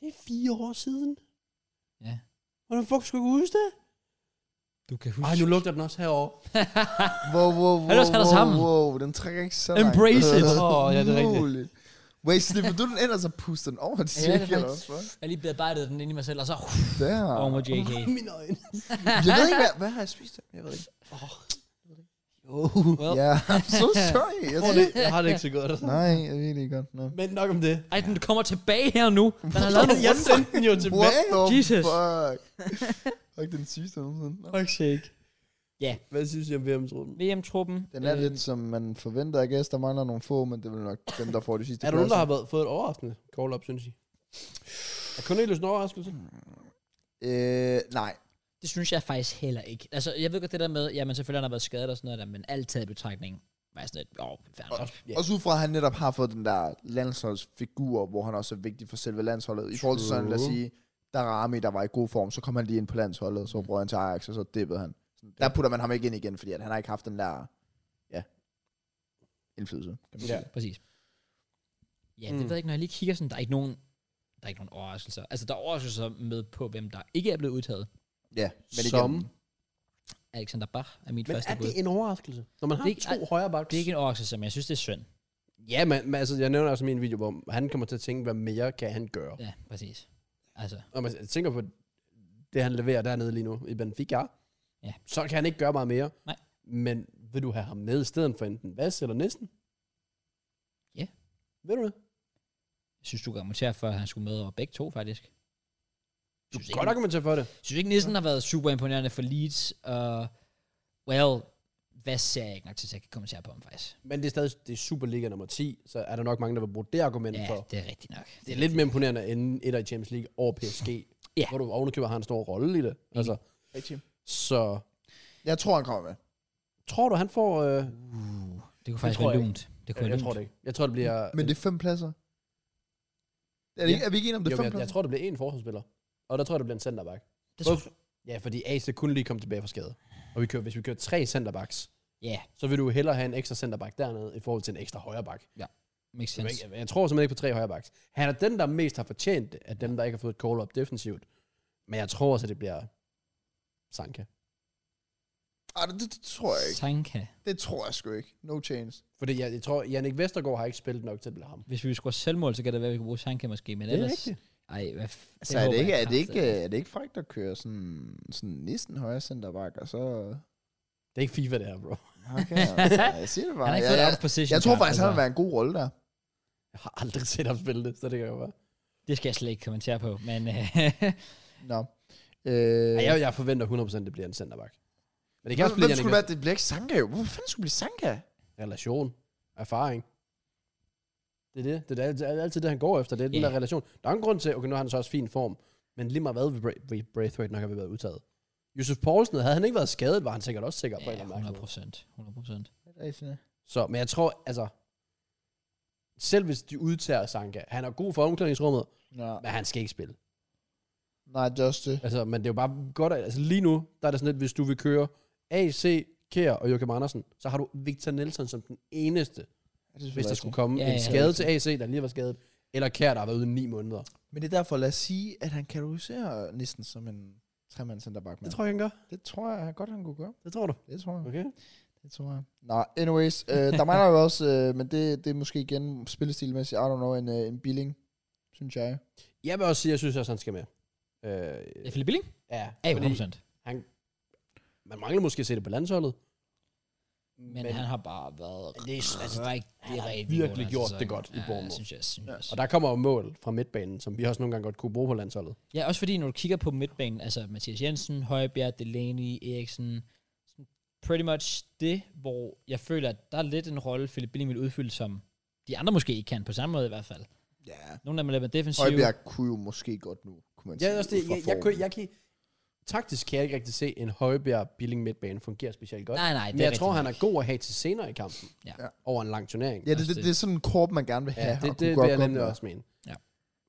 [SPEAKER 2] Det er fire år siden.
[SPEAKER 1] Ja.
[SPEAKER 2] Hvordan fuck skulle jeg kunne huske det?
[SPEAKER 1] Du kan
[SPEAKER 2] Ej, nu lugter den også herovre.
[SPEAKER 3] Wow, wow, wow,
[SPEAKER 1] Ellers er der sammen.
[SPEAKER 3] wow, wow, den trækker ikke så
[SPEAKER 1] Embrace it.
[SPEAKER 3] langt.
[SPEAKER 2] Åh, ja, det er rigtigt.
[SPEAKER 3] Umuligt. Wait, sniffer du den ind, og så puster den over til
[SPEAKER 1] det er
[SPEAKER 3] ja, eller
[SPEAKER 1] faktisk-
[SPEAKER 3] hvad?
[SPEAKER 1] Jeg lige bearbejdet den ind i mig selv, og så uh,
[SPEAKER 3] Der.
[SPEAKER 2] Ah.
[SPEAKER 1] over med JK.
[SPEAKER 2] Mine øjne.
[SPEAKER 3] Jeg ved ikke, hvad, hvad har jeg spist? af? Jeg ved ikke.
[SPEAKER 2] Oh.
[SPEAKER 1] Well,
[SPEAKER 3] Ja, I'm so sorry. Jeg
[SPEAKER 2] Får det,
[SPEAKER 3] synes,
[SPEAKER 2] jeg har det ikke så godt.
[SPEAKER 3] nej, jeg er virkelig ikke godt. No.
[SPEAKER 2] Men nok om det.
[SPEAKER 1] Ej, den kommer tilbage her nu. Den har lavet
[SPEAKER 2] Jeg,
[SPEAKER 1] en
[SPEAKER 2] jeg sendte den jo tilbage.
[SPEAKER 3] What the
[SPEAKER 1] Jesus.
[SPEAKER 3] fuck? Fuck, den sidste nogensinde. Nå.
[SPEAKER 2] Fuck shake.
[SPEAKER 1] Ja.
[SPEAKER 2] Hvad synes I om VM-truppen?
[SPEAKER 1] VM-truppen.
[SPEAKER 3] Den er
[SPEAKER 1] øh,
[SPEAKER 3] lidt som man forventer, jeg gæst. Der mangler nogle få, men det er vel nok dem, der får de sidste
[SPEAKER 2] Er der nogen, der har
[SPEAKER 3] pladser.
[SPEAKER 2] været, fået et overraskende call-up, synes I? Er Cornelius en overraskelse?
[SPEAKER 1] Mm.
[SPEAKER 3] Øh, nej.
[SPEAKER 1] Det synes jeg faktisk heller ikke. Altså, jeg ved godt det der med, jamen selvfølgelig han har været skadet og sådan noget der, men alt taget i betragtning, var jeg sådan lidt, åh, oh, færdig.
[SPEAKER 2] Også, ja.
[SPEAKER 3] Også ud fra, at han netop har fået den der landsholdsfigur, hvor han også er vigtig for selve landsholdet. I forhold til sådan, lad os
[SPEAKER 2] True.
[SPEAKER 3] sige, der Rami, der var i god form, så kom han lige ind på landsholdet, så brød han til Ajax, og så dippede han. Sådan, Der putter man ham ikke ind igen, fordi at han har ikke haft den der, ja, indflydelse. kan man
[SPEAKER 2] Ja.
[SPEAKER 3] sige.
[SPEAKER 1] Præcis. Ja, det
[SPEAKER 2] Mm.
[SPEAKER 1] ved jeg ikke, når jeg lige kigger sådan, der er ikke nogen, der er ikke nogen overraskelser. Altså, der er overraskelser med på, hvem der ikke er blevet udtaget.
[SPEAKER 3] ja men
[SPEAKER 2] Som?
[SPEAKER 3] igen,
[SPEAKER 1] Alexander Bach er mit
[SPEAKER 2] Men
[SPEAKER 1] første
[SPEAKER 2] er
[SPEAKER 1] bud.
[SPEAKER 2] det en overraskelse? Når man har
[SPEAKER 1] Det er ikke-
[SPEAKER 2] to højre backs.
[SPEAKER 1] Det er ikke en overraskelse, men jeg synes, det er synd.
[SPEAKER 2] Ja, men, men altså, jeg nævner også i min video, hvor han kommer til at tænke, hvad mere kan han gøre?
[SPEAKER 1] Ja, præcis. Altså,
[SPEAKER 2] Når man tænker på det, han leverer dernede lige nu i Benfica,
[SPEAKER 1] Ja.
[SPEAKER 2] så kan han ikke gøre meget mere.
[SPEAKER 1] Nej.
[SPEAKER 2] Men vil du have ham med i stedet for enten Vas eller Nissen?
[SPEAKER 1] Ja.
[SPEAKER 2] Ved du det?
[SPEAKER 1] jeg synes, du kan argumentere for, at han skulle med over begge to, faktisk.
[SPEAKER 2] Du
[SPEAKER 1] Synes
[SPEAKER 2] kan
[SPEAKER 1] ikke-
[SPEAKER 2] godt argumentere for det.
[SPEAKER 1] Jeg synes ikke, Nielsen har været super imponerende for Leeds. Og, well, hvad ser jeg ikke nok til, at jeg kan kommentere på ham, faktisk.
[SPEAKER 2] Men det er stadig det er Superliga nummer 10, så er der nok mange, der vil bruge det argument
[SPEAKER 1] Ja,
[SPEAKER 2] for.
[SPEAKER 1] det er rigtigt nok.
[SPEAKER 2] Det er lidt mere imponerende end et i Champions League over PSG,
[SPEAKER 1] Ja.
[SPEAKER 2] hvor du ovenikøbet har en stor rolle i det. Altså,
[SPEAKER 3] Rigtig.
[SPEAKER 2] så
[SPEAKER 3] Jeg tror, han kommer med.
[SPEAKER 2] tror du, han får... Øh,
[SPEAKER 1] Uh, det kunne faktisk
[SPEAKER 2] tror
[SPEAKER 1] være
[SPEAKER 2] jeg
[SPEAKER 1] lunt. Det kunne
[SPEAKER 2] jeg,
[SPEAKER 1] være
[SPEAKER 2] jeg tror
[SPEAKER 1] lunt.
[SPEAKER 2] det ikke. Jeg tror, det bliver...
[SPEAKER 3] Men det er fem pladser. Er, det,
[SPEAKER 2] Ja.
[SPEAKER 3] ikke- er vi ikke enige om, det
[SPEAKER 2] Jo,
[SPEAKER 3] er
[SPEAKER 2] men
[SPEAKER 3] fem
[SPEAKER 2] jeg,
[SPEAKER 3] pladser?
[SPEAKER 2] jeg tror, det bliver en forsvarsspiller. Og der tror jeg, det bliver en centerback.
[SPEAKER 1] Det
[SPEAKER 2] Både- Ja, fordi AC kunne lige komme tilbage fra skade. Og vi kører, hvis vi kører tre centerbacks,
[SPEAKER 1] Ja,
[SPEAKER 2] så vil du hellere have en ekstra centerback dernede i forhold til en ekstra højreback.
[SPEAKER 1] makes
[SPEAKER 2] Jeg,
[SPEAKER 1] sense.
[SPEAKER 2] jeg tror simpelthen ikke på tre højrebacks. Han er den, der mest har fortjent det, af dem, der ikke har fået et call-up defensivt. Men jeg tror også, at det bliver Sanka.
[SPEAKER 3] Ej, det, det, det tror jeg ikke.
[SPEAKER 1] Sanka.
[SPEAKER 3] Det tror jeg sgu ikke. No chance.
[SPEAKER 2] Fordi jeg, jeg tror, Jannik Vestergaard har ikke spillet nok til at blive ham.
[SPEAKER 1] Hvis vi skulle selvmål, så kan det være, at vi kunne bruge Sanka måske, men ellers... Ej, hvad f-
[SPEAKER 3] Så Altså, er
[SPEAKER 1] håber
[SPEAKER 3] det, ikke,
[SPEAKER 1] jeg
[SPEAKER 3] er, det ikke,
[SPEAKER 1] kraftedeme.
[SPEAKER 3] er det ikke frækt at køre sådan, sådan næsten højre centerback, og så...
[SPEAKER 2] Det er ikke FIFA, det her, bro.
[SPEAKER 3] Okay, altså, jeg siger det bare.
[SPEAKER 1] Han har ikke
[SPEAKER 3] jeg,
[SPEAKER 1] fået
[SPEAKER 3] jeg,
[SPEAKER 1] out of position.
[SPEAKER 3] jeg tror
[SPEAKER 1] kamp,
[SPEAKER 3] faktisk, han
[SPEAKER 1] altså.
[SPEAKER 3] vil være en god rolle der.
[SPEAKER 2] Jeg har aldrig set ham spille det, så det kan jo være.
[SPEAKER 1] Altså, Det skal jeg slet ikke kommentere på, men... øh,
[SPEAKER 3] Nå. Øh,
[SPEAKER 2] Ej, Jeg, jeg forventer 100% det bliver en centerback. Men det kan også
[SPEAKER 3] hvem,
[SPEAKER 2] blive
[SPEAKER 3] hvem
[SPEAKER 2] Jannik
[SPEAKER 3] skulle være, det bliver ikke Sanka jo. Hvorfor fanden skulle det blive Sanka?
[SPEAKER 2] relation, erfaring. Det er det. Det er, det er altid det, han går efter. Det er den
[SPEAKER 1] Ja.
[SPEAKER 2] der relation. Der er en grund til, okay, nu har han så også fin form, men lige meget hvad vil Bra- vil Braithwaite nok have været udtaget. Josef Poulsen, havde han ikke været skadet, var Øh, han sikkert også sikker på en
[SPEAKER 1] ja,
[SPEAKER 2] eller
[SPEAKER 1] 100
[SPEAKER 2] anden mærkelig måde.
[SPEAKER 1] procent. 100 procent.
[SPEAKER 2] Så, men jeg tror, altså, selv hvis de udtager Sanka, han er god for omklædningsrummet,
[SPEAKER 3] Nå.
[SPEAKER 2] men han skal ikke spille.
[SPEAKER 3] Nej, just det.
[SPEAKER 2] Altså, men det er jo bare godt, at- altså lige nu, der er det sådan lidt, hvis du vil køre AC, Kjær og Joachim Andersen, så har du Victor Nelson som den eneste hvis der skulle komme
[SPEAKER 1] Ja,
[SPEAKER 2] ja,
[SPEAKER 1] ja,
[SPEAKER 2] en skade til AC, der lige var skadet, eller Kær, der har været ude i ni måneder.
[SPEAKER 3] Men det er derfor, lad os sige, at han kategoriserer næsten som en tremands centerback.
[SPEAKER 2] Det tror jeg, han gør.
[SPEAKER 3] det tror jeg godt, han kunne gøre.
[SPEAKER 2] Det tror du.
[SPEAKER 3] Det tror jeg.
[SPEAKER 2] Okay.
[SPEAKER 3] Det tror jeg. Nå, anyways, øh, der mangler jo også, øh, men det, det er måske igen spillestilmæssigt, I don't know, en, øh, en billing, synes jeg.
[SPEAKER 2] Jeg vil også sige, at jeg synes også, han skal med. Øh,
[SPEAKER 1] Ja, Philip Billing?
[SPEAKER 2] ja,
[SPEAKER 1] Ja, 100
[SPEAKER 2] fordi
[SPEAKER 1] procent.
[SPEAKER 2] man mangler måske at se det på landsholdet.
[SPEAKER 1] Men, men, han har bare været
[SPEAKER 2] det er, altså,
[SPEAKER 1] rigtig,
[SPEAKER 2] han har
[SPEAKER 1] rigtig
[SPEAKER 2] virkelig
[SPEAKER 1] god den her
[SPEAKER 2] gjort
[SPEAKER 1] sæson.
[SPEAKER 2] det godt i
[SPEAKER 1] Ja,
[SPEAKER 2] Bournemouth.
[SPEAKER 1] synes jeg, synes jeg.
[SPEAKER 2] og der kommer jo mål fra midtbanen, som vi også nogle gange godt kunne bruge på landsholdet.
[SPEAKER 1] Ja, også fordi, når du kigger på midtbanen, altså Mathias Jensen, Højbjerg, Delaney, Eriksen, sådan pretty much det, hvor jeg føler, at der er lidt en rolle, Philip Billing vil udfylde, som de andre måske ikke kan, på samme måde i hvert fald.
[SPEAKER 3] Ja.
[SPEAKER 1] Nogle af dem er lidt mere defensive.
[SPEAKER 3] Højbjerg kunne jo måske godt nu, kunne man
[SPEAKER 2] Jeg,
[SPEAKER 3] sige.
[SPEAKER 2] også det,
[SPEAKER 3] ud fra
[SPEAKER 2] jeg, jeg,
[SPEAKER 3] formen.
[SPEAKER 2] jeg, jeg kan, taktisk kan jeg ikke rigtig se en højbjerg billing midtbane fungere specielt godt.
[SPEAKER 1] Nej, nej, det
[SPEAKER 2] men
[SPEAKER 1] er
[SPEAKER 2] jeg tror,
[SPEAKER 1] rigtigt
[SPEAKER 2] han
[SPEAKER 1] nok.
[SPEAKER 2] er god at have til senere i kampen.
[SPEAKER 1] Ja.
[SPEAKER 2] Over en lang turnering.
[SPEAKER 3] ja, det, det, det, er sådan en korp, man gerne vil have.
[SPEAKER 2] Altså, Ja, det,
[SPEAKER 3] og kunne
[SPEAKER 2] det
[SPEAKER 3] godt
[SPEAKER 2] vil jeg
[SPEAKER 3] gå
[SPEAKER 2] nemlig
[SPEAKER 3] med.
[SPEAKER 2] også mene.
[SPEAKER 1] Ja.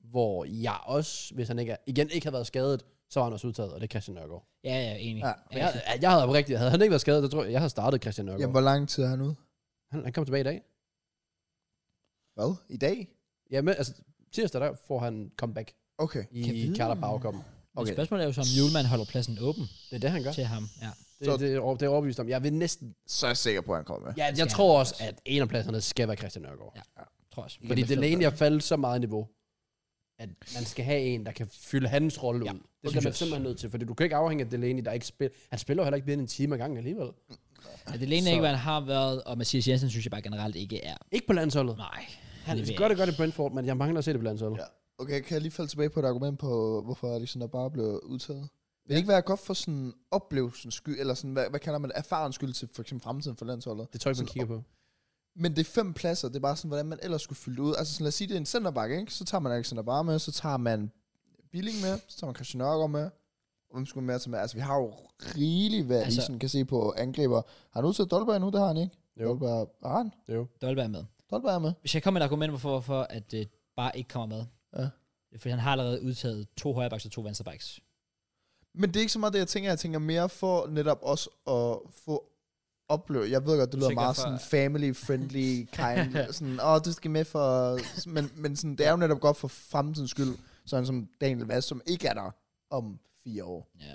[SPEAKER 2] Hvor jeg også, hvis han ikke er, igen ikke havde været skadet, så var han også udtaget, og det er Christian Nørgaard.
[SPEAKER 1] Ja, ja, enig.
[SPEAKER 3] Ja.
[SPEAKER 1] Ja.
[SPEAKER 2] Men jeg, jeg havde oprigtigt, havde han ikke været skadet, så tror jeg, jeg havde startet Christian Nørgaard.
[SPEAKER 3] Jamen, hvor lang tid er han ude?
[SPEAKER 2] han, han kom tilbage i dag.
[SPEAKER 3] Hvad? I dag?
[SPEAKER 2] Ja, men altså, tirsdag der får han comeback
[SPEAKER 3] Okay.
[SPEAKER 1] Kan
[SPEAKER 2] i
[SPEAKER 1] vide.
[SPEAKER 2] Carabao Cup.
[SPEAKER 1] Okay.
[SPEAKER 3] Okay.
[SPEAKER 1] Spørgsmålet er jo så, om Julemand holder pladsen åben
[SPEAKER 2] Det er det, han gør.
[SPEAKER 1] til ham. Ja.
[SPEAKER 2] Det, det, er over- det er overbevist om. Jeg vil næsten...
[SPEAKER 3] Så er jeg sikker på, at han kommer med.
[SPEAKER 2] Ja, jeg
[SPEAKER 1] skal
[SPEAKER 2] tror
[SPEAKER 1] han
[SPEAKER 2] også, at en af pladserne skal være Christian Nørgaard.
[SPEAKER 1] Ja. Tror jeg også.
[SPEAKER 2] Fordi
[SPEAKER 3] bestemt
[SPEAKER 2] Delaney
[SPEAKER 3] være.
[SPEAKER 2] har faldet så meget i niveau, at man skal have en, der kan fylde hans rolle
[SPEAKER 1] Ja,
[SPEAKER 2] ja, ud. Det,
[SPEAKER 1] synes
[SPEAKER 2] det er
[SPEAKER 1] jeg
[SPEAKER 2] man
[SPEAKER 1] også.
[SPEAKER 2] simpelthen nødt til, fordi du kan ikke afhænge af Delaney, der ikke spiller. Han spiller jo heller ikke mere end en time ad gangen alligevel.
[SPEAKER 1] At det Lene
[SPEAKER 3] Så-
[SPEAKER 1] ikke, hvad han har været, og Mathias Jensen synes jeg bare generelt ikke er.
[SPEAKER 2] Ikke på landsholdet.
[SPEAKER 1] Nej.
[SPEAKER 2] Han
[SPEAKER 1] leverer
[SPEAKER 2] er godt det godt i Brentford, men jeg mangler at se det på landsholdet.
[SPEAKER 3] Ja. Okay, kan jeg lige falde tilbage på et argument på, hvorfor Alexander bare blev udtaget? Vil det ikke være godt for sådan oplevelsens skyld, eller sådan, hvad, hvad kalder man det, erfarens skyld til for eksempel fremtiden for landsholdet?
[SPEAKER 2] Det tror jeg ikke, man
[SPEAKER 3] Sådan
[SPEAKER 2] kigger på.
[SPEAKER 3] Men det er fem pladser, det er bare sådan, hvordan man ellers skulle fylde det ud. Altså sådan, lad os sige, det er en centerback, ikke? Så tager man Alexander Bare med, så tager man Billing med, så tager man Christian Nørgaard med. Og hvem skulle man mere tage med? Altså, vi har jo rigeligt, hvad altså,
[SPEAKER 1] Altså-
[SPEAKER 3] I sådan kan se på angriber. Har han udtaget Dolberg nu? Det har han ikke.
[SPEAKER 2] Jo.
[SPEAKER 3] Dolberg, har han?
[SPEAKER 1] Dolberg er med.
[SPEAKER 3] Dolberg er med.
[SPEAKER 1] Hvis jeg kommer med et argument, hvorfor, hvorfor at øh, bare ikke kommer med.
[SPEAKER 3] Ja.
[SPEAKER 1] Det er, Fordi han har allerede udtaget to højrebacks og to venstrebacks.
[SPEAKER 3] Men det er ikke så meget det, jeg tænker. Jeg tænker mere for netop også at få opleve. Jeg ved godt, det lyder
[SPEAKER 1] Tænker
[SPEAKER 3] meget
[SPEAKER 1] for-
[SPEAKER 3] sådan family-friendly kind. sådan, åh, du skal med for... Men, men sådan, det er jo netop godt for fremtidens skyld. Sådan som Daniel Vass, som ikke er der om fire år.
[SPEAKER 1] Ja.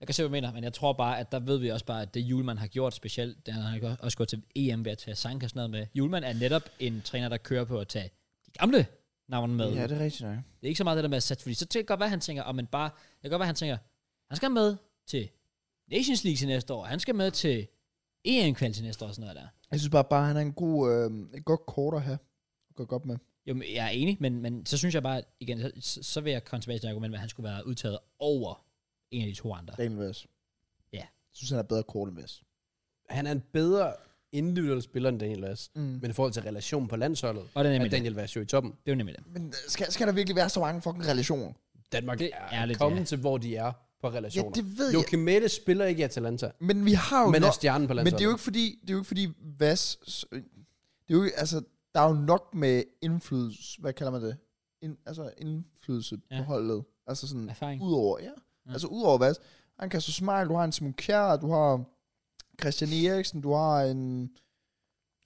[SPEAKER 1] Jeg kan se, hvad du mener, men jeg tror bare, at der ved vi også bare, at det Julemand har gjort specielt, da han har også gået til EM ved at tage Sanka og sådan noget med. Julemand er netop en træner, der kører på at tage de gamle navne med. Ja, det...
[SPEAKER 3] er rigtigt nok.
[SPEAKER 1] det er ikke så meget det der med at sætte, fordi så kan det godt være, at han tænker, oh, men bare, det kan godt være, at han tænker, han skal med til Nations League til næste år, han skal med til EM-kval til næste år og sådan noget der.
[SPEAKER 3] Jeg synes bare, bare han er en god, øh, et godt kort at have. Gå godt med.
[SPEAKER 1] Jo, men jeg er enig, men, men så synes jeg bare, at igen, så- så, så vil jeg komme tilbage til det argument, med, at han skulle være udtaget over en af de to andre.
[SPEAKER 3] Daniel Vass.
[SPEAKER 1] Ja.
[SPEAKER 3] Jeg synes, han er bedre kort end Vass.
[SPEAKER 2] Han er en bedre individuel spiller end Daniel Vass.
[SPEAKER 3] Mm.
[SPEAKER 2] Men i forhold til relationen på landsholdet,
[SPEAKER 1] Og det er
[SPEAKER 2] er
[SPEAKER 1] nemlig det.
[SPEAKER 2] Daniel Vass jo i toppen.
[SPEAKER 1] Det er jo nemlig det.
[SPEAKER 3] Men øh, skal, skal der virkelig være så mange fucking relationer?
[SPEAKER 2] Danmark
[SPEAKER 1] Det
[SPEAKER 2] det
[SPEAKER 1] er
[SPEAKER 2] er, er
[SPEAKER 1] lidt,
[SPEAKER 2] kommet
[SPEAKER 1] ja.
[SPEAKER 2] ja. til, hvor de er på
[SPEAKER 3] Ja,
[SPEAKER 2] relationer.
[SPEAKER 3] det ved
[SPEAKER 2] jo,
[SPEAKER 3] jeg.
[SPEAKER 2] Kimette spiller ikke i Atalanta,
[SPEAKER 3] Men vi har jo
[SPEAKER 2] men
[SPEAKER 3] nok-
[SPEAKER 2] er stjernen på
[SPEAKER 3] Men det
[SPEAKER 2] landsholdet.
[SPEAKER 3] er jo ikke fordi, det er jo ikke fordi Vas, øh, det er jo ikke, altså, der er jo nok med indflydelse, hvad kalder man det? In, altså indflydelse ja.
[SPEAKER 1] Ja.
[SPEAKER 3] på holdet. Altså
[SPEAKER 2] Mm.
[SPEAKER 3] sådan,
[SPEAKER 1] Erfaring.
[SPEAKER 3] udover, ja.
[SPEAKER 1] Ja.
[SPEAKER 3] ja. Altså udover Vas, han kan så smile, du har en Simon Kjær, du har Christian Eriksen, du har en,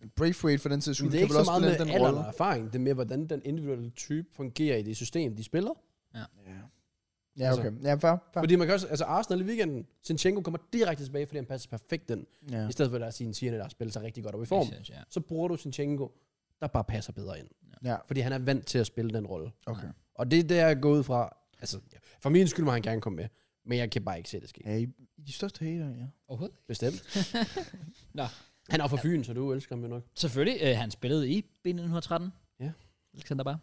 [SPEAKER 3] en Braithwaite for den sags skyld.
[SPEAKER 2] det er
[SPEAKER 3] kan
[SPEAKER 2] ikke
[SPEAKER 3] vel
[SPEAKER 2] så
[SPEAKER 3] også
[SPEAKER 2] meget
[SPEAKER 3] spille
[SPEAKER 2] med den alder og erfaring, det er mere, hvordan den individuelle type fungerer i det system, de spiller.
[SPEAKER 3] Ja, okay. Ja, fair, fair.
[SPEAKER 2] Altså, Fordi man kan også, altså Arsenal i weekenden, Sinchenko kommer direkte tilbage, fordi han passer perfekt den,
[SPEAKER 3] Ja.
[SPEAKER 2] i stedet for at der er sine tierne, der spiller sig rigtig godt op i form.
[SPEAKER 1] Synes, ja.
[SPEAKER 2] Så bruger du Sinchenko, der bare passer bedre ind.
[SPEAKER 3] ja,
[SPEAKER 2] Fordi han er vant til at spille den rolle.
[SPEAKER 3] okay.
[SPEAKER 2] Og det er der, jeg går ud fra. Altså, ja, for min skyld må han gerne komme med, men jeg kan bare ikke se det ske.
[SPEAKER 3] Ja, I, I er de største hater, ja.
[SPEAKER 1] Overhovedet.
[SPEAKER 2] Bestemt.
[SPEAKER 1] Nå.
[SPEAKER 2] Han er fra Fyn, så du elsker ham jo nok.
[SPEAKER 1] Selvfølgelig, øh, han spillede i B1913.
[SPEAKER 2] Ja.
[SPEAKER 1] Alexander bare.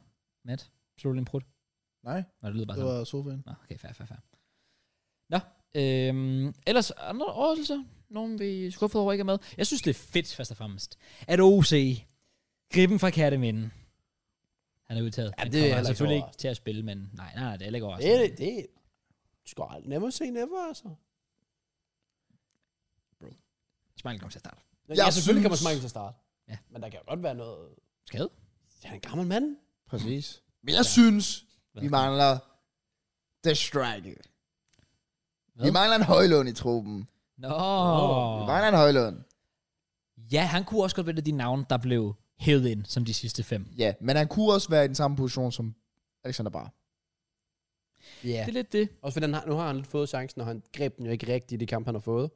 [SPEAKER 1] Matt, slog du en prut?
[SPEAKER 3] Nej,
[SPEAKER 1] Nå, det lyder bare
[SPEAKER 3] det
[SPEAKER 1] sådan.
[SPEAKER 3] var sofaen.
[SPEAKER 1] Nå, okay, fair, fair, fair. Nå, øhm, ellers andre overraskelser? Nogen vi er skuffet over ikke er med? Jeg synes, det er fedt, først og fremmest, at OC, griben fra Katteminden, han er udtaget.
[SPEAKER 2] Ja,
[SPEAKER 1] han
[SPEAKER 2] det er
[SPEAKER 1] kommer
[SPEAKER 2] heller ikke
[SPEAKER 1] selvfølgelig ikke
[SPEAKER 2] overraskende.
[SPEAKER 1] til at spille, men nej, nej, nej det er heller ikke
[SPEAKER 2] Det
[SPEAKER 1] overraskende.
[SPEAKER 2] er det. det er- Du skal aldrig never say never, altså.
[SPEAKER 1] Smeichel kommer til at starte.
[SPEAKER 2] Jeg
[SPEAKER 3] Jeg
[SPEAKER 2] ja, selvfølgelig
[SPEAKER 3] synes-
[SPEAKER 2] kommer Smeichel til at starte.
[SPEAKER 1] Ja.
[SPEAKER 2] Men der kan jo godt være noget...
[SPEAKER 1] Skade?
[SPEAKER 2] Han er en gammel mand.
[SPEAKER 3] Præcis. Men jeg synes,
[SPEAKER 1] Hvad?
[SPEAKER 3] vi mangler The Striker.
[SPEAKER 1] Hvad?
[SPEAKER 3] Vi mangler en højlån i truppen.
[SPEAKER 1] Nå.
[SPEAKER 3] Vi mangler en højlån.
[SPEAKER 1] Ja, han kunne også godt være et af de navne, der blev hævet ind som de sidste fem.
[SPEAKER 3] Ja, men han kunne også være i den samme position som Alexander Bar.
[SPEAKER 2] Ja.
[SPEAKER 1] Det er lidt det.
[SPEAKER 2] Også fordi han har, nu har han lidt fået chancen, og han greb den jo ikke rigtigt i de kamp, han har fået.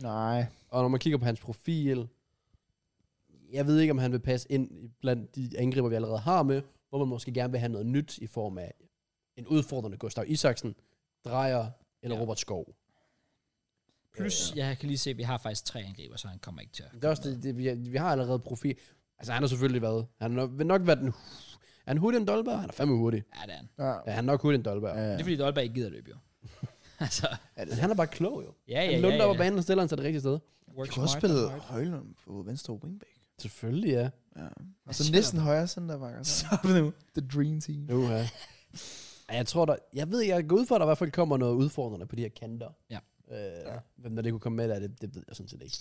[SPEAKER 3] Nej.
[SPEAKER 2] Og når man kigger på hans profil, jeg ved ikke, om han vil passe ind i- blandt de angriber, vi allerede har med, hvor man måske gerne vil have noget nyt i form af en udfordrende Gustav Isaksen, Drejer
[SPEAKER 1] Ja.
[SPEAKER 2] eller ja. Robert Skov.
[SPEAKER 1] Plus, ja, jeg kan lige se, at vi har faktisk tre angriber, så han kommer ikke til at...
[SPEAKER 2] Det er også det, det vi, vi har allerede profil. Altså, han har selvfølgelig været... Han har nok- vil nok være den... Er han hurtig end Dolberg? Han er fandme hurtig.
[SPEAKER 1] Ja, det er han.
[SPEAKER 3] Ja. Øh,
[SPEAKER 2] Ja, han er nok hurtig end Dolberg. Ja.
[SPEAKER 3] Ja.
[SPEAKER 1] Det er fordi, Dolberg ikke gider løbe, jo. altså,
[SPEAKER 2] Altså, han er bare klog, jo.
[SPEAKER 1] ja, ja,
[SPEAKER 2] Han
[SPEAKER 1] ja.
[SPEAKER 2] lunder
[SPEAKER 1] ja,
[SPEAKER 2] over banen og stiller han sig det rigtige sted.
[SPEAKER 1] Work
[SPEAKER 3] Vi kunne også
[SPEAKER 1] smart,
[SPEAKER 3] spille
[SPEAKER 1] work hard.
[SPEAKER 3] højlån på venstre wingback.
[SPEAKER 2] Selvfølgelig, ja.
[SPEAKER 3] Ja. Og så
[SPEAKER 1] siger
[SPEAKER 3] næsten højre altså. centerbakker.
[SPEAKER 1] Stop
[SPEAKER 3] nu. The dream team.
[SPEAKER 2] Nu, ja. Ej, Jeg tror der, jeg ved, jeg går ud fra, at der i hvert fald kommer noget udfordrende på de her kanter.
[SPEAKER 1] Ja.
[SPEAKER 2] Øh, ja. Hvem der det kunne komme med, der, det, det ved jeg sådan set ikke.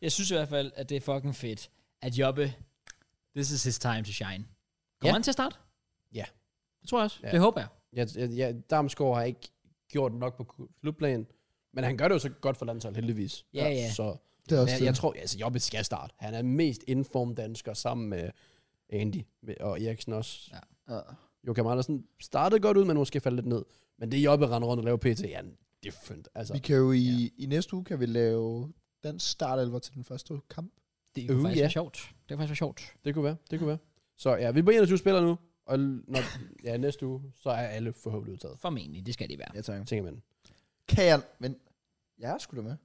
[SPEAKER 1] Jeg synes i hvert fald, at det er fucking fedt, at Jobbe, this is his time to shine. Kommer
[SPEAKER 2] Ja.
[SPEAKER 1] han til at starte?
[SPEAKER 2] Ja.
[SPEAKER 1] Det tror jeg også.
[SPEAKER 2] Ja.
[SPEAKER 1] Det håber jeg.
[SPEAKER 2] Jeg, jeg, jeg, Damsgaard har ikke gjort nok på klubplan, men han gør det jo så godt for landsholdet, heldigvis.
[SPEAKER 1] Ja, ja.
[SPEAKER 2] Så
[SPEAKER 3] Det er også
[SPEAKER 2] jeg, jeg tror, altså Jobbe skal starte. Han er den mest inform dansker sammen med Andy og Eriksen også.
[SPEAKER 1] Ja.
[SPEAKER 2] Ja.
[SPEAKER 3] Ja.
[SPEAKER 2] Joachim Andersen startede godt ud, men måske faldt lidt ned. Men det Jobbe render rundt og laver pt, ja, different. Altså,
[SPEAKER 3] Vi kan jo i, i næste uge kan vi lave den startelver til den første kamp.
[SPEAKER 1] Det kunne
[SPEAKER 2] Uh,
[SPEAKER 1] faktisk
[SPEAKER 2] ja.
[SPEAKER 1] være sjovt. Det kunne faktisk være sjovt.
[SPEAKER 2] Det kunne være, det kunne være. Så ja, vi er på 21 spillere nu, og l- når, ja, næste uge, så er alle forhåbentlig udtaget.
[SPEAKER 1] Formentlig, det skal det være.
[SPEAKER 3] Ja, tak.
[SPEAKER 2] Tænker man.
[SPEAKER 3] Kan jeg... Men jeg er sgu da med.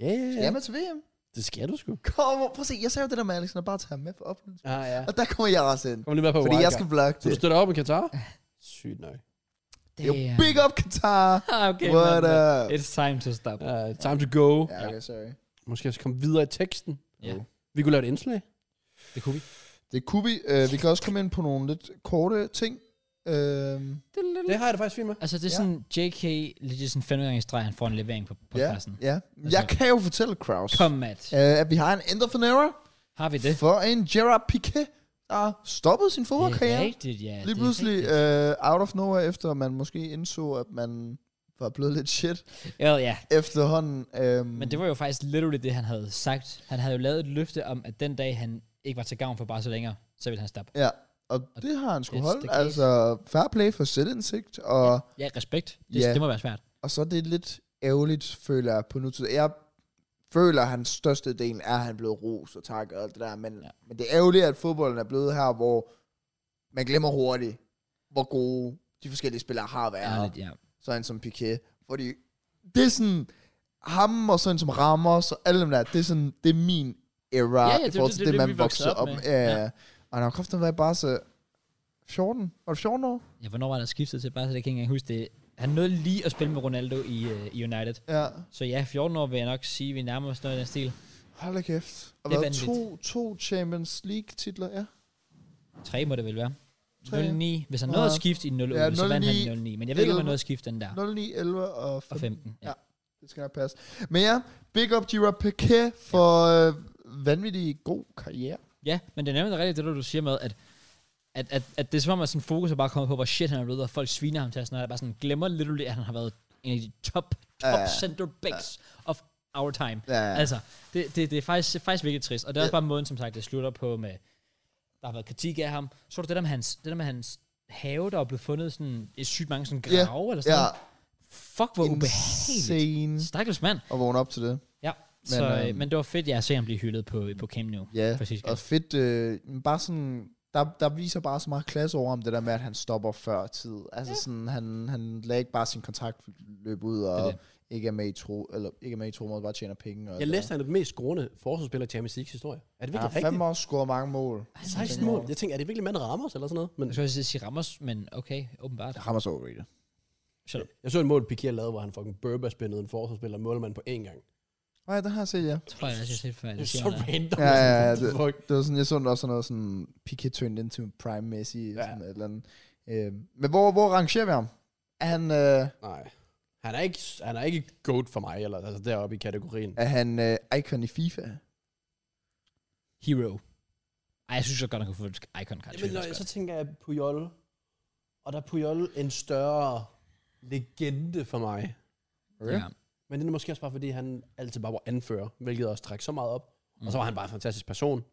[SPEAKER 2] Ja, ja,
[SPEAKER 3] Skal
[SPEAKER 2] ja.
[SPEAKER 3] jeg med til VM?
[SPEAKER 2] Det skal du sgu.
[SPEAKER 3] Kom, prøv at se, jeg sagde jo det der med Alexander, bare tage ham med for oplevelsen.
[SPEAKER 2] Ja, ja.
[SPEAKER 3] Og der kommer jeg også ind.
[SPEAKER 2] Kom lige med på
[SPEAKER 3] Fordi jeg
[SPEAKER 2] wildcard.
[SPEAKER 3] skal vlogge
[SPEAKER 2] Så
[SPEAKER 3] det.
[SPEAKER 2] du støtter op i Katar? Sygt nok.
[SPEAKER 1] Det
[SPEAKER 3] Jo, big up Qatar.
[SPEAKER 1] Ah, okay,
[SPEAKER 3] What
[SPEAKER 1] man,
[SPEAKER 3] up?
[SPEAKER 1] It's time to stop.
[SPEAKER 2] Uh, time to go.
[SPEAKER 3] Ja, okay, sorry.
[SPEAKER 2] Måske jeg skal komme videre i teksten.
[SPEAKER 1] Ja.
[SPEAKER 2] Vi kunne lave et indslag.
[SPEAKER 1] Det kunne vi.
[SPEAKER 3] Det kunne vi. Øh, vi kan også komme ind på nogle lidt korte ting. Øh,
[SPEAKER 2] Det har jeg det faktisk fint med.
[SPEAKER 1] Altså, det er
[SPEAKER 3] Ja.
[SPEAKER 1] sådan, JK, lidt sådan fem gange i streg, han får en levering på
[SPEAKER 3] ja,
[SPEAKER 1] podcasten.
[SPEAKER 3] ja. Jeg kan jo fortælle, Kraus,
[SPEAKER 1] Kom, Matt.
[SPEAKER 3] øh, at vi har en Ender Fenera
[SPEAKER 1] Har vi det?
[SPEAKER 3] for en Gerard Piqué, der har stoppet sin
[SPEAKER 1] Det er
[SPEAKER 3] fodboldkarriere.
[SPEAKER 1] rigtigt, ja. det
[SPEAKER 3] Lige
[SPEAKER 1] er
[SPEAKER 3] pludselig
[SPEAKER 1] rigtigt.
[SPEAKER 3] øh, out of nowhere, efter man måske indså, at man var blevet lidt shit
[SPEAKER 1] Ja, ja.
[SPEAKER 3] efterhånden. Øh,
[SPEAKER 1] Men det var jo faktisk literally det, han havde sagt. Han havde jo lavet et løfte om, at den dag, han ikke var til gavn for Barca længere, så ville han stoppe.
[SPEAKER 3] Ja, og det har han sgu
[SPEAKER 1] It's the
[SPEAKER 3] holdt.
[SPEAKER 1] case.
[SPEAKER 3] Altså, fair play for selvindsigt, og, ja.
[SPEAKER 1] Ja, respekt. Det,
[SPEAKER 3] Ja.
[SPEAKER 1] det må være svært.
[SPEAKER 3] og så er det lidt ærgerligt, føler jeg på nutid. Jeg føler, at hans største del er, at han er blevet ros og tak og alt det der, men,
[SPEAKER 1] Ja.
[SPEAKER 3] ja. men det er ærgerligt, at fodbolden er blevet her, hvor man glemmer hurtigt, hvor gode de forskellige spillere har været.
[SPEAKER 1] Ærligt, ja.
[SPEAKER 3] sådan som Piqué, fordi det er sådan, ham og sådan som Ramos og alle dem der, det er sådan, det er min era,
[SPEAKER 1] Ja, ja,
[SPEAKER 3] i
[SPEAKER 1] det-
[SPEAKER 3] forhold
[SPEAKER 1] det- det-
[SPEAKER 3] til det,
[SPEAKER 1] det,
[SPEAKER 3] man
[SPEAKER 1] vi
[SPEAKER 3] voksede op med. Ja, ja. Og han har kraften været bare så 14, var det 14 år?
[SPEAKER 1] ja. hvornår var der skiftet til Barca? Det kan jeg ikke engang huske det. Han nåede lige at spille med Ronaldo i, øh, i United.
[SPEAKER 3] Ja,
[SPEAKER 1] Så ja, 14 år vil jeg nok sige, vi nærmer os noget i den stil.
[SPEAKER 3] hold da kæft. Og
[SPEAKER 1] Det er
[SPEAKER 3] været to, to Champions League titler, ja.
[SPEAKER 1] 3 må det vel være.
[SPEAKER 3] Tre.
[SPEAKER 1] 09. Hvis han nåede at
[SPEAKER 3] Ja.
[SPEAKER 1] skifte i 08,
[SPEAKER 3] Ja,
[SPEAKER 1] så vandt han i
[SPEAKER 3] 09,
[SPEAKER 1] 09. Men jeg ved ikke, om han
[SPEAKER 3] 11.
[SPEAKER 1] nåede at skifte den der.
[SPEAKER 3] 09, 11 og 15.
[SPEAKER 1] Og 15. Ja.
[SPEAKER 3] Ja. Det skal nok passe. Men ja, big up Gerard Piqué for øh, vanvittig god karriere.
[SPEAKER 1] Ja, men det er nemlig rigtigt, det der, du siger med, at, at, at, at det er som om, at sådan fokus er bare kommet på, hvor shit han er blevet, og folk sviner ham til, og sådan noget, og bare sådan glemmer literally, at han har været en af de top, top
[SPEAKER 3] Ja.
[SPEAKER 1] center backs of our time.
[SPEAKER 3] Ja, ja.
[SPEAKER 1] Altså, det, det, det, er faktisk, det er faktisk virkelig trist, og det er også bare måden, som sagt, det slutter på med, der har været kritik af ham. Så er der det der med hans, det der med hans have, der er blevet fundet sådan, i sygt mange sådan grave,
[SPEAKER 3] Ja,
[SPEAKER 1] eller sådan
[SPEAKER 3] ja,
[SPEAKER 1] noget. Fuck, hvor ubehageligt.
[SPEAKER 3] insane
[SPEAKER 1] Stakkels mand.
[SPEAKER 3] at vågne op til det.
[SPEAKER 1] Ja, men,
[SPEAKER 3] Men,
[SPEAKER 1] så, øh,
[SPEAKER 3] øhm,
[SPEAKER 1] men det var fedt, jeg ser ham blive hyldet på, på Camp nu.
[SPEAKER 3] Ja,
[SPEAKER 1] præcis.
[SPEAKER 3] og fedt, øh, men bare sådan, der, der viser bare så meget klasse over om det der med, at han stopper før tid. Altså ja. sådan, han, han lader ikke bare sin kontrakt løbe ud,
[SPEAKER 1] Det er
[SPEAKER 3] og
[SPEAKER 1] det.
[SPEAKER 3] ikke er med i tro, eller ikke er med i tro, men bare tjener penge. Og
[SPEAKER 2] Jeg læste, at han er den mest scorende forsvarsspiller i Champions Leagues historie. Er det
[SPEAKER 3] han har
[SPEAKER 2] virkelig
[SPEAKER 3] fandme
[SPEAKER 2] rigtigt?
[SPEAKER 3] også scoret mange mål.
[SPEAKER 2] 16 mål. Jeg tænker, er det virkelig mand Ramos eller sådan noget? Men
[SPEAKER 1] Jeg skulle også sige Ramos, men okay, åbenbart.
[SPEAKER 3] Det rammer så overrated.
[SPEAKER 1] Shut up.
[SPEAKER 2] jeg så et mål, Piqué lavede, hvor han fucking burba spændede en forsvarsspiller og målmand på én gang.
[SPEAKER 3] Nej, den har jeg set, ja.
[SPEAKER 1] Tror jeg også, jeg har set før.
[SPEAKER 2] Det
[SPEAKER 1] Det
[SPEAKER 2] er
[SPEAKER 1] siger
[SPEAKER 2] så
[SPEAKER 1] mig noget.
[SPEAKER 2] random.
[SPEAKER 3] Ja, ja, ja,
[SPEAKER 2] What the fuck?
[SPEAKER 3] Det var sådan, jeg så den også sådan noget sådan, Piqué turned into Prime Messi, ja. sådan et eller andet. Øh, men hvor, hvor rangerer vi ham? Er han, øh,
[SPEAKER 2] Nej. Han er ikke, han er ikke goat for mig, eller altså deroppe i kategorien.
[SPEAKER 3] er han øh, icon i FIFA?
[SPEAKER 1] Hero. Ej, jeg synes så godt, han kunne få et icon card.
[SPEAKER 2] Jamen, når, jeg- så tænker jeg Puyol, og der er Puyol en større legende for mig.
[SPEAKER 1] ja.
[SPEAKER 2] Men det er måske også bare, fordi han altid bare var anfører, hvilket også trak så meget op. Mm. Og så var han bare en fantastisk person.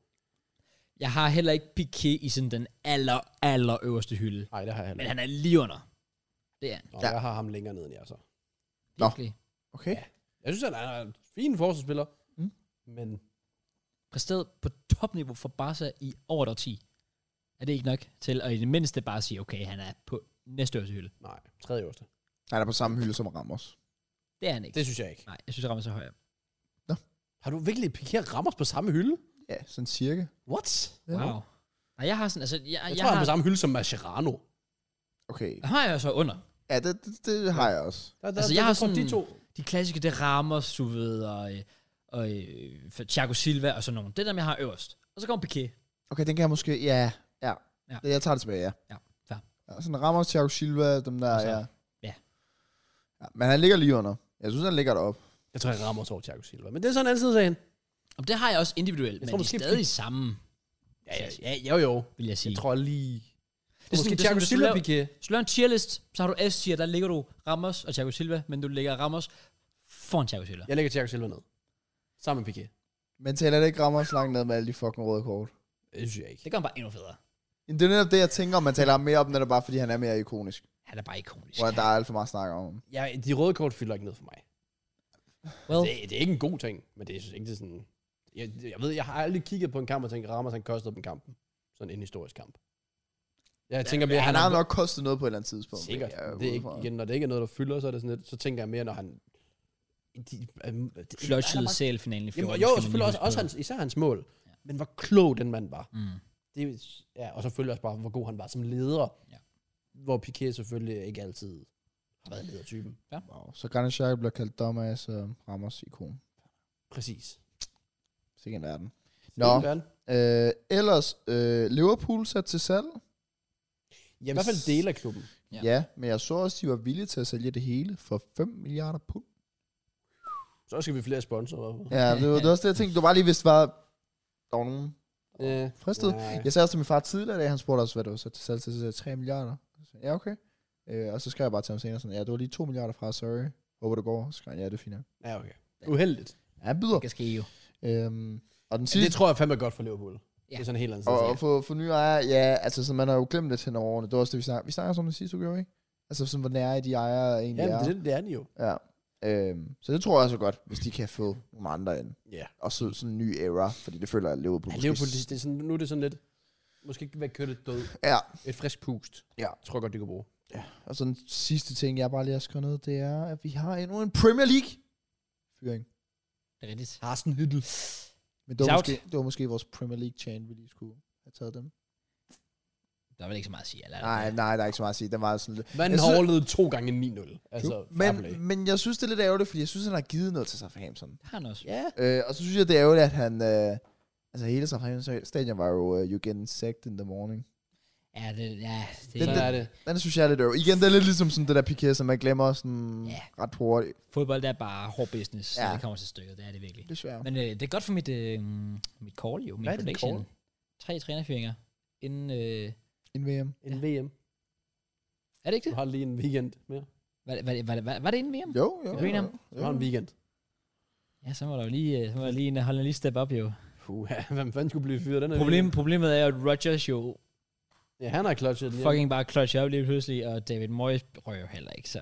[SPEAKER 1] Jeg har heller ikke Piqué i sådan den aller, aller øverste hylde.
[SPEAKER 2] Nej, det har jeg heller
[SPEAKER 1] Men
[SPEAKER 2] ikke.
[SPEAKER 1] han er lige under. Det er han.
[SPEAKER 2] Nå,
[SPEAKER 3] Ja.
[SPEAKER 2] Jeg har ham længere ned, end jeg så.
[SPEAKER 3] Nå.
[SPEAKER 1] Virkelig.
[SPEAKER 3] Okay.
[SPEAKER 2] Jeg synes, han er en fin forsvarsspiller,
[SPEAKER 3] Mm.
[SPEAKER 2] men
[SPEAKER 1] Præsteret på topniveau for Barca i over et årti. Er det ikke nok til at i det mindste bare sige, okay, han er på næste øverste hylde.
[SPEAKER 2] nej, tredje øverste.
[SPEAKER 3] Han er på samme hylde som Ramos.
[SPEAKER 1] Det er han ikke.
[SPEAKER 2] Det synes jeg ikke.
[SPEAKER 1] Nej, jeg synes, Ramos er højere.
[SPEAKER 2] Har du virkelig pikeret Ramos på samme hylde?
[SPEAKER 3] Ja, sådan cirka.
[SPEAKER 2] What?
[SPEAKER 3] Ja.
[SPEAKER 1] Wow. Nej, jeg har sådan, altså, jeg,
[SPEAKER 2] Jeg,
[SPEAKER 1] jeg,
[SPEAKER 2] jeg tror, han
[SPEAKER 1] har,
[SPEAKER 2] er på samme hylde som Mascherano.
[SPEAKER 3] Okay.
[SPEAKER 1] har jeg så under.
[SPEAKER 3] Ja, det, det, det har jeg også.
[SPEAKER 2] Der, der,
[SPEAKER 1] Altså, jeg har
[SPEAKER 2] tror,
[SPEAKER 1] sådan-
[SPEAKER 2] de to.
[SPEAKER 1] De klassiske, det rammer, du ved, og, øh, og øh, for Thiago Silva og sådan nogen. Det er dem, jeg har øverst. Og så kommer Piqué.
[SPEAKER 3] Okay, den kan jeg måske... Ja, ja.
[SPEAKER 1] Ja.
[SPEAKER 3] ja. Det, jeg tager det tilbage, ja.
[SPEAKER 1] Ja, fair.
[SPEAKER 3] ja sådan Ramos, Thiago Silva, dem der,
[SPEAKER 1] Og så-
[SPEAKER 3] ja.
[SPEAKER 1] ja.
[SPEAKER 3] ja. Men han ligger lige under. Jeg synes, han ligger deroppe.
[SPEAKER 2] Jeg tror, jeg rammer over Thiago Silva. Men det er sådan en anden side af sagen.
[SPEAKER 1] Og det har jeg også individuelt, men
[SPEAKER 2] tror
[SPEAKER 1] de er
[SPEAKER 2] måske,
[SPEAKER 1] stadig samme,
[SPEAKER 2] Ja, ja, ja, jo, jo.
[SPEAKER 1] vil jeg sige.
[SPEAKER 2] Jeg tror lige...
[SPEAKER 1] er
[SPEAKER 2] Det er måske
[SPEAKER 1] sådan- det er
[SPEAKER 2] Thiago
[SPEAKER 1] sådan, hvis du
[SPEAKER 2] Silva,
[SPEAKER 1] laver-
[SPEAKER 2] Piqué.
[SPEAKER 1] Hvis du laver en tierlist, så har du S-tier, der ligger du Ramos og Thiago Silva, men du ligger Ramos foran Thiago Silva.
[SPEAKER 2] Jeg lægger Thiago Silva ned. Sammen med Piqué.
[SPEAKER 3] Men tæller det ikke Ramos langt ned med alle de fucking røde kort?
[SPEAKER 2] Det synes jeg ikke.
[SPEAKER 1] Det gør ham bare endnu federe.
[SPEAKER 3] Men Det er netop det, jeg tænker, om man taler mere om, når det er bare, fordi han er mere ikonisk.
[SPEAKER 1] Han er bare ikonisk.
[SPEAKER 3] Hvor der er alt for meget snak om ham.
[SPEAKER 2] Ja, de røde kort fylder ikke ned for mig.
[SPEAKER 1] Well,
[SPEAKER 2] Det, det er ikke en god ting, men det jeg synes ikke, det er sådan... Jeg, jeg ved, jeg har aldrig kigget på en kamp og tænkt, Ramos han kostede dem kampen. Sådan en historisk kamp. Jeg tænker mere,
[SPEAKER 3] Ja, han
[SPEAKER 2] er-
[SPEAKER 3] har nok kostet noget på et eller andet tidspunkt.
[SPEAKER 2] Sikkert.
[SPEAKER 3] vil jeg
[SPEAKER 2] det er ikke,
[SPEAKER 3] udefra.
[SPEAKER 2] igen, når det ikke er noget, der fylder, så er det sådan lidt, så tænker jeg mere, når han de, øhm, det- han
[SPEAKER 1] Fløjtede
[SPEAKER 2] er bare-
[SPEAKER 1] sælfinalen i 14.
[SPEAKER 2] Jamen, og
[SPEAKER 1] skal
[SPEAKER 2] jo,
[SPEAKER 1] man lige
[SPEAKER 2] selvfølgelig også,
[SPEAKER 1] huske
[SPEAKER 2] også
[SPEAKER 1] på.
[SPEAKER 2] hans, især hans mål. Men hvor klog den mand var.
[SPEAKER 1] Mm.
[SPEAKER 2] Det, er jo- ja, og selvfølgelig også bare, hvor god han var som leder.
[SPEAKER 1] Ja.
[SPEAKER 2] Hvor Piquet selvfølgelig ikke altid har været ledertypen.
[SPEAKER 3] Wow. Så Granit Xhaka bliver kaldt dumbass og Ramos ikon.
[SPEAKER 2] Præcis.
[SPEAKER 3] Sikke en verden.
[SPEAKER 2] Det
[SPEAKER 3] Nå,
[SPEAKER 2] er verden.
[SPEAKER 3] øh, ellers øh, Liverpool sat til salg.
[SPEAKER 2] Ja, i hvert fald dele af klubben.
[SPEAKER 1] Ja.
[SPEAKER 3] Ja. ja, men jeg så også, de var villige til at sælge det hele for 5 milliarder pund.
[SPEAKER 2] Så skal vi flere sponsorer.
[SPEAKER 3] Ja, det var, det var også det, jeg tænkte. Du var lige vidst, var der var nogen
[SPEAKER 2] Ja.
[SPEAKER 3] fristet.
[SPEAKER 2] Nej.
[SPEAKER 3] Jeg sagde også til min far tidligere i dag, han spurgte også, hvad det var så til salg til, så sagde jeg 3 milliarder. Så sagde jeg, ja, okay. Øh, og så skrev jeg bare til ham senere sådan, ja, det var lige 2 milliarder fra, sorry. Håber det går. Så skrev han, ja, det er fint. nok.
[SPEAKER 2] Ja, okay. Uheldigt.
[SPEAKER 3] Ja, han byder.
[SPEAKER 1] Det ske jo.
[SPEAKER 3] Øhm, og den
[SPEAKER 2] Ja, det
[SPEAKER 3] sidste,
[SPEAKER 2] tror jeg fandme er godt for Liverpool. Ja. Det
[SPEAKER 1] Ja.
[SPEAKER 2] er sådan en helt anden
[SPEAKER 3] og,
[SPEAKER 2] sag.
[SPEAKER 3] og for, for nye ejere, ja, altså sådan, man har jo glemt lidt hen over årene. Det var også det, vi snakkede, vi snakkede om det sidste uge, jo, ikke? Altså sådan, hvor nære de ejere egentlig
[SPEAKER 2] Ja, men
[SPEAKER 3] er.
[SPEAKER 2] det, er det, det er den jo.
[SPEAKER 3] Ja. Øhm, så det tror jeg også er godt, hvis de kan få nogle andre ind.
[SPEAKER 2] Ja.
[SPEAKER 3] Og så sådan en ny era, fordi det føler jeg, at Liverpool...
[SPEAKER 2] Ja,
[SPEAKER 3] måske-
[SPEAKER 2] Liverpool, det, det er sådan, nu er det sådan lidt, måske ikke være kørt død.
[SPEAKER 3] Ja.
[SPEAKER 2] Et frisk pust.
[SPEAKER 3] Ja.
[SPEAKER 2] Jeg tror godt, det kan bruge.
[SPEAKER 3] Og så den sidste ting, jeg bare lige har skrevet ned, det er, at vi har endnu en Premier League fyring.
[SPEAKER 1] Det er rigtigt.
[SPEAKER 2] Carsten Hyttel.
[SPEAKER 3] Men det var,
[SPEAKER 1] Shout.
[SPEAKER 3] måske, det var måske vores Premier League chant, vi lige skulle have taget dem.
[SPEAKER 1] Der er vel ikke så meget at sige. Eller, er der
[SPEAKER 3] Nej,
[SPEAKER 1] det?
[SPEAKER 3] nej, der er ikke så meget at sige. Den var sådan lidt...
[SPEAKER 2] Man
[SPEAKER 3] Jeg synes-
[SPEAKER 2] har to gange 9-0. Altså, fair play.
[SPEAKER 3] Men, men jeg synes, det er lidt ærgerligt, fordi jeg synes, han har givet noget til Southampton.
[SPEAKER 1] Det har han også.
[SPEAKER 2] Ja.
[SPEAKER 3] Øh, og så synes jeg, det er ærgerligt, at han... Øh, altså hele Southampton stadion var jo, uh, you get insect in the morning.
[SPEAKER 1] Ja, det, ja, det,
[SPEAKER 3] Den-
[SPEAKER 2] Sådan
[SPEAKER 1] er
[SPEAKER 2] er det.
[SPEAKER 3] Den synes jeg er lidt ærgerligt. Igen, det er lidt ligesom sådan det der Piqué, som man glemmer sådan
[SPEAKER 1] Ja.
[SPEAKER 3] ret hurtigt.
[SPEAKER 1] Fodbold det er bare hård business, ja. når
[SPEAKER 3] Ja.
[SPEAKER 1] det kommer til stykket. Det er det virkelig.
[SPEAKER 3] Desværre.
[SPEAKER 1] Men øh, det er godt for mit, øh, mit call jo, min
[SPEAKER 2] Hvad er dit
[SPEAKER 1] prediction.
[SPEAKER 2] call?
[SPEAKER 1] Tre trænerfyringer inden... Øh,
[SPEAKER 3] En VM.
[SPEAKER 2] En VM.
[SPEAKER 1] er det ikke
[SPEAKER 2] Du
[SPEAKER 1] det?
[SPEAKER 2] har lige en weekend mere.
[SPEAKER 1] Var, var, var, var, var det inden VM?
[SPEAKER 3] Jo, jo.
[SPEAKER 1] Kan du mene
[SPEAKER 3] jo,
[SPEAKER 1] ham?
[SPEAKER 2] Du har en
[SPEAKER 3] jo.
[SPEAKER 2] weekend.
[SPEAKER 1] Ja, så må der jo lige, øh, så må der lige en holde en lige step op jo.
[SPEAKER 2] Puh, ja, hvem fanden skulle blive fyret den her
[SPEAKER 1] Problem,
[SPEAKER 2] weekend?
[SPEAKER 1] problemet er jo, at Rodgers jo
[SPEAKER 2] Ja, han har clutchet den.
[SPEAKER 1] fucking bare clutch op lige pludselig, og David Moyes rører jo heller ikke, så...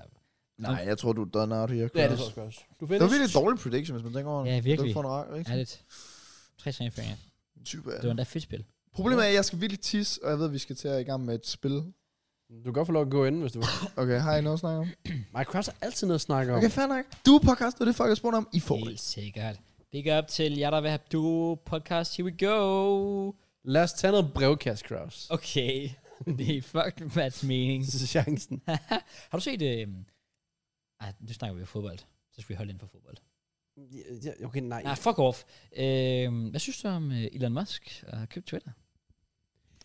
[SPEAKER 3] Nej, jeg tror, du er done out here.
[SPEAKER 2] Ja, det
[SPEAKER 3] Kraus.
[SPEAKER 2] tror jeg også. Du
[SPEAKER 3] Det
[SPEAKER 2] finder
[SPEAKER 3] var virkelig en dårlig prediction, hvis man tænker over det.
[SPEAKER 1] Ja, virkelig.
[SPEAKER 3] Det var for en rar, ikke?
[SPEAKER 1] Ærligt. Tre trænerfyringer.
[SPEAKER 3] Type af
[SPEAKER 1] Det var endda fedt spil.
[SPEAKER 3] Problemet er, at jeg skal virkelig tisse, og jeg ved, at vi skal til at i gang med et spil.
[SPEAKER 2] Du kan godt få lov at gå ind, hvis du vil.
[SPEAKER 3] Okay, har I noget at snakke om?
[SPEAKER 2] Mike Kraus har altid noget at snakke om.
[SPEAKER 3] Okay, fair nok. Du er podcast, det er det, folk har spurgt om. I får det.
[SPEAKER 1] Helt sikkert. Big up til jer, der vil have duo podcast. Here we go.
[SPEAKER 2] Lad os tage noget brevkast, Kraus.
[SPEAKER 1] Okay. det er fucking Mads mening.
[SPEAKER 2] Det er chancen.
[SPEAKER 1] Har du set... Øh... Ej, nu snakker vi om fodbold. Så skal vi holde ind for fodbold.
[SPEAKER 2] Ja, Okay, nej.
[SPEAKER 1] Nej, fuck off. Øh, hvad synes du om øh, Elon Musk og købt Twitter?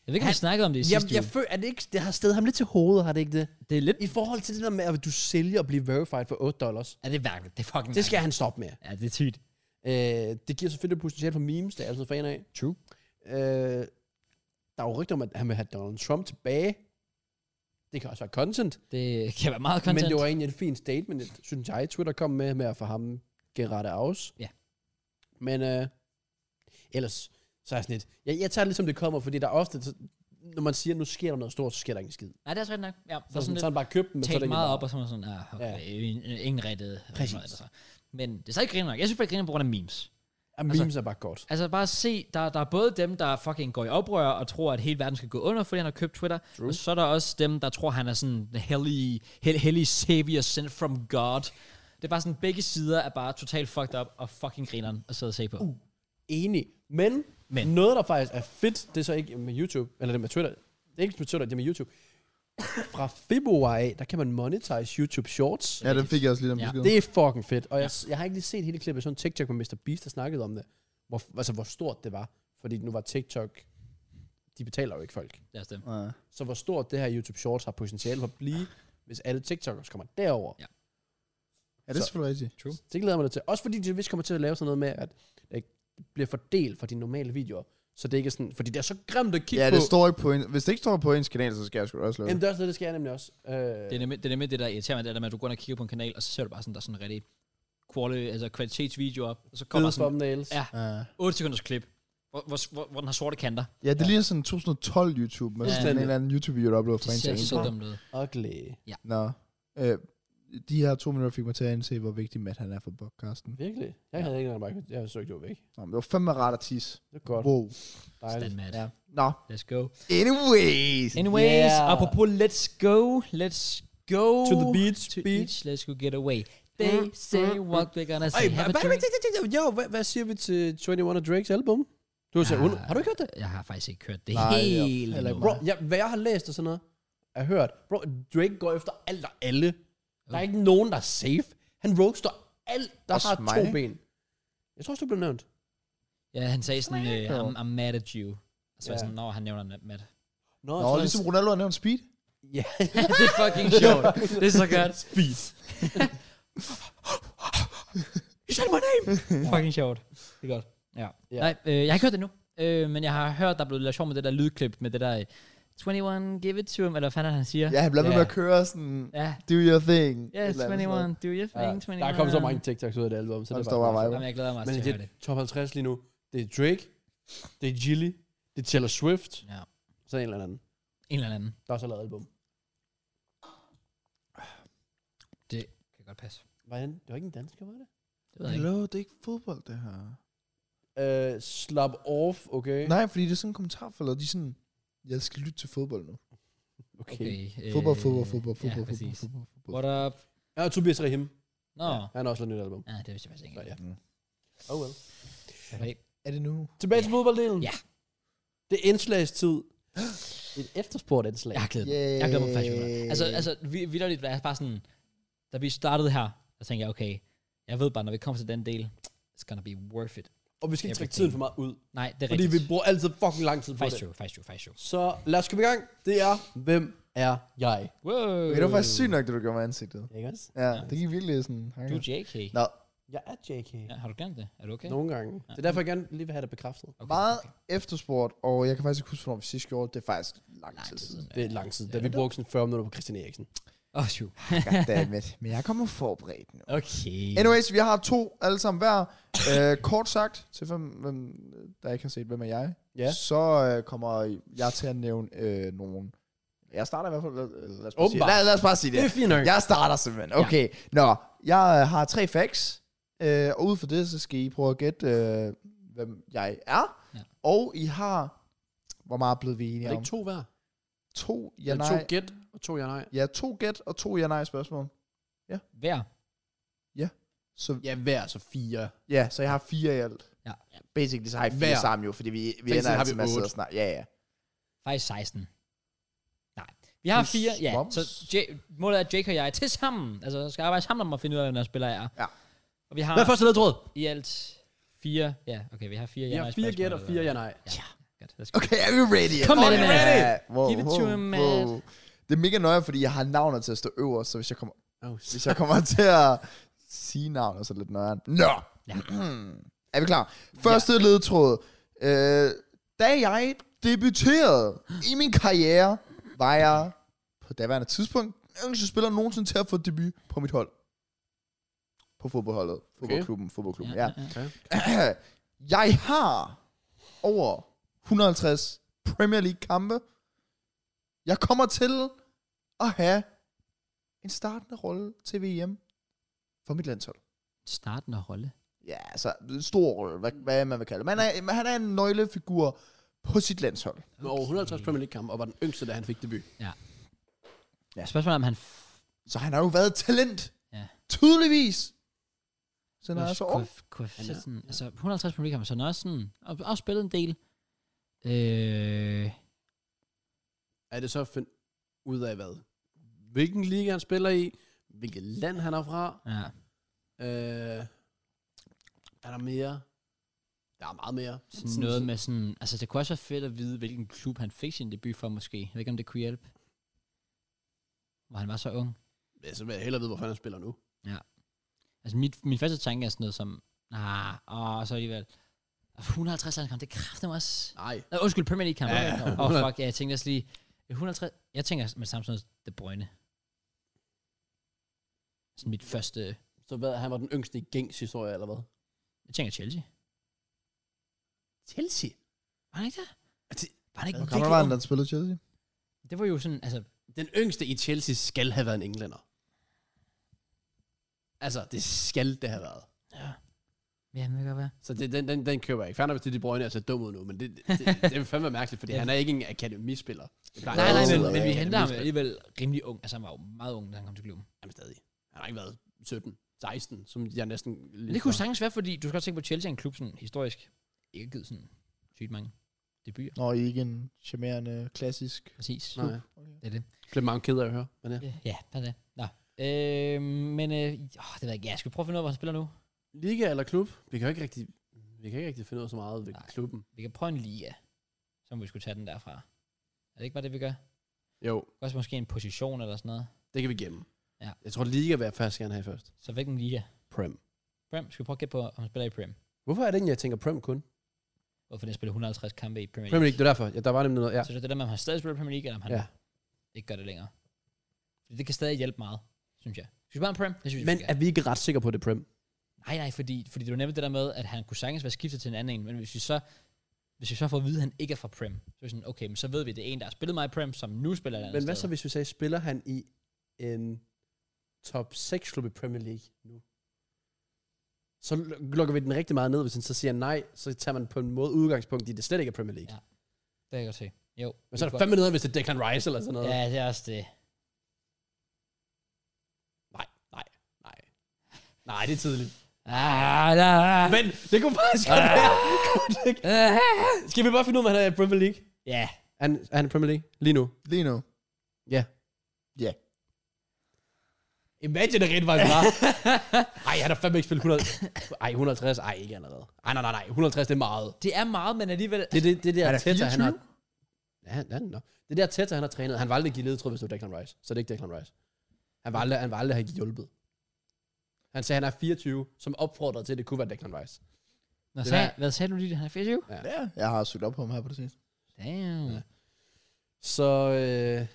[SPEAKER 1] Jeg ved ikke, om vi snakkede om det i
[SPEAKER 2] Jamen,
[SPEAKER 1] sidste
[SPEAKER 2] jeg
[SPEAKER 1] uge.
[SPEAKER 2] føler, at det ikke, det har stedet ham lidt til hovedet, har det ikke det?
[SPEAKER 1] Det er lidt...
[SPEAKER 2] I forhold til det der med, at du sælger og bliver verified for 8 dollars,
[SPEAKER 1] Er det er værkeligt? Det er fucking
[SPEAKER 2] det skal han stoppe med.
[SPEAKER 1] mærkeligt. Ja, det er tygt.
[SPEAKER 2] Øh, det giver selvfølgelig et potentiale for memes, det er jeg altid fan af.
[SPEAKER 1] True.
[SPEAKER 2] Øh, der er jo rygter om, at han vil have Donald Trump tilbage. Det kan også være content,
[SPEAKER 1] Det kan være meget
[SPEAKER 2] content.
[SPEAKER 1] content.
[SPEAKER 2] men det var egentlig et fint statement, et- synes jeg, Twitter kom med, med at få ham gerette afs.
[SPEAKER 1] Ja.
[SPEAKER 2] Men øh, ellers, så er jeg sådan lidt, jeg, jeg tager det lidt som det kommer, fordi der er ofte, så- når man siger, nu sker der noget stort, så sker der ingen skid.
[SPEAKER 1] Nej, det er også rigtigt nok. Ja,
[SPEAKER 2] Så, sådan, så har han bare købt dem, men så er
[SPEAKER 1] talt
[SPEAKER 2] det
[SPEAKER 1] meget
[SPEAKER 2] bare-
[SPEAKER 1] op, og så var sådan, ah, okay,
[SPEAKER 2] Ja.
[SPEAKER 1] ja. ingen rettet.
[SPEAKER 2] Præcis.
[SPEAKER 1] Altså. Men det er stadig griner nok. Jeg synes bare, det griner på grund af memes.
[SPEAKER 2] Ja, memes altså, er bare godt.
[SPEAKER 1] Altså bare se, der, der er både dem, der fucking går i oprør og tror, at hele verden skal gå under, fordi han har købt Twitter. True. Og så er der også dem, der tror, han er sådan the hellig, hel, hellig savior sent from God. Det er bare sådan, begge sider er bare totalt fucked up og fucking grineren at sidde og se på. Uh.
[SPEAKER 2] Enig. Men,
[SPEAKER 1] Men.
[SPEAKER 2] men, noget, der faktisk er fedt, det er så ikke med YouTube, eller det er med Twitter. Det er ikke med Twitter, det er med YouTube. Fra februar af, der kan man monetize YouTube Shorts.
[SPEAKER 3] Ja, den fik jeg også lige om
[SPEAKER 1] Ja.
[SPEAKER 3] besked.
[SPEAKER 2] Det er fucking fedt. Og jeg, jeg har ikke lige set hele klippet. Jeg så en TikTok med Mr. Beast, der snakkede om det. Hvor, altså, hvor stort det var. Fordi nu var TikTok... De betaler jo ikke folk.
[SPEAKER 1] Det er også det.
[SPEAKER 3] Ja.
[SPEAKER 2] Så hvor stort det her YouTube Shorts har potentiale for at blive, hvis alle TikTokers kommer derover.
[SPEAKER 1] Ja.
[SPEAKER 3] ja, det er
[SPEAKER 2] Så-
[SPEAKER 3] selvfølgelig rigtigt.
[SPEAKER 2] Det glæder jeg mig da til. Også fordi de vist kommer til at lave sådan noget med, at det bliver fordelt fra dine normale videoer. Så det ikke er sådan, fordi det er så grimt at kigge
[SPEAKER 3] Ja,
[SPEAKER 2] på.
[SPEAKER 3] det står ikke på en... Hvis det ikke står på ens kanal, så skal jeg sgu da også lave
[SPEAKER 2] Jamen,
[SPEAKER 3] det.
[SPEAKER 2] det er også det, det skal jeg nemlig også. Øh,
[SPEAKER 1] Det er, nemlig, det er nemlig det, der irriterer mig, det er der med, at du går ind og kigger på en kanal, og så ser du bare sådan, der er sådan rigtig quality, altså kvalitetsvideoer, og så kommer
[SPEAKER 2] fede
[SPEAKER 1] der sådan
[SPEAKER 2] thumbnails.
[SPEAKER 1] Ja.
[SPEAKER 3] Ja.
[SPEAKER 1] 8 sekunders klip, hvor, hvor, hvor, hvor den har sorte kanter.
[SPEAKER 3] ja, det ligner sådan 2012 YouTube, med
[SPEAKER 1] Ja.
[SPEAKER 3] sådan en eller anden YouTube-video, der er blevet
[SPEAKER 1] Det
[SPEAKER 3] fra en
[SPEAKER 1] ser
[SPEAKER 3] til
[SPEAKER 1] så
[SPEAKER 3] en.
[SPEAKER 1] dumt ud.
[SPEAKER 2] Ugly.
[SPEAKER 3] Nå. Øh, de her to minutter fik mig til at indse, hvor vigtig Matt han er for podcasten.
[SPEAKER 2] Virkelig? Jeg havde ikke engang mærket. Jeg så ikke, det var væk.
[SPEAKER 3] Nå, men det var fandme rart at tisse.
[SPEAKER 2] Det er godt.
[SPEAKER 3] Wow.
[SPEAKER 1] Stand
[SPEAKER 2] Dejligt.
[SPEAKER 1] med det.
[SPEAKER 3] Ja. Nå.
[SPEAKER 1] Let's go.
[SPEAKER 3] Anyways.
[SPEAKER 1] Anyways,
[SPEAKER 2] Yeah.
[SPEAKER 1] apropos let's go, let's go.
[SPEAKER 2] To the beach,
[SPEAKER 1] To
[SPEAKER 2] beach.
[SPEAKER 1] beach, let's go get away. They say what we're gonna say. Have a drink.
[SPEAKER 2] Jo, hvad, hvad siger vi til 21 og Drakes album? Du har,
[SPEAKER 1] Ah.
[SPEAKER 2] ja. har du ikke hørt det?
[SPEAKER 1] Jeg har faktisk ikke hørt det
[SPEAKER 3] Nej, jeg-
[SPEAKER 1] hele.
[SPEAKER 3] heller ikke
[SPEAKER 1] endnu.
[SPEAKER 2] Bro, ja, hvad jeg har læst og sådan noget, er hørt. Bro, Drake går efter alt og alle. Der er ikke nogen, der er safe. Han roaster alt, der
[SPEAKER 3] Også
[SPEAKER 2] har
[SPEAKER 3] mig,
[SPEAKER 2] to
[SPEAKER 3] ikke?
[SPEAKER 2] ben. Jeg tror også, du blev nævnt.
[SPEAKER 1] Ja, han sagde sådan, øh,
[SPEAKER 3] Tomato.
[SPEAKER 1] I'm, I'm mad at you. Så var jeg
[SPEAKER 2] Ja.
[SPEAKER 1] sådan, når han nævner Matt.
[SPEAKER 2] Nå,
[SPEAKER 3] Nå, ligesom Ronaldo har nævnt speed.
[SPEAKER 2] Ja.
[SPEAKER 1] det er fucking sjovt. Det er så godt.
[SPEAKER 2] Speed.
[SPEAKER 1] You said my name! fucking sjovt.
[SPEAKER 2] Det er godt.
[SPEAKER 1] Ja.
[SPEAKER 2] Ja.
[SPEAKER 1] Nej, øh, jeg har ikke hørt det nu. Øh, men jeg har hørt, der er blevet lidt sjov med det der lydklip, med det der øh, 21, give it to him, eller hvad fanden er det, han siger.
[SPEAKER 3] Ja, han bliver ved
[SPEAKER 1] Ja.
[SPEAKER 3] med at køre sådan,
[SPEAKER 1] Ja.
[SPEAKER 3] do your thing. Et
[SPEAKER 1] Yes,
[SPEAKER 3] eller andet sådan
[SPEAKER 1] 21, do your
[SPEAKER 2] Ja,
[SPEAKER 1] thing, 21.
[SPEAKER 2] der er kommet så mange TikToks ud af det album, så
[SPEAKER 3] Han
[SPEAKER 2] det altså,
[SPEAKER 3] står bare og
[SPEAKER 1] Jamen, jeg glæder mig
[SPEAKER 2] Men
[SPEAKER 1] også til at
[SPEAKER 2] det
[SPEAKER 1] høre
[SPEAKER 2] er
[SPEAKER 1] det.
[SPEAKER 2] top 50 lige nu. Det er Drake, det er Jilly, det er Taylor Swift,
[SPEAKER 1] Ja.
[SPEAKER 2] så en eller anden.
[SPEAKER 1] En eller anden.
[SPEAKER 2] Der er så lavet album.
[SPEAKER 1] Det kan godt passe.
[SPEAKER 2] Var han, det var ikke en dansker, var det?
[SPEAKER 1] Det ved jeg ikke.
[SPEAKER 3] Hallo, det er ikke fodbold, det her.
[SPEAKER 2] Uh, slap off, okay?
[SPEAKER 3] Nej, fordi det er sådan en kommentarfeller, de er sådan, jeg skal lytte til fodbold nu.
[SPEAKER 2] Okay. okay.
[SPEAKER 1] Okay. øh,
[SPEAKER 3] Fodbold, fodbold, fodbold, fodbold,
[SPEAKER 1] Ja, præcis.
[SPEAKER 3] fodbold, fodbold,
[SPEAKER 1] What
[SPEAKER 3] fodbold.
[SPEAKER 1] up?
[SPEAKER 2] Ja, og Tobias Rahim.
[SPEAKER 1] Nå.
[SPEAKER 2] Ja, han har også lavet et nyt album.
[SPEAKER 1] Ja, det vidste jeg faktisk ikke.
[SPEAKER 2] Så ja.
[SPEAKER 3] Mm.
[SPEAKER 2] Oh well.
[SPEAKER 1] Okay.
[SPEAKER 3] Er det nu?
[SPEAKER 2] Tilbage til fodbolddelen.
[SPEAKER 1] Ja.
[SPEAKER 2] Det er indslagstid. Et eftersport indslag.
[SPEAKER 1] Jeg har glædet mig. Jeg glæder mig faktisk. til det. Altså, altså vi, vidderligt, jeg er bare sådan, da vi startede her, så tænkte jeg, okay, jeg ved bare, når vi kommer til den del, it's gonna be worth it.
[SPEAKER 2] Og vi skal ikke trække
[SPEAKER 1] Everything.
[SPEAKER 2] tiden for meget ud.
[SPEAKER 1] Nej, det er
[SPEAKER 2] Fordi vi
[SPEAKER 1] rigtigt.
[SPEAKER 2] bruger altid fucking lang tid på
[SPEAKER 1] Faktisk
[SPEAKER 2] det.
[SPEAKER 1] true, faktisk true, faktisk true.
[SPEAKER 2] Så lad os komme i gang. Det er, hvem er jeg?
[SPEAKER 1] Wow.
[SPEAKER 3] Okay, det var faktisk sygt nok, det du gjorde med ansigtet.
[SPEAKER 2] Ikke også?
[SPEAKER 3] Ja, det gik virkelig sådan.
[SPEAKER 1] Du er JK.
[SPEAKER 3] Nå,
[SPEAKER 2] Jeg er JK.
[SPEAKER 1] Ja, har du glemt det? Er du okay?
[SPEAKER 2] Nogle gange. Det er derfor, jeg gerne lige vil have det bekræftet.
[SPEAKER 1] okay.
[SPEAKER 3] meget efterspurgt, og jeg kan faktisk ikke huske, hvornår vi sidst gjorde det. Det er faktisk lang
[SPEAKER 1] Lang
[SPEAKER 3] tid
[SPEAKER 1] tid
[SPEAKER 3] siden.
[SPEAKER 1] siden.
[SPEAKER 2] Det er lang tid. Da vi brugte sådan 40 minutter på Christian Eriksen.
[SPEAKER 1] Åh, syv.
[SPEAKER 3] Goddammit. Men jeg kommer forberedt nu.
[SPEAKER 1] Okay.
[SPEAKER 3] Anyways, vi har to alle sammen hver. Øh, kort sagt, til hvem, hvem der ikke har set, hvem er jeg,
[SPEAKER 2] Ja.
[SPEAKER 3] så øh, kommer jeg til at nævne øh, nogen. Jeg starter i hvert fald, lad, lad, os, bare sige,
[SPEAKER 2] Åbenbart.
[SPEAKER 3] lad, lad os bare sige
[SPEAKER 2] Det
[SPEAKER 3] det.
[SPEAKER 2] er fint nok.
[SPEAKER 3] Jeg starter simpelthen. Okay, nå. Jeg øh, har tre facts, øh, og ud fra det, så skal I prøve at gætte, øh, hvem jeg er.
[SPEAKER 1] Ja.
[SPEAKER 3] Ja. Og I har, hvor meget blev vi
[SPEAKER 2] Er
[SPEAKER 3] enige
[SPEAKER 2] det
[SPEAKER 3] om?
[SPEAKER 2] ikke to hver?
[SPEAKER 3] To
[SPEAKER 2] Ja,
[SPEAKER 3] ja
[SPEAKER 2] To
[SPEAKER 3] nej.
[SPEAKER 2] gæt og to ja nej.
[SPEAKER 3] Ja, to gæt og to ja nej spørgsmål.
[SPEAKER 1] Hver.
[SPEAKER 3] Så,
[SPEAKER 2] Ja, hver så fire.
[SPEAKER 3] ja, så jeg har fire i alt.
[SPEAKER 1] Ja.
[SPEAKER 3] Basically, så har jeg fire
[SPEAKER 2] Hver.
[SPEAKER 3] sammen jo, fordi vi, vi
[SPEAKER 2] så
[SPEAKER 3] ender
[SPEAKER 2] har
[SPEAKER 3] altid
[SPEAKER 2] vi
[SPEAKER 3] med at sidde
[SPEAKER 2] otte.
[SPEAKER 3] og snakke. Ja, ja.
[SPEAKER 1] Faktisk 16. Nej. Vi har
[SPEAKER 3] Plus
[SPEAKER 1] fire, ja.
[SPEAKER 3] moms.
[SPEAKER 1] Så J, målet er, at Jake og jeg til sammen, altså skal arbejde sammen om at finde ud af, hvem der spiller er.
[SPEAKER 3] Ja.
[SPEAKER 1] Og vi har
[SPEAKER 2] Hvad er første ledtråd?
[SPEAKER 1] i alt fire, ja, okay, vi har fire
[SPEAKER 2] Vi
[SPEAKER 1] ja,
[SPEAKER 2] har
[SPEAKER 1] nej
[SPEAKER 2] fire
[SPEAKER 1] spørgsmål,
[SPEAKER 2] gæt og
[SPEAKER 1] eller
[SPEAKER 2] fire
[SPEAKER 1] hvad?
[SPEAKER 2] ja nej.
[SPEAKER 1] Ja. Godt, let's go.
[SPEAKER 3] Okay, er vi ready?
[SPEAKER 1] Kom med det,
[SPEAKER 3] Okay,
[SPEAKER 1] mand.
[SPEAKER 3] ready. Wow,
[SPEAKER 1] Give it to him, man.
[SPEAKER 3] Det er mega nøje, fordi jeg har navnet til at stå øverst, så hvis jeg kommer,
[SPEAKER 2] Oh,
[SPEAKER 3] hvis jeg kommer til at sige navnet, så er det lidt nøjeren. Nå!
[SPEAKER 1] Ja.
[SPEAKER 3] Ja. er vi klar? Første ja. ledtråd. Øh, da jeg debuterede i min karriere, var jeg på daværende tidspunkt den yngste spiller nogensinde til at få debut på mit hold. På fodboldholdet. Fodboldklubben, fodboldklubben, ja.
[SPEAKER 2] okay.
[SPEAKER 3] Jeg har over 150 Premier League kampe. Jeg kommer til at have en startende rolle til VM for mit landshold.
[SPEAKER 1] Startende rolle.
[SPEAKER 3] Ja, altså en stor rolle, hvad, hvad man vil kalde det. Men han er, han er en nøglefigur på sit landshold.
[SPEAKER 2] Med over 150 Premier League-kampe, og var den yngste, da han fik debut.
[SPEAKER 1] Ja. Spørgsmålet er, om han... f-
[SPEAKER 3] Så han har jo været talent.
[SPEAKER 1] Ja.
[SPEAKER 3] Tydeligvis. Så han er
[SPEAKER 1] kunne-
[SPEAKER 3] altså
[SPEAKER 1] kunne-
[SPEAKER 3] off.
[SPEAKER 1] kunne have
[SPEAKER 2] Han er-
[SPEAKER 1] fedt sådan- Altså, 150 Premier League-kampe, så han er også sådan... Og, også spillet en del. Øh,
[SPEAKER 2] Er det så at finde ud af hvad? Hvilken liga han spiller i? Hvilket land han er fra?
[SPEAKER 1] ja.
[SPEAKER 2] Øh, er der mere? Der er meget mere.
[SPEAKER 1] Sådan noget med sådan... Altså, det kunne også være fedt at vide, hvilken klub han fik sin debut for, måske. Jeg ved ikke, om det kunne hjælpe. Hvor han var så ung.
[SPEAKER 2] Ja, så vil jeg hellere vide, hvorfor han spiller nu.
[SPEAKER 1] Altså, mit, min første tanke er sådan noget som... Ah, åh, så alligevel... 150 landskampe, det kræfter mig også...
[SPEAKER 2] Nej.
[SPEAKER 1] Nå, undskyld, Premier League-kampe.
[SPEAKER 2] Ja, ja.
[SPEAKER 1] Åh, oh, fuck, ja, jeg tænkte også lige... 150... Jeg tænker med Samsung De Bruyne. Sådan mit første...
[SPEAKER 2] Så hvad, han var den yngste i gængs historie, eller hvad?
[SPEAKER 1] Jeg tænker Chelsea.
[SPEAKER 2] Chelsea?
[SPEAKER 1] Var han ikke der?
[SPEAKER 2] Er det-
[SPEAKER 1] Var han ikke
[SPEAKER 3] Hvor gammel
[SPEAKER 1] virkelig
[SPEAKER 3] var
[SPEAKER 1] ung?
[SPEAKER 3] han, da han spillede Chelsea?
[SPEAKER 1] Det var jo sådan, altså...
[SPEAKER 2] Den yngste i Chelsea skal have været en englænder. Altså, det skal det have været.
[SPEAKER 1] Ja, det kan godt være.
[SPEAKER 2] Så det, den, den, den køber jeg ikke. Færdig, hvis det er de brøgne, altså dum ud nu, men det, det, det, det er fandme mærkeligt, fordi
[SPEAKER 1] Ja.
[SPEAKER 2] han er ikke en akademispiller. Det plejer
[SPEAKER 1] Nej,
[SPEAKER 2] han
[SPEAKER 1] nej,
[SPEAKER 2] altid
[SPEAKER 1] men,
[SPEAKER 2] at være
[SPEAKER 1] men vi
[SPEAKER 2] en
[SPEAKER 1] henter ham
[SPEAKER 2] akademispiller.
[SPEAKER 1] alligevel rimelig ung. Altså, han var jo meget ung, da han kom til klubben.
[SPEAKER 2] Jamen stadig. Han har ikke været 17. 16, som jeg næsten... lige
[SPEAKER 1] Det kunne
[SPEAKER 2] fra-
[SPEAKER 1] sagtens være, fordi du skal også tænke på, at Chelsea er en klub, sådan historisk, ikke givet sådan sygt mange debuter.
[SPEAKER 3] Nå, I er ikke en charmerende, klassisk...
[SPEAKER 1] Præcis.
[SPEAKER 2] Nej,
[SPEAKER 1] Det er det.
[SPEAKER 2] blev mange keder at høre, men ja.
[SPEAKER 1] Ja, det er det. Nå. Øh, men, øh, åh, det ved jeg ikke. Ja, skal vi prøve at finde ud af, hvor han spiller nu?
[SPEAKER 2] Liga eller klub? Vi kan jo ikke rigtig, vi kan ikke rigtig finde ud af så meget ved
[SPEAKER 1] Nej.
[SPEAKER 2] klubben.
[SPEAKER 1] Vi kan prøve en liga, så må vi skulle tage den derfra. Er det ikke bare det, vi gør?
[SPEAKER 2] Jo,
[SPEAKER 1] Også måske en position eller sådan noget.
[SPEAKER 2] det kan vi gemme.
[SPEAKER 1] Ja.
[SPEAKER 2] Jeg tror, Liga vil jeg først gerne have først.
[SPEAKER 1] Så hvilken liga?
[SPEAKER 2] Prem.
[SPEAKER 1] Prem, skal vi prøve at gætte på, om han spiller i Prem?
[SPEAKER 2] Hvorfor er det egentlig, jeg tænker Prem kun?
[SPEAKER 1] Hvorfor den spiller 150 kampe i Premier
[SPEAKER 2] Premier
[SPEAKER 1] League?
[SPEAKER 2] League, det er derfor. Ja, der var nemlig noget. Ja.
[SPEAKER 1] Så det er det der med, om han stadig spiller i Premier League, eller om han
[SPEAKER 2] Ja.
[SPEAKER 1] ja. ikke gør det længere. Fordi det kan stadig hjælpe meget, synes jeg. Skal vi bare en Prem? Det synes
[SPEAKER 2] Men
[SPEAKER 1] jeg,
[SPEAKER 2] er vi ikke ret sikre på, at det er Prem?
[SPEAKER 1] Nej, nej, fordi, fordi det var nemlig det der med, at han kunne sagtens være skiftet til en anden en, men hvis vi så, hvis vi så får at vide, at han ikke er fra Prem, så er vi sådan, okay, men så ved vi, at det er en, der har spillet meget i Prem, som nu spiller et andet
[SPEAKER 2] Men hvad så,
[SPEAKER 1] sted.
[SPEAKER 2] hvis vi sagde, spiller han i en top 6 klub i Premier League nu? Så l- lukker vi den rigtig meget ned, hvis han så siger nej, så tager man på en måde udgangspunkt i, at det slet ikke er Premier League.
[SPEAKER 1] Ja. Det kan jeg godt se. Jo.
[SPEAKER 2] Men så er
[SPEAKER 1] det kunne
[SPEAKER 2] der fandme noget, hvis det er Declan Rice eller sådan
[SPEAKER 1] godt-
[SPEAKER 2] noget.
[SPEAKER 1] Ja, det er også det.
[SPEAKER 2] Nej, nej, nej. Nej, det er tidligt.
[SPEAKER 1] Ah, da, ah.
[SPEAKER 2] Men det kunne faktisk godt
[SPEAKER 1] Ah.
[SPEAKER 2] være. Kunne det ikke?
[SPEAKER 1] Ah.
[SPEAKER 2] Skal vi bare finde ud af, om han er i Premier League?
[SPEAKER 1] Ja,
[SPEAKER 2] Han, er han i Premier League lige nu?
[SPEAKER 3] Lige nu.
[SPEAKER 2] Ja.
[SPEAKER 3] Ja.
[SPEAKER 2] Imagine det rent faktisk var. Ej, han har fandme ikke spillet 100. Ej, 150. Ej, ikke allerede. Ej, nej, nej, nej. 150, det er meget.
[SPEAKER 1] det er meget, men alligevel...
[SPEAKER 2] Det er det, det der
[SPEAKER 3] Han er
[SPEAKER 2] tætter, han har...
[SPEAKER 3] 24?
[SPEAKER 2] Ja, han, han, no. Det der tætter, han har trænet. Han var aldrig give ledetråd, hvis det var Declan Rice. Så det er ikke Declan Rice. Han var aldrig, han var aldrig have hjulpet. Han sagde, han er 24, som opfordrede til, at det kunne være Declan Rice.
[SPEAKER 1] Nå,
[SPEAKER 2] det
[SPEAKER 1] sagde,
[SPEAKER 2] er-
[SPEAKER 1] hvad sagde du lige, at han er 24?
[SPEAKER 3] Ja, jeg har søgt op på ham her på det sidste.
[SPEAKER 1] Damn.
[SPEAKER 2] Ja. Så øh,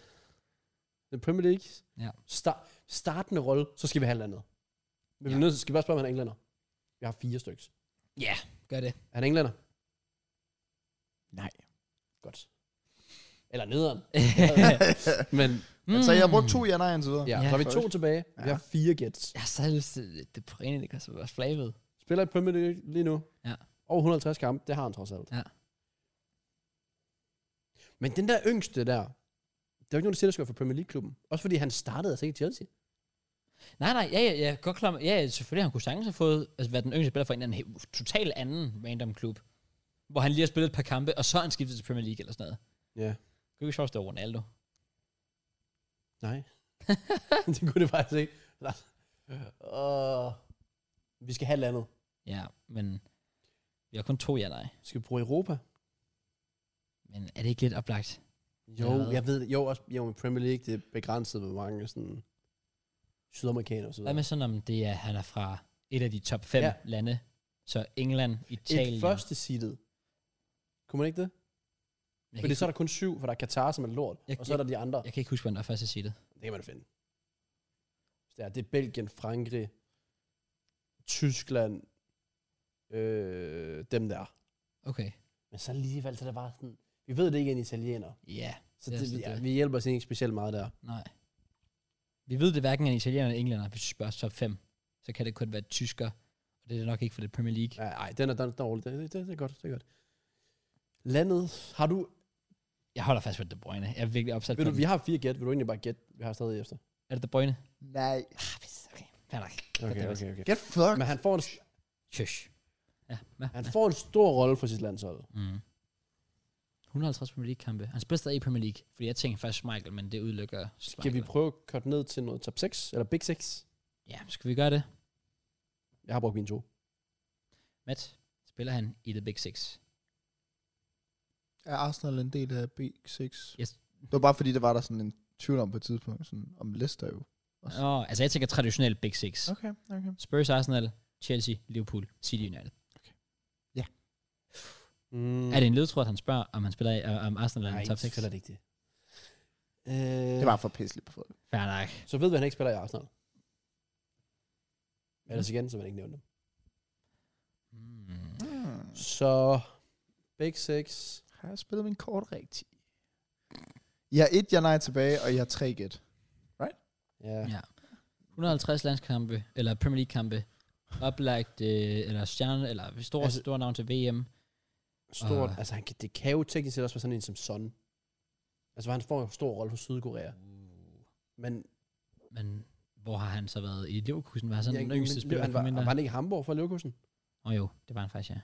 [SPEAKER 2] den Premier League
[SPEAKER 1] Ja.
[SPEAKER 2] start, startende rolle, så skal vi have et eller andet. Men ja. vi er nødt til, skal vi bare spørge, om han er englænder. Vi har fire stykker.
[SPEAKER 1] Ja, gør det.
[SPEAKER 2] Er han englænder?
[SPEAKER 3] Nej.
[SPEAKER 2] Godt. Eller nederen. Men
[SPEAKER 3] Mm.
[SPEAKER 2] Altså,
[SPEAKER 3] Så jeg har brugt to ja nej indtil videre.
[SPEAKER 2] ja,
[SPEAKER 1] Ja.
[SPEAKER 2] så har vi to tilbage. Ja. Vi har fire gæts.
[SPEAKER 1] Mm. Jeg har stadig lyst til... Det er på rent, det kan så være flavet.
[SPEAKER 2] Spiller i Premier League lige nu.
[SPEAKER 1] Ja.
[SPEAKER 2] Over 150 kampe, det har han trods alt.
[SPEAKER 1] Ja.
[SPEAKER 2] Men den der yngste der, der er jo ikke nogen, der siger, der skal være for Premier League-klubben. Også fordi han startede altså ikke i Chelsea.
[SPEAKER 1] Nej, nej, ja, ja, ja, godt klar. Ja, ja, selvfølgelig, han kunne sagtens have fået, altså været den yngste spiller for en eller anden helt- total anden random klub, hvor han lige har spillet et par kampe, og så er han skiftet til Premier League eller sådan noget.
[SPEAKER 2] Ja.
[SPEAKER 1] Det kunne ikke sjovt, at det var Ronaldo.
[SPEAKER 2] Nej. det kunne det faktisk ikke. Lars. Åh. vi skal have landet.
[SPEAKER 1] Ja, men vi har kun to ja, nej.
[SPEAKER 2] Skal vi bruge Europa?
[SPEAKER 1] Men er det ikke lidt oplagt?
[SPEAKER 2] Jo,
[SPEAKER 1] Eller hvad?
[SPEAKER 2] jeg ved det. Jo, også jo, men Premier League, det er begrænset, hvor mange sådan sydamerikanere og så
[SPEAKER 1] Hvad
[SPEAKER 2] videre.
[SPEAKER 1] med sådan, om det er, han er fra et af de top 5
[SPEAKER 2] Ja.
[SPEAKER 1] ja. lande? Så England, Italien...
[SPEAKER 2] Et første seedet. Kunne man ikke
[SPEAKER 1] jeg,
[SPEAKER 2] det?
[SPEAKER 1] kan
[SPEAKER 2] Fordi
[SPEAKER 1] ikke,
[SPEAKER 2] så er der kun syv, for der er Katar, som er lort.
[SPEAKER 1] Jeg-
[SPEAKER 2] og så er der de andre.
[SPEAKER 1] jeg kan ikke huske, hvordan der er første seedet.
[SPEAKER 2] Det kan man da finde. Så Det er, det er Belgien, Frankrig, Tyskland, øh, dem der.
[SPEAKER 1] Okay.
[SPEAKER 2] Men så alligevel, så er det bare sådan, vi ved det ikke er en italiener.
[SPEAKER 1] Ja,
[SPEAKER 2] Så
[SPEAKER 1] Det er
[SPEAKER 2] det,
[SPEAKER 1] sådan,
[SPEAKER 2] det, ja,
[SPEAKER 1] det er.
[SPEAKER 2] vi hjælper os ikke specielt meget der.
[SPEAKER 1] nej. Vi ved det hverken af en italiener eller englænder. Hvis vi spørger top 5, så kan det kun være tysker. Og det er nok ikke for det Premier League.
[SPEAKER 2] Nej, nej, den er, den er dårlig. Det, det, det, er godt, det er godt. Landet, har du...
[SPEAKER 1] Jeg holder fast ved De Bruyne. Jeg er virkelig opsat
[SPEAKER 2] Ved
[SPEAKER 1] på
[SPEAKER 2] du vi har fire gæt. Vil du egentlig bare gætte? Vi har stadig efter.
[SPEAKER 1] den. Er det De Bruyne?
[SPEAKER 3] Nej.
[SPEAKER 1] Ah, pis, okay. Fair nok.
[SPEAKER 2] okay, okay.
[SPEAKER 3] Get fucked.
[SPEAKER 2] Men han får en,
[SPEAKER 1] Tjøsh. Ja, ja.
[SPEAKER 2] han får en stor rolle for sit landshold.
[SPEAKER 1] Mm. 150 Premier League-kampe. Han spiller stadig i Premier League. Fordi jeg tænker faktisk Michael, men det udelukker
[SPEAKER 2] Skal vi
[SPEAKER 1] Schmeichel.
[SPEAKER 2] prøve at korte ned til noget top 6? Eller big 6?
[SPEAKER 1] Ja, skal vi gøre det?
[SPEAKER 2] Jeg har brugt mine to.
[SPEAKER 1] Matt, spiller han i The Big Six?
[SPEAKER 3] Er Arsenal en del af B6?
[SPEAKER 1] Yes.
[SPEAKER 3] Det var bare fordi, der var der sådan en tvivl om på et tidspunkt, sådan om Leicester jo. Også.
[SPEAKER 1] Nå, altså jeg tænker traditionelt Big Six. Okay.
[SPEAKER 3] okay.
[SPEAKER 1] Spurs, Arsenal, Chelsea, Liverpool, City United.
[SPEAKER 2] Mm.
[SPEAKER 1] Mm. Er det en ledtråd, at han spørger, om han spiller i, øh, om Arsenal er
[SPEAKER 2] Nej,
[SPEAKER 1] en top 6?
[SPEAKER 2] selvfølgelig er det ikke det. Øh,
[SPEAKER 3] Det var for pisseligt på folk.
[SPEAKER 1] Fair nok.
[SPEAKER 2] Så ved vi, at han ikke spiller i Arsenal. Ellers igen, så vil jeg ikke nævne dem.
[SPEAKER 1] Mm.
[SPEAKER 3] Mm.
[SPEAKER 2] Så Big Six.
[SPEAKER 3] Har jeg spillet min kort rigtigt? I har et ja nej tilbage, og I har tre gæt.
[SPEAKER 2] Ja.
[SPEAKER 1] Ja. 150 landskampe, eller Premier League-kampe, oplagt, øh, eller stjerne, eller store,
[SPEAKER 2] Altså-
[SPEAKER 1] altså, store navn til VM.
[SPEAKER 2] Stort.
[SPEAKER 1] Og-
[SPEAKER 2] Altså, han kan, det kan jo teknisk set også være sådan en som Son. Altså, han får en stor rolle hos Sydkorea. Men
[SPEAKER 1] Men hvor har han så været i Leverkusen? Var han sådan
[SPEAKER 2] Ja,
[SPEAKER 1] den
[SPEAKER 2] men-
[SPEAKER 1] yngste spiller,
[SPEAKER 2] han
[SPEAKER 1] der
[SPEAKER 2] var,
[SPEAKER 1] kom ind
[SPEAKER 2] var
[SPEAKER 1] der?
[SPEAKER 2] han ikke i Hamburg for Leverkusen?
[SPEAKER 1] Åh jo, det var han faktisk, ja.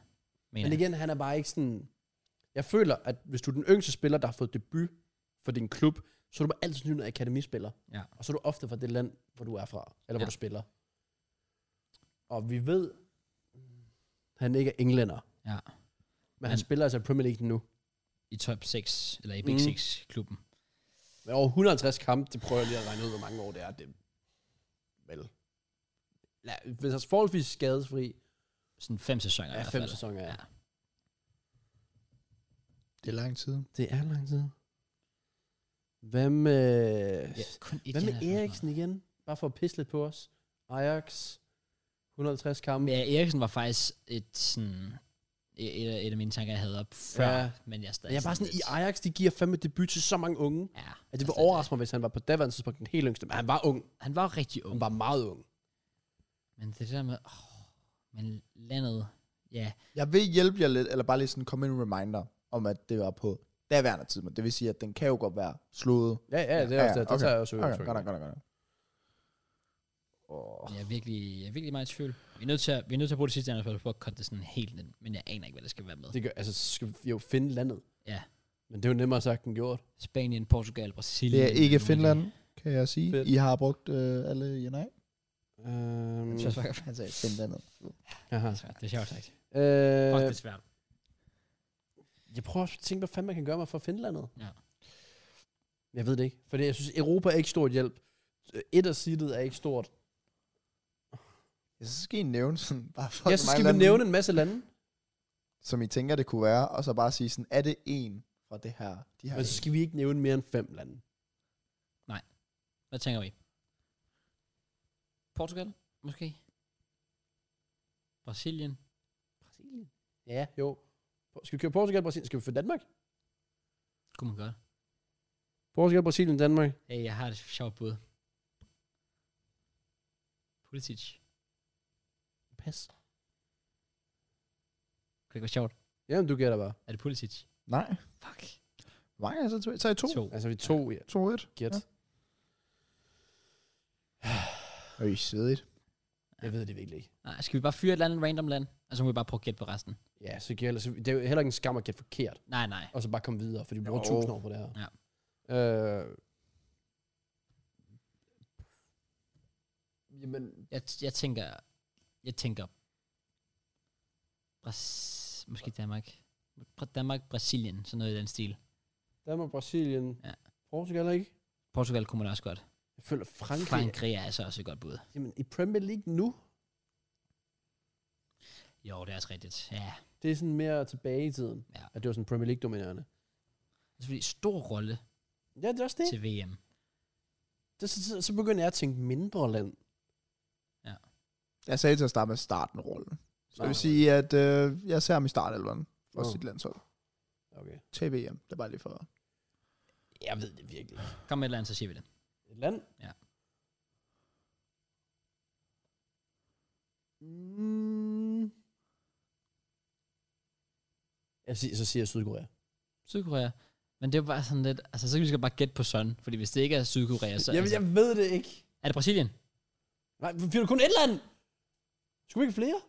[SPEAKER 1] Mener
[SPEAKER 2] Men
[SPEAKER 1] jeg.
[SPEAKER 2] igen, han er bare ikke sådan... Jeg føler, at hvis du er den yngste spiller, der har fået debut for din klub, så er du bare altid sådan en akademispiller.
[SPEAKER 1] Ja.
[SPEAKER 2] Og så er du ofte fra det land, hvor du er fra, eller hvor
[SPEAKER 1] Ja.
[SPEAKER 2] du spiller. Og vi ved, han ikke er englænder.
[SPEAKER 1] Ja.
[SPEAKER 2] Men han
[SPEAKER 1] Han-
[SPEAKER 2] spiller altså i Premier League nu.
[SPEAKER 1] I top 6, eller i Big
[SPEAKER 2] Mm.
[SPEAKER 1] 6-klubben.
[SPEAKER 2] Med over 150 kampe, det prøver jeg lige at regne ud, hvor mange år det er. Det, er vel. La, hvis han er forholdsvis skadesfri,
[SPEAKER 1] Sådan fem sæsoner i
[SPEAKER 2] er
[SPEAKER 1] hvert
[SPEAKER 2] fem
[SPEAKER 1] fald.
[SPEAKER 2] sæsoner. Ja.
[SPEAKER 1] Ja.
[SPEAKER 3] Det er lang tid.
[SPEAKER 2] Det er lang tid. Hvad med...
[SPEAKER 1] Ja, kun et,
[SPEAKER 2] Hvad
[SPEAKER 1] han
[SPEAKER 2] med
[SPEAKER 1] er sådan
[SPEAKER 2] Eriksen igen? Bare for at pisse lidt på os. Ajax, 150
[SPEAKER 1] noget.
[SPEAKER 2] kampe.
[SPEAKER 1] Men ja, Eriksen var faktisk et sådan... Et, et, af- et af mine tanker, jeg havde op før,
[SPEAKER 2] Ja.
[SPEAKER 1] ja. men jeg er stadig
[SPEAKER 2] Jeg er bare sådan, i
[SPEAKER 1] lidt-
[SPEAKER 2] Ajax, de giver fandme debut til så mange unge.
[SPEAKER 1] Ja,
[SPEAKER 2] At
[SPEAKER 1] jeg
[SPEAKER 2] det
[SPEAKER 1] er
[SPEAKER 2] vil
[SPEAKER 1] stadig-
[SPEAKER 2] overraske mig, hvis han var på daværende tidspunkt den helt yngste. Men han var ung.
[SPEAKER 1] Han var rigtig ung.
[SPEAKER 2] Han var meget ung.
[SPEAKER 1] Men det der med, åh, men landet, ja,
[SPEAKER 3] Jeg vil hjælpe jer lidt, eller bare lige sådan komme med en reminder, om at det var på daværende tid, men det vil sige, at den kan jo godt være slået.
[SPEAKER 2] Ja, ja, det er også det. Det
[SPEAKER 3] okay.
[SPEAKER 2] tager jeg også
[SPEAKER 3] Okay, godt nok, godt nok, godt nok.
[SPEAKER 2] godt.
[SPEAKER 1] jeg er virkelig, jeg er virkelig meget i tvivl. Vi er nødt til at, vi er nødt til at bruge det sidste andet for at cutte det sådan helt ned, men jeg aner ikke, hvad det skal være med.
[SPEAKER 2] Det gør, altså, så skal vi jo finde landet.
[SPEAKER 1] Ja.
[SPEAKER 2] Men det er jo nemmere sagt end gjort.
[SPEAKER 1] Spanien, Portugal, Brasilien.
[SPEAKER 3] Det er ikke
[SPEAKER 1] Norge.
[SPEAKER 3] Finland, kan jeg sige.
[SPEAKER 2] Fedt.
[SPEAKER 3] I har brugt øh, alle jer nej. Mm.
[SPEAKER 2] Øhm,
[SPEAKER 1] Det er svært.
[SPEAKER 3] Han sagde Finland.
[SPEAKER 2] aha.
[SPEAKER 1] Det er svært. Det er sjovt sagt.
[SPEAKER 2] Øh,
[SPEAKER 1] Fuck, det er svært.
[SPEAKER 2] jeg prøver også at tænke, hvad fanden man kan gøre med for Finlandet.
[SPEAKER 1] Ja.
[SPEAKER 2] Jeg ved det ikke. Fordi jeg synes, Europa er ikke stort hjælp. Øh, Et af seedet er ikke stort.
[SPEAKER 3] Ja, så skal I nævne sådan, bare for
[SPEAKER 2] Jeg synes, skal vi nævne en masse lande.
[SPEAKER 3] som I tænker, det kunne være, og så bare sige sådan, er det en fra det her, de her
[SPEAKER 2] Men så skal vi ikke nævne mere end fem lande.
[SPEAKER 1] Hvad tænker vi? Portugal, måske? Brasilien?
[SPEAKER 2] Brasilien? Ja, jo. Skal vi køre Portugal, Brasilien? Skal vi få Danmark?
[SPEAKER 1] Kunne man godt.
[SPEAKER 2] Portugal, Brasilien, Danmark.
[SPEAKER 1] Hey, jeg har et sjovt bud. Pulisic.
[SPEAKER 2] Pas.
[SPEAKER 1] Kunne det ikke være sjovt?
[SPEAKER 2] Jamen, du gætter bare.
[SPEAKER 1] Er det Pulisic?
[SPEAKER 3] Nej.
[SPEAKER 1] Fuck.
[SPEAKER 3] Mange, så tog- tager I to.
[SPEAKER 1] To.
[SPEAKER 2] Altså, vi to, ja.
[SPEAKER 3] 2-1.
[SPEAKER 2] Gæt.
[SPEAKER 3] Ja. Er I svedigt?
[SPEAKER 2] Jeg ved det virkelig ikke.
[SPEAKER 1] Nej, skal vi bare fyre et eller andet random land? Altså, må vi bare prøve at gætte på resten.
[SPEAKER 2] Ja, så gælder, så det er jo heller ikke en skam at gætte forkert.
[SPEAKER 1] Nej, nej.
[SPEAKER 2] Og så bare komme videre, for de bruger
[SPEAKER 3] Jo.
[SPEAKER 2] tusind år på det her.
[SPEAKER 1] Ja.
[SPEAKER 2] Øh, jamen,
[SPEAKER 1] Jeg, jeg tænker... Jeg tænker... Bras... Måske Danmark. Bra- Danmark, Brasilien. Sådan noget i den stil.
[SPEAKER 2] Danmark, Brasilien,
[SPEAKER 1] Ja.
[SPEAKER 2] Portugal ikke?
[SPEAKER 1] Portugal kunne man også godt.
[SPEAKER 2] Jeg føler Frankrig.
[SPEAKER 1] Frankrig er altså også et godt bud.
[SPEAKER 2] Jamen, i Premier League nu,
[SPEAKER 1] Jo, det er også rigtigt. Ja.
[SPEAKER 2] det er sådan mere tilbage i tiden,
[SPEAKER 1] Ja.
[SPEAKER 2] at det var sådan Premier League-dominerende.
[SPEAKER 1] Altså, fordi stor rolle
[SPEAKER 2] Ja, det er også det.
[SPEAKER 1] til VM.
[SPEAKER 2] det så, så, så begynder jeg at tænke mindre land.
[SPEAKER 3] Jeg sagde til at starte med starten rolle. Så det vil
[SPEAKER 2] Nej.
[SPEAKER 3] sige, at øh, jeg ser ham i startelveren for
[SPEAKER 2] Nå.
[SPEAKER 3] sit landshold.
[SPEAKER 2] Okay.
[SPEAKER 3] TVM, det er bare lige for...
[SPEAKER 2] Jeg ved det virkelig. ikke.
[SPEAKER 1] Kom med et eller andet, så siger vi det.
[SPEAKER 2] Et land?
[SPEAKER 1] Ja.
[SPEAKER 2] Mm. Jeg siger, så siger jeg Sydkorea.
[SPEAKER 1] Sydkorea. Men det er jo bare sådan lidt... Altså, så kan vi skal bare gætte på sådan. Fordi hvis det ikke er Sydkorea, så...
[SPEAKER 2] jeg,
[SPEAKER 1] altså,
[SPEAKER 2] jeg ved det ikke.
[SPEAKER 1] Er det Brasilien?
[SPEAKER 2] Nej, vi du kun et land? Skulle vi ikke flere?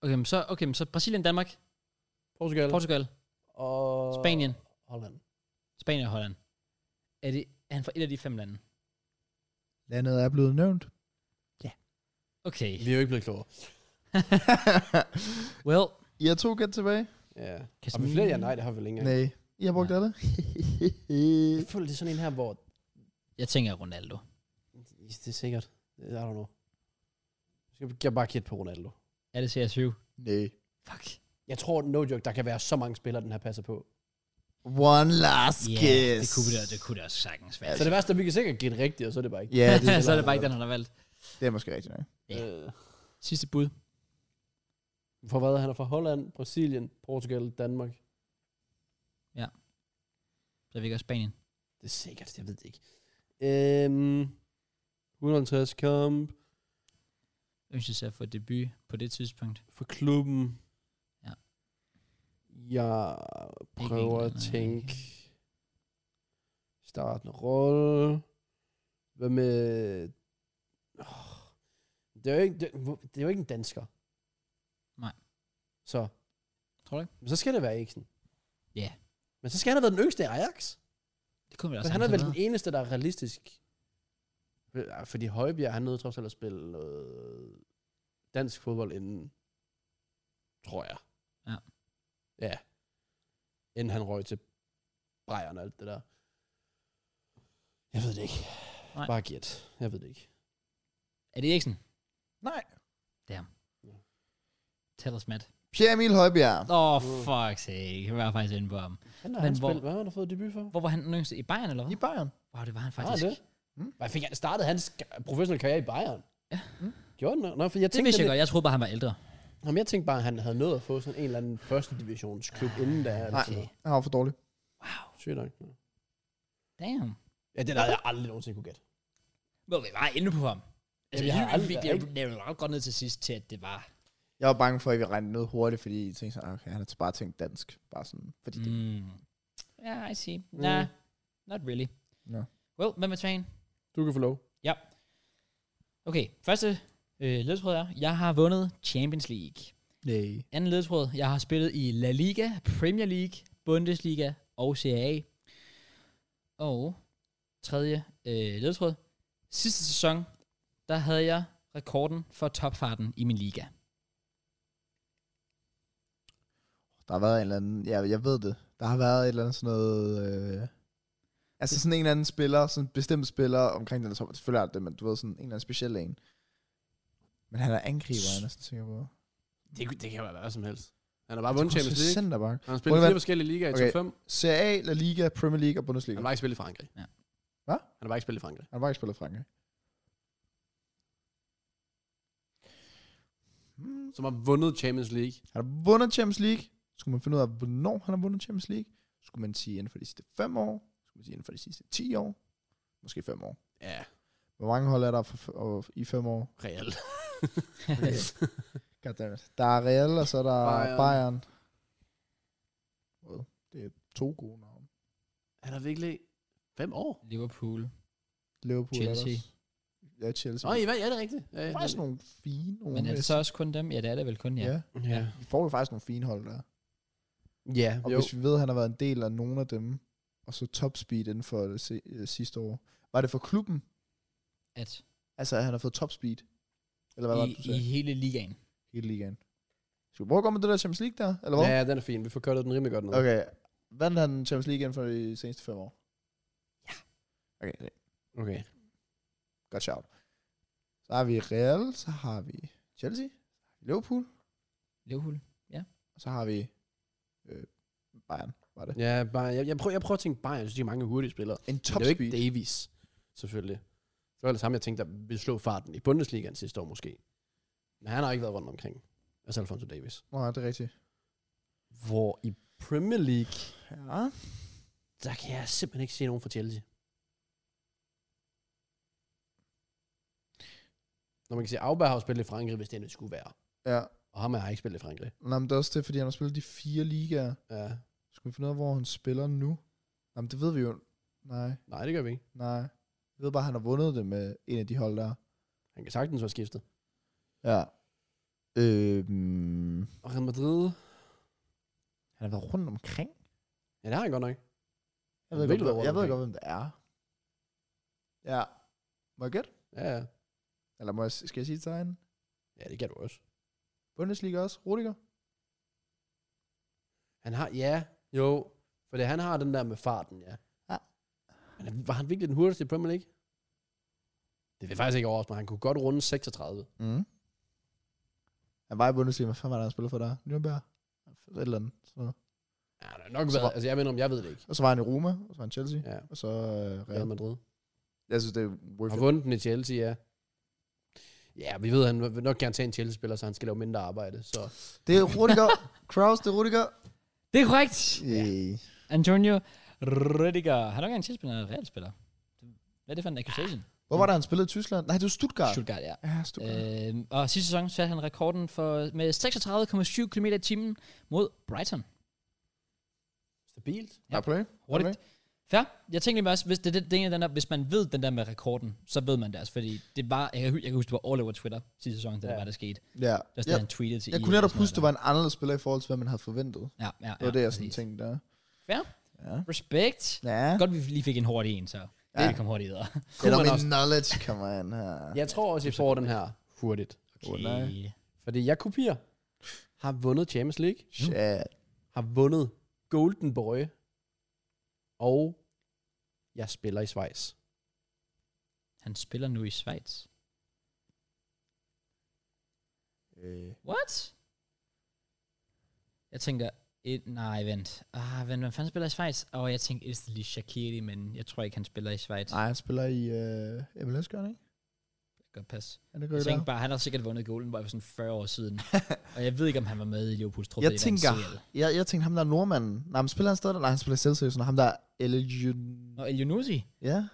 [SPEAKER 1] Okay, men så, okay, men så Brasilien, Danmark,
[SPEAKER 2] Portugal.
[SPEAKER 1] Portugal,
[SPEAKER 2] og
[SPEAKER 1] Spanien.
[SPEAKER 2] Holland.
[SPEAKER 1] Spanien og Holland. Er, det, er han fra et af de fem lande?
[SPEAKER 3] Landet er blevet nævnt.
[SPEAKER 1] Okay.
[SPEAKER 2] Vi er jo ikke blevet klogere.
[SPEAKER 1] Well,
[SPEAKER 3] I har to gæt tilbage?
[SPEAKER 2] Ja.
[SPEAKER 1] Kasmir.
[SPEAKER 2] Har vi flere? Ja, nej, det har vi vel ikke
[SPEAKER 3] Ja.
[SPEAKER 2] engang.
[SPEAKER 3] Nej. I har brugt
[SPEAKER 1] Nej.
[SPEAKER 3] alle?
[SPEAKER 2] Jeg føler, det er sådan en her, hvor...
[SPEAKER 1] jeg tænker Ronaldo.
[SPEAKER 2] Det er sikkert. I don't know. Jeg skal bare kigge på Ronaldo.
[SPEAKER 1] Er det CR7?
[SPEAKER 3] Nej.
[SPEAKER 1] Fuck.
[SPEAKER 2] Jeg tror, no joke, der kan være så mange spillere, den her passer på.
[SPEAKER 3] One last
[SPEAKER 1] Ja, det
[SPEAKER 3] guess.
[SPEAKER 1] kunne det, det kunne det også sagtens være.
[SPEAKER 2] Så det værste, er, vi kan sikkert gætte rigtigt, og så er det bare ikke.
[SPEAKER 3] Ja, det,
[SPEAKER 1] så er Altså- det bare ikke den, han har valgt.
[SPEAKER 3] det er måske rigtigt nok.
[SPEAKER 1] Ja.
[SPEAKER 2] Øh,
[SPEAKER 1] Sidste bud.
[SPEAKER 2] for hvad? Han er fra Holland, Brasilien, Portugal, Danmark.
[SPEAKER 1] Så er vi ikke også Spanien.
[SPEAKER 2] Det er sikkert, jeg ved det ikke. Øhm, 150 kamp
[SPEAKER 1] Ønsker sig at få debut på det tidspunkt.
[SPEAKER 2] for klubben.
[SPEAKER 1] Ja.
[SPEAKER 2] Jeg prøver
[SPEAKER 1] England,
[SPEAKER 2] at
[SPEAKER 1] nej,
[SPEAKER 2] tænke. Starten rolle. Hvad med... Oh, det er jo ikke, det, hvor- det er jo ikke en dansker.
[SPEAKER 1] Nej.
[SPEAKER 2] Så.
[SPEAKER 1] Tror du ikke?
[SPEAKER 2] Men så skal det være Eriksen.
[SPEAKER 1] Ja.
[SPEAKER 2] Men så skal han have været den yngste af Ajax.
[SPEAKER 1] Det kunne vi da
[SPEAKER 2] Men
[SPEAKER 1] også
[SPEAKER 2] han er vel
[SPEAKER 1] sagtens
[SPEAKER 2] den
[SPEAKER 1] have
[SPEAKER 2] eneste, der er realistisk. Ja, Fordi Højbjerg, han nødt trods alt at spille noget dansk fodbold inden, tror jeg.
[SPEAKER 1] Ja.
[SPEAKER 2] Ja. Inden han røg til Bayern og alt det der. Jeg ved det ikke.
[SPEAKER 1] Nej.
[SPEAKER 2] Bare gæt. Jeg ved det ikke.
[SPEAKER 1] været. Er det Eriksen?
[SPEAKER 3] Nej.
[SPEAKER 1] Tell us, Matt.
[SPEAKER 3] Pierre Emil Højbjerg.
[SPEAKER 1] Åh, oh, fuck sake. Jeg var faktisk inde på ham.
[SPEAKER 2] Han har
[SPEAKER 1] Men
[SPEAKER 2] han
[SPEAKER 1] hvor-
[SPEAKER 2] spillet, hvad har han fået debut for?
[SPEAKER 1] Hvor var han den yngste? I Bayern, eller
[SPEAKER 3] I
[SPEAKER 1] hvad?
[SPEAKER 3] Bayern.
[SPEAKER 1] Wow, det var han
[SPEAKER 2] Har han
[SPEAKER 1] faktisk.
[SPEAKER 2] det?
[SPEAKER 3] Mm.
[SPEAKER 2] Hvad fik han startede hans ka- professionelle karriere i Bayern?
[SPEAKER 1] Ja.
[SPEAKER 2] Mm. Gjorde han? Nå, for jeg
[SPEAKER 1] Det
[SPEAKER 2] tænkte,
[SPEAKER 1] vidste jeg
[SPEAKER 2] lidt-
[SPEAKER 1] godt. Jeg troede bare, han var ældre.
[SPEAKER 2] Jamen, jeg tænkte bare, at han havde nået at få sådan en eller anden første divisionsklub inden da. eller
[SPEAKER 3] Nej.
[SPEAKER 2] sådan noget.
[SPEAKER 3] Han var for dårlig.
[SPEAKER 1] Wow.
[SPEAKER 2] Sygt nok.
[SPEAKER 1] Damn.
[SPEAKER 2] Ja, det havde jeg aldrig nogensinde kunne gætte.
[SPEAKER 1] Men vi var inde på ham. Altså,
[SPEAKER 2] vi
[SPEAKER 1] jeg
[SPEAKER 2] har
[SPEAKER 1] har
[SPEAKER 2] aldrig-
[SPEAKER 1] aldrig... Det er jo ret godt ned til sidst til, at det var...
[SPEAKER 3] Jeg var bange for, at vi regnede noget hurtigt, fordi jeg tænkte sådan, "Ah, okay, han har bare tænkt dansk. Bare sådan, fordi det,
[SPEAKER 1] Mm. Ja, I see. Nah,
[SPEAKER 2] Mm.
[SPEAKER 1] not really.
[SPEAKER 3] No.
[SPEAKER 1] Well, hvad med træen?
[SPEAKER 2] Du kan få lov.
[SPEAKER 1] Okay, første øh, ledtråd er, jeg har vundet Champions League.
[SPEAKER 3] nej.
[SPEAKER 1] Anden ledtråd, jeg har spillet i La Liga, Premier League, Bundesliga og Serie A. Og tredje øh, ledtråd, sidste sæson, der havde jeg rekorden for topfarten i min liga.
[SPEAKER 3] Der har været en eller anden, ja, jeg ved det. Der har været et eller andet sådan noget, øh, altså sådan en eller anden spiller, sådan en bestemt spiller omkring den, der top. Selvfølgelig er det, det, men du ved, sådan en eller anden speciel en. Men han er angriber, jeg er næsten sikker på.
[SPEAKER 2] Det, det kan være hvad som helst. Han har bare vundet
[SPEAKER 3] Det kunne
[SPEAKER 2] Champions
[SPEAKER 3] være
[SPEAKER 2] League.
[SPEAKER 3] Centerback.
[SPEAKER 2] Han har spillet i
[SPEAKER 3] Må det
[SPEAKER 2] fire forskellige ligaer i
[SPEAKER 3] Okay.
[SPEAKER 2] top 5.
[SPEAKER 3] Serie A, La Liga, Premier League og Bundesliga.
[SPEAKER 2] Han var ikke spillet i Frankrig.
[SPEAKER 1] Ja.
[SPEAKER 3] Hvad?
[SPEAKER 2] Han har bare ikke spillet i Frankrig.
[SPEAKER 3] Han har bare ikke spillet i Frankrig. Hmm.
[SPEAKER 2] Som har vundet Champions League.
[SPEAKER 3] Han har vundet Champions League. Skulle man finde ud af, hvornår han har vundet Champions League? Skulle man sige inden for de sidste 5 år? Skulle man sige inden for de sidste 10 år? Måske 5 år.
[SPEAKER 2] Ja,
[SPEAKER 3] Hvor mange hold er der for, for, i 5 år?
[SPEAKER 2] reelt.
[SPEAKER 3] Goddammit. Der er Real, og så er der Bayern.
[SPEAKER 2] Bayern.
[SPEAKER 3] Bayern. Well, det er to gode navne.
[SPEAKER 2] Han har virkelig fem år.
[SPEAKER 1] Liverpool.
[SPEAKER 3] Liverpool er der
[SPEAKER 1] Chelsea.
[SPEAKER 3] også. Ja, Chelsea.
[SPEAKER 2] Nå, I hvad? Ja, det er rigtigt. Ja,
[SPEAKER 3] Det
[SPEAKER 2] ja,
[SPEAKER 3] er faktisk nogle fine nogle.
[SPEAKER 1] Men er det så også kun dem? Ja, det er det vel kun, ja.
[SPEAKER 3] ja.
[SPEAKER 1] ja.
[SPEAKER 3] ja.
[SPEAKER 2] Ja.
[SPEAKER 3] Vi får jo faktisk nogle fine hold der.
[SPEAKER 2] Ja,
[SPEAKER 3] Og
[SPEAKER 2] jo.
[SPEAKER 3] jo. hvis vi ved, at han har været en del af nogle af dem, og så topspeed inden for det se, øh, sidste år. Var det for klubben?
[SPEAKER 1] At
[SPEAKER 3] Altså, at han har fået topspeed? Eller hvad var
[SPEAKER 1] i,
[SPEAKER 3] det, du
[SPEAKER 1] i
[SPEAKER 3] sagde?
[SPEAKER 1] hele ligaen.
[SPEAKER 3] Hele ligaen. Skal vi prøve at gå med det der Champions League der? Eller hvad?
[SPEAKER 2] Ja, den er fin. Vi får kørt den rimelig godt nu.
[SPEAKER 3] Okay. Vandt han Champions League inden for de seneste fem år? Ja. Okay,
[SPEAKER 2] okay.
[SPEAKER 3] Godt shout. Så har vi Real, så har vi Chelsea, Liverpool,
[SPEAKER 1] Liverpool.
[SPEAKER 3] og så har vi øh, Bayern, var det.
[SPEAKER 2] Ja, bare, jeg, jeg, prøver, jeg prøver at tænke Bayern, så de har mange hurtige spillere.
[SPEAKER 3] En
[SPEAKER 2] Top
[SPEAKER 3] top
[SPEAKER 2] det er jo ikke
[SPEAKER 3] speed.
[SPEAKER 2] Davies, selvfølgelig. Det var det samme, jeg tænkte, der ville slå farten i Bundesligaen sidste år måske. Men han har ikke været rundt omkring. Altså Alfonso Davis.
[SPEAKER 3] Nå, det er rigtigt.
[SPEAKER 2] Hvor i Premier League,
[SPEAKER 3] Ja.
[SPEAKER 2] der kan jeg simpelthen ikke se nogen fra Chelsea. Når man kan sige, at Auberg har jo spillet i Frankrig, hvis det endelig skulle være.
[SPEAKER 3] Ja.
[SPEAKER 2] Og ham har jeg ikke spillet i Frankrig.
[SPEAKER 3] Nå, men det er også det, fordi han har spillet de fire ligaer.
[SPEAKER 2] Ja.
[SPEAKER 3] Skal vi finde ud af, hvor han spiller nu? Jamen, det ved vi jo. Nej,
[SPEAKER 2] Nej, det gør vi ikke.
[SPEAKER 3] nej. Vi ved bare, at han har vundet det med en af de hold der.
[SPEAKER 2] Han kan sagtens være skiftet.
[SPEAKER 3] Ja. Øhm,
[SPEAKER 2] Og Real Madrid,
[SPEAKER 3] han har været rundt omkring.
[SPEAKER 2] ja, det har han godt nok.
[SPEAKER 3] Jeg
[SPEAKER 2] Han
[SPEAKER 3] ved,
[SPEAKER 2] vil være
[SPEAKER 3] godt, hvem-
[SPEAKER 2] rundt
[SPEAKER 3] jeg ved
[SPEAKER 2] omkring.
[SPEAKER 3] godt, hvem det er. Ja. Må jeg gætte?
[SPEAKER 2] Ja, ja.
[SPEAKER 3] Eller må jeg, skal jeg sige et tegn?
[SPEAKER 2] ja det kan du også.
[SPEAKER 3] Bundesliga også? Rudiger?
[SPEAKER 2] Han har, ja, jo. For det, han har den der med farten, ja.
[SPEAKER 3] Ja.
[SPEAKER 2] Men er- var han virkelig den hurtigste i Premier League? Det vil faktisk ikke overraske mig. Han kunne godt runde 36.
[SPEAKER 3] Mm. Han var i Bundesliga. Hvad fanden var det, han spillede for der? Nürnberg? Et eller andet. Så.
[SPEAKER 2] Ja, det har nok
[SPEAKER 3] Så
[SPEAKER 2] været.
[SPEAKER 3] var-
[SPEAKER 2] Altså, jeg mener om, jeg ved det ikke.
[SPEAKER 3] Og så var han i Roma, og så var han i Chelsea, ja.
[SPEAKER 2] Ja,
[SPEAKER 3] og så øh,
[SPEAKER 2] Real
[SPEAKER 3] Real.
[SPEAKER 2] Madrid.
[SPEAKER 3] Jeg synes, det er worth
[SPEAKER 2] Har
[SPEAKER 3] it.
[SPEAKER 2] vundet den i Chelsea, ja. Ja, vi ved, at han vil nok gerne tage en Chelsea-spiller, så han skal lave mindre arbejde. Så
[SPEAKER 3] Det er Rudiger. Kraus, det er Rudiger.
[SPEAKER 1] Det er korrekt.
[SPEAKER 3] Yeah.
[SPEAKER 1] Antonio Rüdiger. Han er nok ikke en Chelsea-spiller, han er en Real-spiller. Hvad er det for en accusation?
[SPEAKER 3] Hvor var det, han spillede i Tyskland? Nej, det var Stuttgart.
[SPEAKER 1] Stuttgart, ja.
[SPEAKER 3] Ja, Stuttgart. Øh.
[SPEAKER 1] Øh, og sidste sæson satte han rekorden for, med 36,7 km i timen mod Brighton.
[SPEAKER 2] stabilt.
[SPEAKER 1] ja.
[SPEAKER 3] play.
[SPEAKER 1] Hurtigt.
[SPEAKER 3] Okay.
[SPEAKER 1] Fair. Jeg tænkte bare også, hvis, det, det, det, er den der, hvis man ved den der med rekorden, så ved man det også, fordi det var, jeg kan, hu- jeg kan huske, det var all over Twitter sidste sæson, da
[SPEAKER 2] Ja.
[SPEAKER 1] det var, der skete.
[SPEAKER 3] Ja.
[SPEAKER 1] Der ja.
[SPEAKER 3] Jeg,
[SPEAKER 1] han tweetede til
[SPEAKER 3] jeg
[SPEAKER 1] EA
[SPEAKER 3] kunne
[SPEAKER 1] og
[SPEAKER 3] netop
[SPEAKER 1] sådan
[SPEAKER 3] huske, det
[SPEAKER 1] noget
[SPEAKER 3] var en anderledes spiller i forhold til, hvad man havde forventet.
[SPEAKER 1] der. Ja, ja, ja.
[SPEAKER 3] Det var det, jeg sådan
[SPEAKER 1] præcis.
[SPEAKER 3] tænkte der.
[SPEAKER 1] Fair.
[SPEAKER 3] Ja.
[SPEAKER 1] Respekt.
[SPEAKER 3] Ja.
[SPEAKER 1] Godt, vi lige fik en hurtig en, så ja. vi kom hurtigt videre.
[SPEAKER 3] Get
[SPEAKER 2] Kunne
[SPEAKER 3] on
[SPEAKER 2] man
[SPEAKER 3] my
[SPEAKER 2] også-
[SPEAKER 3] knowledge, come on. her.
[SPEAKER 2] Jeg tror også, jeg får den her hurtigt.
[SPEAKER 3] Åh, Oh, nej.
[SPEAKER 2] Fordi jeg kopier har vundet Champions League,
[SPEAKER 3] Shit.
[SPEAKER 2] har vundet Golden Boy, og jeg spiller i Schweiz.
[SPEAKER 1] Han spiller nu i Schweiz.
[SPEAKER 2] Øh.
[SPEAKER 1] What? Jeg tænker, et, nej, vent. Ah, vent, hvem fanden spiller i Schweiz? Og oh, jeg tænkte, det lige Shaqiri, men jeg tror ikke, han spiller i Schweiz. Nej.
[SPEAKER 3] Nej, han spiller i øh, MLS, gør han ikke?
[SPEAKER 1] Godt pas.
[SPEAKER 3] Er det
[SPEAKER 1] Jeg
[SPEAKER 3] godt,
[SPEAKER 1] tænkte bare, han har sikkert vundet Golden Boy for sådan 40 år siden. og jeg ved ikke, om han var med i Liverpools trup.
[SPEAKER 3] Jeg
[SPEAKER 1] da de vandt
[SPEAKER 3] tænker-
[SPEAKER 1] CL.
[SPEAKER 3] jeg, jeg tænkte, ham der er nordmanden. Nej, men spiller han stadig? Nej, han spiller i Celsius. og Ham der er Eliud...
[SPEAKER 1] Nå, El Yunusi.
[SPEAKER 3] Ja.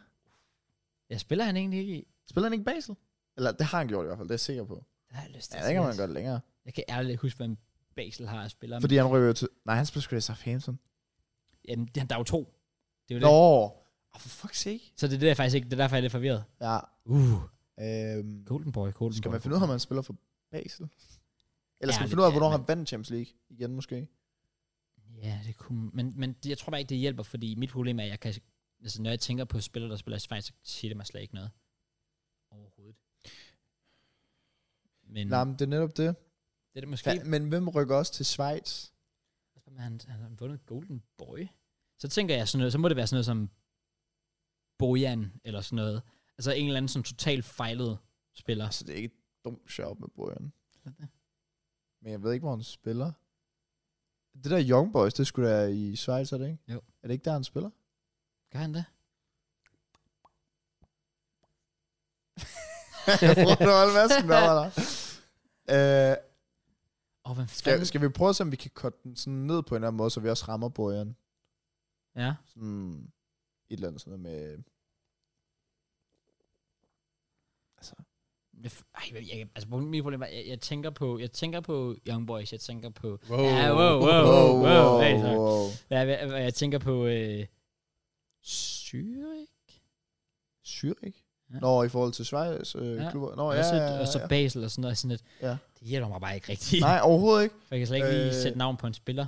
[SPEAKER 1] Ja, spiller han egentlig ikke i?
[SPEAKER 3] Spiller han ikke Basel? Eller det har han gjort i hvert fald, det er jeg sikker på.
[SPEAKER 1] Det har jeg lyst til
[SPEAKER 3] Ja,
[SPEAKER 1] at
[SPEAKER 3] det kan
[SPEAKER 1] sige,
[SPEAKER 3] man
[SPEAKER 1] altså.
[SPEAKER 3] godt længere.
[SPEAKER 1] Jeg kan ærligt ikke huske, hvem Basel har at spille. Fordi...
[SPEAKER 3] Fordi han rykker jo til... Nej, han spiller sgu da i Southampton.
[SPEAKER 1] Jamen, det- der er jo to. Det er jo
[SPEAKER 3] Nå!
[SPEAKER 1] det. Ah,
[SPEAKER 3] Oh, for fuck's sake.
[SPEAKER 1] Så det er det, jeg faktisk ikke, det er derfor, jeg er lidt forvirret.
[SPEAKER 3] Ja.
[SPEAKER 1] Uh,
[SPEAKER 3] Øhm,
[SPEAKER 1] Golden Boy, Golden
[SPEAKER 3] skal
[SPEAKER 1] Boy.
[SPEAKER 3] man finde ud af, om han spiller for Basel? Eller skal
[SPEAKER 1] Ja,
[SPEAKER 3] man finde ud af,
[SPEAKER 1] det-
[SPEAKER 3] hvornår
[SPEAKER 1] ja,
[SPEAKER 3] han vandt Champions League igen måske?
[SPEAKER 1] Ja, det kunne... Men, men det- jeg tror bare ikke, det hjælper, fordi mit problem er, at jeg kan... Altså, når jeg tænker på spillere, der spiller i Schweiz, så siger det mig slet ikke noget. Overhovedet. Men
[SPEAKER 3] Mm. Nej, men det er netop det.
[SPEAKER 1] det er det måske...
[SPEAKER 3] Fa- men hvem rykker også til Schweiz?
[SPEAKER 1] Hvad med, Han, han har vundet Golden Boy. Så tænker jeg sådan noget, så må det være sådan noget som Bojan, eller sådan noget. Altså en eller anden sådan totalt fejlet spiller.
[SPEAKER 3] Altså, det er ikke et dumt sjovt med Bojan. Men jeg ved ikke, hvor han spiller. Det der Young Boys, det skulle da i Schweiz, er det ikke?
[SPEAKER 1] Jo.
[SPEAKER 3] Er det ikke der, han spiller?
[SPEAKER 1] Gør han det?
[SPEAKER 3] jeg prøver at holde masken der var der. Øh,
[SPEAKER 1] Åh, hvem
[SPEAKER 3] skal,
[SPEAKER 1] fanden?
[SPEAKER 3] skal, vi prøve at se, om vi kan korte den sådan ned på en eller anden måde, så vi også rammer bøjeren?
[SPEAKER 1] Ja.
[SPEAKER 3] Sådan et eller andet sådan noget med... Altså,
[SPEAKER 1] Jeg f- Ej, jeg, jeg, altså, mit problem er, jeg, jeg, tænker på, jeg tænker på Young Boys, jeg tænker på...
[SPEAKER 2] Wow.
[SPEAKER 1] Ja, wow, wow,
[SPEAKER 3] wow,
[SPEAKER 1] wow,
[SPEAKER 3] wow,
[SPEAKER 1] hey, sorry.
[SPEAKER 3] wow.
[SPEAKER 1] Hvad, hvad, hvad, jeg tænker på... Øh, Zürich?
[SPEAKER 3] Zürich?
[SPEAKER 1] Ja.
[SPEAKER 3] Nå, i forhold til Schweiz øh,
[SPEAKER 1] Ja.
[SPEAKER 3] ja. klubber? Nå,
[SPEAKER 1] Og,
[SPEAKER 3] ja,
[SPEAKER 1] ja, så,
[SPEAKER 3] ja,
[SPEAKER 1] og så
[SPEAKER 3] ja,
[SPEAKER 1] Basel og sådan noget. Sådan lidt,
[SPEAKER 3] ja.
[SPEAKER 1] det hjælper mig bare ikke rigtigt.
[SPEAKER 3] Nej, overhovedet ikke.
[SPEAKER 1] For jeg kan slet ikke lige
[SPEAKER 3] Øh.
[SPEAKER 1] sætte navn på en spiller.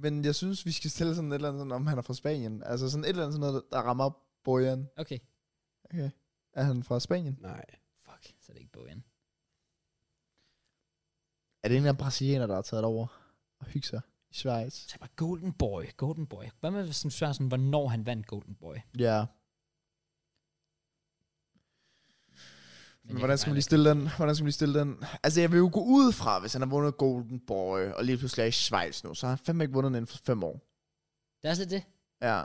[SPEAKER 3] Men jeg synes, vi skal stille sådan et eller andet, sådan, om han er fra Spanien. Altså sådan et eller andet sådan noget, der rammer Bojan.
[SPEAKER 1] Okay.
[SPEAKER 3] Okay. Er han fra Spanien?
[SPEAKER 2] Nej.
[SPEAKER 1] Fuck, så er det ikke Bojan.
[SPEAKER 3] Er det en af brasilianer, der har taget over og hygge sig i Schweiz?
[SPEAKER 1] Så bare Golden Boy, Golden Boy. Hvad med, hvis du spørger sådan, hvornår han vandt Golden Boy?
[SPEAKER 3] Ja.
[SPEAKER 1] jeg
[SPEAKER 3] Men
[SPEAKER 1] kan
[SPEAKER 3] hvordan skal
[SPEAKER 1] bare
[SPEAKER 3] man lige
[SPEAKER 1] ikke-
[SPEAKER 3] stille den? Hvordan skal man lige stille den? Altså, jeg vil jo gå ud fra, hvis han har vundet Golden Boy, og lige pludselig er i Schweiz nu, så har han fandme ikke vundet den inden for fem år.
[SPEAKER 1] Det er også lidt det.
[SPEAKER 3] Ja.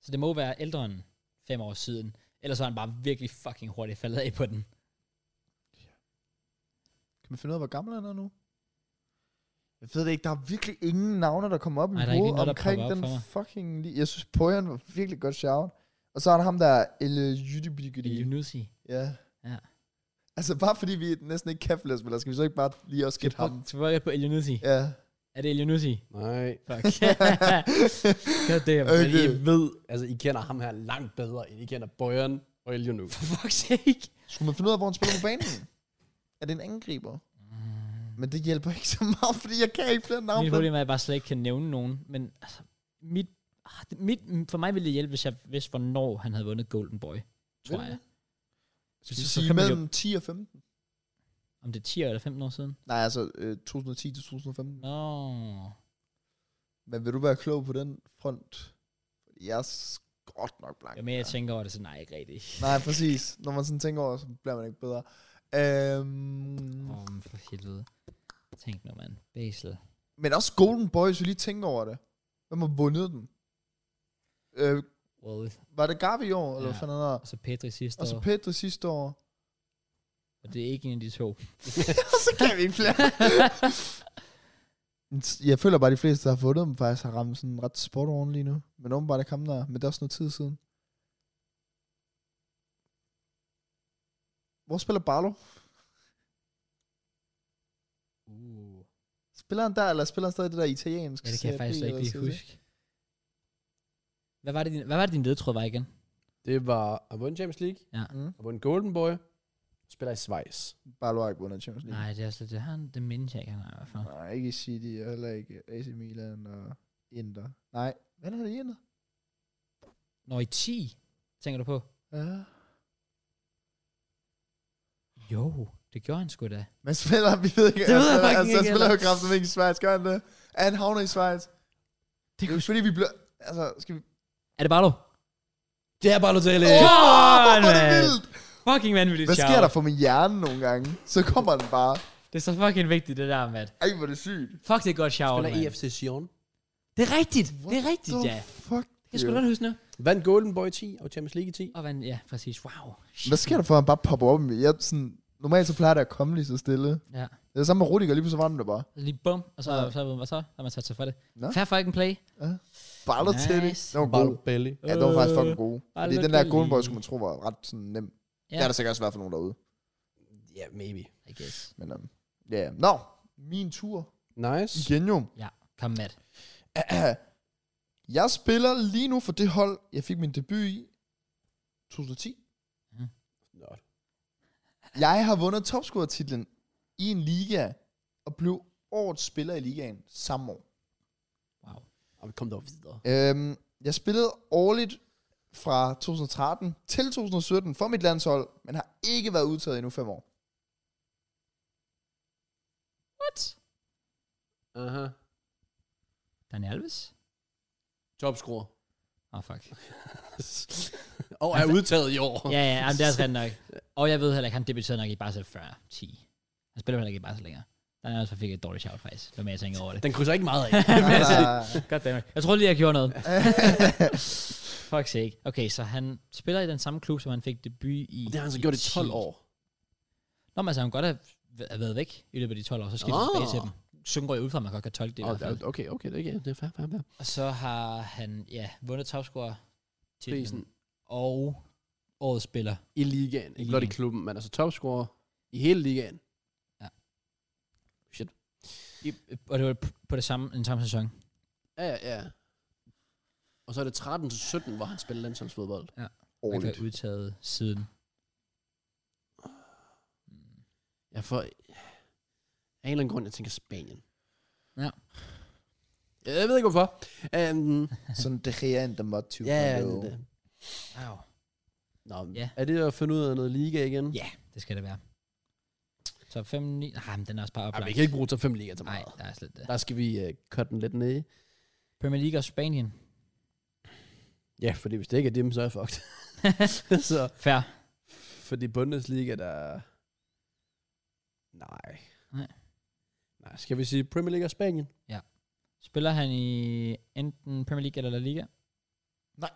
[SPEAKER 1] Så det må være ældre end fem år siden. Ellers var han bare virkelig fucking hurtigt faldet af på den.
[SPEAKER 3] Kan man finde ud af, hvor gammel han er nu? Jeg ved det ikke, der er virkelig ingen navne, der kommer op i
[SPEAKER 1] Nej,
[SPEAKER 3] mit
[SPEAKER 1] der er ikke
[SPEAKER 3] hoved
[SPEAKER 1] lige noget, der
[SPEAKER 3] omkring
[SPEAKER 1] popper op
[SPEAKER 3] den
[SPEAKER 1] for mig.
[SPEAKER 3] fucking... Li- jeg synes, Poyan var virkelig godt shout. Og så er der ham der, El
[SPEAKER 1] Det er
[SPEAKER 3] Jydibidigidi.
[SPEAKER 1] Yunusi.
[SPEAKER 3] Ja.
[SPEAKER 1] Ja.
[SPEAKER 3] Altså, bare fordi vi næsten ikke kan flere spillere, skal vi så ikke bare lige også gætte ham?
[SPEAKER 1] Så var jeg på El Yunusi.
[SPEAKER 3] Ja.
[SPEAKER 1] Er det El Yunusi?
[SPEAKER 2] Nej.
[SPEAKER 1] Fuck. God damn.
[SPEAKER 2] Men
[SPEAKER 3] Okay.
[SPEAKER 2] I ved, altså I kender ham her langt bedre, end I kender Bøjeren og Elio nu.
[SPEAKER 1] For fuck's sake.
[SPEAKER 3] Skulle man finde ud af, hvor han spiller på banen? er det en angriber?
[SPEAKER 1] Mm.
[SPEAKER 3] Men det hjælper ikke så meget, fordi jeg kan ikke flere navne.
[SPEAKER 1] Mit
[SPEAKER 3] på den.
[SPEAKER 1] problem er, at jeg bare slet ikke kan nævne nogen, men altså, mit, ah, det- mit, for mig ville det hjælpe, hvis jeg vidste, hvornår han havde vundet Golden Boy, tror
[SPEAKER 3] Vil
[SPEAKER 1] jeg.
[SPEAKER 3] Skal
[SPEAKER 1] Så-
[SPEAKER 3] vi
[SPEAKER 1] så
[SPEAKER 3] sige
[SPEAKER 1] kan man jo-
[SPEAKER 3] mellem 10 og 15?
[SPEAKER 1] Om det er 10 år eller 15 år siden.
[SPEAKER 3] Nej, altså øh, 2010 til 2015.
[SPEAKER 1] Nå.
[SPEAKER 3] Men vil du være klog på den front? Jeg er s- godt nok blank.
[SPEAKER 1] Jo mere jeg
[SPEAKER 3] der.
[SPEAKER 1] tænker over det, så nej, ikke rigtigt.
[SPEAKER 3] Nej, præcis. Når man sådan tænker over, så bliver man ikke bedre. Øhm,
[SPEAKER 1] Åh, men for helvede. Tænk nu, mand. Basel.
[SPEAKER 3] Men også Golden Boy, hvis vi lige tænker over det. Hvem har vundet den? Øh,
[SPEAKER 1] Well,
[SPEAKER 3] var det Gavi i år, eller
[SPEAKER 1] Ja.
[SPEAKER 3] hvad fanden er der?
[SPEAKER 1] og så Petri sidste
[SPEAKER 3] Og
[SPEAKER 1] og
[SPEAKER 3] så
[SPEAKER 1] år.
[SPEAKER 3] Pedro sidste år.
[SPEAKER 1] og det er ikke en af de to.
[SPEAKER 3] så kan vi ikke flere. jeg føler bare, at de fleste, der har fundet dem, faktisk har ramt sådan ret spot on lige nu. Men åbenbart er kampen der, men det er også noget tid siden. Hvor spiller Barlo?
[SPEAKER 1] Uh.
[SPEAKER 3] Spiller han der, eller spiller han stadig det der italienske?
[SPEAKER 1] Ja, det kan jeg
[SPEAKER 3] Serie B,
[SPEAKER 1] faktisk
[SPEAKER 3] eller
[SPEAKER 1] ikke lige
[SPEAKER 3] sådan noget?
[SPEAKER 1] huske. Hvad var det, din, hvad var det, din ledtråd var igen?
[SPEAKER 2] Det var at vundet Champions League,
[SPEAKER 1] Ja.
[SPEAKER 3] Mm.
[SPEAKER 2] at vundet Golden Boy, spiller i Schweiz.
[SPEAKER 3] Bare Lorik vundet Champions League.
[SPEAKER 1] Nej, det er slet det. Han, det mindes jeg ikke, han er i hvert fald.
[SPEAKER 3] Nej, ikke i City, og heller ikke AC Milan og Inter. Nej, hvad er det i Inter?
[SPEAKER 1] Når i 10, tænker du på?
[SPEAKER 3] Ja.
[SPEAKER 1] Jo, det gjorde han sgu da.
[SPEAKER 3] Men spiller, vi ved ikke.
[SPEAKER 1] Det ved jeg
[SPEAKER 3] altså,
[SPEAKER 1] fucking
[SPEAKER 3] altså,
[SPEAKER 1] ikke
[SPEAKER 3] Han spiller jo
[SPEAKER 1] heller.
[SPEAKER 3] kraften ikke i Schweiz, gør han det? Er han havner i Schweiz? Det er jo fordi, vi bliver... Altså, skal vi...
[SPEAKER 1] Er det bare du?
[SPEAKER 2] Det er bare Lotelli.
[SPEAKER 1] Åh!
[SPEAKER 3] Åh, hvor er det
[SPEAKER 1] mand.
[SPEAKER 3] vildt!
[SPEAKER 1] Fucking vanvittigt,
[SPEAKER 3] Hvad
[SPEAKER 1] shout.
[SPEAKER 3] sker der for min hjerne nogle gange? Så kommer den bare.
[SPEAKER 1] Det er så fucking vigtigt, det der, mand.
[SPEAKER 3] Ej, hvor er det sygt.
[SPEAKER 1] Fuck, det er godt shout,
[SPEAKER 2] Spiller
[SPEAKER 1] mand.
[SPEAKER 2] EFC Sion.
[SPEAKER 1] E Det er rigtigt. Det er rigtigt,
[SPEAKER 3] What the
[SPEAKER 1] ja.
[SPEAKER 3] Fuck.
[SPEAKER 1] Jeg skulle
[SPEAKER 3] dude?
[SPEAKER 1] godt huske nu.
[SPEAKER 2] Vandt Golden Boy i 10 og Champions League i 10.
[SPEAKER 1] Og vand, ja, præcis. Wow.
[SPEAKER 3] Hvad sker der for, at han bare popper op? i mig? Jeg, sådan, normalt så plejer det at komme lige så stille.
[SPEAKER 1] Ja. Altså,
[SPEAKER 3] Det er samme med Rudiger, lige pludselig var den der bare.
[SPEAKER 1] Lige bum, og så,
[SPEAKER 3] Ja.
[SPEAKER 1] ja. så, så, så har man sat sig for det.
[SPEAKER 3] Nå.
[SPEAKER 1] Fair fucking play.
[SPEAKER 3] Baller nice. til det.
[SPEAKER 1] Nice. Øh,
[SPEAKER 3] Den var god.
[SPEAKER 2] Balotelli.
[SPEAKER 3] Ja, den var faktisk fucking god. Fordi den der
[SPEAKER 1] Balotelli.
[SPEAKER 3] Golden Boy, skulle man tro, var ret sådan nem. Ja.
[SPEAKER 1] Ja.
[SPEAKER 3] Der er der sikkert også i hvert fald nogen derude.
[SPEAKER 2] Ja, maybe.
[SPEAKER 1] I guess.
[SPEAKER 3] Men um, ja, yeah. Nå, min tur.
[SPEAKER 2] Nice.
[SPEAKER 3] Igen jo.
[SPEAKER 1] Ja, kom med. det.
[SPEAKER 3] Jeg spiller lige nu for det hold, jeg fik min debut i 2010.
[SPEAKER 2] Nå,
[SPEAKER 3] Jeg har vundet topscorer-titlen i en liga og blev årets spiller i ligaen samme år.
[SPEAKER 1] Wow.
[SPEAKER 2] og vi kom dog videre.
[SPEAKER 3] Øhm, jeg spillede årligt fra 2013 til 2017 for mit landshold, men har ikke været udtaget endnu fem år.
[SPEAKER 1] What?
[SPEAKER 2] Aha.
[SPEAKER 1] Daniel Alves?
[SPEAKER 2] Topscorer.
[SPEAKER 1] Åh, oh, fuck.
[SPEAKER 2] og er udtaget i år.
[SPEAKER 1] Ja, ja, jamen, det er også ret nok. Og jeg ved heller ikke, han debuterede nok i Basel før 10. Han spiller heller ikke i Basel længere. Der er også fik et dårligt shout, faktisk. Det var mere, jeg tænker over det.
[SPEAKER 2] Den krydser ikke meget af.
[SPEAKER 3] Ah,
[SPEAKER 1] Goddammit. Jeg tror lige, jeg gjorde noget. Fuck sake. Okay, så han spiller i den samme klub, som han fik debut i.
[SPEAKER 2] det har han så
[SPEAKER 1] i
[SPEAKER 2] gjort i
[SPEAKER 1] 10.
[SPEAKER 2] 12 år.
[SPEAKER 1] Nå, men altså, han kunne godt have have været væk i løbet af de 12 år, så skifter han
[SPEAKER 2] Åh.
[SPEAKER 1] tilbage til dem. Sådan går jeg ud fra, at man godt kan tolke det i
[SPEAKER 2] Åh,
[SPEAKER 1] hvert fald.
[SPEAKER 2] okay, okay, det er, ikke- det er fair, fair, fair.
[SPEAKER 1] Og så har han, ja, vundet topscorer
[SPEAKER 2] Prisen
[SPEAKER 1] til og årets spiller.
[SPEAKER 2] i ligaen. Ikke blot i
[SPEAKER 1] ligaen.
[SPEAKER 2] klubben, men altså topscorer i hele ligaen.
[SPEAKER 1] I, og det var p- på det samme, den samme sæson.
[SPEAKER 2] Ja, ja, ja. Og så er det 13 til 17, hvor han spiller landsholdsfodbold.
[SPEAKER 1] Man kan
[SPEAKER 3] årligt.
[SPEAKER 1] have udtaget siden.
[SPEAKER 2] Jeg får... Af en eller anden grund, jeg tænker Spanien.
[SPEAKER 1] Ja.
[SPEAKER 2] Jeg ved ikke hvorfor. Um,
[SPEAKER 3] Sådan det her en der mod 20.
[SPEAKER 2] ja, ja, det, er det.
[SPEAKER 1] Wow.
[SPEAKER 2] Nå,
[SPEAKER 1] Ja.
[SPEAKER 2] ja. er det at finde ud af noget liga igen?
[SPEAKER 1] Ja. Det skal det være. Så 5, 9... Nej, men den er også bare
[SPEAKER 2] Ej,
[SPEAKER 1] oplagt.
[SPEAKER 2] vi kan ikke bruge top 5 liga så
[SPEAKER 1] Nej,
[SPEAKER 2] meget.
[SPEAKER 1] der er slet det.
[SPEAKER 2] Der skal vi uh, cut den lidt ned.
[SPEAKER 1] Premier League og Spanien.
[SPEAKER 2] Ja, fordi hvis det ikke er dem, så er jeg fucked. så,
[SPEAKER 1] Fair.
[SPEAKER 2] fordi Bundesliga, der... Nej.
[SPEAKER 1] Nej.
[SPEAKER 2] Nej, skal vi sige Premier League og Spanien?
[SPEAKER 1] Spiller han i enten Premier League eller La Liga?
[SPEAKER 3] Nej.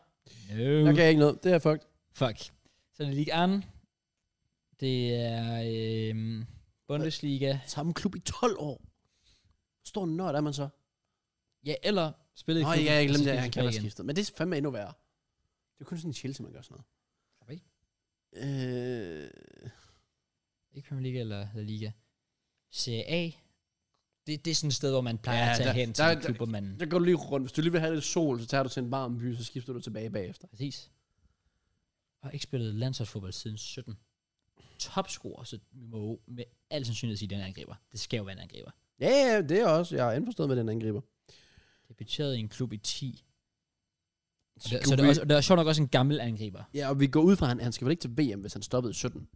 [SPEAKER 1] No.
[SPEAKER 2] Jeg kan ikke noget. Det er fucked.
[SPEAKER 1] Fuck. Så er det Ligue 1. Det er øhm, Bundesliga.
[SPEAKER 2] Samme klub i 12 år. Stor nørd er man så.
[SPEAKER 1] Ja, eller spillet i
[SPEAKER 2] Nå,
[SPEAKER 1] klubben,
[SPEAKER 2] ja, jeg
[SPEAKER 1] og så
[SPEAKER 2] glemte, at
[SPEAKER 1] skiftet
[SPEAKER 2] han kan være
[SPEAKER 1] tilbage igen.
[SPEAKER 2] skiftet. Men Altså, det er fandme endnu værre. Det er kun sådan en Chelsea, man gør sådan noget.
[SPEAKER 1] Slap af.
[SPEAKER 2] Øh,
[SPEAKER 1] Ikke Premier League eller La Liga. Serie A. Det, det er sådan et sted, hvor man plejer
[SPEAKER 2] Ja,
[SPEAKER 1] ja, at tage
[SPEAKER 2] der-
[SPEAKER 1] hen til
[SPEAKER 2] der-
[SPEAKER 1] en klub,
[SPEAKER 2] der-
[SPEAKER 1] hvor man...
[SPEAKER 2] der går du lige rundt. Hvis du lige vil have lidt sol, så tager du til en varm by, så skifter du tilbage bagefter.
[SPEAKER 1] Præcis. Og ikke spillet landsholdsfodbold siden 17. Topscorer, så vi må med al sandsynlighed sige, at den er angriber. Det skal jo være en angriber.
[SPEAKER 2] Ja, ja, det er også. Jeg er indforstået med den angriber.
[SPEAKER 1] Debuteret i en klub i 10. Og
[SPEAKER 2] Skulle
[SPEAKER 1] det, så det
[SPEAKER 2] vi-
[SPEAKER 1] er, også, det er sjovt nok også en gammel angriber.
[SPEAKER 2] Ja, og vi går ud fra, at han, han skal vel ikke til VM, hvis han stoppede i 17.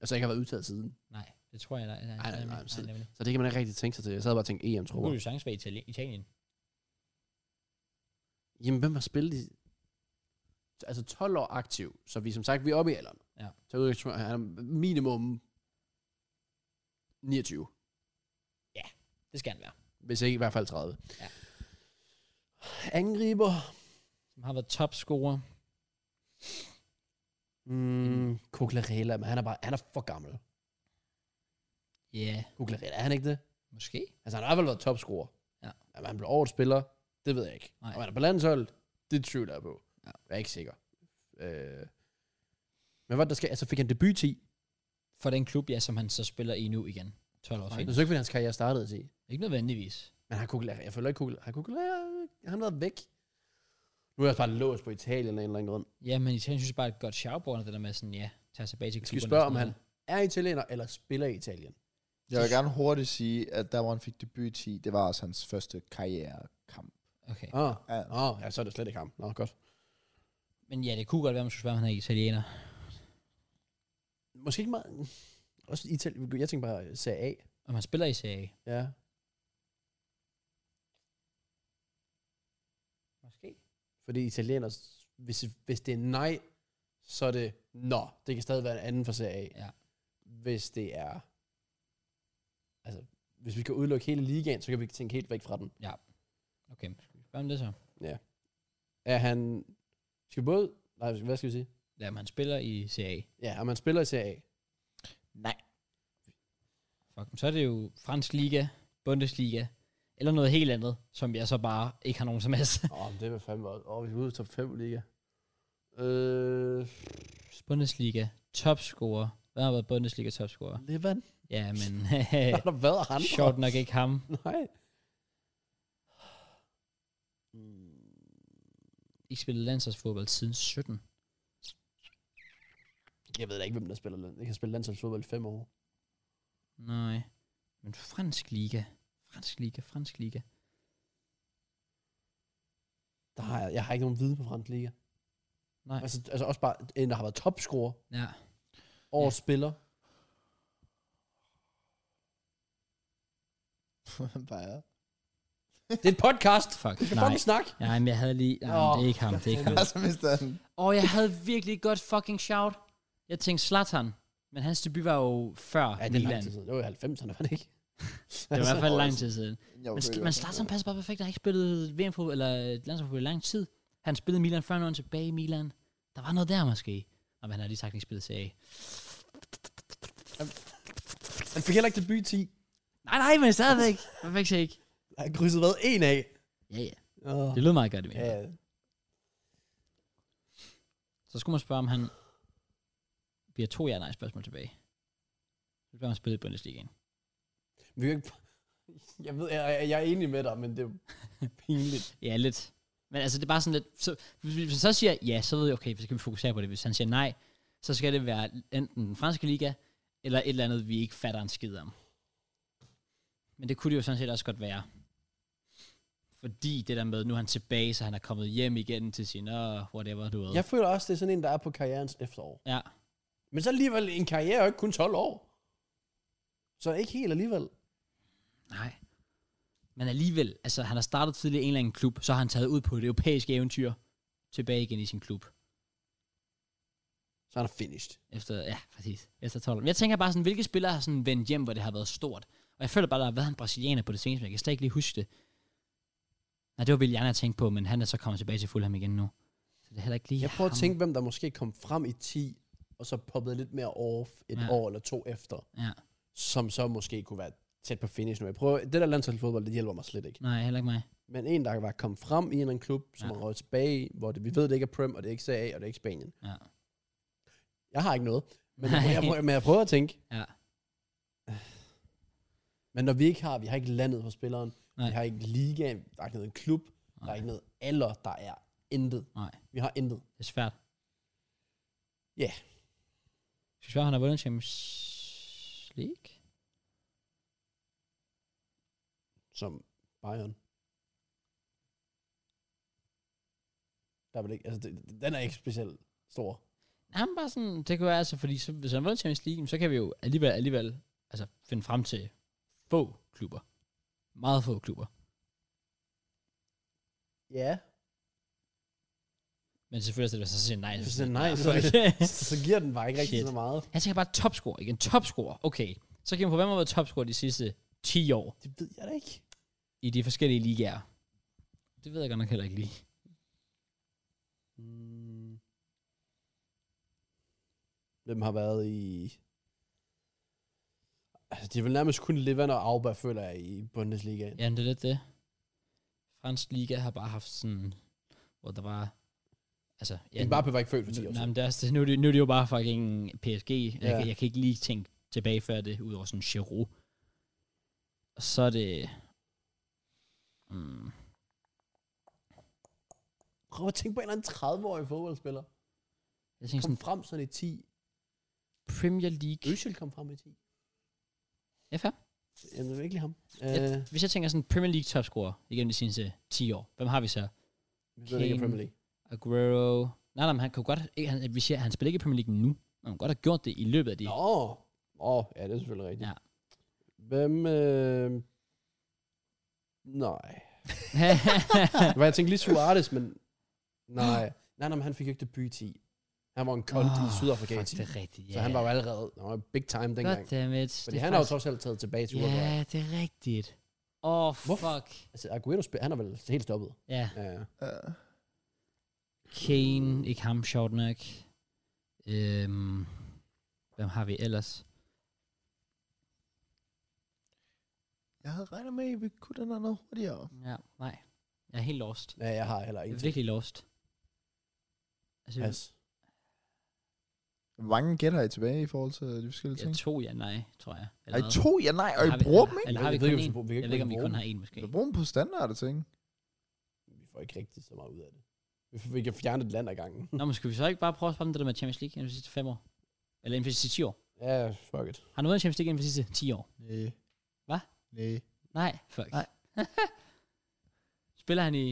[SPEAKER 2] Altså ikke har været udtaget siden.
[SPEAKER 1] Nej, det tror jeg, der er.
[SPEAKER 2] nej, nej, så-
[SPEAKER 1] nej, nej.
[SPEAKER 2] Så det kan man ikke rigtig tænke sig til. Jeg sad bare og tænkte EM,
[SPEAKER 1] Nu
[SPEAKER 2] tror
[SPEAKER 1] kunne
[SPEAKER 2] jeg.
[SPEAKER 1] du chance være Italien. Italien.
[SPEAKER 2] Jamen, hvem har spillet i... Altså 12 år aktiv, så vi som sagt, vi er oppe i alderen.
[SPEAKER 1] Ja.
[SPEAKER 2] Så udgangspunkt, han er minimum 29,
[SPEAKER 1] Det skal han være.
[SPEAKER 2] hvis ikke i hvert fald 30.
[SPEAKER 1] Ja.
[SPEAKER 2] Angriber.
[SPEAKER 1] Som har været topscorer.
[SPEAKER 2] Mm, Kuklarela, men han er bare, han er for gammel.
[SPEAKER 1] Ja, yeah,
[SPEAKER 2] Kuklarela, er han ikke det?
[SPEAKER 1] måske.
[SPEAKER 2] Altså, han har i hvert fald været topscorer.
[SPEAKER 1] Ja.
[SPEAKER 2] Jamen, han blev årets spiller, det ved jeg ikke.
[SPEAKER 1] Nej.
[SPEAKER 2] Nej. Om han er på landsholdet, det tvivler jeg på.
[SPEAKER 1] Ja.
[SPEAKER 2] Jeg er ikke sikker. Øh, men hvad der skal, altså fik han debut i 10?
[SPEAKER 1] For den klub, ja, som han så spiller i nu igen. 12 år
[SPEAKER 2] Det er
[SPEAKER 1] senere.
[SPEAKER 2] så ikke, fordi hans karriere startede i 10.
[SPEAKER 1] Ikke nødvendigvis.
[SPEAKER 2] Men har Kukler, jeg føler ikke Kukler, har Kukler, har han været væk? Nu er jeg også bare låst på Italien af en eller anden grund.
[SPEAKER 1] Ja, men Italien synes jeg bare er et godt sjavbord, det der med sådan, ja, tager tilbage til
[SPEAKER 2] Jeg
[SPEAKER 1] klubben.
[SPEAKER 2] skal spørge, om han er italiener eller spiller i Italien.
[SPEAKER 3] Jeg vil gerne hurtigt sige, at der hvor han fik debut i 10, det var også hans første karrierekamp.
[SPEAKER 1] Okay.
[SPEAKER 2] Ah,
[SPEAKER 3] Ja.
[SPEAKER 2] ah, ja, så er det slet ikke ham. Nå, godt.
[SPEAKER 1] Men ja, det kunne godt være, man skulle spørge, om han er italiener.
[SPEAKER 2] Måske ikke meget... Også Italien. Jeg tænker bare Serie A.
[SPEAKER 1] Om han spiller i Serie A.
[SPEAKER 2] Ja.
[SPEAKER 1] Måske.
[SPEAKER 2] Fordi italiener, hvis, hvis det er nej, så er det, nå, det kan stadig være en anden for serie A.
[SPEAKER 1] Ja.
[SPEAKER 2] Hvis det er, altså, hvis vi kan udelukke hele ligaen, så kan vi tænke helt væk fra den.
[SPEAKER 1] Okay, skal vi spørge om det så?
[SPEAKER 2] Er han, skal vi både, nej, hvad skal vi sige?
[SPEAKER 1] Ja, om han spiller i Serie A.
[SPEAKER 2] Ja, om han spiller i serie A.
[SPEAKER 3] Nej.
[SPEAKER 1] Fuck, men så er det jo fransk liga, Bundesliga, eller noget helt andet, som jeg så bare ikke har nogen som helst.
[SPEAKER 2] Åh, oh, det vil fandme også. Åh, oh, vi er ude i top 5 liga. Øh,
[SPEAKER 1] Bundesliga, topscorer. Hvad har været Bundesliga topscorer?
[SPEAKER 2] Levan?
[SPEAKER 1] Ja, men
[SPEAKER 2] Har der været andre?
[SPEAKER 1] sjovt nok ikke ham.
[SPEAKER 2] Nej. Mm,
[SPEAKER 1] Ikke spillet landsholdsfodbold siden 17.
[SPEAKER 2] Jeg ved da ikke, hvem der spiller land. Jeg kan spille landsholdsfodbold i fem år.
[SPEAKER 1] Nej. Men fransk liga. Fransk liga, fransk liga.
[SPEAKER 2] Der har jeg, jeg har ikke nogen viden på fransk liga.
[SPEAKER 1] Nej.
[SPEAKER 2] Altså, altså også bare en, der har været topscorer
[SPEAKER 1] Ja.
[SPEAKER 2] og ja. spiller.
[SPEAKER 3] bare.
[SPEAKER 2] Det er en podcast.
[SPEAKER 1] Fuck,
[SPEAKER 2] Du skal
[SPEAKER 1] nej.
[SPEAKER 2] fucking snakke.
[SPEAKER 1] Nej, men jeg havde lige... Nej, men det er ikke ham, det er ikke ham.
[SPEAKER 3] Og så mistede han.
[SPEAKER 1] Og jeg havde virkelig et godt fucking shout. Jeg tænkte Zlatan. Men hans debut var jo før
[SPEAKER 2] Ja, det er
[SPEAKER 1] Ah, Milan.
[SPEAKER 2] lang tid siden. Det var i 90'erne, var det ikke?
[SPEAKER 1] Det var i hvert fald lang tid siden.
[SPEAKER 3] Jeg var
[SPEAKER 1] Men,
[SPEAKER 3] født i
[SPEAKER 1] sk- men Zlatan passer bare perfekt. Han har ikke spillet VM fodbold eller øh, landsholdsfodbold i lang tid. Han spillede i Milan før nu tilbage i Milan. Der var noget der måske. Og han har lige sagt, at han ikke spillede serie. A.
[SPEAKER 2] Han fik heller ikke debut 10.
[SPEAKER 1] Nej, nej, men stadigvæk. Perfekt ikke.
[SPEAKER 2] Han krydsede hvad? En af.
[SPEAKER 1] Ja, ja.
[SPEAKER 2] Oh.
[SPEAKER 1] Det lød meget godt, det
[SPEAKER 2] Ja,
[SPEAKER 1] ja. Så skulle man spørge, om han... Vi har to ja-nej spørgsmål tilbage. Så bliver han spillet i Bundesligaen.
[SPEAKER 2] vi kan ikke... Jeg ved, jeg, jeg, jeg er enig med dig, men det er jo pinligt.
[SPEAKER 1] Ja, lidt. Men altså, det er bare sådan lidt... Så, hvis hvis han så siger ja, så ved jeg, okay, så kan vi fokusere på det. Hvis han siger nej, så skal det være enten den franske liga, eller et eller andet, vi ikke fatter en skid om. Men det kunne det jo sådan set også godt være. Fordi det der med, nu er han tilbage, så han er kommet hjem igen til sin, åh, whatever, du ved.
[SPEAKER 2] Jeg føler også, det er sådan en, der er på karrierens efterår.
[SPEAKER 1] Ja.
[SPEAKER 2] Men så alligevel, en karriere er jo ikke kun 12 år. Så ikke helt alligevel.
[SPEAKER 1] Nej. Men alligevel, altså han har startet tidligere i en eller anden klub, så har han taget ud på et europæisk eventyr tilbage igen i sin klub.
[SPEAKER 2] Så er han finished.
[SPEAKER 1] Efter, ja, præcis. Efter 12. Men jeg tænker bare sådan, hvilke spillere har sådan vendt hjem, hvor det har været stort? Og jeg føler bare, der har været en brasilianer på det seneste, men jeg kan slet ikke lige huske det. Nej, det var Willian, jeg tænkte på, men han er så kommet tilbage til Fulham igen nu. Så det er heller ikke lige
[SPEAKER 2] Jeg prøver
[SPEAKER 1] ham.
[SPEAKER 2] at tænke, hvem der måske kom frem i 10, og så poppede lidt mere off et
[SPEAKER 1] Ja.
[SPEAKER 2] ja. år eller to efter,
[SPEAKER 1] Ja.
[SPEAKER 2] som så måske kunne være tæt på finish nu. Jeg prøver, det der landsholdsfodbold, det hjælper mig slet ikke.
[SPEAKER 1] Nej, heller ikke mig.
[SPEAKER 2] Men en, der var kommet frem i en eller anden klub, som
[SPEAKER 1] Ja.
[SPEAKER 2] ja. har røget tilbage, i, hvor det, vi ved, det ikke er Prem, og det er ikke Serie A, og det er ikke Spanien.
[SPEAKER 1] Ja.
[SPEAKER 2] Jeg har ikke noget, men
[SPEAKER 1] Nej.
[SPEAKER 2] jeg, jeg, prøver, men jeg prøver at tænke.
[SPEAKER 1] Ja.
[SPEAKER 2] Men når vi ikke har, vi har ikke landet på spilleren,
[SPEAKER 1] Nej.
[SPEAKER 2] Nej. vi har ikke ligaen, der er ikke noget klub, Nej. der er
[SPEAKER 1] Nej.
[SPEAKER 2] ikke noget alder, der er intet.
[SPEAKER 1] Nej.
[SPEAKER 2] Vi har intet.
[SPEAKER 1] Det er svært.
[SPEAKER 2] Ja.
[SPEAKER 1] Skal vi svare, han har vundet Champions League?
[SPEAKER 2] som Bayern. Der er vel ikke, altså, det, den er ikke specielt stor.
[SPEAKER 1] Han bare sådan, det kunne være altså, fordi så, hvis han vundet Champions League, så kan vi jo alligevel, alligevel altså, finde frem til få klubber. Meget få klubber.
[SPEAKER 2] Ja.
[SPEAKER 1] Men selvfølgelig skal det være så sige nej.
[SPEAKER 2] Hvis det er nej, så, så giver den bare ikke rigtig
[SPEAKER 1] Shit.
[SPEAKER 2] så meget.
[SPEAKER 1] Jeg tænker bare topscore, ikke? En topscore, okay. Så kan man på, hvem har været topscore de sidste 10 år
[SPEAKER 2] Det ved jeg da ikke.
[SPEAKER 1] i de forskellige ligaer? Det ved jeg godt nok heller ikke lige.
[SPEAKER 2] Mm. Hvem har været i... Altså, det er vel nærmest kun Levan og Auba, føler jeg, i Bundesligaen.
[SPEAKER 1] Ja, men det er lidt det. Fransk liga har bare haft sådan, hvor der var... Altså,
[SPEAKER 2] Ja, bare var ikke født for 10 år
[SPEAKER 1] Nej,
[SPEAKER 2] siden.
[SPEAKER 1] men det er, også- nu, er det, nu er det jo bare fucking PSG. Jeg,
[SPEAKER 2] Ja.
[SPEAKER 1] kan, jeg kan ikke lige tænke tilbage før det, udover sådan Giroud. Og så er det... Mm,
[SPEAKER 2] Prøv at tænke på en eller anden 30-årig fodboldspiller.
[SPEAKER 1] Jeg tænker
[SPEAKER 2] Kom
[SPEAKER 1] sådan,
[SPEAKER 2] frem sådan i 10.
[SPEAKER 1] Premier League.
[SPEAKER 2] Øsel kom frem i 10.
[SPEAKER 1] Ja, fair.
[SPEAKER 2] Jeg ved virkelig ham.
[SPEAKER 1] Jeg-
[SPEAKER 2] Øh,
[SPEAKER 1] Hvis jeg tænker sådan Premier League topscorer igennem de seneste 10 år, hvem har vi så?
[SPEAKER 2] vi ved ikke om
[SPEAKER 1] Kane.
[SPEAKER 2] Premier League.
[SPEAKER 1] Aguero. Nej, nej, men han kan jo godt... Ikke, han, vi siger, han spiller ikke i Premier League nu. Men han kunne godt have gjort det i løbet af de...
[SPEAKER 2] Nå. Åh, ja, det er selvfølgelig rigtigt.
[SPEAKER 1] Ja.
[SPEAKER 2] Hvem... Øh... Nej. Det var, jeg tænkte lige Suarez, men... Nej. Nej, nej, men han fik jo ikke debut i 10. Han var en kold i
[SPEAKER 1] Åh,
[SPEAKER 2] Sydafrika i
[SPEAKER 1] fuck,
[SPEAKER 2] 10.
[SPEAKER 1] det er rigtigt, ja.
[SPEAKER 2] Så han var jo allerede... Han var big time dengang.
[SPEAKER 1] Goddammit.
[SPEAKER 2] Fordi han har jo trods alt taget tilbage til Uruguay.
[SPEAKER 1] Ja, det er rigtigt. Åh, oh,
[SPEAKER 2] Hvorfor?
[SPEAKER 1] fuck.
[SPEAKER 2] Altså, Aguero spil, han er vel helt stoppet.
[SPEAKER 1] Ja,
[SPEAKER 2] Ja, ja.
[SPEAKER 3] Uh,
[SPEAKER 1] Kane, ikke ham, sjovt nok. Øhm, hvem har vi ellers?
[SPEAKER 3] jeg havde regnet med, at vi kunne den noget hurtigere.
[SPEAKER 1] Ja, nej. Jeg er helt lost.
[SPEAKER 2] ja jeg har heller
[SPEAKER 1] Jeg
[SPEAKER 2] ikke
[SPEAKER 1] er virkelig lost. Altså,
[SPEAKER 2] Pas.
[SPEAKER 3] Hvor mange gætter I tilbage i forhold til de forskellige
[SPEAKER 1] jeg
[SPEAKER 3] ting?
[SPEAKER 1] to ja, nej, tror jeg.
[SPEAKER 3] Er I
[SPEAKER 1] hvad?
[SPEAKER 3] to? Ja, nej. Og
[SPEAKER 1] Eller
[SPEAKER 3] I
[SPEAKER 1] har vi-
[SPEAKER 3] bruger dem,
[SPEAKER 1] eller-
[SPEAKER 3] ikke?
[SPEAKER 1] Eller har vi
[SPEAKER 2] Jeg ved
[SPEAKER 1] kun
[SPEAKER 2] ikke, om vi
[SPEAKER 1] en?
[SPEAKER 2] bruger- vi kan
[SPEAKER 1] Jeg
[SPEAKER 2] ikke
[SPEAKER 1] ved ikke, om vi
[SPEAKER 2] bruge
[SPEAKER 1] kun
[SPEAKER 2] dem.
[SPEAKER 1] har en, måske.
[SPEAKER 3] Vi bruger dem på standarde ting.
[SPEAKER 2] Vi får ikke rigtig så meget ud af det. Vi, får, vi kan fjerne et land ad gangen.
[SPEAKER 1] Nå, men skal vi så ikke bare prøve at spørge om det der med Champions League inden for de sidste fem år? Eller inden for de sidste 10 år?
[SPEAKER 2] ja, fuck it.
[SPEAKER 1] Har du været i Champions League inden for de sidste 10 år?
[SPEAKER 3] Nej.
[SPEAKER 1] Hva?
[SPEAKER 3] Nej.
[SPEAKER 1] Nej, fuck.
[SPEAKER 3] Nej.
[SPEAKER 1] Spiller han i...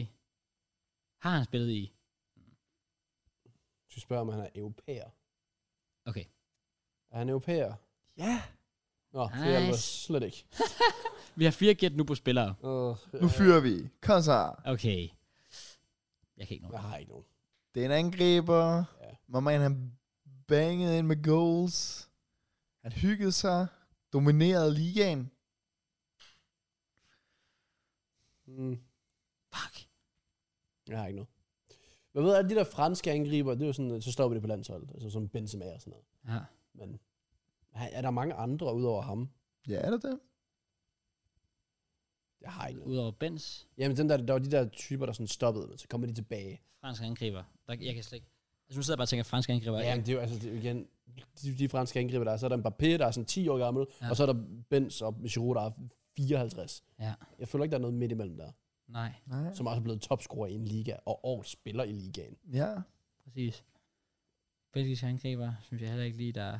[SPEAKER 1] Har han spillet i...
[SPEAKER 2] Du spørger, om han er europæer.
[SPEAKER 1] Okay.
[SPEAKER 2] Er han europæer?
[SPEAKER 3] Ja.
[SPEAKER 2] Nå, nice. det er jeg
[SPEAKER 1] Nice.
[SPEAKER 2] slet ikke.
[SPEAKER 1] Vi har fire gæt nu på spillere.
[SPEAKER 2] Uh,
[SPEAKER 3] Nu fyrer vi. Kom så.
[SPEAKER 1] Okay. Jeg kan ikke nå
[SPEAKER 2] Jeg
[SPEAKER 1] det.
[SPEAKER 2] har ikke nogen.
[SPEAKER 3] Det er en angriber.
[SPEAKER 2] Ja.
[SPEAKER 3] My man, han bangede ind med goals. Han hyggede sig. Dominerede ligaen.
[SPEAKER 2] Mm,
[SPEAKER 1] Fuck.
[SPEAKER 2] jeg har ikke noget. Men ved du, de der franske angriber, det er jo sådan, øh, så står vi det på landsholdet, altså som Benzema og sådan noget.
[SPEAKER 1] Ja.
[SPEAKER 2] Men er er der mange andre udover ham?
[SPEAKER 3] Ja, er det det?
[SPEAKER 2] Jeg har ikke noget.
[SPEAKER 1] Udover Benz,
[SPEAKER 2] Jamen, den der, der var de der typer, der sådan stoppede, men så kommer de tilbage.
[SPEAKER 1] fransk angriber. Der, jeg kan slet ikke... Altså, nu sidder jeg bare og tænker, fransk angriber.
[SPEAKER 2] Ja, men det er jo altså, det er jo igen, de, de franske angriber, der er, så er der Mbappé, der er sådan 10 år gammel,
[SPEAKER 1] Ja.
[SPEAKER 2] ja. og så er der Benz og Giroud, der er 54.
[SPEAKER 1] Ja.
[SPEAKER 2] Jeg føler ikke, der er noget midt imellem der,
[SPEAKER 1] Nej,
[SPEAKER 3] Nej.
[SPEAKER 2] som også er blevet topscorer i en liga, og årets spiller i ligaen.
[SPEAKER 3] Ja.
[SPEAKER 1] præcis. Belgiske angriber, synes jeg heller ikke lige, der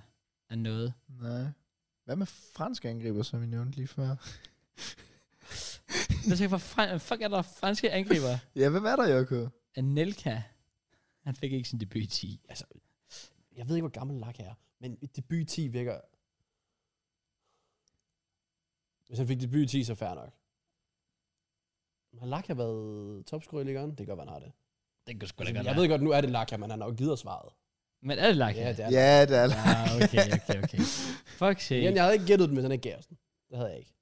[SPEAKER 1] er noget.
[SPEAKER 3] Nej. Hvad med franske angriber, som vi nævnte lige før?
[SPEAKER 1] Jeg tænker, hvor fran- fuck er der franske angriber?
[SPEAKER 3] Ja, hvem er der, Joko?
[SPEAKER 1] Anelka. Han fik ikke sin debut i 10.
[SPEAKER 2] Altså, jeg ved ikke, hvor gammel Lak er, men et debut i 10 virker... Hvis han fik debut i 10, så fair nok. Men Har Lak har været topscorer i ligaen? Det kan godt, være, han har det.
[SPEAKER 1] Den kunne sgu da
[SPEAKER 2] Altså,
[SPEAKER 1] godt
[SPEAKER 2] jeg ved godt, nu er det Lak, men han har jo givet os svaret.
[SPEAKER 1] Men er det lagt?
[SPEAKER 2] Ja, det er
[SPEAKER 3] Ja, det er
[SPEAKER 1] Ja, Ah, okay, okay, okay. Fuck sake.
[SPEAKER 2] Jamen, jeg havde ikke gættet den, hvis han ikke gav os den. Det havde jeg ikke.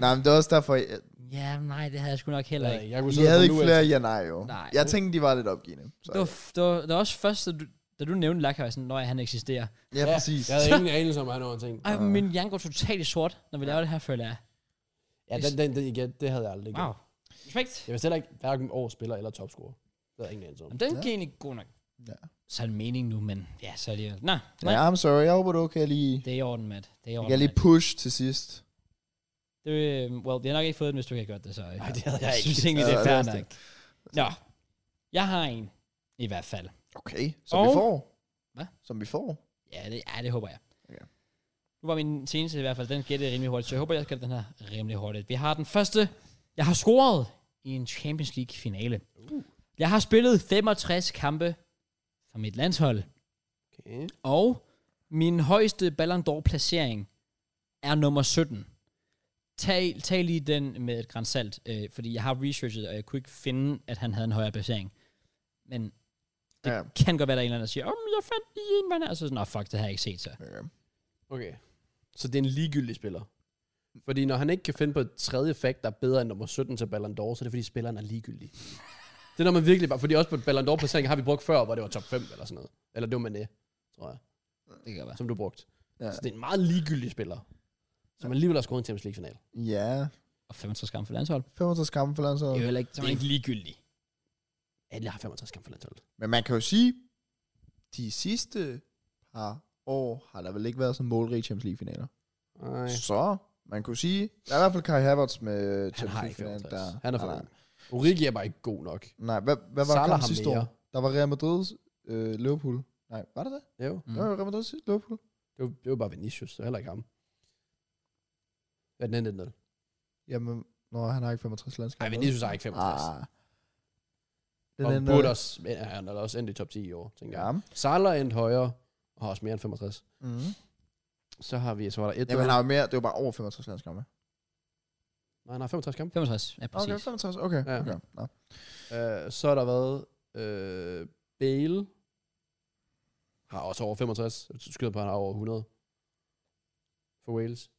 [SPEAKER 3] Nej, men det er også derfor, jeg,
[SPEAKER 1] Ja, nej, det havde jeg sgu nok heller
[SPEAKER 2] Jeg,
[SPEAKER 1] ikke.
[SPEAKER 2] jeg kunne
[SPEAKER 3] jeg
[SPEAKER 2] sidde
[SPEAKER 3] havde
[SPEAKER 2] på
[SPEAKER 3] ikke
[SPEAKER 2] nu, altså.
[SPEAKER 3] flere ja nej jo.
[SPEAKER 1] Nej.
[SPEAKER 3] Jeg tænkte, de var lidt opgivende. Så,
[SPEAKER 1] Det var, f- det var, det var også først, da du, da du nævnte Laka, sådan, når han eksisterer.
[SPEAKER 3] ja, præcis.
[SPEAKER 2] Jeg havde ingen anelse om, at han var en ting.
[SPEAKER 1] Ej, min hjerne går totalt i sort, når vi laver Ah. det her, føler jeg.
[SPEAKER 2] Ja, den, den, den, igen, det havde jeg aldrig
[SPEAKER 1] Wow.
[SPEAKER 2] gættet.
[SPEAKER 1] Respekt.
[SPEAKER 2] Jeg vidste heller ikke, hverken overspiller eller topscorer. Det havde jeg ingen anelse om.
[SPEAKER 1] Jamen, den
[SPEAKER 3] Ja.
[SPEAKER 1] gik egentlig god nok.
[SPEAKER 3] Ja.
[SPEAKER 1] Så er det mening nu, men ja, så alligevel. Nå, nej.
[SPEAKER 3] Ja, I'm sorry. Jeg håber, du kan lige,
[SPEAKER 1] Det er i orden, Matt. Det er i
[SPEAKER 3] jeg
[SPEAKER 1] orden,
[SPEAKER 3] kan lige
[SPEAKER 1] Matt.
[SPEAKER 3] push til sidst.
[SPEAKER 1] Det, øh, well, jeg har nok ikke fået den, hvis du ikke har gjort det, så. øh,
[SPEAKER 2] Nej, det havde jeg ikke.
[SPEAKER 1] synes egentlig, det er
[SPEAKER 3] Ja, det
[SPEAKER 1] fair
[SPEAKER 3] er også
[SPEAKER 1] nok. Nå, jeg har en, i hvert fald.
[SPEAKER 3] Okay, som vi
[SPEAKER 1] Og-
[SPEAKER 3] får.
[SPEAKER 1] Hvad?
[SPEAKER 3] Som vi får.
[SPEAKER 1] Ja, det, ja, det håber jeg.
[SPEAKER 3] Okay.
[SPEAKER 1] Nu var min seneste i hvert fald, den gættede jeg rimelig hurtigt, så jeg håber, jeg skal den her rimelig hurtigt. Vi har den første, jeg har scoret i en Champions League finale.
[SPEAKER 2] Uh.
[SPEAKER 1] Jeg har spillet 65 kampe for mit landshold,
[SPEAKER 2] Okay.
[SPEAKER 1] og min højeste Ballon d'Or placering er nummer 17. Tag, tag lige den med et grænsalt, øh, fordi jeg har researchet, og jeg kunne ikke finde, at han havde en højere placering. Men det
[SPEAKER 3] Ja.
[SPEAKER 1] ja. kan godt være, der er en eller anden, der siger, om jeg fandt lige en, man er. Så sådan, "Nå, fuck, det har jeg ikke set, så.
[SPEAKER 3] Okay.
[SPEAKER 2] Okay. Så det er en ligegyldig spiller. Fordi når han ikke kan finde på et tredje fact, der er bedre end nummer 17 til Ballon d'Or, så er det fordi spilleren er ligegyldig. Det er når man virkelig bare... Fordi også på et Ballon d'Or-placering har vi brugt før, hvor det var top 5 eller sådan noget. Eller det var Mané, tror jeg,
[SPEAKER 1] Det kan godt være.
[SPEAKER 2] som du brugte.
[SPEAKER 3] Ja.
[SPEAKER 2] Så det er en meget ligegyldig spiller, som alligevel har scoret en Champions League-final.
[SPEAKER 3] ja.
[SPEAKER 1] Og 65 kampe for landshold.
[SPEAKER 3] 65 kampe for
[SPEAKER 1] Det er jo
[SPEAKER 3] landsholdet.
[SPEAKER 1] heller ikke, det er ikke ligegyldigt.
[SPEAKER 2] Alle har 65 kampe for landsholdet.
[SPEAKER 3] Men man kan jo sige, de sidste par år har der vel ikke været så målrige Champions League-finaler.
[SPEAKER 2] Nej.
[SPEAKER 3] Så man kunne sige, der er i hvert fald Kai Havertz med
[SPEAKER 2] Han har
[SPEAKER 3] Champions
[SPEAKER 2] ikke
[SPEAKER 3] League-finalen.
[SPEAKER 2] 65.
[SPEAKER 3] der-
[SPEAKER 2] Han er
[SPEAKER 3] Nej,
[SPEAKER 2] for
[SPEAKER 3] nej.
[SPEAKER 2] ung. Origi er bare ikke god nok.
[SPEAKER 3] Nej, hvad, hvad var
[SPEAKER 2] Salah
[SPEAKER 3] Salah
[SPEAKER 2] har
[SPEAKER 3] sidste
[SPEAKER 2] mere.
[SPEAKER 3] år? Der var Real Madrid, øh, Liverpool. Nej, var det det?
[SPEAKER 2] Jo.
[SPEAKER 3] Mm. Der var Real Madrid, sidste- Liverpool.
[SPEAKER 2] Det var, det var bare Vinicius, så heller ikke ham. Hvad er den endte 0?
[SPEAKER 3] Jamen, nå, han har ikke 65
[SPEAKER 2] Nej,
[SPEAKER 3] landskampe.
[SPEAKER 2] Vinicius har ikke 65. Ah,
[SPEAKER 3] Ah.
[SPEAKER 2] den
[SPEAKER 3] Den
[SPEAKER 2] og
[SPEAKER 3] ender-
[SPEAKER 2] burde også, men han er da også endt i top 10 i år, tænker
[SPEAKER 3] Ja.
[SPEAKER 2] jeg. Salah endte højere, og har også mere end 65.
[SPEAKER 3] Mm.
[SPEAKER 2] Så har vi, så var der et...
[SPEAKER 3] Jamen, han har jo mere, det var bare over 65 landskampe.
[SPEAKER 2] Nej, han har 65 kampe.
[SPEAKER 1] 65, ja, præcis.
[SPEAKER 3] Okay, 65, okay.
[SPEAKER 2] Ja.
[SPEAKER 3] Ja. okay. Nå.
[SPEAKER 2] Øh, så har der været øh, Bale. Har også over 65. Jeg skyder på, at han har over 100. For Wales.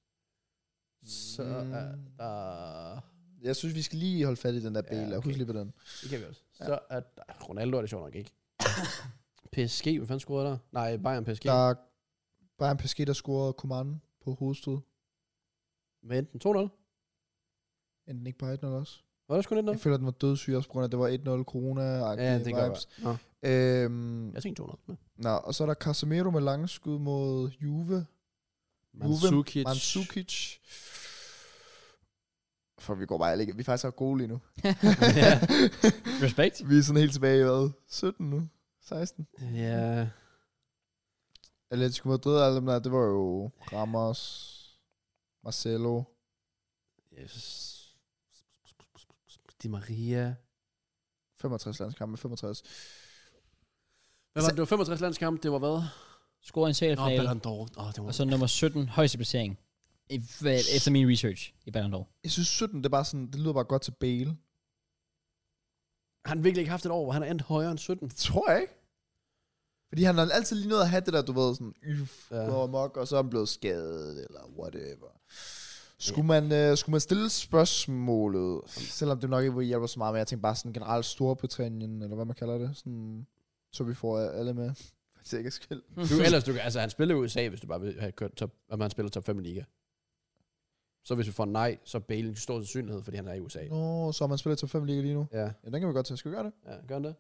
[SPEAKER 2] Så er
[SPEAKER 3] Mm.
[SPEAKER 2] der...
[SPEAKER 3] Jeg synes, vi skal lige holde fat i den der
[SPEAKER 2] Ja,
[SPEAKER 3] Bale, ja, okay. og
[SPEAKER 2] okay.
[SPEAKER 3] husk lige på den.
[SPEAKER 2] Det kan vi også. Så er der... Ronaldo er det sjovt nok ikke. PSG, hvad fanden scorede der? Nej, Bayern PSG.
[SPEAKER 3] Der
[SPEAKER 2] Der.
[SPEAKER 3] er bare en PSG, der scorede Coman på hovedstød.
[SPEAKER 2] Hvad endte den? 2-0?
[SPEAKER 3] Enten ikke på 1-0 også.
[SPEAKER 2] Var det sgu lidt
[SPEAKER 3] Jeg føler, den var dødssyg også, på grund af, at det var 1-0 corona og
[SPEAKER 2] Ja, det gør jeg. Nå,
[SPEAKER 3] øhm,
[SPEAKER 2] jeg tænkte 2-0. Nå.
[SPEAKER 3] nå, og så er der Casemiro med langskud mod Juve.
[SPEAKER 2] Mandzukic.
[SPEAKER 3] Mandzukic. For vi går bare ikke. Vi er faktisk så gode lige nu.
[SPEAKER 2] Ja.
[SPEAKER 1] Respekt.
[SPEAKER 3] Vi er sådan helt tilbage i hvad? 17 nu? 16?
[SPEAKER 2] Ja.
[SPEAKER 3] Atletico Madrid og alle dem der, det var jo Ramos, Marcelo.
[SPEAKER 2] Yes. Di Maria.
[SPEAKER 3] 65 landskampe, 65.
[SPEAKER 2] Hvad var det? Det var 65 landskampe. Det var hvad?
[SPEAKER 1] Scorer en
[SPEAKER 2] Nå,
[SPEAKER 1] seriefinale.
[SPEAKER 2] Ballon d'Or. Åh, det var...
[SPEAKER 1] og så nummer 17, højeste placering. I, hvad- efter min research i Ballon d'Or.
[SPEAKER 3] Jeg synes 17, det er bare sådan, det lyder bare godt til Bale.
[SPEAKER 2] Har han virkelig ikke haft et år, hvor han er endt højere end 17?
[SPEAKER 3] Det tror jeg ikke. Fordi han har altid lige nået at have det der, du ved, sådan, yf,
[SPEAKER 2] Ja.
[SPEAKER 3] ja. går amok, og så er han blevet skadet, eller whatever. Skulle, man, øh, skulle man stille spørgsmålet, selvom det nok ikke vil hjælpe så meget, men jeg tænker bare sådan generelt Storbritannien, eller hvad man kalder det, sådan, så vi får alle med. For sikker skyld.
[SPEAKER 2] Du, ellers, du, kan- altså, han spiller i USA, hvis du bare vil have kørt top, at man spiller top 5 i liga. Så hvis vi får nej, så er Bale en stor sandsynlighed, fordi han er i USA.
[SPEAKER 3] Nå, så har man spillet top 5 liga lige nu.
[SPEAKER 2] Ja,
[SPEAKER 3] Ja, den kan vi godt tage. Skal vi gøre det?
[SPEAKER 2] ja gør han det?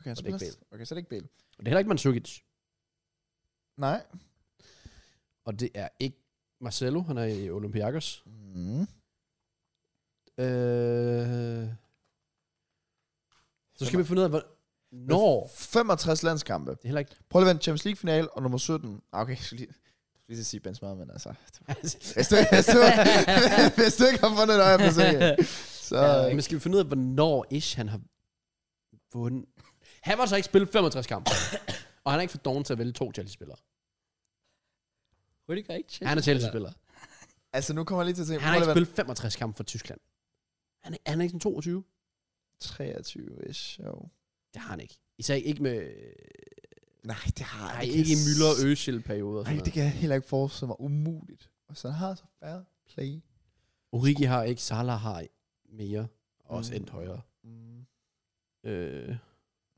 [SPEAKER 3] Okay, så
[SPEAKER 2] det er ikke
[SPEAKER 3] spiller- Okay, så er det ikke Bale.
[SPEAKER 2] Og det er heller ikke Mandzukic.
[SPEAKER 3] Nej.
[SPEAKER 2] Og det er ikke Marcelo, han er i Olympiakos.
[SPEAKER 3] Mm.
[SPEAKER 2] Øh... Så skal vi finde ud af, hvor... Når...
[SPEAKER 3] 65 landskampe.
[SPEAKER 2] Det er heller ikke...
[SPEAKER 3] Prøv lige at vende Champions League final og nummer 17. Ah, Okay, jeg skulle lige, jeg skulle lige til at sige Benzema, men altså... Hvis du, hvis du, hvis du ikke har fundet et øje på sikker, så...
[SPEAKER 2] Øh, men skal vi finde ud af, hvornår ish han har vundet? Han var så ikke spillet 65 kampe. og han er ikke for doven til at vælge to Chelsea-spillere.
[SPEAKER 1] Rüdiger ikke
[SPEAKER 2] Han er Chelsea-spiller.
[SPEAKER 3] Altså, nu kommer jeg lige til at tænke...
[SPEAKER 2] Han har
[SPEAKER 3] prøv
[SPEAKER 2] ikke
[SPEAKER 3] lige at
[SPEAKER 2] spillet 65 kampe for Tyskland. Han er, han er ikke sådan 22.
[SPEAKER 3] vende- 23-ish, jo.
[SPEAKER 2] Det har han ikke. Især ikke med...
[SPEAKER 3] Nej, det har
[SPEAKER 2] Nej,
[SPEAKER 3] jeg
[SPEAKER 2] ikke i Müller og Özil-perioder. og sådan
[SPEAKER 3] Nej, det kan jeg heller ikke forestille mig umuligt. Og så har så færre play.
[SPEAKER 2] noget. Origi har ikke, Salah har mere. Og også
[SPEAKER 3] Mm.
[SPEAKER 2] endt højere.
[SPEAKER 3] Mm.
[SPEAKER 2] Øh,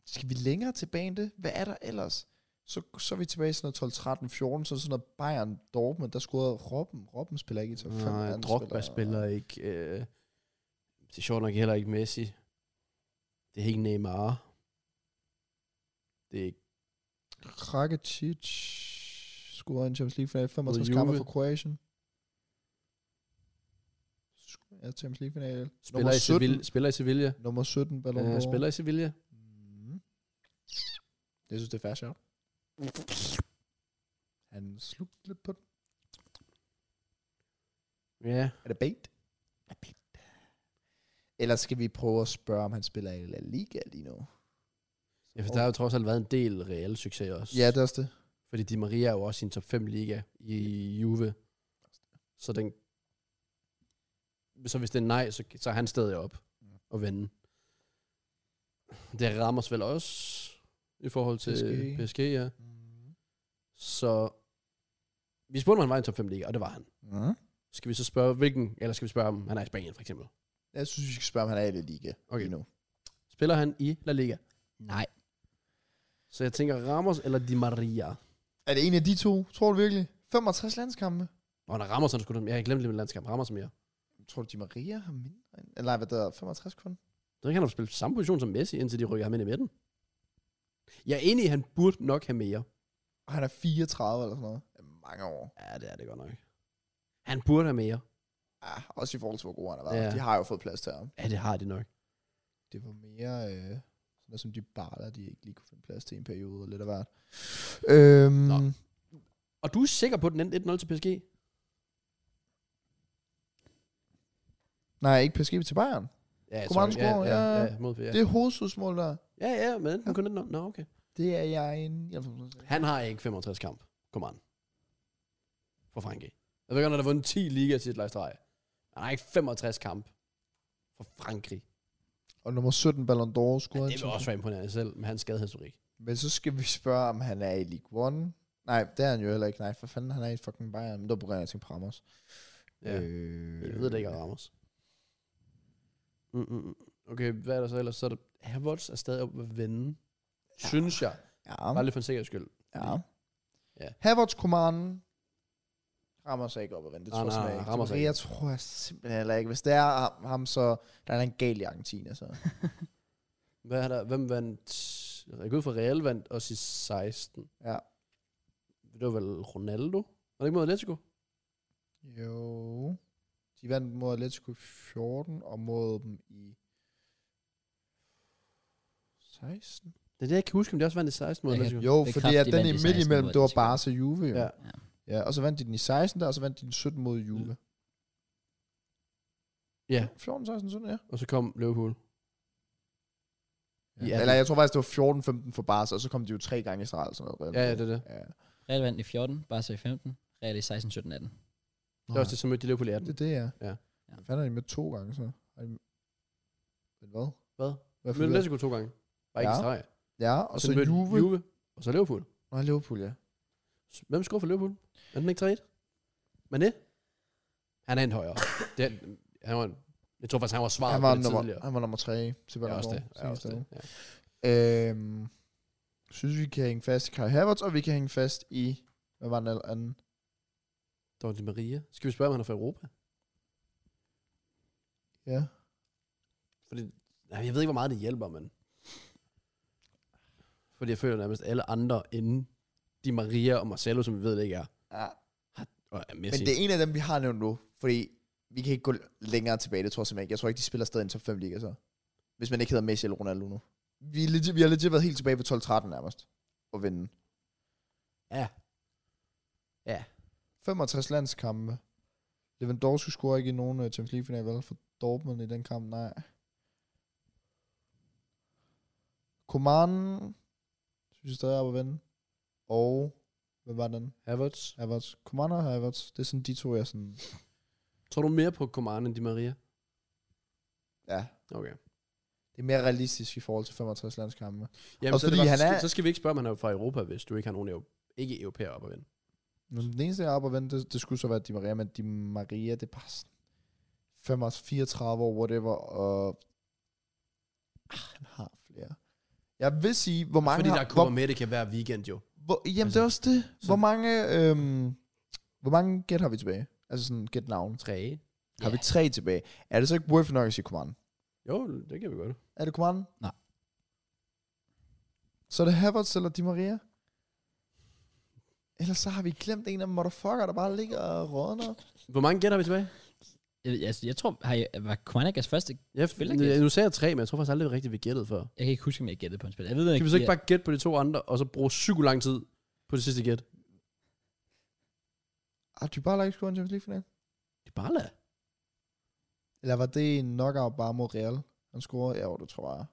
[SPEAKER 3] Skal vi længere tilbage end det? Hvad er der ellers? Så, så er vi tilbage i sådan noget 12, 13, 14, så er det sådan noget Bayern, Dortmund, der scorede Robben. Robben spiller ikke i top 5.
[SPEAKER 2] Øh, nej, Drogba spiller ikke. Øh, det er sjovt nok heller ikke Messi. Det er ikke Neymar. Det er ikke
[SPEAKER 3] Rakitic scorede en Champions League final 65
[SPEAKER 2] Mod
[SPEAKER 3] kampe
[SPEAKER 2] Juve.
[SPEAKER 3] for Kroatien. Sk- Ja, Champions League final.
[SPEAKER 2] Spiller i, Sevilla, spiller i Sevilla.
[SPEAKER 3] Nummer 17 Ballon d'Or.
[SPEAKER 2] Uh, spiller i Sevilla.
[SPEAKER 3] Mm. Jeg synes, det er fair shout. Han slugte lidt på den.
[SPEAKER 2] Ja.
[SPEAKER 3] Er det bait? Eller skal vi prøve at spørge, om han spiller i La Liga lige nu?
[SPEAKER 2] ja, for der har jo trods alt været en del reelle succes også.
[SPEAKER 3] Ja, det er også det.
[SPEAKER 2] Fordi Di Maria er jo også i en top 5 liga i Juve. Så den så hvis det er nej, så, så er han stadig op og vende. Det rammer vel også i forhold til PSG,
[SPEAKER 3] PSG.
[SPEAKER 2] PSG ja.
[SPEAKER 3] Mm.
[SPEAKER 2] Så vi spurgte, om han var i en top 5 liga, og det var han.
[SPEAKER 3] Mm.
[SPEAKER 2] Skal vi så spørge, hvilken, eller skal vi spørge, om han er i Spanien for eksempel?
[SPEAKER 3] Jeg synes, vi skal spørge, om han er i La Liga
[SPEAKER 2] Okay.
[SPEAKER 3] lige nu.
[SPEAKER 2] Spiller han i La Liga?
[SPEAKER 1] Nej.
[SPEAKER 2] Så jeg tænker Ramos eller Di Maria.
[SPEAKER 3] Er det en af de to? Tror du virkelig? 65 landskampe?
[SPEAKER 2] Og når Ramos, han skulle... Jeg har glemt lige med landskab. Ramos er mere.
[SPEAKER 3] Tror du, Di Maria har mindre end... Eller nej, hvad der er 65 kun?
[SPEAKER 2] Så kan han jo spille på samme position som Messi, indtil de rykker ham ind i midten. Jeg er enig i, at han burde nok have mere.
[SPEAKER 3] Og han er 34 eller sådan noget. Det er Mange år.
[SPEAKER 2] Ja, det er det godt nok. Han burde have mere.
[SPEAKER 3] Ah, også i forhold til, hvor gode han har været.
[SPEAKER 2] Ja.
[SPEAKER 3] De har jo fået plads til ham.
[SPEAKER 2] Ja, det har de nok.
[SPEAKER 3] Det var mere øh, sådan noget, som de barter, de ikke lige kunne finde plads til i en periode, og lidt af hvert. Øhm,
[SPEAKER 2] Nå. Og du er sikker på, at den endte 1-0 til PSG?
[SPEAKER 3] Nej, ikke PSG til Bayern.
[SPEAKER 2] Ja,
[SPEAKER 3] Kommando
[SPEAKER 2] sorry.
[SPEAKER 3] scorer,
[SPEAKER 2] ja,
[SPEAKER 3] ja,
[SPEAKER 2] ja,
[SPEAKER 3] ja.
[SPEAKER 2] ja, mod, ja.
[SPEAKER 3] Det er hovedsudsmål der.
[SPEAKER 2] ja, ja, men den kun 1-0. Nå, okay.
[SPEAKER 3] Det er jeg en... Jeg ved ikke.
[SPEAKER 2] Han har ikke 65 kamp. Kom an. For Frankrig. Jeg ved godt, han har vundet 10 liga til et streg. Han har ikke 65 kamp. For Frankrig.
[SPEAKER 3] Og nummer 17, Ballon d'Or,
[SPEAKER 2] Ja,
[SPEAKER 3] scorede
[SPEAKER 2] det vil
[SPEAKER 3] han.
[SPEAKER 2] også være imponerende selv, men hans skadehistorik.
[SPEAKER 3] Men så skal vi spørge, om han er i League One. Nej, det er han jo heller ikke. Nej, for fanden, han er i fucking Bayern. Men der begynder jeg at tænke på Ramos.
[SPEAKER 2] Ja.
[SPEAKER 3] Øh,
[SPEAKER 2] Jeg ved det ikke, at Ramos. Mm, mm, mm. Okay, hvad er der så ellers? Så er der... Havertz er stadig oppe at vende. Ja. Synes jeg.
[SPEAKER 3] Ja,
[SPEAKER 2] Bare lidt for en sikkerheds skyld.
[SPEAKER 3] ja.
[SPEAKER 2] Ja.
[SPEAKER 3] Havertz, Koman. Ramos er ikke oppe at vende. Det
[SPEAKER 2] Nej,
[SPEAKER 3] tror jeg
[SPEAKER 2] nej,
[SPEAKER 3] simpelthen
[SPEAKER 2] nej,
[SPEAKER 3] ikke.
[SPEAKER 2] Ramos er ikke.
[SPEAKER 3] Jeg tror jeg simpelthen heller ikke. Hvis det er ham- ham, så der er en gal i Argentina. Så.
[SPEAKER 2] Hvad er der? Hvem vandt? Jeg går ud fra Real vandt også i 16.
[SPEAKER 3] Ja.
[SPEAKER 2] Det var vel Ronaldo? Var det ikke mod Atletico?
[SPEAKER 3] Jo. De vandt mod Atletico i 14 og mod dem i 16.
[SPEAKER 2] Det er det, jeg kan huske, om de også vandt i 16 mod
[SPEAKER 1] Jeg kan-
[SPEAKER 2] Atletico.
[SPEAKER 3] Jo,
[SPEAKER 1] Det er
[SPEAKER 3] fordi
[SPEAKER 1] kraftigt,
[SPEAKER 3] at
[SPEAKER 1] de
[SPEAKER 3] den
[SPEAKER 1] vandt
[SPEAKER 3] i
[SPEAKER 1] i
[SPEAKER 3] midt
[SPEAKER 1] 16
[SPEAKER 3] imellem,
[SPEAKER 1] mod
[SPEAKER 3] det var
[SPEAKER 1] Atletico.
[SPEAKER 3] Barca Juve. Jo.
[SPEAKER 2] Ja.
[SPEAKER 3] Ja. ja. og så vandt de den i 16 der, og så vandt de den 17 mod Juve.
[SPEAKER 2] Ja,
[SPEAKER 3] 14, 16, 17, ja.
[SPEAKER 2] og så kom Liverpool. I
[SPEAKER 3] ja. Eller
[SPEAKER 2] atten.
[SPEAKER 3] jeg tror faktisk, det var 14, 15 for Barca, og så kom de jo tre gange i streg eller sådan noget.
[SPEAKER 2] Ja, ja, det er det.
[SPEAKER 3] Ja.
[SPEAKER 1] Real vandt i 14, Barca i 15, Real i 16, 17, 18.
[SPEAKER 2] Det var også det, som mødte de Liverpool i 18.
[SPEAKER 3] Det er det, ja.
[SPEAKER 1] Ja.
[SPEAKER 2] Ja.
[SPEAKER 3] Hvad fanden er de med to gange, så? Har de- Hvad?
[SPEAKER 2] Hvad?
[SPEAKER 3] Hvad
[SPEAKER 2] Mødte
[SPEAKER 3] for
[SPEAKER 2] Atletico to gange. Bare ikke
[SPEAKER 3] Ja.
[SPEAKER 2] i streg.
[SPEAKER 3] Ja, og så,
[SPEAKER 2] mødte
[SPEAKER 3] Juve. Juve.
[SPEAKER 2] Juve. Og så Liverpool.
[SPEAKER 3] Nå, Liverpool, ja.
[SPEAKER 2] Hvem scorer for Liverpool? Er den ikke 3-1? Mané? Han er en højere. Det er, han var, jeg tror faktisk, han var svaret
[SPEAKER 3] Han
[SPEAKER 2] på
[SPEAKER 3] var,
[SPEAKER 2] det
[SPEAKER 3] nummer,
[SPEAKER 2] tidligere.
[SPEAKER 3] han var nummer 3
[SPEAKER 2] Ja,
[SPEAKER 3] til Ballon
[SPEAKER 2] også
[SPEAKER 3] d'Or.
[SPEAKER 2] det. Ja, også
[SPEAKER 3] sidste
[SPEAKER 2] det.
[SPEAKER 3] år.
[SPEAKER 2] Ja.
[SPEAKER 3] Øhm, synes vi kan hænge fast i Kai Havertz, og vi kan hænge fast i, hvad var den al- anden?
[SPEAKER 2] Der var Di Maria. Skal vi spørge, om han er fra Europa?
[SPEAKER 3] Ja.
[SPEAKER 2] Fordi, nej, jeg ved ikke, hvor meget det hjælper, men... Fordi jeg føler nærmest alle andre inden de Maria og Marcelo, som vi ved det ikke er.
[SPEAKER 3] ja.
[SPEAKER 2] Og er Messi.
[SPEAKER 3] Men det er en af dem, vi har nævnt nu, fordi vi kan ikke gå længere tilbage, det tror jeg simpelthen ikke. Jeg tror ikke, de spiller stadig en top 5 liga så. Hvis man ikke hedder Messi eller Ronaldo nu. Vi, er legit, vi har legit været helt tilbage på 12-13 nærmest. Og vinde.
[SPEAKER 2] Ja. Ja.
[SPEAKER 3] 65 landskampe. Lewandowski scorer ikke i nogen øh, Champions league final vel? For Dortmund i den kamp, nej. Koman, synes jeg stadig er oppe at vinde. Og, hvad var den?
[SPEAKER 2] Havertz.
[SPEAKER 3] Havertz. Koman og Havertz. Det er sådan de to, jeg sådan...
[SPEAKER 2] Tror du mere på Coman end Di Maria?
[SPEAKER 3] Ja,
[SPEAKER 2] Okay.
[SPEAKER 3] det er mere realistisk i forhold til 65 landskampe.
[SPEAKER 2] Jamen,
[SPEAKER 3] Og
[SPEAKER 2] så, er det bare,
[SPEAKER 3] fordi han
[SPEAKER 2] så-
[SPEAKER 3] er-
[SPEAKER 2] så skal vi ikke spørge, om han er fra Europa, hvis du ikke har nogen eu- ikke europæer op at vinde.
[SPEAKER 3] Men den eneste, jeg er oppe at vende, det, det skulle så være Di Maria, men Di Maria, det er bare sådan 35, 34 år, whatever, og ah, han har flere. Jeg vil sige, hvor mange
[SPEAKER 2] Fordi
[SPEAKER 3] har,
[SPEAKER 2] der
[SPEAKER 3] hvor,
[SPEAKER 2] kommer med, det kan være weekend jo.
[SPEAKER 3] hvor, jamen
[SPEAKER 2] altså,
[SPEAKER 3] det er også det.
[SPEAKER 2] så-
[SPEAKER 3] Hvor mange, øhm, hvor mange gæt har vi tilbage? Altså sådan gæt navn.
[SPEAKER 2] Tre.
[SPEAKER 3] Har vi tre tilbage? Er det så ikke worth nok at sige Koman?
[SPEAKER 2] Jo, det kan vi godt.
[SPEAKER 3] Er det Koman?
[SPEAKER 1] Nej.
[SPEAKER 3] Så er det Havertz eller Di Maria? Ellers så har vi glemt en af dem motherfucker, der bare ligger og rådner.
[SPEAKER 2] Hvor mange gætter vi tilbage?
[SPEAKER 1] Jeg, jeg, altså, jeg tror, har jeg, var Komandikas første...
[SPEAKER 2] Jeg,
[SPEAKER 1] Spiller gæt.
[SPEAKER 2] nu sagde jeg tre, men jeg tror faktisk aldrig rigtigt, vi gættede før.
[SPEAKER 1] Jeg kan ikke huske, om jeg gættede på en spil. Jeg ved ikke,
[SPEAKER 2] Kan vi så ikke bare gætte på de to andre, og så bruge psyko lang tid på det sidste gæt?
[SPEAKER 3] Har du Ah, bare ikke scoret en Champions League final?
[SPEAKER 2] Dybala?
[SPEAKER 3] Eller var det en knockout bare mod Real? Han scorede? Ja, jo, det tror jeg. Jeg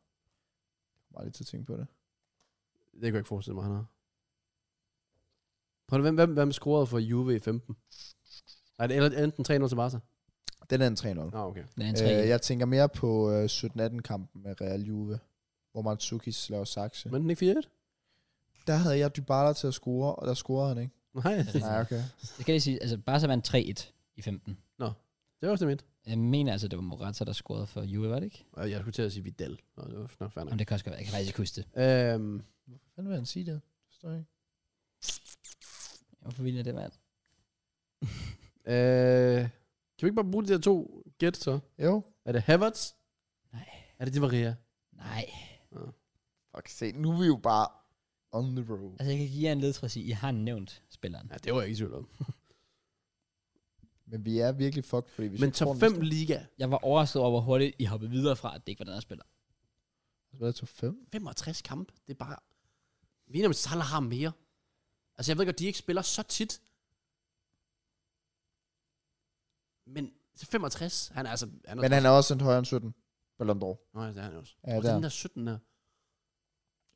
[SPEAKER 3] kommer bare lige til at tænke på det.
[SPEAKER 2] Det kan jeg ikke forestille mig, han har. Prøv, at- hvem, hvem, hvem scorede for Juve i 15? Nej, det er enten 3-0 til Barca.
[SPEAKER 3] Den er en 3-0.
[SPEAKER 2] Nå, ah, okay.
[SPEAKER 1] Den er en tre.
[SPEAKER 3] Øh, jeg tænker mere på øh, 17-18-kampen med Real Juve, hvor Mandzukic laver sakse. Men,
[SPEAKER 2] Men den ikke 4-1?
[SPEAKER 3] der havde jeg Dybala til at score, og der scorede han ikke.
[SPEAKER 2] Nej,
[SPEAKER 3] Nej, okay.
[SPEAKER 1] Jeg kan lige sige, altså Barca vandt 3-1 i 15.
[SPEAKER 2] det var også det, jeg mente.
[SPEAKER 1] Jeg mener altså, det var Morata, der scorede for Juve, var det ikke?
[SPEAKER 2] Og Jeg skulle til at sige Vidal. Nå, det var nok fair nok.
[SPEAKER 1] Jamen, det kan også godt være. Jeg kan faktisk ikke huske det.
[SPEAKER 2] Øhm,
[SPEAKER 3] Hvordan vil han sige det? Forstår jeg ikke.
[SPEAKER 1] Hvorfor ville jeg det, mand?
[SPEAKER 2] øh, kan vi ikke bare bruge de der to gæt, så?
[SPEAKER 3] Jo.
[SPEAKER 2] Er det Havertz?
[SPEAKER 1] Nej.
[SPEAKER 2] Er det Di Maria?
[SPEAKER 1] Nej.
[SPEAKER 3] Fuck, se, nu er vi jo bare on the road.
[SPEAKER 1] Altså, jeg kan give jer en ledtråd og sige, I har nævnt spilleren.
[SPEAKER 2] Ja, det var jeg ikke i tvivl om.
[SPEAKER 3] Men vi er virkelig fucked, fordi hvis
[SPEAKER 2] Men
[SPEAKER 3] vi
[SPEAKER 2] top
[SPEAKER 3] får den
[SPEAKER 2] 5
[SPEAKER 3] næste-
[SPEAKER 2] liga.
[SPEAKER 1] Jeg var overrasket over, hvor hurtigt I hoppede videre fra, at det ikke var den her spiller.
[SPEAKER 3] Hvad er top 5?
[SPEAKER 2] 65 kampe, det er bare... Vi er enige om, at Salah har mere. Altså, jeg ved godt, de ikke spiller så tit. Men til 65, han er altså... Han er
[SPEAKER 3] Men han er også sendt højere end 17. Ballon d'Or.
[SPEAKER 2] Nå, ja, det er han også.
[SPEAKER 3] Ja,
[SPEAKER 2] Ja, og
[SPEAKER 3] det er
[SPEAKER 2] den der 17 der.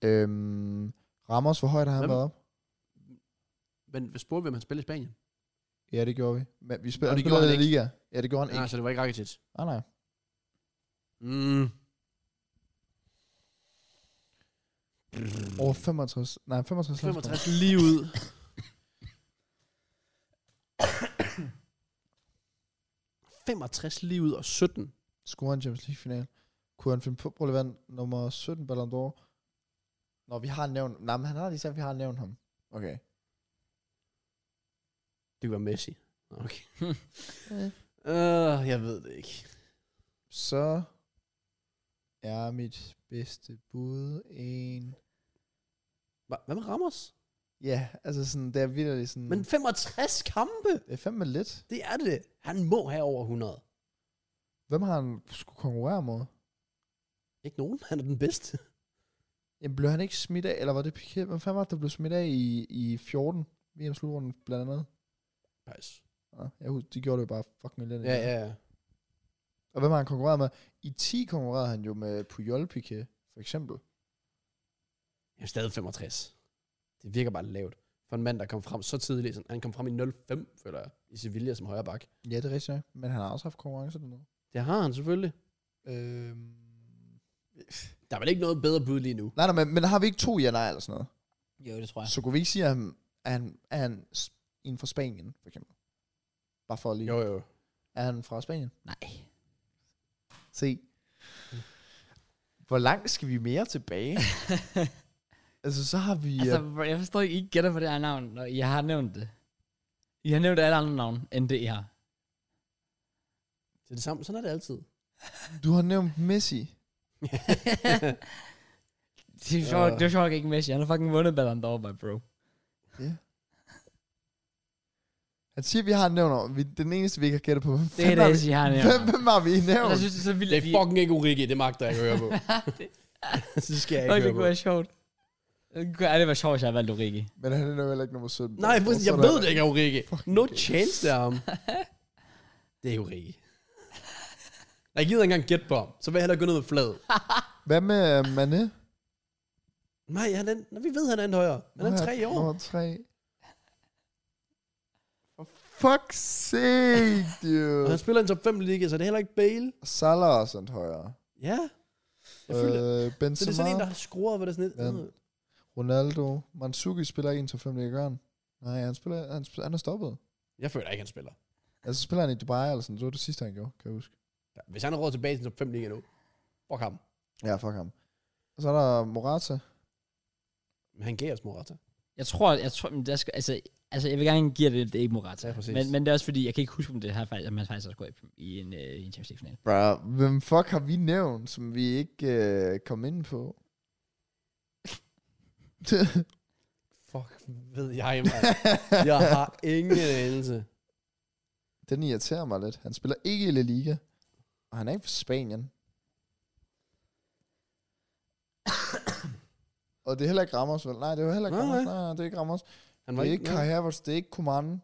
[SPEAKER 3] Øhm, Ramos, hvor højt har han
[SPEAKER 2] Hvem?
[SPEAKER 3] været op?
[SPEAKER 2] Men hvis spurgte, hvem han spiller i Spanien?
[SPEAKER 3] Ja, det gjorde vi. Men vi spiller,
[SPEAKER 2] Nå,
[SPEAKER 3] han
[SPEAKER 2] det
[SPEAKER 3] spiller
[SPEAKER 2] gjorde
[SPEAKER 3] i
[SPEAKER 2] han
[SPEAKER 3] Liga. Ja, det gjorde han
[SPEAKER 2] Nej,
[SPEAKER 3] ikke. Ah,
[SPEAKER 2] så det var ikke Rakitic.
[SPEAKER 3] Nej, nej.
[SPEAKER 2] Mm. Mm.
[SPEAKER 3] Over 65. Nej, 65.
[SPEAKER 2] 65 lige ud. ...65 lige ud og 17.
[SPEAKER 3] Scorer han Champions League final. Kunne han finde på, prøv lige at vende nummer 17 Ballon d'Or? Nå, vi har nævnt... Nej, men han har lige sagt, at vi har nævnt ham. Okay.
[SPEAKER 2] Det var Messi. Okay.
[SPEAKER 3] Øh.
[SPEAKER 2] uh, jeg ved det ikke.
[SPEAKER 3] Så er mit bedste bud en...
[SPEAKER 2] Hva- Hvad med Ramos?
[SPEAKER 3] Ja, altså sådan, det er vildt sådan...
[SPEAKER 2] Men 65 kampe,
[SPEAKER 3] det er fandme lidt.
[SPEAKER 2] det er det. Han må have over 100.
[SPEAKER 3] Hvem har han skulle konkurrere mod?
[SPEAKER 2] Ikke nogen, han er den bedste.
[SPEAKER 3] Jamen, blev han ikke smidt af, eller var det Piquet? Hvem fanden var det, der blev smidt af i, i 14? VM-slutrunden blandt andet.
[SPEAKER 2] Nice.
[SPEAKER 3] Ja, jeg husker, de gjorde det jo bare fucking lidt.
[SPEAKER 2] Ja, ja, ja.
[SPEAKER 3] Og hvem har han konkurreret med? I 10 konkurrerede han jo med Puyol Piquet, for eksempel.
[SPEAKER 2] Jeg er stadig 65. Det virker bare lavt. For en mand, der kom frem så tidligt. Sådan, han kom frem i 05, føler jeg, i Sevilla som højre bak.
[SPEAKER 3] Ja, det er rigtigt, nok, men han har også haft konkurrence dernede.
[SPEAKER 2] Det har han selvfølgelig.
[SPEAKER 3] Øhm...
[SPEAKER 2] Der er vel ikke noget bedre bud lige nu.
[SPEAKER 3] Nej, nej, men, men har vi ikke to ja nej eller sådan noget?
[SPEAKER 1] Jo, det tror
[SPEAKER 3] Så kunne vi ikke sige, at han, at han, at han s- en fra Spanien, for eksempel? Bare for lige... Jo.
[SPEAKER 2] jo.
[SPEAKER 3] Er han fra Spanien?
[SPEAKER 1] Nej.
[SPEAKER 3] Se. Hvor langt skal vi mere tilbage? altså, så har vi...
[SPEAKER 1] Altså,
[SPEAKER 3] øh,
[SPEAKER 1] bro, jeg forstår ikke, I ikke gætter på det her navn, når I har nævnt det. I har nævnt alle andre navne, end det I har.
[SPEAKER 2] Det er det samme. Sådan er det altid.
[SPEAKER 3] du har nævnt Messi.
[SPEAKER 1] Det er
[SPEAKER 2] Øh.
[SPEAKER 1] sjovt, det er sjovt ikke Messi. Han har fucking vundet Ballon d'Or, my bro.
[SPEAKER 3] Han siger, at vi har nævnt over. Vi, den eneste, vi ikke har gættet på. Hvem
[SPEAKER 1] Det er det,
[SPEAKER 3] fanden har
[SPEAKER 1] eneste, I har
[SPEAKER 3] vi,
[SPEAKER 1] nævnt. Altså,
[SPEAKER 3] hvem, hvem har vi
[SPEAKER 2] Altså,
[SPEAKER 3] nævnt?
[SPEAKER 1] Jeg synes, det er så vildt,
[SPEAKER 2] Det er
[SPEAKER 1] at I-
[SPEAKER 2] fucking ikke Ulrike, det magter jeg ikke at høre på. det skal jeg
[SPEAKER 1] Øj,
[SPEAKER 2] ikke
[SPEAKER 1] det kunne
[SPEAKER 2] høre på.
[SPEAKER 1] være sjovt. Det kunne ærligt være sjovt, hvis jeg havde valgt Ulrike.
[SPEAKER 3] Men han er jo heller ikke nummer 17.
[SPEAKER 2] Nej,
[SPEAKER 3] Og
[SPEAKER 2] præcis,
[SPEAKER 3] så
[SPEAKER 2] jeg
[SPEAKER 3] er
[SPEAKER 2] ved
[SPEAKER 3] der-
[SPEAKER 2] det ikke er Ulrike. No chance der ham. Det er Ulrike. Jeg gider ikke engang gætte på ham. Så vil jeg hellere gå ned med flad.
[SPEAKER 3] Hvad med øh, Mané?
[SPEAKER 2] Nej, han er, Nå, vi ved, han er en højere. Han er en tre i år.
[SPEAKER 3] Nummer 3. For fuck's sake,
[SPEAKER 2] Og han
[SPEAKER 3] dude.
[SPEAKER 2] spiller i en top 5 liga, så det er heller ikke Bale.
[SPEAKER 3] Salah er også en højere.
[SPEAKER 2] Ja. Jeg føler, så det er
[SPEAKER 3] Øh,
[SPEAKER 2] sådan en,
[SPEAKER 3] Benzema,
[SPEAKER 2] der har skruer, hvor det er sådan
[SPEAKER 3] Ja.
[SPEAKER 2] lidt.
[SPEAKER 3] Ronaldo. Mansuki spiller ikke en til 5 ligger han. Nej, han, spiller, han, spiller, han er stoppet.
[SPEAKER 2] Jeg føler ikke, han spiller.
[SPEAKER 3] Altså, så spiller han i Dubai eller sådan. Det var det sidste, han gjorde, kan jeg huske.
[SPEAKER 2] Hvis han har råd tilbage til top 5 liga nu, fuck ham.
[SPEAKER 3] Ja, fuck ham. Og så er der Morata.
[SPEAKER 2] Men han gav os Morata.
[SPEAKER 1] Jeg tror, jeg tror, men der skal, altså, altså, jeg vil gerne give jer det, det er ikke Morata.
[SPEAKER 2] Ja, præcis.
[SPEAKER 1] men, men det er også fordi, jeg kan ikke huske, om det her faktisk, om han faktisk også går i, i en, øh, i en Champions League-final.
[SPEAKER 3] Bro, hvem fuck har vi nævnt, som vi ikke øh, kom ind på?
[SPEAKER 2] Fuck, ved jeg, mand. Jeg har ingen anelse.
[SPEAKER 3] Den irriterer mig lidt. Han spiller ikke i La Liga, og han er ikke fra Spanien. og det er heller ikke Ramos, vel? Nej, det er heller ikke
[SPEAKER 2] Nej,
[SPEAKER 3] Ramos.
[SPEAKER 2] nej.
[SPEAKER 3] Nej, nej, det er ikke Ramos.
[SPEAKER 2] Han
[SPEAKER 3] Det er ikke Kai
[SPEAKER 2] nej,
[SPEAKER 3] Havertz, det er ikke Kuman.
[SPEAKER 2] det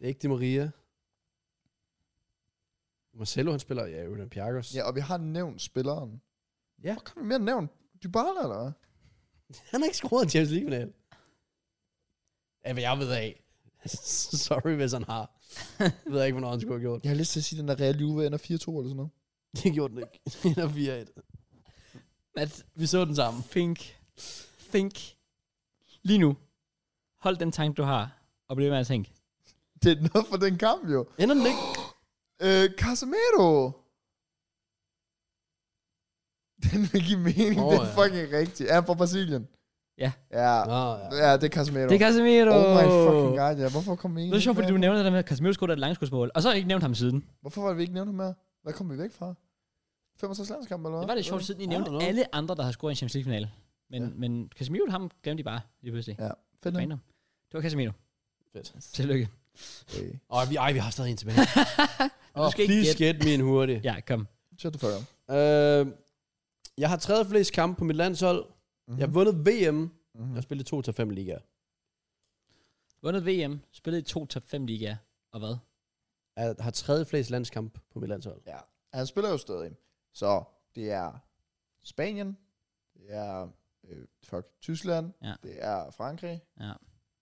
[SPEAKER 2] er ikke Di Maria. Marcelo, han spiller, ja, Øden Pjarkos.
[SPEAKER 3] Ja, og vi har nævnt spilleren.
[SPEAKER 2] Ja.
[SPEAKER 3] Hvor kan vi mere nævnt? Dybala, eller hvad?
[SPEAKER 2] Han har ikke scoret en Champions League final. Ja, hvad jeg ved af. Sorry, hvis han har. Jeg ved ikke, hvornår han skulle have gjort. det.
[SPEAKER 3] Jeg har lyst til at sige, at den der Real Juve ender 4-2 eller sådan noget.
[SPEAKER 2] Det gjorde den ikke. Den er 4-1.
[SPEAKER 1] Mads,
[SPEAKER 2] Vi så den sammen.
[SPEAKER 1] think, think. Lige nu, hold den tanke, du har, og bliv med at tænke.
[SPEAKER 3] Det er noget for den kamp, jo.
[SPEAKER 2] Ender den ikke?
[SPEAKER 3] Øh, Casemiro. Den vil give mening.
[SPEAKER 2] Åh,
[SPEAKER 3] Oh, det er
[SPEAKER 2] ja.
[SPEAKER 3] fucking rigtigt. Er han fra Brasilien?
[SPEAKER 1] Ja.
[SPEAKER 3] Ja,
[SPEAKER 2] Nå, ja.
[SPEAKER 3] ja det er Casemiro.
[SPEAKER 1] Det er Casemiro.
[SPEAKER 3] Oh my fucking god, ja. Hvorfor kom vi
[SPEAKER 1] Det
[SPEAKER 3] ikke
[SPEAKER 1] er sjovt, fordi du
[SPEAKER 3] med?
[SPEAKER 1] nævner det der med, at Casemiro skudte et langskudsmål, og så har jeg ikke nævnt ham siden.
[SPEAKER 3] Hvorfor var det, vi ikke nævnt ham mere? Hvad kom vi væk fra? 65 landskamp, eller hvad?
[SPEAKER 1] Det var lidt sjovt, siden I
[SPEAKER 2] I
[SPEAKER 1] nævnte
[SPEAKER 2] don't know.
[SPEAKER 1] alle andre, der har scoret i en Champions League-final. Men,
[SPEAKER 3] Ja.
[SPEAKER 1] ja. men Casemiro, ham glemte de bare lige pludselig.
[SPEAKER 3] Ja, fedt. nok.
[SPEAKER 1] Random. Det var Casemiro.
[SPEAKER 2] Fedt.
[SPEAKER 1] Tillykke.
[SPEAKER 3] Okay.
[SPEAKER 2] Ej, vi, ej, vi har stadig en tilbage. oh,
[SPEAKER 1] skal ikke
[SPEAKER 2] please
[SPEAKER 1] gætte.
[SPEAKER 2] get me en hurtig.
[SPEAKER 1] Ja, kom.
[SPEAKER 3] Shut the fuck up.
[SPEAKER 2] Øh, jeg har tredje flest kampe på mit landshold. Mm-hmm.
[SPEAKER 3] Mhm.
[SPEAKER 2] Jeg har vundet VM. Mm-hmm.
[SPEAKER 3] Mhm.
[SPEAKER 2] Jeg har spillet 2 til 5 ligaer.
[SPEAKER 1] Vundet VM, spillet i to top 5 ligaer, og hvad?
[SPEAKER 2] Jeg har tredje flest landskampe på mit landshold.
[SPEAKER 3] Ja, han spiller jo stadig. Så det er Spanien, det er øh, fuck, Tyskland,
[SPEAKER 1] Ja.
[SPEAKER 3] det er Frankrig.
[SPEAKER 1] Ja.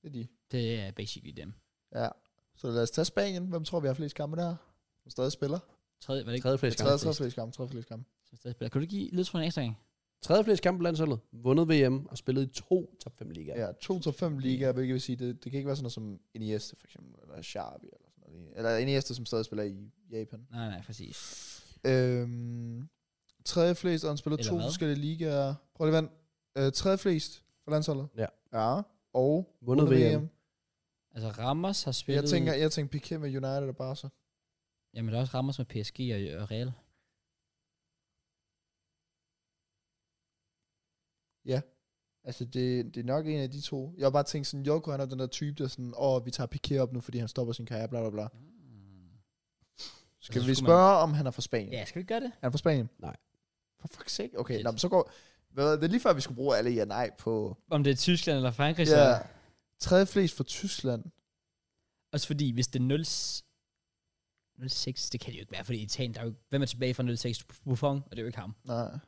[SPEAKER 3] Det er de.
[SPEAKER 1] Det er basically dem.
[SPEAKER 3] Ja. Så lad os tage Spanien. Hvem tror vi har flest kampe der? Som stadig spiller.
[SPEAKER 1] Tredje, var det ikke?
[SPEAKER 2] Tredje flest
[SPEAKER 3] Tredje,
[SPEAKER 2] kampe.
[SPEAKER 3] tredje flest kampe. Tredje flest kampe.
[SPEAKER 1] Som stadig spiller. Kan du ikke give lidt for en ekstra gang?
[SPEAKER 2] Tredje flest kampe på landsholdet. Vundet VM og spillet i to top 5 ligaer.
[SPEAKER 3] Ja, to til fem ligaer, hvilket vil sige, det, det kan ikke være sådan noget som Iniesta for eksempel, eller Xavi eller sådan noget. Eller Iniesta, som stadig spiller i Japan.
[SPEAKER 1] Nej, nej, præcis.
[SPEAKER 3] Øhm, tredje flest, og han spiller
[SPEAKER 1] Eller
[SPEAKER 3] to
[SPEAKER 1] hvad?
[SPEAKER 3] forskellige ligaer. Prøv lige at vente. øh, Tredje flest for landsholdet.
[SPEAKER 2] Ja.
[SPEAKER 3] Ja, og
[SPEAKER 2] Vundet VM.
[SPEAKER 1] Altså, Ramos har spillet...
[SPEAKER 3] Jeg tænker, jeg tænker Piqué med United og Barca.
[SPEAKER 1] Jamen, der er også Ramos med PSG og, og Real.
[SPEAKER 3] Altså, det, det er nok en af de to. Jeg har bare tænkt sådan, Joko, han er den der type, der sådan, åh, oh, vi tager Piqué op nu, fordi han stopper sin karriere, bla bla bla.
[SPEAKER 1] så
[SPEAKER 3] Skal vi
[SPEAKER 1] skulle
[SPEAKER 3] spørge, om han er fra Spanien?
[SPEAKER 1] Ja, skal vi gøre det?
[SPEAKER 3] Er han fra Spanien?
[SPEAKER 2] Nej.
[SPEAKER 3] For fuck's sake. Okay,
[SPEAKER 1] Fedt.
[SPEAKER 3] nå, men så går... Hvad, det er lige før, vi skulle bruge alle ja nej på...
[SPEAKER 1] Om det er Tyskland eller Frankrig, så...
[SPEAKER 3] Ja. Tredje flest for Tyskland.
[SPEAKER 1] Også fordi, hvis det er 0... 06, det kan det jo ikke være, fordi Italien, der er jo, hvem er tilbage fra 06? Buffon, og det er jo ikke ham.
[SPEAKER 3] Nej.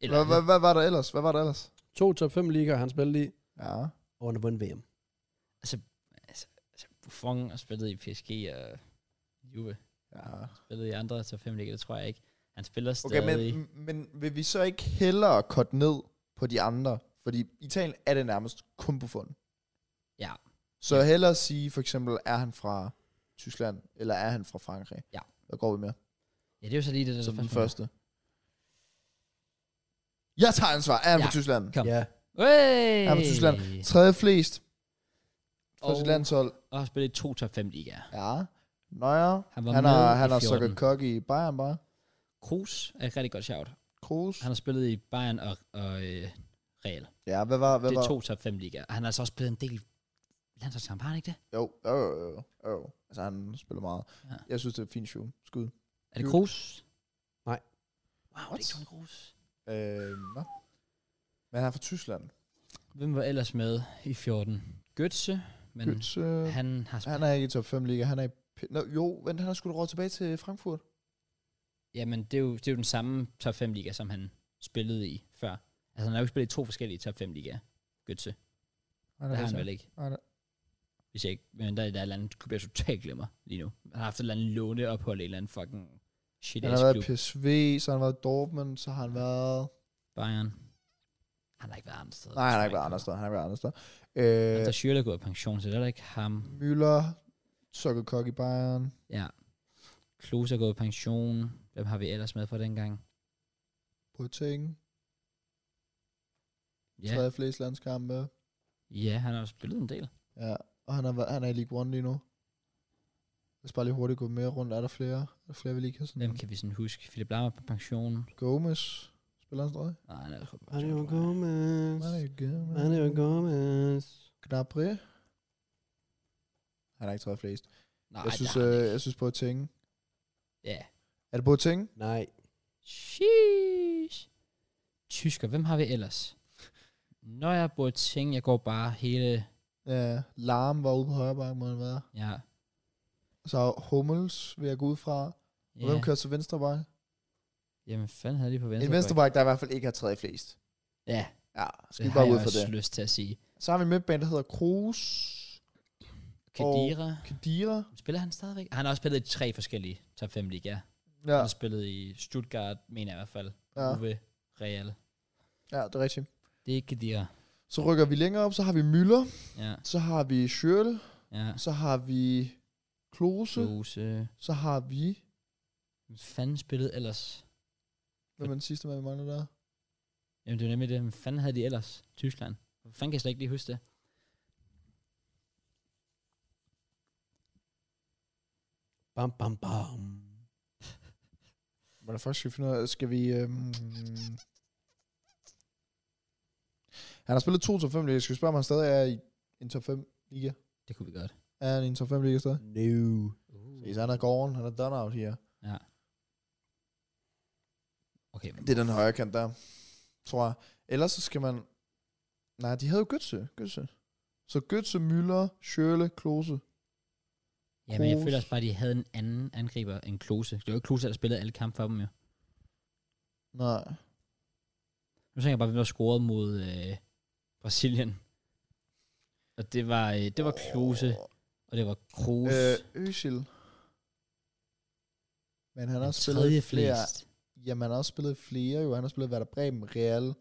[SPEAKER 1] Eller,
[SPEAKER 3] Hvad, hvad, hvad var der ellers? Hvad var der ellers?
[SPEAKER 2] To top 5 ligaer, han spillede i,
[SPEAKER 3] Ja.
[SPEAKER 2] og han har vundet VM.
[SPEAKER 1] altså, Buffon har spillet i PSG og Juve.
[SPEAKER 3] ja.
[SPEAKER 1] Spillet i andre top 5 ligaer, det tror jeg ikke. Han spiller stadig...
[SPEAKER 3] Okay, men, men vil vi så ikke hellere korte ned på de andre? Fordi Italien er det nærmest kun på fund.
[SPEAKER 1] Ja.
[SPEAKER 3] Så hellere sige, for eksempel, er han fra Tyskland, eller er han fra Frankrig?
[SPEAKER 1] Ja.
[SPEAKER 3] Hvad går vi med?
[SPEAKER 1] Ja, det er jo så lige det, der
[SPEAKER 3] Som den
[SPEAKER 1] spørgsmål.
[SPEAKER 3] første. Jeg tager ansvar. Er han ja.
[SPEAKER 1] Ja.
[SPEAKER 3] fra Tyskland?
[SPEAKER 1] Kom.
[SPEAKER 2] Ja.
[SPEAKER 1] Hey!
[SPEAKER 3] Er han fra Tyskland? Tredje flest fra
[SPEAKER 1] Og-
[SPEAKER 3] sit landshold.
[SPEAKER 1] Og har spillet i to top 5 ligaer.
[SPEAKER 3] Ja. Nøjere.
[SPEAKER 1] Han var
[SPEAKER 3] Han
[SPEAKER 1] med
[SPEAKER 3] har,
[SPEAKER 1] i
[SPEAKER 3] han har
[SPEAKER 1] 14.
[SPEAKER 3] sukket kok i Bayern bare.
[SPEAKER 1] Kroos er et rigtig godt shout.
[SPEAKER 3] Kroos.
[SPEAKER 1] Han har spillet i Bayern og, og øh, Real.
[SPEAKER 3] Ja, hvad var... Hvad
[SPEAKER 1] Det er
[SPEAKER 3] var?
[SPEAKER 1] to top 5 ligaer. Og Han har altså også spillet en del landsholdskamp, har han ikke det?
[SPEAKER 3] Jo, jo, jo, jo, jo. Altså, han spiller meget.
[SPEAKER 1] Ja.
[SPEAKER 3] Ja. Jeg synes, det er et fint show. Skud.
[SPEAKER 1] Er det
[SPEAKER 3] Jo.
[SPEAKER 1] Kroos?
[SPEAKER 2] Nej.
[SPEAKER 1] Wow, det er ikke Tony Kroos.
[SPEAKER 3] Øh, hvad? Men han er fra Tyskland.
[SPEAKER 1] Hvem var ellers med i 14? Götze, men Götze.
[SPEAKER 3] Götze, han,
[SPEAKER 1] han har spillet...
[SPEAKER 3] øh, han er ikke i top 5 liga. Han er i... P- Nå, jo, men han har sgu da råd tilbage til Frankfurt.
[SPEAKER 1] Jamen, det er, jo, det er jo den samme top 5 liga, som han spillede i før. Altså, han har jo ikke spillet i to forskellige top 5 ligaer. Götze. Det har
[SPEAKER 3] Nej, er
[SPEAKER 1] han
[SPEAKER 3] så.
[SPEAKER 1] vel ikke.
[SPEAKER 3] altså, Nej, det-
[SPEAKER 1] Hvis jeg ikke, men der, er- der er et eller andet, klub, jeg totalt glemmer lige nu. Han har haft et eller andet låneophold i en eller anden fucking shit
[SPEAKER 3] Han har været i
[SPEAKER 1] klub.
[SPEAKER 3] PSV, så har han været i Dortmund, så har han været...
[SPEAKER 1] Bayern. Han har ikke været andre steder.
[SPEAKER 3] Nej, han har ikke været andre steder. Han har ikke været andre steder. Øh,
[SPEAKER 1] Der Schürrle er gået af pension, så det er da ikke ham.
[SPEAKER 3] Müller, Sokkel Kok i Bayern.
[SPEAKER 1] Ja. Klose er gået af pension. Hvem har vi ellers med fra dengang?
[SPEAKER 3] Boateng,
[SPEAKER 1] Ja,
[SPEAKER 3] yeah. tredje flest landskampe.
[SPEAKER 1] ja han har jo spillet en del.
[SPEAKER 3] Ja, og han er, væ- han er i League One lige nu. Lad os bare lige hurtigt gå mere rundt. Er der flere? Er der flere, vi lige kan sådan?
[SPEAKER 1] Hvem kan vi sådan huske? Philip Lahm er på pension.
[SPEAKER 3] Gomez. Spiller han stadig?
[SPEAKER 1] Nej, han er også på pension.
[SPEAKER 2] Mario
[SPEAKER 1] tror jeg.
[SPEAKER 2] Gomez.
[SPEAKER 3] Nej, Gomez.
[SPEAKER 2] Mario Gomez.
[SPEAKER 3] Gnabry. Han er ikke tredje flest.
[SPEAKER 1] Nej,
[SPEAKER 3] jeg,
[SPEAKER 1] det
[SPEAKER 3] synes,
[SPEAKER 1] har han
[SPEAKER 3] øh,
[SPEAKER 1] ikke.
[SPEAKER 3] jeg synes på at tænke.
[SPEAKER 1] Ja.
[SPEAKER 3] Er det på at tænke?
[SPEAKER 2] Nej.
[SPEAKER 1] Sheesh. Tysker, hvem har vi ellers? Når jeg burde tænke, jeg går bare hele...
[SPEAKER 3] Ja, Larm var ude på højre bakke, må han være.
[SPEAKER 1] Ja.
[SPEAKER 3] Så Hummels vil jeg gå ud fra. Og
[SPEAKER 1] ja.
[SPEAKER 3] hvem kører til venstre bakke?
[SPEAKER 1] Jamen, fanden havde de på venstre?
[SPEAKER 3] En venstre bakke, der i hvert fald ikke har tredje flest.
[SPEAKER 1] Ja,
[SPEAKER 3] Ja,
[SPEAKER 1] det
[SPEAKER 3] skal vi
[SPEAKER 1] har
[SPEAKER 3] bare
[SPEAKER 1] jeg
[SPEAKER 3] ud for
[SPEAKER 1] også
[SPEAKER 3] det.
[SPEAKER 1] lyst til at sige.
[SPEAKER 3] Så har vi en midtbane, der hedder Kroos,
[SPEAKER 1] Kadira.
[SPEAKER 3] Kadira.
[SPEAKER 1] Spiller han stadigvæk? Han har også spillet i tre forskellige top 5 ligaer. Ja.
[SPEAKER 3] Ja,
[SPEAKER 1] Han har spillet i Stuttgart, mener jeg i hvert fald.
[SPEAKER 3] ja,
[SPEAKER 1] Ja. Altså, Uwe, Real.
[SPEAKER 3] ja, det er rigtigt.
[SPEAKER 1] Det er ikke Kadira.
[SPEAKER 3] Så rykker vi længere op, så har vi Müller,
[SPEAKER 1] Ja,
[SPEAKER 3] så har vi Schürrle,
[SPEAKER 1] ja.
[SPEAKER 3] så har vi Klose,
[SPEAKER 1] Klose.
[SPEAKER 3] så har vi...
[SPEAKER 1] Hvem fanden spillede ellers?
[SPEAKER 3] Hvem er den sidste, man mangler der?
[SPEAKER 1] Jamen, det er nemlig det. Hvem fanden havde de ellers? Tyskland. Hvem fanden kan jeg slet ikke lige huske det?
[SPEAKER 2] Bam, bam, bam.
[SPEAKER 3] Hvordan først skal vi finde ud af, skal vi... Øhm... Han har spillet 2 top 5 ligaer. Skal vi spørge, om han stadig er i en top 5? liga.
[SPEAKER 1] Det kunne vi godt.
[SPEAKER 3] Er han i en top 5 liga stadig?
[SPEAKER 2] No.
[SPEAKER 1] Uh.
[SPEAKER 3] Hvis han er gården, han er done out her.
[SPEAKER 1] Okay, men
[SPEAKER 3] Det er den højre kant der, tror jeg. Ellers så skal man... Nej, de havde jo Götze. Götze. Så Götze, Müller, Schürrle, Klose.
[SPEAKER 1] Jamen, jeg
[SPEAKER 3] Klose.
[SPEAKER 1] føler også bare, at de havde en anden angriber end Klose. Det var jo ikke Klose, der spillede alle kampe for dem jo.
[SPEAKER 3] Nej.
[SPEAKER 1] Nu tænker jeg bare, at vi var scoret mod øh, Brasilien. Og det var, øh, det var Klose, og det var Kroos.
[SPEAKER 3] Øh,
[SPEAKER 1] Øh,
[SPEAKER 3] Özil. Men han har
[SPEAKER 1] den
[SPEAKER 3] også spillet i
[SPEAKER 1] tredje
[SPEAKER 3] flere...
[SPEAKER 1] flest.
[SPEAKER 3] Jamen, han har også spillet i flere jo. Han har spillet i Werder Bremen, Real,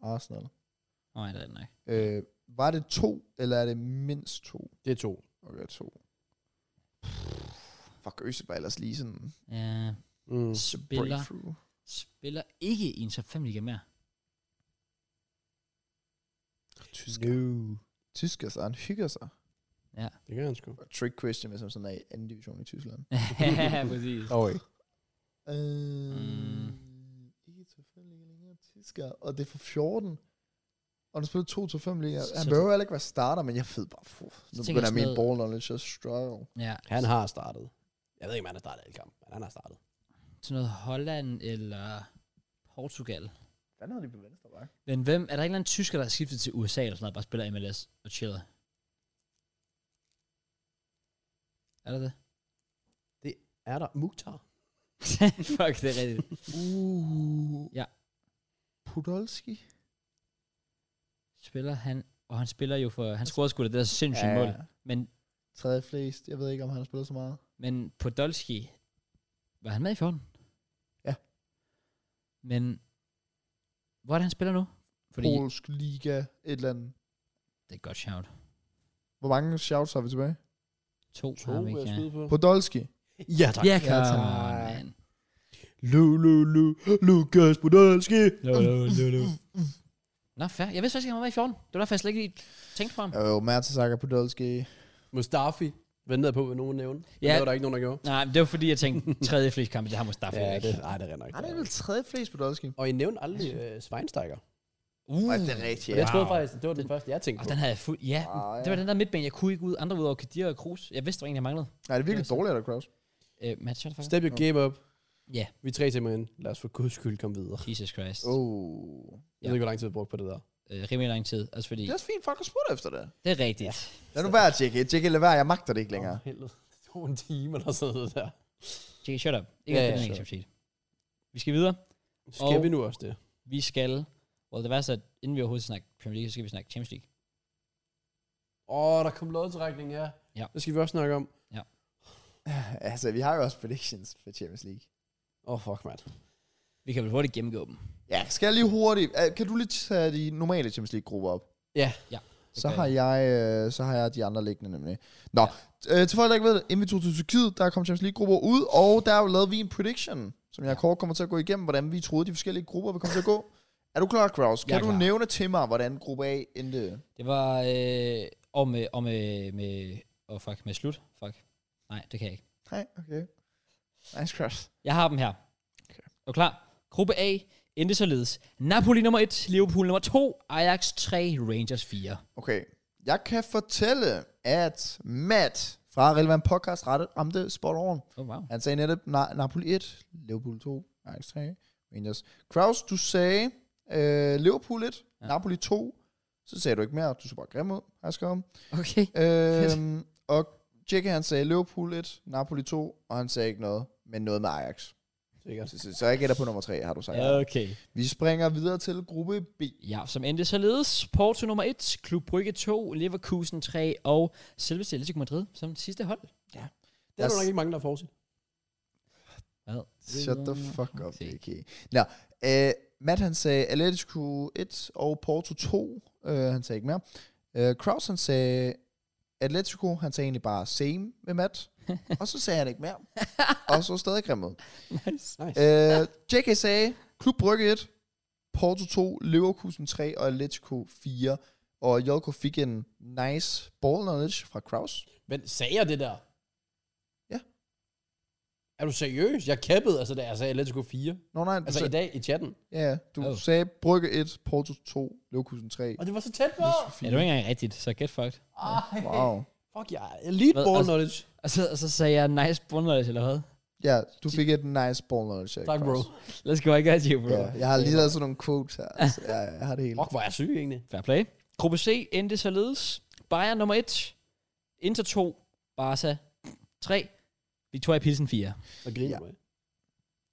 [SPEAKER 3] Arsenal.
[SPEAKER 1] Nej, det er det nok.
[SPEAKER 3] Øh, var det to, eller er det mindst to?
[SPEAKER 2] Det er to.
[SPEAKER 3] Okay, to. Fuck, Özil var ellers lige sådan
[SPEAKER 1] Ja,
[SPEAKER 2] Mm.
[SPEAKER 1] spiller,
[SPEAKER 3] breakthrough.
[SPEAKER 1] spiller ikke i en top 5 liga mere.
[SPEAKER 3] Tysker.
[SPEAKER 2] No.
[SPEAKER 3] Tysker, så han hygger sig.
[SPEAKER 2] Det kan han sgu.
[SPEAKER 3] Trick question, hvis han sådan er i anden division i Tyskland.
[SPEAKER 1] ja, præcis.
[SPEAKER 2] Okay.
[SPEAKER 3] Øh,
[SPEAKER 1] Mm.
[SPEAKER 3] Ikke til fem liga længere, Tysker. Og det er for 14. Og han spiller 2 til 5 liga. Han
[SPEAKER 1] Så-
[SPEAKER 3] behøver heller ikke være starter, men jeg ved bare, fuh, nu
[SPEAKER 1] tænker
[SPEAKER 3] begynder
[SPEAKER 1] jeg sådan
[SPEAKER 3] min
[SPEAKER 1] noget-
[SPEAKER 3] ball knowledge at struggle.
[SPEAKER 1] Ja,
[SPEAKER 2] Han har startet. Jeg ved ikke, om han har startet alle kampe, men han har startet.
[SPEAKER 1] sådan noget Holland eller Portugal.
[SPEAKER 3] Hvad havde de på venstre bak?
[SPEAKER 1] Men hvem, er der ikke en eller anden tysker, der er skiftet til USA eller sådan noget, og bare spiller MLS og chiller? Er der det?
[SPEAKER 2] Er der Mukhtar?
[SPEAKER 1] Fuck, det er rigtigt.
[SPEAKER 3] Uh.
[SPEAKER 1] Ja.
[SPEAKER 3] Podolski?
[SPEAKER 1] Spiller han, og han spiller jo for, han scorede sgu da det der sindssyge ja. mål. Men,
[SPEAKER 3] Tredje flest. Jeg ved ikke, om han har spillet så meget.
[SPEAKER 1] men Podolski, var han med i 14?
[SPEAKER 3] Ja.
[SPEAKER 1] Men, hvor er det, han spiller nu? Fordi,
[SPEAKER 3] Fordi... Polsk liga, et eller andet.
[SPEAKER 1] det er et godt shout.
[SPEAKER 3] Hvor mange shouts har vi tilbage?
[SPEAKER 1] To,
[SPEAKER 2] To,
[SPEAKER 1] har vi
[SPEAKER 2] vil
[SPEAKER 1] ikke,
[SPEAKER 2] jeg
[SPEAKER 1] ja.
[SPEAKER 2] skyde på.
[SPEAKER 3] Podolski.
[SPEAKER 2] Ja, tak.
[SPEAKER 1] Ja,
[SPEAKER 3] Ja,
[SPEAKER 1] come
[SPEAKER 3] tak.
[SPEAKER 1] on, man.
[SPEAKER 2] Lu, lu, lu, Lukas Podolski.
[SPEAKER 1] No, no, no, no. Nå, fair. Jeg vidste faktisk, ikke, han var med i 14. Det var derfor, jeg slet ikke lige tænkte på ham.
[SPEAKER 3] Jo, Mertesacker, Podolski.
[SPEAKER 2] Mustafi ventede på, at nogen nævne. Ja.
[SPEAKER 1] Ja.
[SPEAKER 2] Det var der ikke nogen, der gjorde.
[SPEAKER 1] Nej, men det var fordi, jeg tænkte, tredje flest kampe, det har Mustafa ja, ikke.
[SPEAKER 2] nej, det render
[SPEAKER 3] Han er vel tredje flest Podolski.
[SPEAKER 2] Og I nævnte aldrig uh, Schweinsteiger.
[SPEAKER 1] Uh,
[SPEAKER 3] Nej, det er rigtigt.
[SPEAKER 2] Wow. Jeg troede
[SPEAKER 1] Wow.
[SPEAKER 2] faktisk, det var den første, jeg tænkte
[SPEAKER 1] og
[SPEAKER 2] på.
[SPEAKER 1] den havde jeg fuld... Ja,
[SPEAKER 3] Ah, ja.
[SPEAKER 1] det var den der midtbane, jeg kunne ikke ud andre ud over Kadir og Cruz. Jeg vidste, der var en, jeg manglede.
[SPEAKER 3] Nej, det er virkelig dårligt, der Kraus.
[SPEAKER 1] Øh, matcher det faktisk.
[SPEAKER 2] Step your game up.
[SPEAKER 1] Ja.
[SPEAKER 2] Vi er tre timer ind. Lad os for guds skyld komme videre.
[SPEAKER 1] Jesus Christ. Oh.
[SPEAKER 3] Oh.
[SPEAKER 2] Jeg ved ikke, hvor lang tid vi brugte på det der.
[SPEAKER 1] Øh, rimelig lang tid. Altså fordi,
[SPEAKER 3] Det er også fint, folk har spurgt efter det.
[SPEAKER 1] det er rigtigt.
[SPEAKER 3] Lad nu være, Tjekke. Tjekke, lad være. Jeg magter det ikke længere.
[SPEAKER 2] Åh, helvede. Det tog en time eller sådan noget der.
[SPEAKER 1] Jake, shut up. Ikke
[SPEAKER 2] Ja,
[SPEAKER 1] ja,
[SPEAKER 2] ja,
[SPEAKER 1] ja,
[SPEAKER 2] sure.
[SPEAKER 1] ja, Vi skal videre.
[SPEAKER 2] Skal
[SPEAKER 1] Og-
[SPEAKER 2] vi nu også det?
[SPEAKER 1] Vi skal... Well, det værste er, at inden vi overhovedet snakker Premier League, så skal vi snakke Champions League.
[SPEAKER 2] Åh, oh, der kom lodtrækning, ja.
[SPEAKER 1] Ja.
[SPEAKER 2] Det skal vi også snakke om.
[SPEAKER 3] altså, vi har jo også predictions for Champions League.
[SPEAKER 2] Åh, oh, fuck, mand.
[SPEAKER 1] Vi kan vel hurtigt gennemgå dem.
[SPEAKER 3] Ja, skal jeg lige hurtigt... øh, Kan du lige tage de normale Champions League-grupper op?
[SPEAKER 1] Det
[SPEAKER 3] Så
[SPEAKER 1] gør
[SPEAKER 3] har,
[SPEAKER 1] jeg.
[SPEAKER 3] jeg, øh, så har jeg de andre liggende nemlig. Nå, øh, til folk, der ikke ved det, inden vi tog til Tyrkiet, der kom Champions League-grupper ud, og der lavede vi en prediction, som jeg kort kommer til at gå igennem, hvordan vi troede, de forskellige grupper ville komme til at gå. Er du klar, Kraus?
[SPEAKER 1] Jeg
[SPEAKER 3] Kan
[SPEAKER 1] er
[SPEAKER 3] du
[SPEAKER 1] klar.
[SPEAKER 3] nævne til mig, hvordan gruppe A endte?
[SPEAKER 1] Det var... Øh, og med... Og med, med og fuck, med slut. Fuck. Nej, det kan jeg ikke.
[SPEAKER 3] Nej, okay. Nice, Kraus.
[SPEAKER 1] Jeg har dem her.
[SPEAKER 3] Okay.
[SPEAKER 1] Okay. Er du klar? Gruppe A endte således. Napoli nummer 1, Liverpool nummer 2, Ajax 3, Rangers 4.
[SPEAKER 3] Okay, jeg kan fortælle, at Matt fra Relevant Podcast rette ramte spot on.
[SPEAKER 1] Oh, wow.
[SPEAKER 3] Han sagde netop Na- Napoli 1, Liverpool 2, Ajax 3, Rangers. Kraus, du sagde øh, Liverpool 1, ja.
[SPEAKER 1] Ja.
[SPEAKER 3] Napoli 2. Så sagde du ikke mere, du så bare grim ud, har jeg skrevet.
[SPEAKER 1] Okay.
[SPEAKER 3] Øhm, og Jekke, han sagde Liverpool 1, Napoli 2, og han sagde ikke noget, men noget med Ajax.
[SPEAKER 2] Sikkert.
[SPEAKER 3] Så, så, så jeg gætter på nummer 3, har du sagt. Ja.
[SPEAKER 1] Okay.
[SPEAKER 3] Vi springer videre til gruppe B.
[SPEAKER 1] Ja, som endte således. Porto nummer 1, Klub Brygge 2, Leverkusen 3 og selveste Atletico Madrid som sidste hold.
[SPEAKER 2] Det er der
[SPEAKER 3] Jeg-
[SPEAKER 2] nok ikke mange, der får sig.
[SPEAKER 1] Hvad?
[SPEAKER 3] Shut the fuck up,
[SPEAKER 1] Okay.
[SPEAKER 3] okay. Nå, øh, Matt han sagde Atletico 1 og Porto 2. Øh, han sagde ikke mere. Øh, Kraus han sagde Atletico, han sagde egentlig bare same med Matt. og så sagde han ikke mere. og så stadig grim ud.
[SPEAKER 1] Nice.
[SPEAKER 2] Nice.
[SPEAKER 3] Øh, JK sagde Klub Brygge 1, Porto 2, Leverkusen 3 og Atletico 4. Og JK fik en nice ball knowledge fra Kraus.
[SPEAKER 2] Men sagde jeg det der?
[SPEAKER 3] Ja.
[SPEAKER 2] Er du seriøs? Jeg kæppede, altså, da jeg sagde Atletico 4.
[SPEAKER 3] Nå nej, du,
[SPEAKER 2] Altså
[SPEAKER 3] altså,
[SPEAKER 2] i dag i chatten.
[SPEAKER 3] ja, du
[SPEAKER 1] Oh.
[SPEAKER 3] sagde Brygge 1, Porto 2, Leverkusen 3.
[SPEAKER 2] Og det var så tæt på.
[SPEAKER 1] Ja, det var ikke engang rigtigt, så get fucked.
[SPEAKER 2] Ej,
[SPEAKER 3] Wow.
[SPEAKER 2] fuck ja. Elite
[SPEAKER 1] Hvad,
[SPEAKER 2] ball
[SPEAKER 1] altså-
[SPEAKER 2] knowledge.
[SPEAKER 1] Og så, og så sagde jeg, nice bundløs, eller hvad?
[SPEAKER 3] Ja, du fik et nice ball knowledge. check,
[SPEAKER 2] Tak, bro.
[SPEAKER 3] faktisk.
[SPEAKER 1] Let's go, I got you, bro.
[SPEAKER 3] Ja, jeg har lige lavet sådan nogle quotes her. Altså, ja, jeg har det hele.
[SPEAKER 2] Fuck, hvor er jeg syg egentlig.
[SPEAKER 1] Fair play. Gruppe C endte således. Bayern nummer 1, Inter 2, Barca 3, Victoria Pilsen 4.
[SPEAKER 2] Jeg griner
[SPEAKER 3] Ja.
[SPEAKER 2] ja.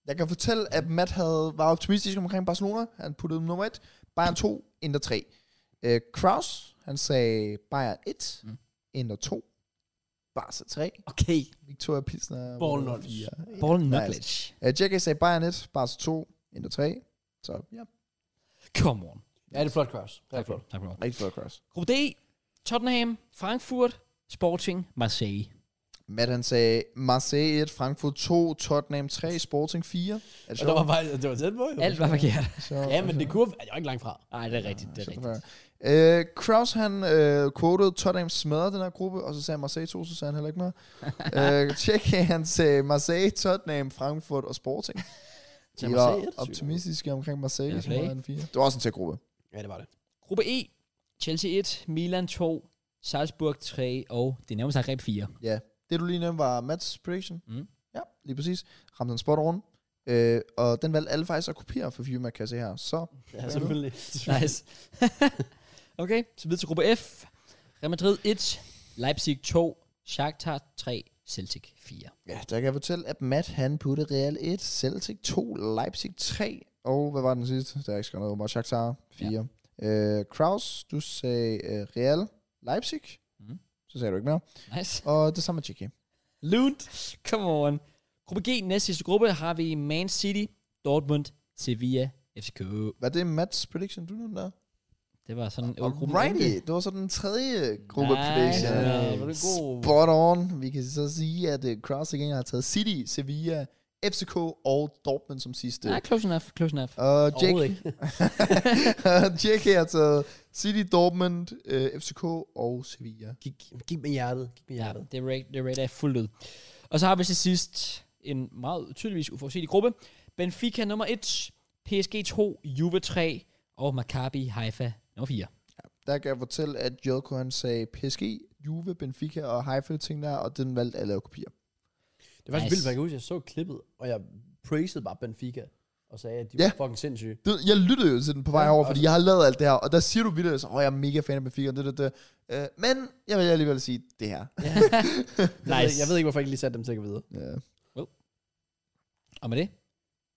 [SPEAKER 3] Jeg kan fortælle, at Matt havde, var optimistisk omkring Barcelona. Han puttede dem nummer 1, Bayern 2, Inter 3. Uh, Kraus, han sagde Bayern 1,
[SPEAKER 1] Mm.
[SPEAKER 3] mm. Inter 2, Barca 3,
[SPEAKER 1] Okay.
[SPEAKER 3] Victoria Pilsner
[SPEAKER 2] Ball
[SPEAKER 3] nummer
[SPEAKER 2] knowledge.
[SPEAKER 3] fire.
[SPEAKER 1] Ball
[SPEAKER 3] Nice.
[SPEAKER 1] knowledge.
[SPEAKER 3] Uh, JK sagde Bayern 1, Barca 2, Inter 3. Så ja,
[SPEAKER 1] Come on.
[SPEAKER 2] Ja, det er flot, Kraus. Det er
[SPEAKER 1] Tak for
[SPEAKER 2] flot.
[SPEAKER 1] det. Tak for det.
[SPEAKER 3] rigtig flot Kraus.
[SPEAKER 1] Gruppe D, Tottenham, Frankfurt, Sporting, Marseille.
[SPEAKER 3] Matt han sagde Marseille 1, Frankfurt 2, Tottenham 3, Sporting 4. Er
[SPEAKER 2] Og
[SPEAKER 3] det
[SPEAKER 2] der
[SPEAKER 3] sjovt?
[SPEAKER 2] var faktisk, det var tæt på, jo.
[SPEAKER 1] Alt var forkert.
[SPEAKER 3] Sjovt.
[SPEAKER 2] Ja, men det kunne, jeg er ikke langt fra.
[SPEAKER 1] Nej, det er rigtigt, det er rigtigt.
[SPEAKER 3] Øh, Kraus, han øh, quoted Tottenham smadrer den her gruppe, og så sagde Marseille 2, så sagde han heller ikke mere. øh, Tjek, han sagde Marseille, Tottenham, Frankfurt og Sporting.
[SPEAKER 2] Ja,
[SPEAKER 3] De
[SPEAKER 2] Marseille
[SPEAKER 3] var
[SPEAKER 2] er det sygt.
[SPEAKER 3] optimistiske omkring Marseille,
[SPEAKER 1] Ja,
[SPEAKER 3] som
[SPEAKER 1] play.
[SPEAKER 3] var en fire. Det var også en tæt gruppe.
[SPEAKER 2] Ja, det var det.
[SPEAKER 1] Gruppe E, Chelsea 1, Milan 2, Salzburg 3 og det nærmer sig Reb 4.
[SPEAKER 3] Det du lige nævnte var Mats prediction.
[SPEAKER 1] Mm.
[SPEAKER 3] Ja, lige præcis. Ramte en spot rundt. Øh, og den valgte alle faktisk at kopiere for Firma, kan jeg se her. Så
[SPEAKER 2] Ja, selvfølgelig.
[SPEAKER 1] Nice. okay, så videre til gruppe F. Real Madrid 1, Leipzig 2, Shakhtar 3, Celtic 4.
[SPEAKER 3] ja, der kan jeg fortælle, at Matt han puttede Real 1, Celtic 2, Leipzig 3, og hvad var den sidste? Der er ikke skrevet noget, Mark Shakhtar 4. Ja. Øh, Kraus, du sagde øh, Real, Leipzig.
[SPEAKER 1] Mm.
[SPEAKER 3] Mm. Så sagde du ikke mere.
[SPEAKER 1] Nice.
[SPEAKER 3] Og det samme med JK.
[SPEAKER 1] Lunt. Come on. Gruppe G, næst sidste gruppe, har vi Man City, Dortmund, Sevilla, FCK.
[SPEAKER 3] Var det Mats prediction, du nævnte der?
[SPEAKER 1] Det var sådan, at gruppen endte.
[SPEAKER 3] Alrighty, det var så den tredje gruppe
[SPEAKER 1] Nice.
[SPEAKER 3] prediction.
[SPEAKER 2] Ja,
[SPEAKER 1] Ja.
[SPEAKER 2] var det en god.
[SPEAKER 3] Spot on. Vi kan så sige, at øh, Kraus igen har taget City, Sevilla, FCK og Dortmund som sidste.
[SPEAKER 1] Nej, close enough, close enough.
[SPEAKER 3] Og
[SPEAKER 1] Overhovedet
[SPEAKER 3] Jake,
[SPEAKER 1] ikke.
[SPEAKER 3] Jake har taget City, Dortmund, øh, FCK og Sevilla.
[SPEAKER 2] Gik, gik med hjertet. Gik med
[SPEAKER 1] Ja,
[SPEAKER 2] hjertet.
[SPEAKER 1] det rate, det rate er fuldt ud. Og så har vi til sidst en meget tydeligvis uforudsigelig gruppe. Benfica nummer 1, PSG 2, Juve 3 og Maccabi Haifa nummer 4.
[SPEAKER 3] Der kan jeg fortælle, at Joko han sagde PSG, Juve, Benfica og Haifa ting der, og den valgte alle at kopiere.
[SPEAKER 2] Det var faktisk
[SPEAKER 1] Nice.
[SPEAKER 2] vildt, for jeg kan huske, jeg så klippet, og jeg praisede bare Benfica, og sagde, at de
[SPEAKER 3] Ja.
[SPEAKER 2] var fucking sindssyge.
[SPEAKER 3] Det- Jeg lyttede jo til den på vej
[SPEAKER 2] Ja,
[SPEAKER 3] over,
[SPEAKER 2] og
[SPEAKER 3] fordi
[SPEAKER 2] så-
[SPEAKER 3] jeg har lavet alt det her, og der siger du vildt, at jeg er mega fan af Benfica, og det, det, det. Øh, men jeg vil alligevel sige det her. Øh,
[SPEAKER 2] Jeg ved- Jeg ved ikke, hvorfor jeg ikke lige satte dem til at gå videre.
[SPEAKER 3] Ja.
[SPEAKER 1] Og med det,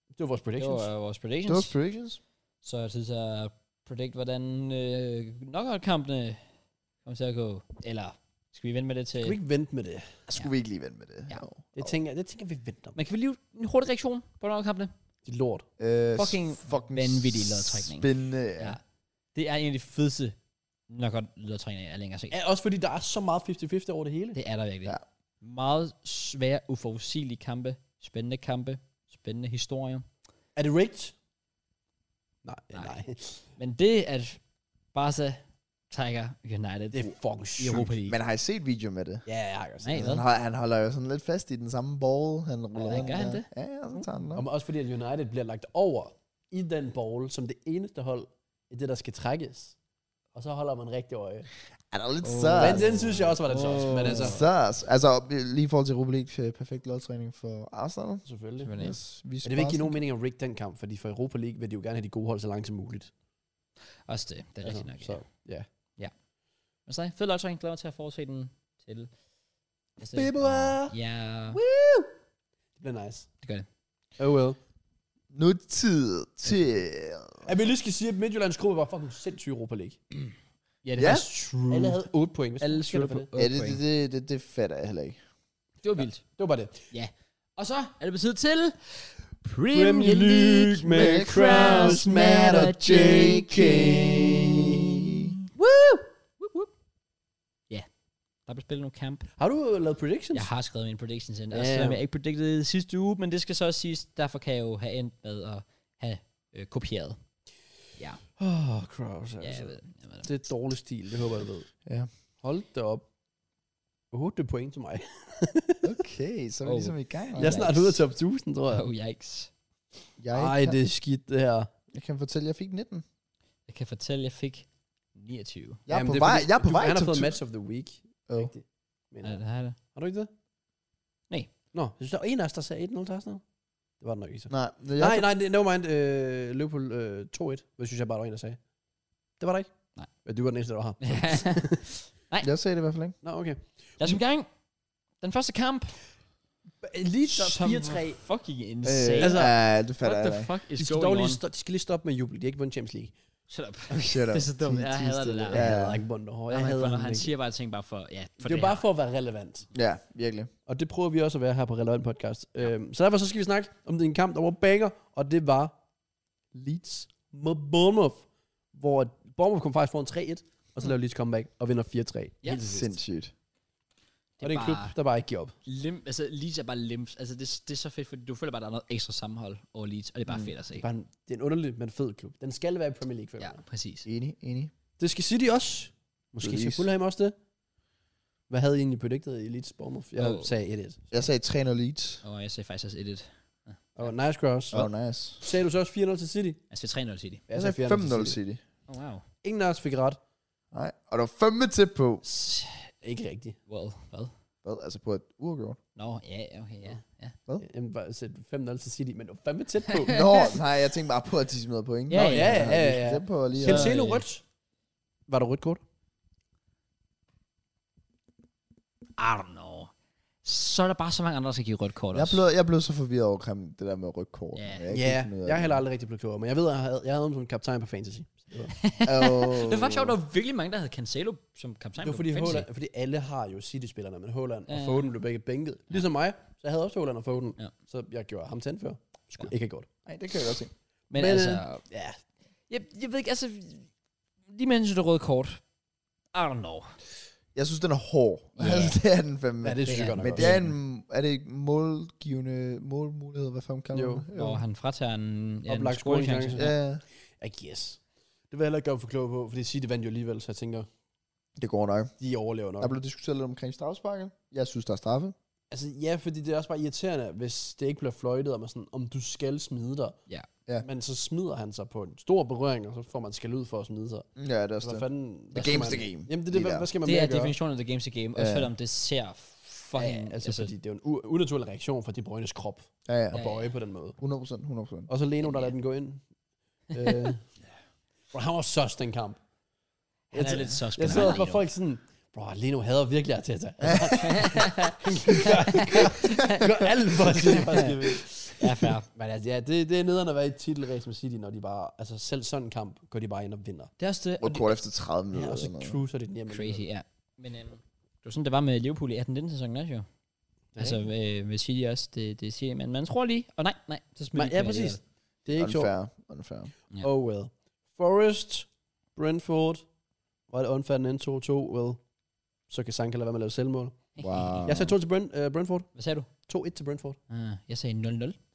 [SPEAKER 2] Det var øh, vores
[SPEAKER 1] det
[SPEAKER 2] predictions.
[SPEAKER 1] var øh, vores
[SPEAKER 3] Det var
[SPEAKER 1] predictions.
[SPEAKER 3] predictions.
[SPEAKER 1] Så er det tid til at predict, hvordan øh, knockout-kampene kommer til at gå. Eller skal vi vente med det
[SPEAKER 2] Skal vi
[SPEAKER 1] til...
[SPEAKER 2] ikke vente med det?
[SPEAKER 3] Skulle vi ikke lige vente med det?
[SPEAKER 1] Ja.
[SPEAKER 3] Jo.
[SPEAKER 2] Det tænker, det tænker vi venter med.
[SPEAKER 1] Men kan vi lige en hurtig reaktion på knockout-kampene?
[SPEAKER 2] Det er lort.
[SPEAKER 3] Øh,
[SPEAKER 1] Fucking vanvittig lodtrækning.
[SPEAKER 3] Spændende. Ja. ja.
[SPEAKER 1] Det er en af de fedeste knockout-ledertræninger, jeg længere har set.
[SPEAKER 2] Ja, også fordi der er så meget 50-50 over det hele.
[SPEAKER 1] Det er der virkelig. Ja.
[SPEAKER 3] Ja.
[SPEAKER 1] Meget svære, uforudsigelige kampe. Spændende kampe. Spændende historier.
[SPEAKER 2] Er det rigged? Nej,
[SPEAKER 1] Nej.
[SPEAKER 2] nej. nej.
[SPEAKER 1] Men det, at Barca trækker United
[SPEAKER 2] Det er fucking
[SPEAKER 1] i
[SPEAKER 2] sygt.
[SPEAKER 1] Europa League.
[SPEAKER 3] Men har I set video med det?
[SPEAKER 2] Ja, jeg har godt
[SPEAKER 1] Nej,
[SPEAKER 2] set.
[SPEAKER 1] hvad?
[SPEAKER 3] Han, har, han holder jo sådan lidt fast i den samme ball. Han ruller
[SPEAKER 1] Ja,
[SPEAKER 3] rundt
[SPEAKER 1] gør han
[SPEAKER 3] der.
[SPEAKER 1] det?
[SPEAKER 3] Ja, ja, så tager han den
[SPEAKER 2] Og
[SPEAKER 3] op.
[SPEAKER 2] også fordi, at United bliver lagt over i den bowl, som det eneste hold i det, der skal trækkes. Og så holder man rigtig øje.
[SPEAKER 3] Han er lidt
[SPEAKER 1] Åh.
[SPEAKER 3] oh.
[SPEAKER 2] Men
[SPEAKER 3] sørs.
[SPEAKER 2] den synes jeg også var lidt sjovt.
[SPEAKER 1] Åh.
[SPEAKER 2] Men altså,
[SPEAKER 3] Sørs. Altså, lige i forhold til Europa League, øh, perfekt lodtræning for Arsenal.
[SPEAKER 2] selvfølgelig.
[SPEAKER 1] Men,
[SPEAKER 3] Yes, vi
[SPEAKER 2] Men det vil ikke give nogen mening at rigge den kamp, fordi for Europa League vil de jo gerne have de gode hold så langt som muligt.
[SPEAKER 1] Også det. Det er
[SPEAKER 2] Altså,
[SPEAKER 1] rigtigt nok.
[SPEAKER 2] Så,
[SPEAKER 1] Ja.
[SPEAKER 2] ja.
[SPEAKER 1] Men så fed lodtrækning. Glæder mig til at fortsætte den til. næste-
[SPEAKER 2] Februar!
[SPEAKER 1] Ja,
[SPEAKER 2] Det bliver nice.
[SPEAKER 1] det gør det.
[SPEAKER 2] Oh well.
[SPEAKER 3] Nu er tid til...
[SPEAKER 2] At vi lige skal sige, at Midtjyllands gruppe var fucking sindssyg i Europa League.
[SPEAKER 1] Ja, det
[SPEAKER 3] Ja.
[SPEAKER 1] er faktisk true.
[SPEAKER 2] Alle havde 8 point. Hvis
[SPEAKER 1] Alle
[SPEAKER 2] du
[SPEAKER 1] slutter
[SPEAKER 2] kender
[SPEAKER 1] på
[SPEAKER 2] det.
[SPEAKER 3] Ja,
[SPEAKER 1] otte
[SPEAKER 3] det, det,
[SPEAKER 1] point.
[SPEAKER 3] det, det, det fatter jeg heller ikke.
[SPEAKER 1] Det var vildt.
[SPEAKER 2] Det var bare det.
[SPEAKER 1] Og så er det på tide til...
[SPEAKER 2] Premier League med Kraus, Matt og JK.
[SPEAKER 1] Woo! Woop, woop. Ja, der bliver spillet nogle kamp.
[SPEAKER 2] Har du øh, lavet predictions?
[SPEAKER 1] Jeg har skrevet mine predictions ind, og
[SPEAKER 2] Ja.
[SPEAKER 1] selvom jeg ikke predicted det sidste uge, men det skal så også siges, derfor kan jeg jo have endt med at have øh, kopieret. Ja,
[SPEAKER 2] Åh, oh, Kraus,
[SPEAKER 1] ja
[SPEAKER 2] altså.
[SPEAKER 1] jeg ved, jeg ved det.
[SPEAKER 2] Det er dårlig stil, det håber jeg ved.
[SPEAKER 3] Ja.
[SPEAKER 2] Hold da op. 8 point til mig.
[SPEAKER 3] Okay. Okay, så er vi
[SPEAKER 1] Oh.
[SPEAKER 3] ligesom i gang.
[SPEAKER 2] Jeg er
[SPEAKER 3] Jeg,
[SPEAKER 2] snart ude af top 1000, tror jeg.
[SPEAKER 1] Oh, yikes.
[SPEAKER 3] jeg,
[SPEAKER 2] Ej,
[SPEAKER 3] kan,
[SPEAKER 2] det er skidt, det her.
[SPEAKER 3] jeg kan fortælle, at jeg fik 19.
[SPEAKER 1] Jeg kan fortælle, at jeg fik 29.
[SPEAKER 3] Jeg er
[SPEAKER 2] Jamen,
[SPEAKER 3] på
[SPEAKER 2] det
[SPEAKER 3] vej,
[SPEAKER 2] fordi,
[SPEAKER 3] jeg er på
[SPEAKER 2] du-
[SPEAKER 3] vej
[SPEAKER 2] Han har
[SPEAKER 3] til
[SPEAKER 2] fået
[SPEAKER 3] tu-
[SPEAKER 2] match of the week.
[SPEAKER 3] Oh.
[SPEAKER 2] Rigtigt.
[SPEAKER 1] Ja,
[SPEAKER 2] mener jeg.
[SPEAKER 1] det er det.
[SPEAKER 2] Har du ikke det?
[SPEAKER 1] Nej.
[SPEAKER 2] Nå, jeg synes, der var en af os, der sagde 1-0 til Arsenal. Det var det nok ikke så.
[SPEAKER 3] Nej, det er jeg,
[SPEAKER 2] Nej, nej, det- never mind. Øh, Liverpool øh, 2-1. Det synes jeg bare, der var en, der sagde. Det var der ikke.
[SPEAKER 1] Nej.
[SPEAKER 2] Men du var den eneste, der var her.
[SPEAKER 3] jeg sagde det i hvert fald ikke.
[SPEAKER 2] Nå, okay.
[SPEAKER 1] Lad
[SPEAKER 3] Mm.
[SPEAKER 1] os i gang. Den første kamp.
[SPEAKER 2] Leeds op 4-3.
[SPEAKER 1] var Fucking insane. altså,
[SPEAKER 3] Øh,
[SPEAKER 2] altså,
[SPEAKER 3] ja, det fatter
[SPEAKER 1] what
[SPEAKER 3] jeg
[SPEAKER 1] the
[SPEAKER 3] ikke.
[SPEAKER 1] fuck is
[SPEAKER 2] De skal, dog
[SPEAKER 1] going on?
[SPEAKER 2] lige sto- de skal lige stoppe med at juble. De har ikke vundet Champions League.
[SPEAKER 1] Shut up.
[SPEAKER 3] Shut up.
[SPEAKER 1] Det er så dumt.
[SPEAKER 3] Ti-
[SPEAKER 1] Jeg
[SPEAKER 3] ti
[SPEAKER 1] hader det
[SPEAKER 3] stille.
[SPEAKER 1] der.
[SPEAKER 2] Jeg
[SPEAKER 3] Ja,
[SPEAKER 2] hader
[SPEAKER 3] ja.
[SPEAKER 2] ikke Bondehår. Jeg
[SPEAKER 1] Jeg
[SPEAKER 2] hader ham
[SPEAKER 1] han
[SPEAKER 2] ikke.
[SPEAKER 1] siger bare ting bare for, ja, for
[SPEAKER 2] Det er
[SPEAKER 1] det,
[SPEAKER 2] jo bare
[SPEAKER 1] her.
[SPEAKER 2] for at være relevant.
[SPEAKER 3] ja, virkelig.
[SPEAKER 2] Og det prøver vi også at være her på Relevant Podcast. Øhm, så derfor så skal vi snakke om den kamp, der var banger, og det var Leeds mod Bournemouth, hvor Bournemouth kom faktisk foran 3-1, og så lavede Leeds comeback og vinder 4-3.
[SPEAKER 1] Ja.
[SPEAKER 2] Helt til sidst.
[SPEAKER 3] Sindssygt.
[SPEAKER 2] Og det er en klub, der bare ikke giver op.
[SPEAKER 1] Lim, altså, Leeds er bare limbs. Altså, det, det er så fedt, fordi du føler bare, der er noget ekstra sammenhold over Leeds, og det er bare mm. fedt at se.
[SPEAKER 2] Det er, bare en, det er en underlig, men fed klub. Den skal være i Premier League.
[SPEAKER 1] Ja,
[SPEAKER 2] Ja.
[SPEAKER 1] præcis.
[SPEAKER 3] Enig, enig.
[SPEAKER 2] Det skal City også. Måske skal
[SPEAKER 3] Leeds.
[SPEAKER 2] Fulham også det. Hvad havde I egentlig predicted i Leeds Bournemouth? Jeg
[SPEAKER 1] Åh.
[SPEAKER 2] oh. sagde 1-1.
[SPEAKER 3] Jeg sagde 3-0 Leeds.
[SPEAKER 1] Og jeg sagde faktisk også 1-1.
[SPEAKER 2] Og nice cross.
[SPEAKER 3] Oh,
[SPEAKER 2] Oh.
[SPEAKER 3] nice.
[SPEAKER 2] Sagde du så også 4-0 til City?
[SPEAKER 1] Jeg sagde 3-0 til det.
[SPEAKER 3] Altså, Jeg
[SPEAKER 2] til
[SPEAKER 3] sagde 5-0 City.
[SPEAKER 1] Oh, wow.
[SPEAKER 2] Ingen af os fik ret.
[SPEAKER 3] Nej, og der var fandme tæt på.
[SPEAKER 1] S-
[SPEAKER 2] Ikke rigtigt.
[SPEAKER 1] Well, hvad?
[SPEAKER 3] Hvad? Altså på et uafgjort?
[SPEAKER 1] Nå, ja, okay, ja. Ja,
[SPEAKER 2] Jamen, bare sæt 5-0 til City, men det var fandme tæt på.
[SPEAKER 3] Nå, nej, jeg tænkte bare på, at de smider point.
[SPEAKER 1] Ja,
[SPEAKER 3] Nå,
[SPEAKER 1] ja,
[SPEAKER 2] ja,
[SPEAKER 3] vi skal
[SPEAKER 2] ja.
[SPEAKER 3] tæt på lige at...
[SPEAKER 1] Sindssygt.
[SPEAKER 2] Cancelo
[SPEAKER 1] øh,
[SPEAKER 2] rødt. Var der rødt kort?
[SPEAKER 1] I don't know. Så er der bare så mange andre, der skal give rødt kort
[SPEAKER 3] Jeg
[SPEAKER 1] også.
[SPEAKER 3] blev, jeg blev så forvirret over Krem, det der med rygkort.
[SPEAKER 1] Ja.
[SPEAKER 2] Ja, jeg har heller aldrig rigtig blevet klogere, men jeg ved, at jeg havde, jeg havde ham som kaptajn på Fantasy. Så Det var,
[SPEAKER 3] Oh.
[SPEAKER 1] Det var faktisk sjovt, der var virkelig mange, der havde Cancelo som kaptajn.
[SPEAKER 2] det var
[SPEAKER 1] på
[SPEAKER 2] fordi,
[SPEAKER 1] fantasy.
[SPEAKER 2] Holland, fordi alle har jo City-spillerne, men Holland og
[SPEAKER 1] Ja.
[SPEAKER 2] Foden blev begge bænket. Ligesom mig, så jeg havde også Holland og Foden,
[SPEAKER 1] Ja.
[SPEAKER 2] så jeg gjorde ham til anfører. Skulle ikke have gjort.
[SPEAKER 3] Nej, det kan jeg godt se.
[SPEAKER 1] Men,
[SPEAKER 2] Men, øh,
[SPEAKER 1] altså,
[SPEAKER 2] Ja,
[SPEAKER 1] jeg, jeg ved ikke, altså, lige med hensyn til rødt kort. I don't know.
[SPEAKER 3] Jeg synes, den er hård.
[SPEAKER 1] Ja.
[SPEAKER 3] Altså, det er den fandme.
[SPEAKER 2] ja det synes
[SPEAKER 1] det
[SPEAKER 2] jeg
[SPEAKER 1] er-
[SPEAKER 2] godt nok.
[SPEAKER 3] Men
[SPEAKER 2] også.
[SPEAKER 3] det er en... Er det ikke målgivende målmulighed? Hvad fanden kalder
[SPEAKER 2] Jo.
[SPEAKER 3] man det?
[SPEAKER 1] Jo. Og han fratager en, ja, en
[SPEAKER 2] Oplagt
[SPEAKER 1] scoringschance.
[SPEAKER 2] scoringschance.
[SPEAKER 3] Ja,
[SPEAKER 2] I guess. Det vil jeg heller ikke gøre for klog på, fordi City vandt jo alligevel, så jeg tænker,
[SPEAKER 3] det går nok.
[SPEAKER 2] de overlever nok.
[SPEAKER 3] Der blev diskuteret lidt omkring strafsparket. Jeg synes, der er straffe.
[SPEAKER 2] Altså ja, fordi det er også bare irriterende, hvis det ikke bliver fløjtet, og man sådan, om du skal smide dig.
[SPEAKER 1] Ja.
[SPEAKER 3] Ja.
[SPEAKER 2] Men så smider han sig på en stor berøring, og så får man skal ud for at smide sig. Altså,
[SPEAKER 3] Ja, det er også
[SPEAKER 2] Hvad
[SPEAKER 3] det.
[SPEAKER 2] fanden, the
[SPEAKER 3] game's
[SPEAKER 2] man,
[SPEAKER 3] the game.
[SPEAKER 2] Jamen det, er
[SPEAKER 3] Lige
[SPEAKER 2] det hvad,
[SPEAKER 3] der.
[SPEAKER 2] hvad skal man
[SPEAKER 1] Det
[SPEAKER 2] mere
[SPEAKER 1] er
[SPEAKER 2] gøre?
[SPEAKER 1] definitionen af the game's a game. Og
[SPEAKER 3] Ja.
[SPEAKER 1] selvom det ser fucking...
[SPEAKER 2] Ja, altså, altså, fordi det er jo en u- unaturlig reaktion fra De Bruynes krop
[SPEAKER 3] Ja, ja.
[SPEAKER 2] at
[SPEAKER 1] Ja,
[SPEAKER 2] bøje på den måde.
[SPEAKER 3] 100%, 100%.
[SPEAKER 2] Og så Leno, der
[SPEAKER 1] Ja.
[SPEAKER 2] lader den gå ind. øh, bro, han var sus den kamp.
[SPEAKER 1] han er
[SPEAKER 2] Jeg-
[SPEAKER 1] lidt sus.
[SPEAKER 2] Jeg sad for folk sådan, bro, Leno hader virkelig Arteta. Altså, han gør alt for at sige, hvad skal vi.
[SPEAKER 1] Ja, fair.
[SPEAKER 2] Men altså, ja, det, det er nederen at være i et titelrace med City, når de bare, altså selv sådan en kamp, går de bare ind og vinder.
[SPEAKER 1] Det er også det. og
[SPEAKER 3] Rødt
[SPEAKER 1] det-
[SPEAKER 3] kort efter 30 minutter.
[SPEAKER 2] Ja, og så
[SPEAKER 3] eller noget.
[SPEAKER 2] cruiser de den hjemme.
[SPEAKER 1] Crazy, ja. Men øhm, det var sådan, det var med Liverpool i 18-19 sæsonen også jo. Altså øh, med City også, det, det siger men man tror lige, og oh, nej, nej, så smider
[SPEAKER 2] Men,
[SPEAKER 1] de
[SPEAKER 2] ja,
[SPEAKER 1] den
[SPEAKER 2] præcis.
[SPEAKER 1] alligevel.
[SPEAKER 2] Det er ikke sjovt.
[SPEAKER 3] Unfair. Unfair.
[SPEAKER 1] Ja.
[SPEAKER 2] Oh well. Forrest, Brentford, var det unfair den endte 2-2, well, så kan Sanka lade være med at lave selvmål.
[SPEAKER 3] Wow.
[SPEAKER 2] Jeg sagde 2 til Brent, uh, Brentford,
[SPEAKER 1] Hvad sagde du?
[SPEAKER 2] 2-1 til Brentford.
[SPEAKER 1] Ah, jeg sagde 0-0.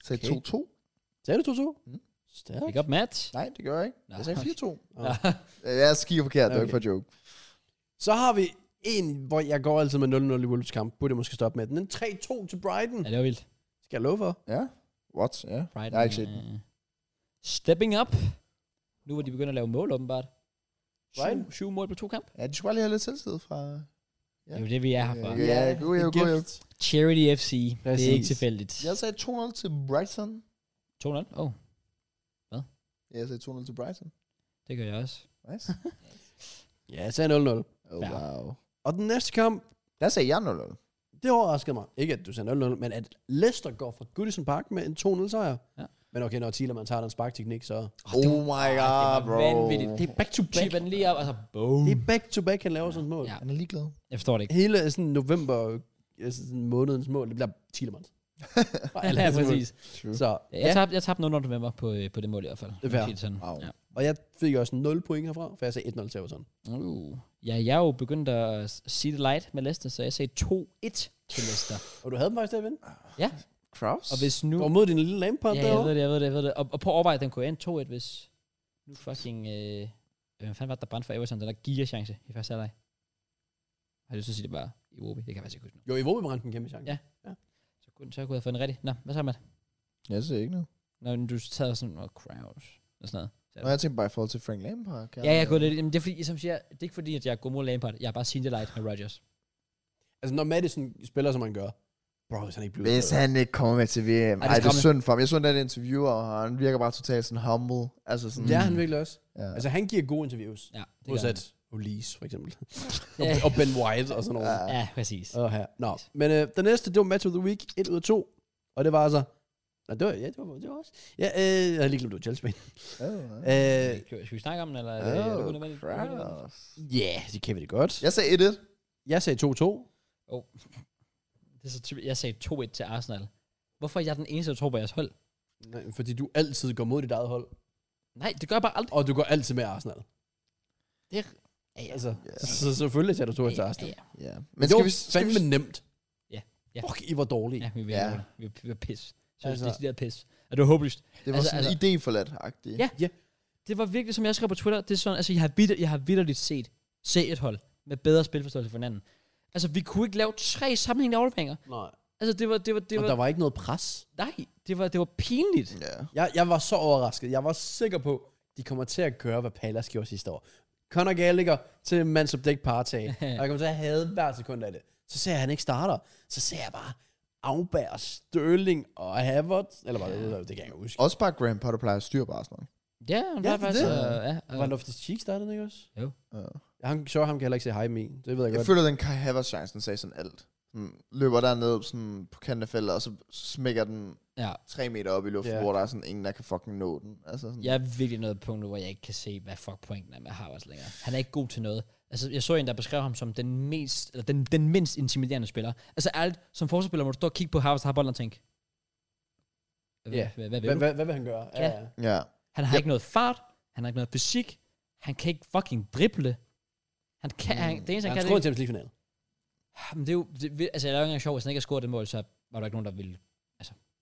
[SPEAKER 3] Sagde
[SPEAKER 2] Okay.
[SPEAKER 3] 2-2?
[SPEAKER 2] Sagde du 2-2?
[SPEAKER 3] Mm.
[SPEAKER 2] Mm. Stærkt.
[SPEAKER 1] Pick up match.
[SPEAKER 3] Nej, det gør jeg ikke.
[SPEAKER 1] Nå,
[SPEAKER 3] Jeg sagde
[SPEAKER 1] okay.
[SPEAKER 3] 4-2.
[SPEAKER 2] Og
[SPEAKER 3] Jeg skiver forkert, det var
[SPEAKER 2] Okay.
[SPEAKER 3] ikke for joke.
[SPEAKER 2] Så har vi en, hvor jeg går altid med 0-0 i Wolves kamp. Burde jeg måske stoppe med den. En 3-2 til Brighton.
[SPEAKER 1] Ja, det var vildt.
[SPEAKER 2] Skal jeg love for?
[SPEAKER 3] Ja. What? Ja.
[SPEAKER 1] Brighton,
[SPEAKER 3] Jeg har ikke set den.
[SPEAKER 1] øh, Stepping up. Nu hvor de begynder at lave mål, åbenbart.
[SPEAKER 2] Brighton?
[SPEAKER 1] Syv, syv mål på to kamp.
[SPEAKER 3] Ja, de skulle bare lige have lidt selvtid fra...
[SPEAKER 1] Ja.
[SPEAKER 3] Ja.
[SPEAKER 1] Det er jo det, vi er her for.
[SPEAKER 3] Ja, god, ja,
[SPEAKER 2] en
[SPEAKER 3] god, ja.
[SPEAKER 2] gift.
[SPEAKER 1] Charity FC. Det er
[SPEAKER 2] Præcis.
[SPEAKER 1] ikke tilfældigt.
[SPEAKER 3] Jeg sagde 2-0 til Brighton.
[SPEAKER 1] 2-0. Oh,
[SPEAKER 3] Ja, jeg sagde 2-0 til Brighton.
[SPEAKER 1] det gør jeg også.
[SPEAKER 3] Nice.
[SPEAKER 2] Ja, jeg sagde 0-0.
[SPEAKER 3] Oh,
[SPEAKER 1] Fair.
[SPEAKER 3] wow.
[SPEAKER 2] Og den næste kamp,
[SPEAKER 3] Der sagde jeg 0-0.
[SPEAKER 2] det overraskede mig. Ikke at du sagde 0-0, men at Leicester går fra Goodison Park med en 2-0 sejr.
[SPEAKER 1] Ja.
[SPEAKER 2] Men okay, når Thielermann tager den sparkteknik, så...
[SPEAKER 3] Oh,
[SPEAKER 1] det
[SPEAKER 3] my
[SPEAKER 1] det
[SPEAKER 3] god,
[SPEAKER 1] var
[SPEAKER 3] bro.
[SPEAKER 1] vanvittigt. Det er
[SPEAKER 2] back to
[SPEAKER 1] Chip den lige op, og så boom.
[SPEAKER 2] Det er back to back, han laver sådan et mål.
[SPEAKER 1] Ja.
[SPEAKER 3] Han er ligeglad.
[SPEAKER 1] Jeg forstår det ikke.
[SPEAKER 2] Hele øh, sådan november, altså sådan månedens mål, det bliver Thielemans. Bare alle
[SPEAKER 1] Ja,
[SPEAKER 2] hans mål.
[SPEAKER 1] præcis.
[SPEAKER 2] Så
[SPEAKER 1] Jeg
[SPEAKER 2] ja,
[SPEAKER 1] tabte, jeg tabte 0 november på, øh, på det mål i hvert fald.
[SPEAKER 2] er fair.
[SPEAKER 1] Sige sådan.
[SPEAKER 3] Wow.
[SPEAKER 1] Ja.
[SPEAKER 2] og jeg fik også 0 point herfra, for jeg sagde 1-0 til Everton.
[SPEAKER 1] Uh. ja, jeg er jo begyndt at s- sige det light med Leicester, så jeg sagde 2-1 til Leicester.
[SPEAKER 2] Og du havde dem faktisk til at vinde.
[SPEAKER 3] Kraus?
[SPEAKER 1] Og hvis nu...
[SPEAKER 2] Du var mod din lille Lampard
[SPEAKER 1] ja, jeg
[SPEAKER 2] derovre.
[SPEAKER 1] ved det, jeg ved det, jeg ved det. Og, og på overvej, den kunne ende 2-1, hvis nu fucking... Øh, hvem fanden var det, der brændte for Everton? Den der giga-chance i første halvleg. Har du lyst til at sige det bare i Wobi? Det kan jeg faktisk ikke huske nu.
[SPEAKER 2] Jo, i Våbe brændte en kæmpe chance.
[SPEAKER 1] Ja. Kunne, så kunne jeg få en rigtig. Nå, hvad så, Matt?
[SPEAKER 3] Jeg ser ikke noget.
[SPEAKER 1] Nå, men du tager sådan noget crowds og sådan noget.
[SPEAKER 3] Og jeg tænkte bare i forhold til Frank Lampard. kan
[SPEAKER 1] Ja, jeg går lidt. Jamen, det er fordi, som siger, det er ikke fordi, at jeg er god mod Lampard. Jeg er bare seen the light med Rodgers.
[SPEAKER 2] Altså, når Madison spiller, som han gør, bro, hvis han ikke bliver
[SPEAKER 3] Hvis
[SPEAKER 2] udtaget.
[SPEAKER 3] han ikke kommer med til VM. Ej, det er
[SPEAKER 1] kommer-
[SPEAKER 3] synd for ham. Jeg så den interviewer, og han virker bare totalt sådan humble. Altså sådan...
[SPEAKER 2] Det er han virkelig også.
[SPEAKER 3] Ja.
[SPEAKER 2] Altså, han giver gode interviews.
[SPEAKER 1] Ja, det gør
[SPEAKER 2] Modsat Ulise, for eksempel.
[SPEAKER 1] Ja.
[SPEAKER 2] og, og Ben White og sådan noget.
[SPEAKER 1] han. Ja, præcis.
[SPEAKER 2] Åh, her. Nå, men øh, den næste, det var Match of the Week, 1 ud af 2. Og det var altså... Nej, det var, ja, det var, det var også... Ja, øh, jeg havde lige glemt, det var Chelsea.
[SPEAKER 3] Oh,
[SPEAKER 2] Øh, Ja, øh,
[SPEAKER 1] Skal vi- skal vi snakke om den, eller er det, er det unødvendigt?
[SPEAKER 3] oh,
[SPEAKER 2] yeah, det kan vi det godt.
[SPEAKER 3] jeg sagde 1-1.
[SPEAKER 2] Jeg sagde 2-2.
[SPEAKER 1] Det er så typisk. Jeg sagde 2-1 til Arsenal. Hvorfor er jeg den eneste, der tror på jeres hold?
[SPEAKER 2] Nej, Fordi du altid går mod dit eget hold.
[SPEAKER 1] Nej, det gør jeg bare aldrig.
[SPEAKER 2] Og du går altid med Arsenal.
[SPEAKER 1] Det er, ja, ja.
[SPEAKER 2] Altså,
[SPEAKER 3] Ja.
[SPEAKER 2] så selvfølgelig sagde du 2-1 til
[SPEAKER 1] ja,
[SPEAKER 2] Arsenal.
[SPEAKER 1] ja, ja.
[SPEAKER 3] Ja.
[SPEAKER 2] Men
[SPEAKER 3] Men skal
[SPEAKER 2] det
[SPEAKER 3] vi...
[SPEAKER 2] var
[SPEAKER 3] Skal vi
[SPEAKER 2] fandme nemt.
[SPEAKER 1] Ja, ja.
[SPEAKER 2] Fuck, I var dårlige.
[SPEAKER 1] Ja, vi vil
[SPEAKER 3] Ja.
[SPEAKER 1] ja. Vi vil- vi vil pisse. Så altså,
[SPEAKER 2] Altså-
[SPEAKER 1] det er decideret pisse. Er det var håbløst?
[SPEAKER 3] det var
[SPEAKER 1] Altså,
[SPEAKER 3] sådan
[SPEAKER 1] altså-
[SPEAKER 3] idéforladt-agtigt.
[SPEAKER 1] Ja. Det var virkelig, som jeg skrev på Twitter, det er sådan, altså jeg har, vidt, jeg har vidderligt set se et hold med bedre spilforståelse for hinanden. Altså, vi kunne ikke lave tre sammenhængende afleveringer.
[SPEAKER 2] Nej.
[SPEAKER 1] Altså, det var, det var, det
[SPEAKER 2] Og
[SPEAKER 1] var,
[SPEAKER 2] der var ikke noget pres.
[SPEAKER 1] nej, det var, det var pinligt.
[SPEAKER 3] Ja.
[SPEAKER 2] Jeg, jeg var så overrasket. Jeg var sikker på, de kommer til at gøre, hvad Pallas gjorde sidste år. Conor Gallagher til Mans of Deck Partey. og jeg kommer til at have hver sekund af det. Så ser jeg, at han ikke starter. Så ser jeg bare Auberg, Sterling og Havertz. Eller var det, det kan jeg ikke huske.
[SPEAKER 3] Også bare Graham Potter plejer at styre på Arsenal.
[SPEAKER 1] Ja, det
[SPEAKER 2] Ja,
[SPEAKER 1] var
[SPEAKER 2] det
[SPEAKER 1] faktisk...
[SPEAKER 2] er
[SPEAKER 1] øh, ja,
[SPEAKER 2] Var Loftus Cheek startede ikke også?
[SPEAKER 3] Ja.
[SPEAKER 2] Han, så ham kan jeg heller ikke sige hej med. Det ved jeg
[SPEAKER 3] Jeg
[SPEAKER 2] godt.
[SPEAKER 3] føler, den Kai Havertz-chancen sagde sådan alt. Den løber derned sådan på kanten af feltet, og så smækker den
[SPEAKER 1] ja.
[SPEAKER 3] 3 meter op i luften,
[SPEAKER 2] Ja.
[SPEAKER 3] hvor der er sådan ingen, der kan fucking nå den. Altså sådan,
[SPEAKER 1] Jeg er virkelig noget punkt nu, hvor jeg ikke kan se, hvad fuck pointen er med Harvards længere. Han er ikke god til noget. Altså, jeg så en, der beskrev ham som den, mest, eller den, den mindst intimiderende spiller. Altså, ærligt, som forsvarsspiller må du stå og kigge på Harvards, der har bolden og tænke, hvad,
[SPEAKER 2] Ja.
[SPEAKER 1] hvad, hvad vil
[SPEAKER 2] Hvad,
[SPEAKER 1] du?
[SPEAKER 2] hvad, hvad vil han gøre?
[SPEAKER 1] Ja.
[SPEAKER 3] Ja.
[SPEAKER 1] Han har ikke noget fart, han har ikke noget fysik, han kan ikke fucking drible. Han kan,
[SPEAKER 3] Mm.
[SPEAKER 1] han, det eneste, han,
[SPEAKER 2] Han
[SPEAKER 1] kan,
[SPEAKER 2] tror
[SPEAKER 1] det,
[SPEAKER 2] til Champions League-finalen.
[SPEAKER 1] er- men det er jo, det, vil- altså, det er jo ikke engang sjovt, hvis han ikke har scoret det mål, så var der ikke nogen, der ville.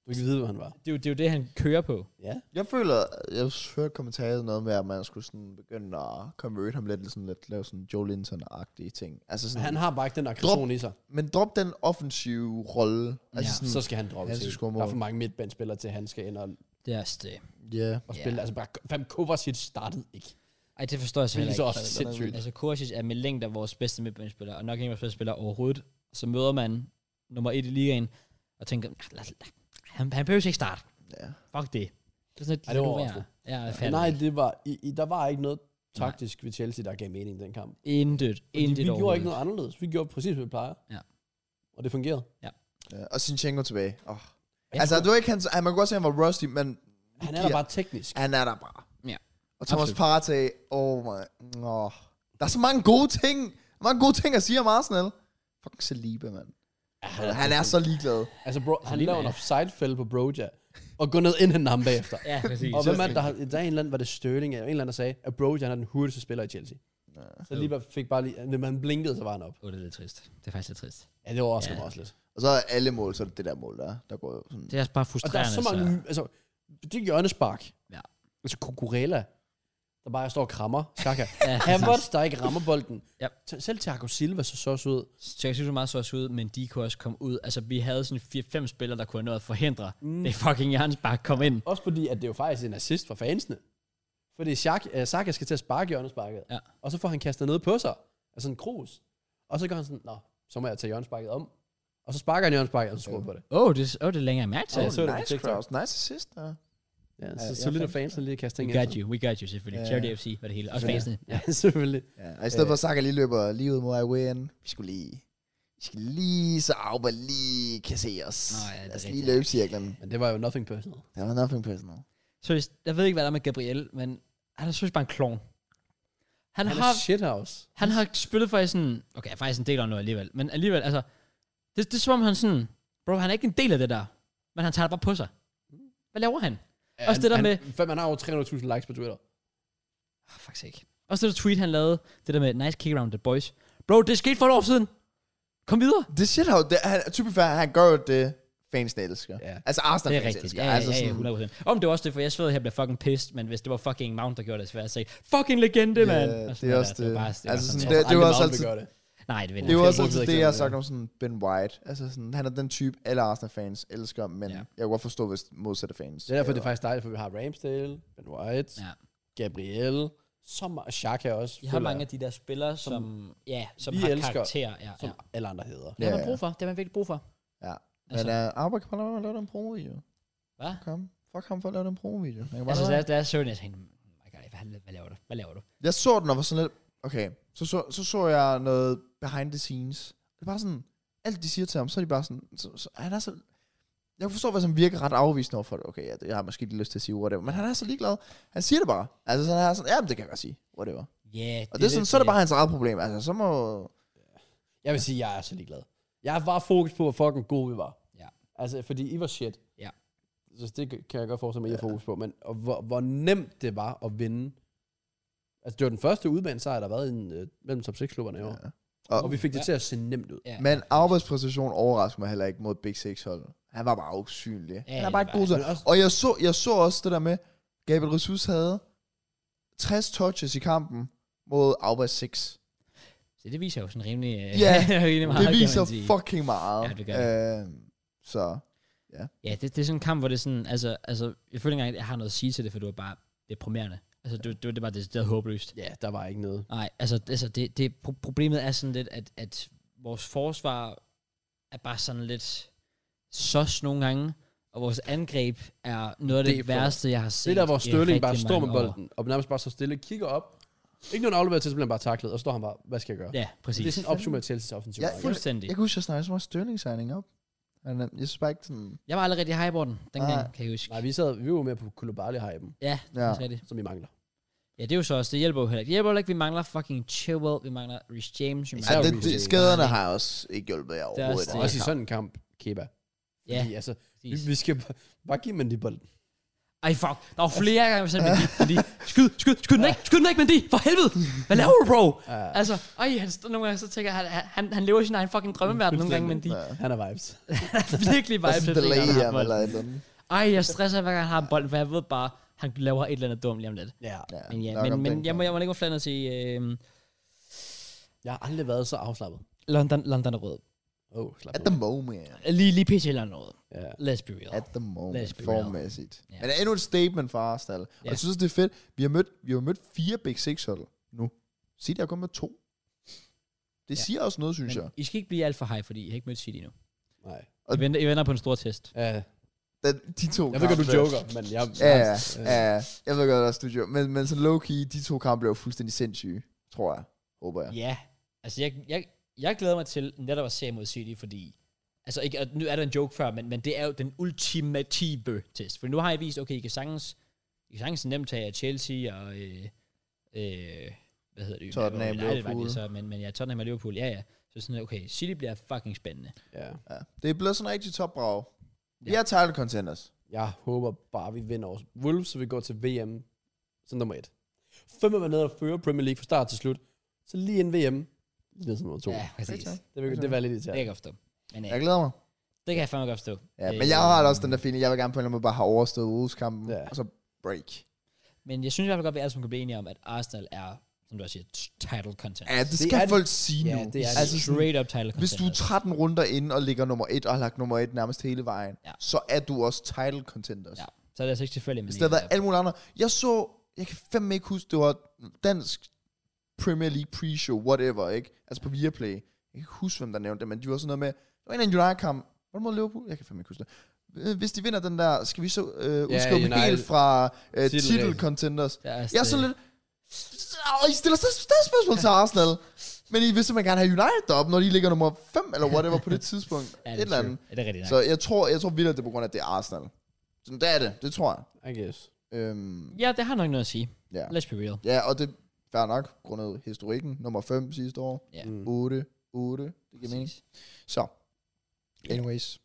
[SPEAKER 2] Du kan vide, hvor han var.
[SPEAKER 1] Det er jo det, er jo det han kører på.
[SPEAKER 2] Ja.
[SPEAKER 3] Jeg føler, jeg hørte kommentariet noget med, at man skulle sådan begynde at convert ham lidt, sådan lidt lave sådan Joe Linton-agtige ting. Altså sådan,
[SPEAKER 2] Han har bare ikke den aggression i sig.
[SPEAKER 3] Men drop den offensive rolle. Altså
[SPEAKER 1] Ja.
[SPEAKER 3] ja. sådan,
[SPEAKER 2] Så skal han droppe
[SPEAKER 3] Han skal
[SPEAKER 2] til.
[SPEAKER 3] score
[SPEAKER 2] Der er
[SPEAKER 3] mål.
[SPEAKER 2] for mange midtbandspillere til, at han skal ind og
[SPEAKER 1] Det er også det.
[SPEAKER 3] yeah.
[SPEAKER 2] Og
[SPEAKER 1] Ja.
[SPEAKER 2] spille, altså bare, fandme Kovacic startede ikke.
[SPEAKER 1] Ej, det forstår jeg
[SPEAKER 2] Det er
[SPEAKER 1] simpelthen
[SPEAKER 2] så
[SPEAKER 1] ikke.
[SPEAKER 2] også
[SPEAKER 3] ikke.
[SPEAKER 2] sindssygt.
[SPEAKER 1] Altså, Kovacic er med længder vores bedste midtbanespiller, og nok en af vores bedste spillere overhovedet. Så møder man nummer et i ligaen, og tænker, "Ah, lad, lad, han, han behøver ikke starte.
[SPEAKER 3] Ja.
[SPEAKER 1] Fuck det. Det er sådan,
[SPEAKER 2] Ej,
[SPEAKER 1] at
[SPEAKER 2] det
[SPEAKER 1] det
[SPEAKER 2] var
[SPEAKER 1] var
[SPEAKER 2] overraskende.
[SPEAKER 1] Ja, jeg
[SPEAKER 2] Ja,
[SPEAKER 1] fandt
[SPEAKER 2] nej,
[SPEAKER 1] det.
[SPEAKER 2] det var, i, i, der var ikke noget taktisk ved Chelsea, der gav mening i den kamp.
[SPEAKER 1] Intet,
[SPEAKER 2] Fordi
[SPEAKER 1] intet
[SPEAKER 2] vi gjorde ikke
[SPEAKER 1] overhovedet.
[SPEAKER 2] noget anderledes. Vi gjorde præcis, hvad vi plejer.
[SPEAKER 1] Ja.
[SPEAKER 2] Og det fungerede.
[SPEAKER 3] ja. Og Sinchenko tilbage. Oh.
[SPEAKER 1] Ja.
[SPEAKER 3] Altså, det var ikke hans... ah, Man kunne godt se, at han var rusty, men
[SPEAKER 2] Han er
[SPEAKER 3] giver-
[SPEAKER 2] der bare teknisk.
[SPEAKER 3] han er der bare.
[SPEAKER 1] Ja.
[SPEAKER 3] Og Thomas
[SPEAKER 1] Absolut.
[SPEAKER 3] Partey, oh my... Oh. Der er så mange gode ting. Mange gode ting at sige om Arsenal. Fucking Saliba, mand.
[SPEAKER 2] Ja,
[SPEAKER 3] Han er så liglad.
[SPEAKER 2] Altså, bro, han
[SPEAKER 1] lige
[SPEAKER 2] laver en
[SPEAKER 1] med-
[SPEAKER 2] offside-fælde på Broja, og går ned ind i ham bagefter.
[SPEAKER 1] Ja, præcis.
[SPEAKER 2] Og hvem er det, der, har, der er en eller anden, var det Sterling, eller en eller anden, der sagde, at Broja han er den hurtigste spiller i Chelsea. Så lige bare fik bare lige, når han blinkede, så var han op.
[SPEAKER 1] Åh, det er lidt trist. Det er faktisk lidt trist.
[SPEAKER 2] Ja, det overrasker
[SPEAKER 1] Ja.
[SPEAKER 2] mig også lidt.
[SPEAKER 3] Og så er alle mål, så er det det der mål, der, er. der går jo sådan...
[SPEAKER 1] Det er også bare
[SPEAKER 2] Og der er
[SPEAKER 1] frustrerende.
[SPEAKER 2] så mange, altså, det er hjørnespark.
[SPEAKER 1] Ja.
[SPEAKER 2] Altså Kukurela, der bare står og krammer. Saka.
[SPEAKER 1] Ja,
[SPEAKER 2] Havertz, der ikke rammer bolden.
[SPEAKER 1] Ja.
[SPEAKER 2] T- Selv Thiago Silva så så ud.
[SPEAKER 1] Så jeg synes, det meget så også ud, men de kunne også komme ud. Altså, vi havde sådan 4-5 spillere, der kunne have nået at forhindre. Mm. Det er fucking Jørgens bare kom ind.
[SPEAKER 2] Også fordi, at det er jo faktisk en assist for fansene. Fordi Shaq, uh, Saka skal til at sparke hjørnesparket.
[SPEAKER 1] Ja.
[SPEAKER 2] Og så får han kastet noget på sig. Altså en krus. Og så gør han sådan, nå, så må jeg tage hjørnesparket om. Og så sparker han hjørnesparket, og så skruer på det.
[SPEAKER 1] Åh, oh, det, oh, det er længere mærke til.
[SPEAKER 2] jeg så det på
[SPEAKER 3] nice
[SPEAKER 2] TikTok.
[SPEAKER 3] crowds, nice assist. Ja.
[SPEAKER 2] Ja,
[SPEAKER 3] Ja,
[SPEAKER 2] så, så
[SPEAKER 3] ja,
[SPEAKER 2] lidt af
[SPEAKER 3] fandme.
[SPEAKER 2] fansen lige at kaste
[SPEAKER 1] We
[SPEAKER 2] ting
[SPEAKER 1] got you, we got you selvfølgelig.
[SPEAKER 3] Ja.
[SPEAKER 1] Yeah. Charity FC var det hele. Også
[SPEAKER 2] Ja.
[SPEAKER 1] fansene.
[SPEAKER 2] Ja, selvfølgelig.
[SPEAKER 3] Ja. Og i stedet for, at Saka lige løber lige ud mod Iwen, vi skulle lige... Vi skal lige så Auba lige kan se os.
[SPEAKER 1] Nå ja, det er
[SPEAKER 3] Lad os lige
[SPEAKER 1] rigtigt.
[SPEAKER 3] løbe cirklen.
[SPEAKER 2] Men det var jo nothing personal.
[SPEAKER 3] Der var nothing personal.
[SPEAKER 1] Så hvis- jeg ved ikke, hvad der er med Gabriel, men han er synes bare en klon. Han,
[SPEAKER 2] Han
[SPEAKER 1] har,
[SPEAKER 2] er shithouse.
[SPEAKER 1] han har spillet for i sådan... Okay, faktisk en del af noget alligevel. Men alligevel, altså... Det, det er som om han sådan... Bro, han er ikke en del af det der. Men han tager det bare på sig. Hvad laver han?
[SPEAKER 2] Ja,
[SPEAKER 1] Også det der
[SPEAKER 2] han,
[SPEAKER 1] med-
[SPEAKER 2] Han, man har over 300.000 likes på Twitter.
[SPEAKER 1] Ah, faktisk ikke. Også det der tweet, han lavede. Det der med, nice kick around the boys. Bro, det skete for et år siden. Kom videre.
[SPEAKER 3] Det shit har jo, det, han, typisk fair, han gør jo det, fansene elsker.
[SPEAKER 2] Ja.
[SPEAKER 3] Altså
[SPEAKER 1] Det
[SPEAKER 3] Arsenal
[SPEAKER 1] er
[SPEAKER 3] fans
[SPEAKER 1] rigtigt.
[SPEAKER 3] elsker.
[SPEAKER 1] Ja, ja,
[SPEAKER 3] altså
[SPEAKER 1] ja, ja, 100%. Om det var også det, for jeg sved, at jeg blev fucking pissed, men hvis det var fucking Mount, der gjorde det, så ville jeg sige, fucking legende, mand.
[SPEAKER 3] Ja,
[SPEAKER 1] Og sådan
[SPEAKER 3] det er
[SPEAKER 1] noget
[SPEAKER 3] også
[SPEAKER 1] der. var
[SPEAKER 3] det.
[SPEAKER 1] bare- var
[SPEAKER 3] Altså
[SPEAKER 1] sådan
[SPEAKER 3] sådan
[SPEAKER 1] der.
[SPEAKER 3] Det- det var også
[SPEAKER 2] Aldrig Mount vil
[SPEAKER 3] altid-
[SPEAKER 2] gøre det.
[SPEAKER 1] Nej, det vil
[SPEAKER 3] Det er jo
[SPEAKER 2] Jeg
[SPEAKER 3] også
[SPEAKER 2] bruger
[SPEAKER 3] altid
[SPEAKER 2] et
[SPEAKER 3] det, jeg har
[SPEAKER 2] eksempel,
[SPEAKER 3] sagt om sådan Ben White. Altså sådan, han er den type, alle Arsenal-fans elsker, men
[SPEAKER 1] Ja.
[SPEAKER 3] ja. jeg kan godt forstå, hvis modsatte fans...
[SPEAKER 2] Det er derfor, det er faktisk dejligt, for vi har Ramsdale, Ben White,
[SPEAKER 1] Ja.
[SPEAKER 2] ja. Gabriel, så meget Shaka også.
[SPEAKER 1] Vi har
[SPEAKER 2] føler
[SPEAKER 1] mange
[SPEAKER 2] jeg,
[SPEAKER 1] af de der spillere, som, som ja, som
[SPEAKER 2] vi
[SPEAKER 1] har
[SPEAKER 2] elsker,
[SPEAKER 1] karakter. Ja, ja.
[SPEAKER 2] som alle andre
[SPEAKER 1] Det
[SPEAKER 2] hedder.
[SPEAKER 1] har
[SPEAKER 3] Ja,
[SPEAKER 1] man
[SPEAKER 3] ja.
[SPEAKER 1] brug for. Det har man virkelig brug for.
[SPEAKER 3] Ja.
[SPEAKER 1] Altså-
[SPEAKER 3] Men uh, Arbor kan bare lade være med at lave den promovideo.
[SPEAKER 1] Hvad?
[SPEAKER 3] Fuck ham. Fuck ham for at lave den promovideo. Han kan bare
[SPEAKER 1] Altså,
[SPEAKER 3] lade
[SPEAKER 1] da,
[SPEAKER 3] være.
[SPEAKER 1] jeg- da jeg så den, jeg tænkte, "Oh my God, hvad, hvad laver du? Hvad laver du?
[SPEAKER 3] Jeg så den og var sådan lidt... Okay, så så, så, så jeg noget behind the scenes. Det er bare sådan... Alt de siger til ham, så er de bare sådan... Så, så, han er så jeg forstår, hvad som virker ret afvisende overfor det. Okay, jeg, jeg har måske lige lyst til at sige whatever, men han er så ligeglad. Han siger det bare. Altså, så han er sådan, ja, men det kan jeg godt sige, whatever.
[SPEAKER 1] Ja, yeah,
[SPEAKER 3] Og det, er sådan, så er det bare hans eget problem. Altså, så må...
[SPEAKER 2] Jeg vil sige, at jeg er så ligeglad. Jeg var fokus på, hvor fucking gode vi var.
[SPEAKER 1] Ja.
[SPEAKER 2] Altså, fordi I var shit.
[SPEAKER 1] Ja.
[SPEAKER 2] Så det kan jeg godt forestille mig, at I har fokus på. Men og hvor, hvor nemt det var at vinde. Altså, det var den første udbanesejr, der har været i, øh, mellem top 6-klubberne i år. Ja.
[SPEAKER 3] Og,
[SPEAKER 2] Og vi fik det
[SPEAKER 1] Ja.
[SPEAKER 2] ja. til at se nemt ud.
[SPEAKER 1] Ja.
[SPEAKER 3] Men Aubers præstation overrasker mig heller ikke mod Big Six holdet. Han var bare usynlig.
[SPEAKER 1] Ja,
[SPEAKER 3] Ja, han er
[SPEAKER 1] det
[SPEAKER 3] bare ikke
[SPEAKER 1] var
[SPEAKER 3] god til
[SPEAKER 2] Men også-
[SPEAKER 3] Og jeg så, jeg så også det der med, Gabriel Jesus havde 60 touches i kampen mod Aubers 6.
[SPEAKER 1] Så det viser jo sådan rimelig, øh,
[SPEAKER 3] Ja,
[SPEAKER 1] rimelig meget,
[SPEAKER 3] det
[SPEAKER 1] kan man
[SPEAKER 3] viser
[SPEAKER 1] sige.
[SPEAKER 3] fucking meget.
[SPEAKER 1] Ja, det gør
[SPEAKER 3] det. Øh, så
[SPEAKER 1] Ja, det, det er sådan en kamp, hvor det er sådan, altså, altså jeg føler ikke engang, at jeg har noget at sige til det, for det var bare deprimerende. Altså, det, det var det var decideret håbløst.
[SPEAKER 2] Ja, der var ikke noget.
[SPEAKER 1] Nej, altså, det- altså det, det, pro- problemet er sådan lidt, at, at vores forsvar er bare sådan lidt sos nogle gange, og vores angreb er noget af det,
[SPEAKER 2] Det er for-
[SPEAKER 1] værste, jeg har set.
[SPEAKER 2] Det der, hvor
[SPEAKER 1] i
[SPEAKER 2] Størling bare
[SPEAKER 1] rigtig
[SPEAKER 2] står med
[SPEAKER 1] mange år.
[SPEAKER 2] bolden, og nærmest bare så stille, kigger op. Ikke nogen afleveret til, så bliver han bare taklet, og så står han bare, hvad skal jeg gøre? Ja,
[SPEAKER 1] Ja, præcis.
[SPEAKER 2] det er sådan opsummeret til Chelsea's offensiv.
[SPEAKER 3] Ja,
[SPEAKER 2] række.
[SPEAKER 1] Fuldstændig.
[SPEAKER 3] jeg kan huske, at jeg snakkede så meget Sterling signing op. Han er- Jeg synes bare ikke sådan...
[SPEAKER 1] Jeg var aldrig rigtig high på den, dengang,
[SPEAKER 3] Nej.
[SPEAKER 1] kan jeg huske.
[SPEAKER 2] Ah. Nej, vi, sad, vi var jo mere på Kulubali-hypen,
[SPEAKER 1] Ja,
[SPEAKER 3] Ja.
[SPEAKER 1] det er rigtigt.
[SPEAKER 2] som vi mangler.
[SPEAKER 1] Ja, det er jo så også, det hjælper jo heller ikke. Det hjælper heller ikke, vi mangler fucking Chilwell, vi mangler Rich James, vi
[SPEAKER 3] Ja,
[SPEAKER 1] mangler...
[SPEAKER 2] Især
[SPEAKER 3] Altså, det,
[SPEAKER 2] Reece
[SPEAKER 3] det,
[SPEAKER 2] James.
[SPEAKER 3] skaderne har også ikke hjulpet jer
[SPEAKER 1] også
[SPEAKER 3] overhovedet.
[SPEAKER 1] det.
[SPEAKER 2] Og
[SPEAKER 3] Det
[SPEAKER 2] også i sådan en kamp, Keba.
[SPEAKER 1] Ja,
[SPEAKER 2] Fordi, altså, vi,
[SPEAKER 1] præcis.
[SPEAKER 2] vi skal bare- bare give Mendy bolden.
[SPEAKER 1] Ej, fuck. Der var flere gange, jeg sagde, Mendy, Mendy. Skyd, skyd, skyd den ikke, skyd den ikke, Mendy. For helvede. Hvad laver du, bro?
[SPEAKER 2] Uh,
[SPEAKER 1] Altså, øj, han, st- nogle gange så tænker jeg, han, han, han lever i sin egen fucking drømmeverden nogle gange, Mendy.
[SPEAKER 3] Ja.
[SPEAKER 2] han er vibes.
[SPEAKER 1] Virkelig
[SPEAKER 3] Der
[SPEAKER 1] bare
[SPEAKER 3] er sådan en delay i ham eller et eller andet.
[SPEAKER 1] Ej, jeg stresser hver gang, han har bolden, for jeg ved bare, han laver et eller andet dumt lige om lidt.
[SPEAKER 2] Ja.
[SPEAKER 3] Ja,
[SPEAKER 1] Men ja,
[SPEAKER 3] nok
[SPEAKER 1] men,
[SPEAKER 3] om
[SPEAKER 1] men
[SPEAKER 3] den
[SPEAKER 1] jeg, må,
[SPEAKER 3] kamp.
[SPEAKER 1] jeg må ikke være flandet til øh,
[SPEAKER 2] Jeg har aldrig været så afslappet.
[SPEAKER 1] London, London er rød.
[SPEAKER 2] Åh, oh, slap
[SPEAKER 3] At
[SPEAKER 2] nu.
[SPEAKER 3] the moment.
[SPEAKER 1] Lige, lige pt. London er rød.
[SPEAKER 2] Ja.
[SPEAKER 1] Let's be real.
[SPEAKER 3] At the
[SPEAKER 1] Lad os
[SPEAKER 3] moment,
[SPEAKER 1] blive
[SPEAKER 3] formmæssigt.
[SPEAKER 1] Ja.
[SPEAKER 3] Yeah. Men det er endnu et statement fra Arsenal. Yeah. Og
[SPEAKER 1] Ja.
[SPEAKER 3] jeg synes, det er fedt. Vi har mødt, vi har mødt fire Big Six hold nu. City har kun mødt to. Det
[SPEAKER 1] Ja.
[SPEAKER 3] ja. siger også noget, synes jeg.
[SPEAKER 1] Men I skal ikke blive alt for high, fordi I har ikke mødt City endnu.
[SPEAKER 2] Nej.
[SPEAKER 1] I venter, I venter på en stor test.
[SPEAKER 2] Uh,
[SPEAKER 3] Den, de to
[SPEAKER 2] jeg ved godt,
[SPEAKER 3] kampe-
[SPEAKER 2] du joker, men jeg...
[SPEAKER 3] Ja, ja,
[SPEAKER 2] Øh,
[SPEAKER 3] ja. Jeg ved godt, også du joker. Men, men så low-key, de to kampe blev fuldstændig sindssyge, tror jeg. Håber jeg.
[SPEAKER 1] Ja, altså jeg, jeg, jeg glæder mig til netop at se mod City, fordi... Altså ikke, og nu er der en joke før, men, men det er jo den ultimative test. For nu har jeg vist, okay, I kan sagtens, I kan sagtens nemt tage Chelsea og... Øh, øh, hvad hedder det?
[SPEAKER 3] Tottenham,
[SPEAKER 1] United var det
[SPEAKER 3] Liverpool.
[SPEAKER 1] Så, men, men ja, Tottenham og Liverpool, ja, ja. Så sådan, okay, City bliver fucking spændende.
[SPEAKER 2] ja.
[SPEAKER 3] Ja. Det er blevet sådan en rigtig topbrag. Vi
[SPEAKER 1] Ja.
[SPEAKER 3] er title contenders.
[SPEAKER 2] Jeg håber bare, vi vinder over Wolves, så vi går til VM som nummer et. Fem er nede og fører Premier League fra start til slut. Så lige en VM, lige ned som nummer to.
[SPEAKER 1] Ja, præcis.
[SPEAKER 3] tak.
[SPEAKER 1] Det
[SPEAKER 2] Det, vil, det var
[SPEAKER 1] kan
[SPEAKER 2] lidt
[SPEAKER 1] jeg
[SPEAKER 2] irriterende.
[SPEAKER 1] godt forstå. Men ja,
[SPEAKER 3] Jeg glæder mig.
[SPEAKER 1] det kan jeg fandme godt forstå.
[SPEAKER 3] Ja,
[SPEAKER 1] Øh,
[SPEAKER 3] men jeg har også den der feeling, jeg vil gerne på en eller anden måde bare have overstået Wolves-kampen,
[SPEAKER 2] Ja.
[SPEAKER 3] og så break.
[SPEAKER 1] Men jeg synes i hvert fald godt, at vi alle sammen kan blive enige om, at Arsenal er, som du også siger, t- title content.
[SPEAKER 3] Ja, det
[SPEAKER 2] Det
[SPEAKER 3] skal
[SPEAKER 2] er det.
[SPEAKER 3] folk sige
[SPEAKER 2] Ja,
[SPEAKER 3] nu.
[SPEAKER 2] det er det.
[SPEAKER 1] Altså
[SPEAKER 3] altså, sådan,
[SPEAKER 1] straight up title content.
[SPEAKER 3] hvis du er 13 runder inde og ligger nummer 1 og har lagt nummer 1 nærmest hele vejen,
[SPEAKER 1] Ja.
[SPEAKER 3] ja. så er du også title contenders. Ja.
[SPEAKER 1] Ja, så er det altså ikke tilfældigt. men
[SPEAKER 3] Hvis
[SPEAKER 1] I
[SPEAKER 3] der havde
[SPEAKER 1] er
[SPEAKER 3] været alle mulige andre. Jeg så, jeg kan fandme ikke huske, det var dansk Premier League pre-show, whatever, ikke? Altså på Viaplay. Jeg kan ikke huske, hvem der nævnte det, men de var sådan noget med, der var en eller anden United-kamp. Var det mod Liverpool? Jeg kan fandme ikke huske det. Øh, Hvis de vinder den der, skal vi så øh, udskubbe
[SPEAKER 2] United-
[SPEAKER 3] helt fra øh,
[SPEAKER 2] Titelræs.
[SPEAKER 3] title contenders.
[SPEAKER 1] der er altså-
[SPEAKER 3] Jeg er sådan lidt... Og I stiller stadig stadig spørgsmål til Arsenal. Men I vil simpelthen gerne have United derop, når de ligger nummer 5 eller whatever på det tidspunkt.
[SPEAKER 1] Ja,
[SPEAKER 3] ja,
[SPEAKER 1] det
[SPEAKER 3] det et eller
[SPEAKER 1] true.
[SPEAKER 3] andet.
[SPEAKER 1] Ja, det er rigtigt nok.
[SPEAKER 3] Så jeg tror, jeg tror vildt, at det er på grund af, at det er Arsenal. Sådan, det er det. Det tror jeg.
[SPEAKER 2] I guess.
[SPEAKER 3] Øhm,
[SPEAKER 1] Ja, det har nok noget at sige.
[SPEAKER 3] ja.
[SPEAKER 1] Let's be real.
[SPEAKER 3] ja, og det er fair nok, grundet historikken. Nummer 5 sidste år.
[SPEAKER 1] Ja.
[SPEAKER 2] Mm.
[SPEAKER 3] 8, 8. Det giver mening. Så. Anyways.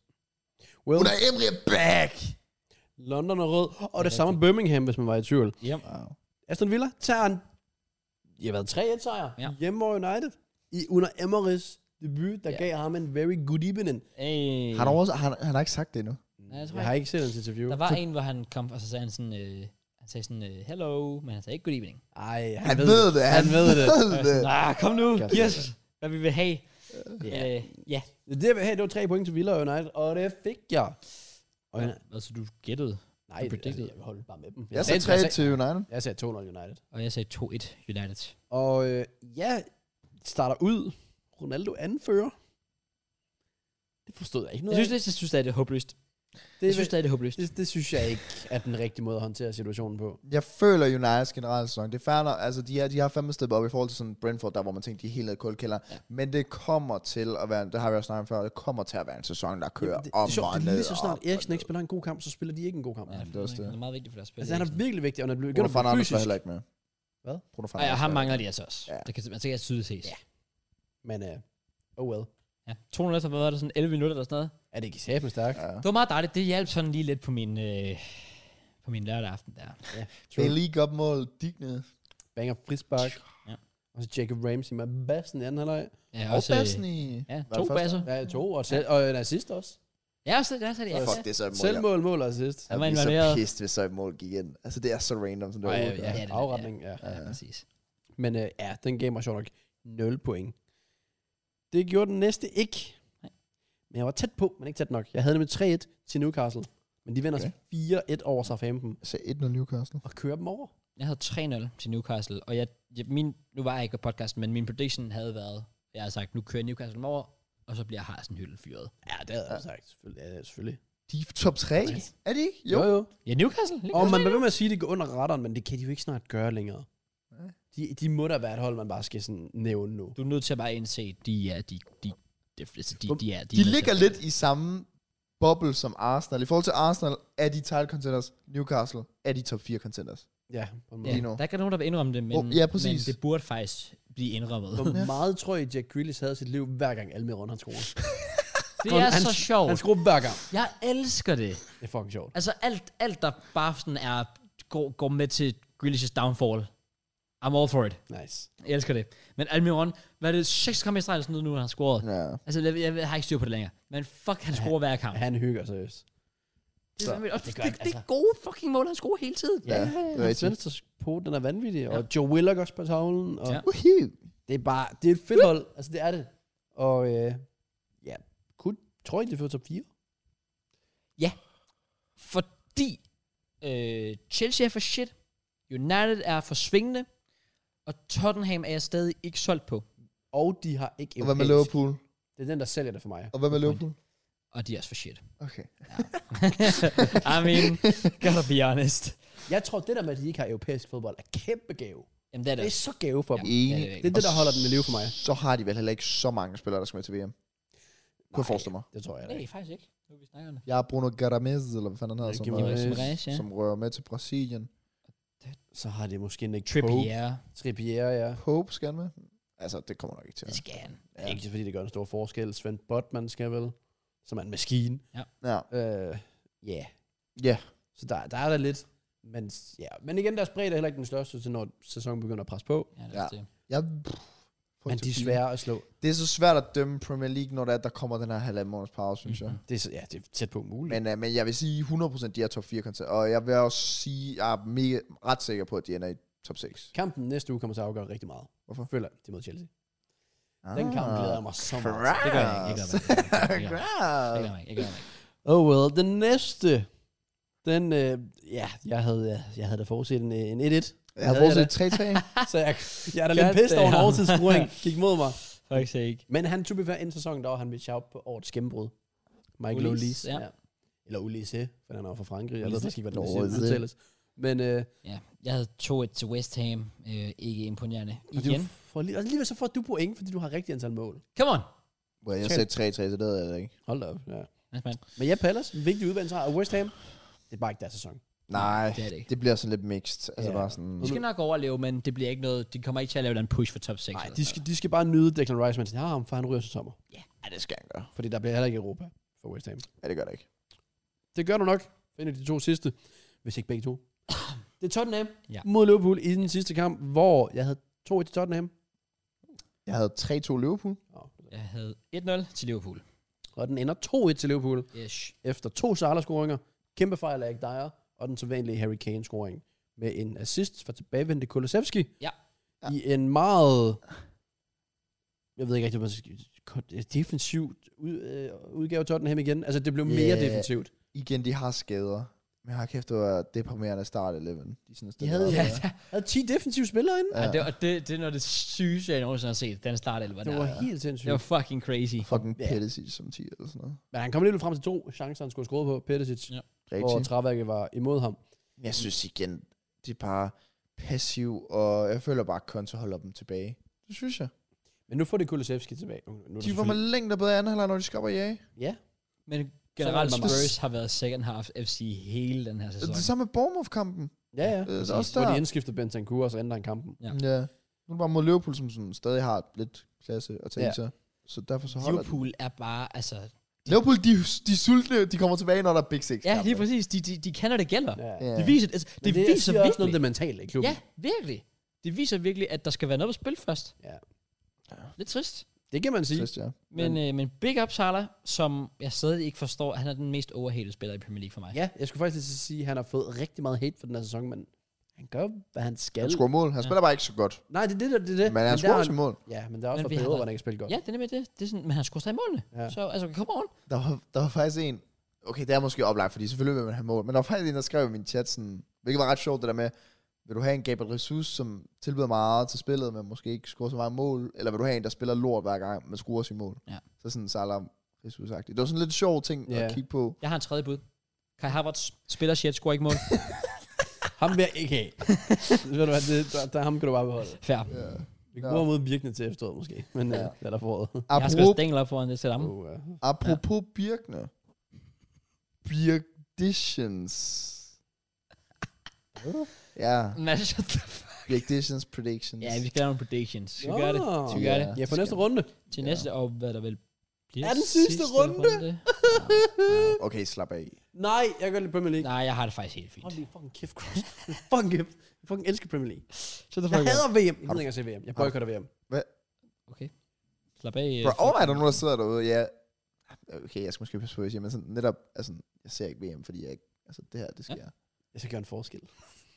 [SPEAKER 2] Well,
[SPEAKER 3] Unai Emery er back!
[SPEAKER 2] London er rød, og det
[SPEAKER 1] Ja,
[SPEAKER 2] samme Birmingham, hvis man var i tvivl.
[SPEAKER 1] Yep.
[SPEAKER 3] Wow.
[SPEAKER 2] Aston Villa tager en... Jeg har været 3 1 sejr
[SPEAKER 1] Ja.
[SPEAKER 2] ja. hjemme over United. I, under Emery's debut, der
[SPEAKER 1] Ja.
[SPEAKER 2] ja. gav ham en very good evening.
[SPEAKER 1] Hey.
[SPEAKER 3] Han har, også, han, han har ikke sagt det endnu.
[SPEAKER 1] Ja, jeg tror
[SPEAKER 2] Jeg har ikke set hans interview.
[SPEAKER 1] Der var en, hvor han kom, og så sagde han sådan, øh, han sagde sådan, øh, hello, men han sagde ikke good evening.
[SPEAKER 2] Ej, han,
[SPEAKER 3] Han, ved det.
[SPEAKER 2] Han ved det.
[SPEAKER 1] Ah, kom nu,
[SPEAKER 2] Kæft,
[SPEAKER 1] yes. hvad vi vil have.
[SPEAKER 2] Ja.
[SPEAKER 1] Øh, ja.
[SPEAKER 2] Det jeg vil have, det var tre point til Villa United, og det fik jeg. Og jeg,
[SPEAKER 1] Altså, du gættede,
[SPEAKER 2] nej, det, altså,
[SPEAKER 1] predicted.
[SPEAKER 2] jeg holdt bare med dem.
[SPEAKER 3] Jeg sagde 3
[SPEAKER 2] jeg, sagde,
[SPEAKER 3] til United.
[SPEAKER 2] jeg sagde 200 United.
[SPEAKER 1] og jeg sagde 2-1 United.
[SPEAKER 2] Og øh, ja, starter ud. Ronaldo anfører. Det forstod jeg ikke
[SPEAKER 1] Jeg
[SPEAKER 2] noget
[SPEAKER 1] synes,
[SPEAKER 2] af.
[SPEAKER 1] det, jeg synes, det er det håbløst.
[SPEAKER 2] det,
[SPEAKER 1] Jeg synes, det er det håbløst.
[SPEAKER 2] det, det synes jeg ikke er den rigtige måde at håndtere situationen på.
[SPEAKER 3] Jeg føler Uniteds generelle sæson. Det er fair nok. Altså, de, er, de har fandme steppet op i forhold til sådan Brentford, der hvor man tænkte, de er helt nede i kuldkælderen. Ja. Men det kommer til at være, det har vi også snakket om før, det kommer til at være en sæson, der kører
[SPEAKER 2] Jamen,
[SPEAKER 3] Jamen,
[SPEAKER 2] det,
[SPEAKER 3] op
[SPEAKER 2] det, er sjovt,
[SPEAKER 3] og
[SPEAKER 2] det er
[SPEAKER 3] ned.
[SPEAKER 2] lige så
[SPEAKER 3] op
[SPEAKER 2] snart
[SPEAKER 3] og
[SPEAKER 2] Eriksen
[SPEAKER 3] ned.
[SPEAKER 2] ikke spiller en god kamp, så spiller de ikke en god kamp.
[SPEAKER 1] Ja,
[SPEAKER 2] Ja.
[SPEAKER 3] det er også det.
[SPEAKER 1] Det er meget vigtigt for deres spil.
[SPEAKER 2] Altså, han er virkelig vigtig, og når det
[SPEAKER 3] Bruno
[SPEAKER 2] begynder at blive
[SPEAKER 3] Fernandes
[SPEAKER 2] fysisk.
[SPEAKER 3] var heller ikke med.
[SPEAKER 2] Hvad?
[SPEAKER 3] Bruno
[SPEAKER 1] Ej,
[SPEAKER 3] Fernandes
[SPEAKER 1] og ham
[SPEAKER 3] var
[SPEAKER 1] mangler
[SPEAKER 3] heller
[SPEAKER 1] de altså også.
[SPEAKER 3] Ja.
[SPEAKER 1] Ja. Det kan, man kan altså tydeligt ses. Ja.
[SPEAKER 2] Men øh, oh well.
[SPEAKER 1] ja. 200 efter, hvad var det, sådan 11 minutter eller sådan noget?
[SPEAKER 2] Er det ikke sæben stærkt?
[SPEAKER 3] ikke med. Ja.
[SPEAKER 1] Det var meget dejligt. Det hjalp sådan lige lidt på min, øh, på min lørdag aften der.
[SPEAKER 2] Ja.
[SPEAKER 3] Det er
[SPEAKER 2] True.
[SPEAKER 3] lige godt mål dignet.
[SPEAKER 2] Banger frisbak.
[SPEAKER 1] Ja.
[SPEAKER 2] Og så Jacob Ramsey med bassen i anden halvleg.
[SPEAKER 1] Ja,
[SPEAKER 3] Og
[SPEAKER 1] øh,
[SPEAKER 3] bassen i...
[SPEAKER 1] Ja,
[SPEAKER 3] Var
[SPEAKER 1] to
[SPEAKER 3] det første?
[SPEAKER 1] basser.
[SPEAKER 2] Ja, to, og, selv, og en assist også.
[SPEAKER 1] Ja, så, ja, så, ja,
[SPEAKER 3] Fuck,
[SPEAKER 1] ja.
[SPEAKER 3] det er så et mål. jeg-
[SPEAKER 2] Selvmål, mål og assist.
[SPEAKER 1] Han
[SPEAKER 3] Jeg
[SPEAKER 1] var
[SPEAKER 3] bliver så
[SPEAKER 1] involveret.
[SPEAKER 3] pissed, hvis så et mål gik ind. Altså, det er så random, som det
[SPEAKER 2] Ej,
[SPEAKER 3] overhovedet
[SPEAKER 2] ja,
[SPEAKER 3] er.
[SPEAKER 1] det er det,
[SPEAKER 2] afretning, ja.
[SPEAKER 1] Ja, præcis.
[SPEAKER 2] Men øh, ja, den gav mig sjovt nok 0 point. Det gjorde den næste ikke.
[SPEAKER 1] Nej.
[SPEAKER 2] Men jeg var tæt på, men ikke tæt nok. Jeg havde nemlig 3-1 til Newcastle. Men de vinder okay. 4-1 over Southampton
[SPEAKER 3] Så 1-0 Newcastle.
[SPEAKER 2] og kører dem over.
[SPEAKER 1] Jeg havde 3-0 til Newcastle, og jeg, jeg, min, nu var jeg ikke på podcasten, men min prediction havde været, jeg havde sagt, nu kører Newcastle dem over, og så bliver Harsen hylden fyret.
[SPEAKER 2] Ja, det havde jeg ja. sagt. Selvfølgelig. Ja, selvfølgelig.
[SPEAKER 3] De er top 3,
[SPEAKER 1] Nice.
[SPEAKER 3] er de ikke? Jo.
[SPEAKER 2] jo. jo.
[SPEAKER 1] Ja, Newcastle. Newcastle.
[SPEAKER 2] Og man bliver ved med at sige, at det går under radaren, men det kan de jo ikke snart gøre længere.
[SPEAKER 3] Nej.
[SPEAKER 2] De, de må da være et hold, man bare skal sådan nævne nu.
[SPEAKER 1] Du er nødt til at bare indse, de er, de, de, de, altså, de, de er, de,
[SPEAKER 3] De
[SPEAKER 1] er
[SPEAKER 3] ligger
[SPEAKER 1] så-
[SPEAKER 3] lidt i samme boble som Arsenal. I forhold til Arsenal er de title contenders. Newcastle er de top 4 contenders.
[SPEAKER 2] Ja, på en måde.
[SPEAKER 1] Ja,
[SPEAKER 3] lige nu.
[SPEAKER 1] der kan nogen, der vil indrømme det, men,
[SPEAKER 3] Oh, ja, præcis.
[SPEAKER 1] men det burde faktisk blive indrømmet.
[SPEAKER 2] Hvor meget tror I, Jack Grealish havde sit liv, hver gang Almiron han skruer?
[SPEAKER 1] Det er
[SPEAKER 2] han,
[SPEAKER 1] så
[SPEAKER 2] Han
[SPEAKER 1] sjovt.
[SPEAKER 2] skruer hver gang.
[SPEAKER 1] Jeg elsker det.
[SPEAKER 2] Det er fucking sjovt.
[SPEAKER 1] Altså alt, alt der bare sådan er, går, går med til Grealish's downfall. I'm all for it.
[SPEAKER 2] Nice.
[SPEAKER 1] Jeg elsker det. Men Almiron, hvad er det, seks kampe i streg eller sådan noget nu, han har scoret?
[SPEAKER 3] Ja.
[SPEAKER 1] Altså, jeg, jeg, jeg har ikke styr på det længere. Men fuck, han
[SPEAKER 2] Ja,
[SPEAKER 1] scorer hver kamp.
[SPEAKER 2] Han hygger seriøst.
[SPEAKER 1] Det,
[SPEAKER 2] så-
[SPEAKER 1] er, fandme- og det, altså.
[SPEAKER 2] det
[SPEAKER 1] det,
[SPEAKER 2] gør
[SPEAKER 1] det,
[SPEAKER 2] han,
[SPEAKER 1] er gode fucking mål, han scorer hele tiden.
[SPEAKER 3] Ja, det er
[SPEAKER 2] Hans
[SPEAKER 3] rigtigt.
[SPEAKER 2] venstre på, den er vanvittig. Og
[SPEAKER 1] Ja.
[SPEAKER 2] Joe Willock også på tavlen. Og
[SPEAKER 1] Ja.
[SPEAKER 2] ja.
[SPEAKER 3] Woohoo!
[SPEAKER 2] Det er bare, det er et fedt hold. Altså, det er det. Og øh, ja, kunne, tror I, det fører top 4?
[SPEAKER 1] Fordi øh, Chelsea er for shit, United er for svingende, og Tottenham er jeg stadig ikke solgt på.
[SPEAKER 2] Og de har ikke
[SPEAKER 3] Og hvad med
[SPEAKER 2] europæisk.
[SPEAKER 3] Liverpool?
[SPEAKER 2] Det er den, der sælger det for mig.
[SPEAKER 3] Og hvad med Liverpool?
[SPEAKER 1] Og de er også for shit.
[SPEAKER 3] Okay.
[SPEAKER 1] I mean, gotta be honest.
[SPEAKER 2] Jeg tror, det der med, at de ikke har europæisk fodbold, er kæmpe gave.
[SPEAKER 1] Jamen, det er
[SPEAKER 2] Det er
[SPEAKER 1] det.
[SPEAKER 2] så gave for
[SPEAKER 1] Ja.
[SPEAKER 2] dem.
[SPEAKER 3] Enig.
[SPEAKER 1] det er
[SPEAKER 2] Det er det, der holder den ved live for mig.
[SPEAKER 3] Så har de vel heller ikke så mange spillere, der skal med til VM. Kunne jeg
[SPEAKER 2] Nej.
[SPEAKER 3] forestille mig.
[SPEAKER 2] Det tror jeg da
[SPEAKER 1] Nej,
[SPEAKER 2] ikke.
[SPEAKER 1] faktisk ikke. Nu er vi snakker om det.
[SPEAKER 3] Jeg er Bruno Garamez, eller hvad fanden han hedder, som,
[SPEAKER 2] Gimenez.
[SPEAKER 3] øh,
[SPEAKER 1] Gimenez, ja.
[SPEAKER 3] som rører med til Brasilien.
[SPEAKER 2] Så har det måske Nick Pope.
[SPEAKER 1] Trippier,
[SPEAKER 2] Trippier, ja.
[SPEAKER 3] Pope skal han med. Altså, det kommer nok ikke til.
[SPEAKER 1] det skal han.
[SPEAKER 2] ja. Ikke fordi det gør en stor forskel. Svend Botman skal vel, som er en maskine.
[SPEAKER 3] Ja.
[SPEAKER 2] Øh, Ja.
[SPEAKER 3] Ja.
[SPEAKER 2] Så der, der er der lidt. Men, s- ja. men igen, deres bredde er heller ikke den største, til når sæsonen begynder at presse på.
[SPEAKER 1] Ja, det er også det.
[SPEAKER 3] Jeg, pff,
[SPEAKER 2] Men de er svære at slå.
[SPEAKER 3] Det er så svært at dømme Premier League, når der, er, der kommer den her halvanden måneds pause, synes jeg.
[SPEAKER 1] Mhm.
[SPEAKER 2] Det er, så- ja, det er tæt på muligt. Men,
[SPEAKER 3] Men, øh, men jeg vil sige 100% de er top 4 koncert, og jeg vil også sige, at jeg er mega, ret sikker på, at de ender i top 6.
[SPEAKER 2] Kampen næste uge kommer til at afgøre rigtig meget.
[SPEAKER 3] Hvorfor?
[SPEAKER 2] Føler jeg. Det er mod Chelsea.
[SPEAKER 3] Ah,
[SPEAKER 2] Den kamp glæder jeg mig så meget til.
[SPEAKER 1] Det gør jeg ikke. Det gør jeg ikke. Det gør jeg ikke. Det
[SPEAKER 3] Grass.
[SPEAKER 1] gør jeg ikke. Det gør jeg ikke.
[SPEAKER 2] Oh well, den næste, den, øh, ja, jeg havde, øh, jeg havde da forudset en, øh, en 1-1,
[SPEAKER 3] Jeg havde forudset 3-3.
[SPEAKER 2] så jeg, jeg er da lidt
[SPEAKER 1] God
[SPEAKER 2] pissed over en
[SPEAKER 1] damn.
[SPEAKER 2] overtidsscoring, gik mod mig.
[SPEAKER 1] Faktisk ikke.
[SPEAKER 2] Men han tog befærd inden sæsonen, der var han med shout på årets gennembrud. Michael
[SPEAKER 1] Ulis,
[SPEAKER 2] Ulis, Ulis
[SPEAKER 1] ja.
[SPEAKER 2] ja. ja. Eller Ulisse, for han er jo fra Frankrig. Jeg
[SPEAKER 1] Ulis.
[SPEAKER 2] ved faktisk ikke, hvordan det
[SPEAKER 3] Nå,
[SPEAKER 2] siger,
[SPEAKER 3] det.
[SPEAKER 2] udtales. Men øh,
[SPEAKER 1] Ja, jeg havde 2-1 til West Ham. Øh, ikke imponerende.
[SPEAKER 2] og
[SPEAKER 1] Igen.
[SPEAKER 2] Du får, lige- og alligevel så får du point, fordi du har rigtig antal mål.
[SPEAKER 1] Come on.
[SPEAKER 3] Well, jeg sagde 3-3, så det havde jeg da ikke.
[SPEAKER 2] Hold da op, ja.
[SPEAKER 1] Mads Mann.
[SPEAKER 2] Men ja, Palace, en vigtig udvandring, og West Ham, det er bare ikke deres sæson.
[SPEAKER 3] Nej,
[SPEAKER 1] Det er det ikke.
[SPEAKER 3] det bliver sådan lidt mixed. Altså
[SPEAKER 2] Ja.
[SPEAKER 3] bare sådan...
[SPEAKER 1] De skal nok overleve, men det bliver ikke noget, de kommer ikke til at lave en push for top 6.
[SPEAKER 2] Nej, de skal, de skal bare nyde Declan Rice, mens de har ham, for han ryger til sommer.
[SPEAKER 3] Ja, det skal han gøre.
[SPEAKER 2] Fordi der bliver heller ikke Europa for West Ham.
[SPEAKER 3] Ja, det gør det ikke.
[SPEAKER 2] Det gør du nok. Finder de to sidste, hvis ikke begge to. Det er Tottenham
[SPEAKER 1] Ja.
[SPEAKER 2] ja. mod Liverpool i den sidste kamp, hvor jeg havde 2-1 til Tottenham.
[SPEAKER 3] Jeg havde 3-2 Liverpool.
[SPEAKER 2] Nå,
[SPEAKER 1] Jeg havde 1-0 til Liverpool.
[SPEAKER 2] Og den ender 2-1 til Liverpool.
[SPEAKER 1] Ish.
[SPEAKER 2] efter to Salah-scoringer, kæmpe fejl af Eric Dyer, og den sædvanlige Harry Kane-scoring med en assist fra tilbagevendte Kulusevski.
[SPEAKER 1] Ja.
[SPEAKER 2] I en meget... jeg ved ikke rigtig, hvad man skal kort- defensivt ud, øh, udgave Tottenham igen. Altså, det blev mere
[SPEAKER 3] Ja.
[SPEAKER 2] defensivt.
[SPEAKER 3] Igen, de har skader. Men har kæft, det var deprimerende start 11. De, sådan
[SPEAKER 2] De
[SPEAKER 3] stille
[SPEAKER 2] havde,
[SPEAKER 3] op,
[SPEAKER 2] ja,
[SPEAKER 1] Ja,
[SPEAKER 2] ja. havde 10 defensive spillere inde.
[SPEAKER 1] Ja. Ja, det, var, det, det er noget af det sygeste, jeg nogensinde har set, den start, eller hvad
[SPEAKER 2] Det
[SPEAKER 1] der.
[SPEAKER 2] var
[SPEAKER 1] er.
[SPEAKER 2] helt
[SPEAKER 1] det
[SPEAKER 2] sindssygt.
[SPEAKER 1] var fucking crazy.
[SPEAKER 3] Fucking
[SPEAKER 2] Ja.
[SPEAKER 3] Pedersen som 10 eller sådan noget.
[SPEAKER 2] Men han kom alligevel frem til to chancer, han skulle have scoret på Pettisic,
[SPEAKER 1] Ja.
[SPEAKER 2] ja. hvor
[SPEAKER 3] Rigtig.
[SPEAKER 2] træværket var imod ham.
[SPEAKER 3] Jeg synes igen, de er bare passiv, og jeg føler bare, at Konto holder dem tilbage. Det synes jeg.
[SPEAKER 2] Men nu får det Kulusevski tilbage. Nu, nu er det
[SPEAKER 3] De var
[SPEAKER 2] selvfølgelig-
[SPEAKER 3] med længder bedre anden halvleg, når de skal op og jage.
[SPEAKER 2] Ja.
[SPEAKER 1] Men generelt,
[SPEAKER 2] Så var det
[SPEAKER 1] Spurs har været second half FC hele den her sæson.
[SPEAKER 3] Det samme med Bournemouth-kampen.
[SPEAKER 2] Ja, ja.
[SPEAKER 3] Øh,
[SPEAKER 2] præcis.
[SPEAKER 3] også
[SPEAKER 2] Hvor
[SPEAKER 3] der.
[SPEAKER 2] de indskiftede Bentancur, og så ændrede han kampen.
[SPEAKER 1] Ja.
[SPEAKER 3] Ja. ja. Nu er det bare mod Liverpool, som sådan, stadig har lidt klasse at tage
[SPEAKER 2] Ja.
[SPEAKER 3] ja. sig. Så derfor så holder Liverpool.
[SPEAKER 1] Liverpool er bare, altså...
[SPEAKER 3] De. Liverpool, de, de er sultne, de kommer tilbage, når der er Big Six.
[SPEAKER 1] Ja, lige præcis. De, de, de kender det gælder.
[SPEAKER 2] Ja.
[SPEAKER 3] Ja.
[SPEAKER 1] Det viser, altså,
[SPEAKER 2] Men
[SPEAKER 1] det,
[SPEAKER 2] det
[SPEAKER 1] viser
[SPEAKER 2] siger også noget om
[SPEAKER 1] virkelig.
[SPEAKER 2] det mentale i klubben.
[SPEAKER 1] ja, virkelig. Det viser virkelig, at der skal være noget på spil først.
[SPEAKER 2] Ja.
[SPEAKER 1] Lidt trist.
[SPEAKER 2] Det kan man sige.
[SPEAKER 3] Trist, ja.
[SPEAKER 1] Men, men, øh, men big up Salah, som jeg stadig ikke forstår, han er den mest overhated spiller i Premier League for mig.
[SPEAKER 2] Ja, jeg skulle faktisk lige til at sige, at han har fået rigtig meget hate for den her sæson, men han gør, hvad han skal.
[SPEAKER 3] Han scorer mål. Han
[SPEAKER 1] Ja.
[SPEAKER 3] spiller bare ikke så godt.
[SPEAKER 2] Nej, det er det, der, det er det.
[SPEAKER 3] Men han
[SPEAKER 2] der
[SPEAKER 3] scorer
[SPEAKER 2] er-
[SPEAKER 3] også mål.
[SPEAKER 2] Ja, men der er også
[SPEAKER 1] Men
[SPEAKER 2] for
[SPEAKER 1] vi har
[SPEAKER 2] perioder, hvor
[SPEAKER 1] været-
[SPEAKER 2] han ikke spiller godt.
[SPEAKER 1] ja det er nemlig det. det er sådan, men han skulle stadig målene.
[SPEAKER 2] Ja.
[SPEAKER 1] Så altså, kom on.
[SPEAKER 3] Der var, der var faktisk en... Okay, det er måske oplagt, fordi selvfølgelig vil man have mål. Men der var faktisk en, der skrev i min chat sådan... Hvilket var ret sjovt, det der med... Vil du have en Gabriel Jesus, som tilbyder meget til spillet, men måske ikke scorer så meget mål? Eller vil du have en, der spiller lort hver gang, men scorer sin mål?
[SPEAKER 1] Ja.
[SPEAKER 3] Så sådan Salah jesus -agtigt. Det var sådan lidt sjov ting
[SPEAKER 2] Ja.
[SPEAKER 3] at kigge på.
[SPEAKER 1] Jeg har en tredje bud. Kai Havertz spiller shit, scorer ikke mål.
[SPEAKER 2] Ham vil jeg ikke have. Ved du hvad, det, der, der, ham kan du bare beholde.
[SPEAKER 1] Fair.
[SPEAKER 3] Ja.
[SPEAKER 2] Vi
[SPEAKER 3] Ja.
[SPEAKER 2] kan bruge ham mod Birkene til efteråret måske, men ja.
[SPEAKER 3] Ja.
[SPEAKER 2] øh, lad dig foråret.
[SPEAKER 1] Jeg har skrevet
[SPEAKER 3] Apropos,
[SPEAKER 1] stængel op foran det til ham.
[SPEAKER 2] Oh, ja.
[SPEAKER 3] apropos Birkene. Birkditions. Ja,
[SPEAKER 1] Mads, what the fuck?
[SPEAKER 3] Birkditions predictions.
[SPEAKER 1] Ja, vi skal lave nogle predictions. Skal vi gøre det?
[SPEAKER 2] Nå.
[SPEAKER 1] Skal vi gøre det?
[SPEAKER 2] Ja, for næste runde.
[SPEAKER 1] Til
[SPEAKER 3] Ja.
[SPEAKER 1] næste år, hvad der vil blive
[SPEAKER 2] Er den sidste runde?
[SPEAKER 3] Okay, slap af.
[SPEAKER 2] Nej, jeg gør lidt Premier League.
[SPEAKER 1] Nej, jeg har det faktisk helt fint.
[SPEAKER 2] Hold lige fucking kæft, Cross. fucking kæft. Jeg fucking elsker Premier League.
[SPEAKER 1] Så det
[SPEAKER 2] Jeg hader VM. Jeg
[SPEAKER 3] Har
[SPEAKER 2] gider
[SPEAKER 3] du-
[SPEAKER 2] ikke at se VM. Jeg
[SPEAKER 3] har du-
[SPEAKER 2] boykotter VM.
[SPEAKER 1] Okay. Slap af. øh,
[SPEAKER 3] Bro, overvej, der er nogen, der sidder derude, ja. Okay, jeg skal måske passe på, hvad jeg siger, men sådan, netop, altså, jeg ser ikke VM, fordi jeg ikke, altså, det her, det sker. Ja.
[SPEAKER 2] Jeg skal gøre en forskel.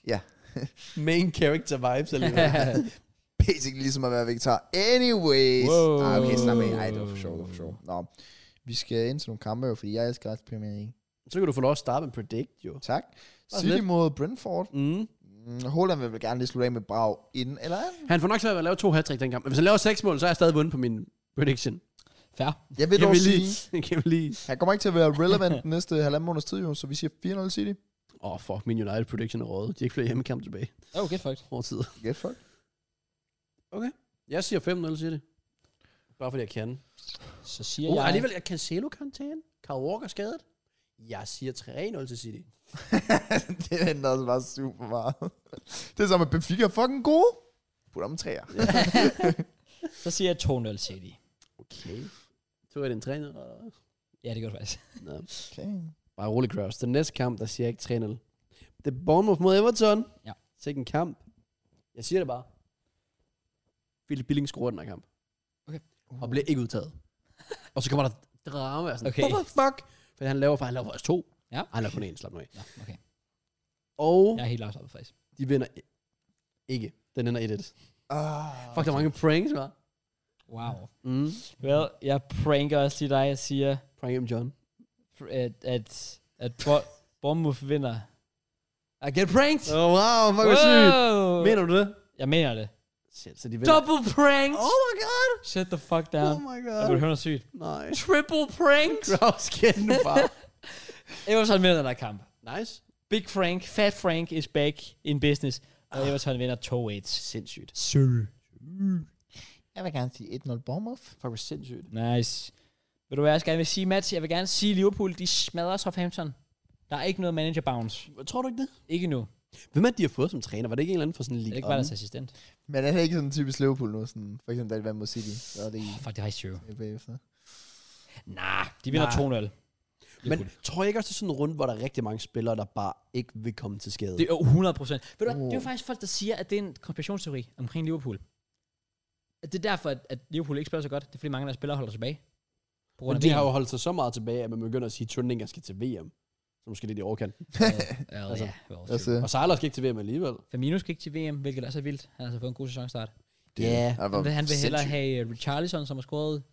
[SPEAKER 3] Ja.
[SPEAKER 2] Main character vibes alligevel.
[SPEAKER 3] Basically ligesom at være vegetar. Anyways.
[SPEAKER 1] Wow.
[SPEAKER 3] Ah, okay, slap af. Ej, det var for sjovt, det var for sjovt. Nå, vi skal ind til nogle kampe, jo, fordi jeg elsker også Premier League.
[SPEAKER 2] Så kan du få lov at starte med predict, jo.
[SPEAKER 3] Tak.
[SPEAKER 2] Bare
[SPEAKER 3] City
[SPEAKER 2] lidt.
[SPEAKER 3] mod Brentford.
[SPEAKER 2] Mm.
[SPEAKER 3] Mm, Holland vil vel gerne lige slutte af med Brag inden, eller?
[SPEAKER 2] Han får nok svært ved at lave to hat den kamp. Men hvis han laver seks mål, så er jeg stadig vundet på min prediction.
[SPEAKER 1] Fair.
[SPEAKER 3] Jeg vil
[SPEAKER 2] kan,
[SPEAKER 3] dog
[SPEAKER 2] vi
[SPEAKER 3] sige,
[SPEAKER 2] lige, kan vi lige...
[SPEAKER 3] han kommer ikke til at være relevant den næste halvanden måneds tid, jo, så vi siger 4-0 City.
[SPEAKER 2] Åh, oh, fuck, min United prediction er røget. De har ikke flere hjemmekamp tilbage.
[SPEAKER 1] Okay, fucked.
[SPEAKER 2] Hård tid.
[SPEAKER 3] Get fucked.
[SPEAKER 2] Jeg siger 5-0, siger det. Bare fordi jeg kan.
[SPEAKER 1] Så siger
[SPEAKER 2] Uh,
[SPEAKER 1] jeg...
[SPEAKER 2] alligevel, jeg kan selo karantæne. Kyle Walker skadet. Jeg siger 3-0 til City.
[SPEAKER 3] det ændrer også bare super meget. Det er som, at Benfica er fucking gode. Put om træer.
[SPEAKER 1] Så siger jeg 2-0 City.
[SPEAKER 2] Okay. Så er det en 3 og...
[SPEAKER 1] Ja, det gør det faktisk.
[SPEAKER 2] Nå.
[SPEAKER 3] Okay.
[SPEAKER 2] Bare rolig, Kraus. Den næste kamp, der siger jeg ikke 3-0. Det er Bournemouth mod Everton.
[SPEAKER 1] Ja.
[SPEAKER 2] Sikke kamp. Jeg siger det bare. Philip Billing scorer den her kamp.
[SPEAKER 1] Okay.
[SPEAKER 2] Og bliver ikke udtaget. Og så kommer der drama. og Sådan,
[SPEAKER 1] Okay.
[SPEAKER 2] okay. What the fuck? For han laver, for han laver også to.
[SPEAKER 1] Ja.
[SPEAKER 2] Ej, Han laver kun en, slap nu af.
[SPEAKER 1] Nå, okay.
[SPEAKER 2] Og
[SPEAKER 1] Jeg
[SPEAKER 2] ja.
[SPEAKER 1] er helt afslappet faktisk.
[SPEAKER 2] de vinder i- ikke. Den ender 1-1. Fuck,
[SPEAKER 3] Ah,
[SPEAKER 2] der er mange pranks, hva'?
[SPEAKER 1] Wow.
[SPEAKER 2] Mm.
[SPEAKER 1] Well, jeg pranker også lige dig. Jeg siger,
[SPEAKER 2] Prank him, John.
[SPEAKER 1] at, at, at Bo- Bournemouth vinder. I get pranked!
[SPEAKER 2] Oh, wow, fuck, hvor sygt.
[SPEAKER 1] Wow.
[SPEAKER 2] Mener du det?
[SPEAKER 1] Jeg mener det.
[SPEAKER 2] Shit, så de vinder.
[SPEAKER 1] Double pranked!
[SPEAKER 2] Oh my god.
[SPEAKER 1] Shut the fuck down.
[SPEAKER 2] Oh my
[SPEAKER 1] Jeg burde
[SPEAKER 2] god.
[SPEAKER 1] høre noget sygt.
[SPEAKER 2] Nej.
[SPEAKER 1] Triple pranked!
[SPEAKER 2] Kraus, kæft nu bare.
[SPEAKER 1] Everton vinder den her kamp.
[SPEAKER 2] Nice.
[SPEAKER 1] Big Frank, Fat Frank is back in business. Og
[SPEAKER 2] Ah.
[SPEAKER 1] Everton vinder 2-1.
[SPEAKER 2] Sindssygt.
[SPEAKER 1] Syl.
[SPEAKER 3] Jeg vil gerne sige 1-0 Bournemouth.
[SPEAKER 2] Fuck, hvor sindssygt.
[SPEAKER 1] Nice. Vil du være, jeg skal gerne vil sige, Mats, jeg vil gerne sige, Liverpool, de smadrer Southampton. Der er ikke noget manager bounce.
[SPEAKER 2] Tror du ikke det?
[SPEAKER 1] Ikke nu.
[SPEAKER 2] Hvem er det, de har fået som træner? Var det ikke en eller anden fra sådan en
[SPEAKER 1] Det er
[SPEAKER 2] liga?
[SPEAKER 1] ikke bare deres assistent.
[SPEAKER 3] Men er det ikke sådan typisk Liverpool nu? Sådan, for eksempel, da de vandt mod City. Så er det
[SPEAKER 1] Oh, fuck, det er faktisk true.
[SPEAKER 3] i bagefter.
[SPEAKER 1] Nah, de vinder
[SPEAKER 2] Nah.
[SPEAKER 1] 2-0.
[SPEAKER 2] Men
[SPEAKER 1] Men
[SPEAKER 2] tror jeg ikke også, det er sådan en runde, hvor der er rigtig mange spillere, der bare ikke vil komme til skade?
[SPEAKER 1] det er jo 100 procent. Ved du hvad,
[SPEAKER 3] Uh.
[SPEAKER 1] det er jo faktisk folk, der siger, at det er en konspirationsteori omkring Liverpool. At det er derfor, at, at Liverpool ikke spiller så godt. Det er fordi mange af deres spillere holder tilbage. På grund
[SPEAKER 2] Men
[SPEAKER 1] af
[SPEAKER 2] de har jo
[SPEAKER 1] VM.
[SPEAKER 2] holdt sig så meget tilbage, at man begynder at sige, at turneringer skal til VM. Så måske lidt i overkant.
[SPEAKER 1] Ja,
[SPEAKER 2] altså,
[SPEAKER 1] ja, well, true.
[SPEAKER 3] Altså,
[SPEAKER 2] Og Sejler skal ikke til VM alligevel.
[SPEAKER 1] Firmino skal ikke til VM, hvilket også er vildt. Han har altså fået en god sæsonstart.
[SPEAKER 3] Det,
[SPEAKER 2] Ja.
[SPEAKER 3] han var
[SPEAKER 1] Han vil, han vil hellere
[SPEAKER 3] sindssyg.
[SPEAKER 1] have øh, Richarlison, som har scoret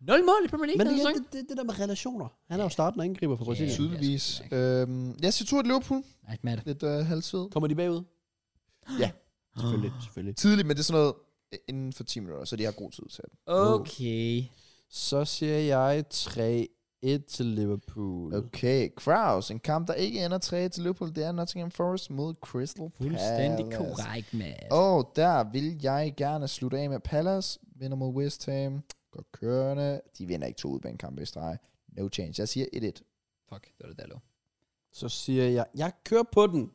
[SPEAKER 1] 0 mål i Premier League.
[SPEAKER 2] Men det,
[SPEAKER 1] den
[SPEAKER 2] er
[SPEAKER 1] sæson.
[SPEAKER 2] det, det, det der med relationer. Han er jo starten og angriber for Brasilien.
[SPEAKER 1] Ja.
[SPEAKER 3] Tydeligvis.
[SPEAKER 1] Ja, det
[SPEAKER 3] Øhm, jeg siger 2 til Liverpool.
[SPEAKER 1] Nej, Matt.
[SPEAKER 3] Lidt øh, halvsved.
[SPEAKER 2] Kommer de bagud?
[SPEAKER 3] Ja.
[SPEAKER 1] Ah.
[SPEAKER 2] Selvfølgelig, selvfølgelig.
[SPEAKER 3] Tidligt, men det er sådan noget øh, inden for 10 minutter, så de har god tid til det.
[SPEAKER 1] Okay.
[SPEAKER 2] Så siger jeg 3-1 til Liverpool.
[SPEAKER 3] Okay, Kraus. En kamp, der ikke ender 3 til Liverpool, det er Nottingham Forest mod Crystal Palace.
[SPEAKER 1] Fuldstændig
[SPEAKER 2] altså.
[SPEAKER 1] korrekt, Matt.
[SPEAKER 3] Og der vil jeg gerne slutte af med Palace. Vinder mod West Ham. Godt kørende. De vinder ikke to udbanekampe i streg. No change. Jeg siger 1-1.
[SPEAKER 1] Fuck, det var det der lå.
[SPEAKER 2] Så siger jeg, jeg kører på den.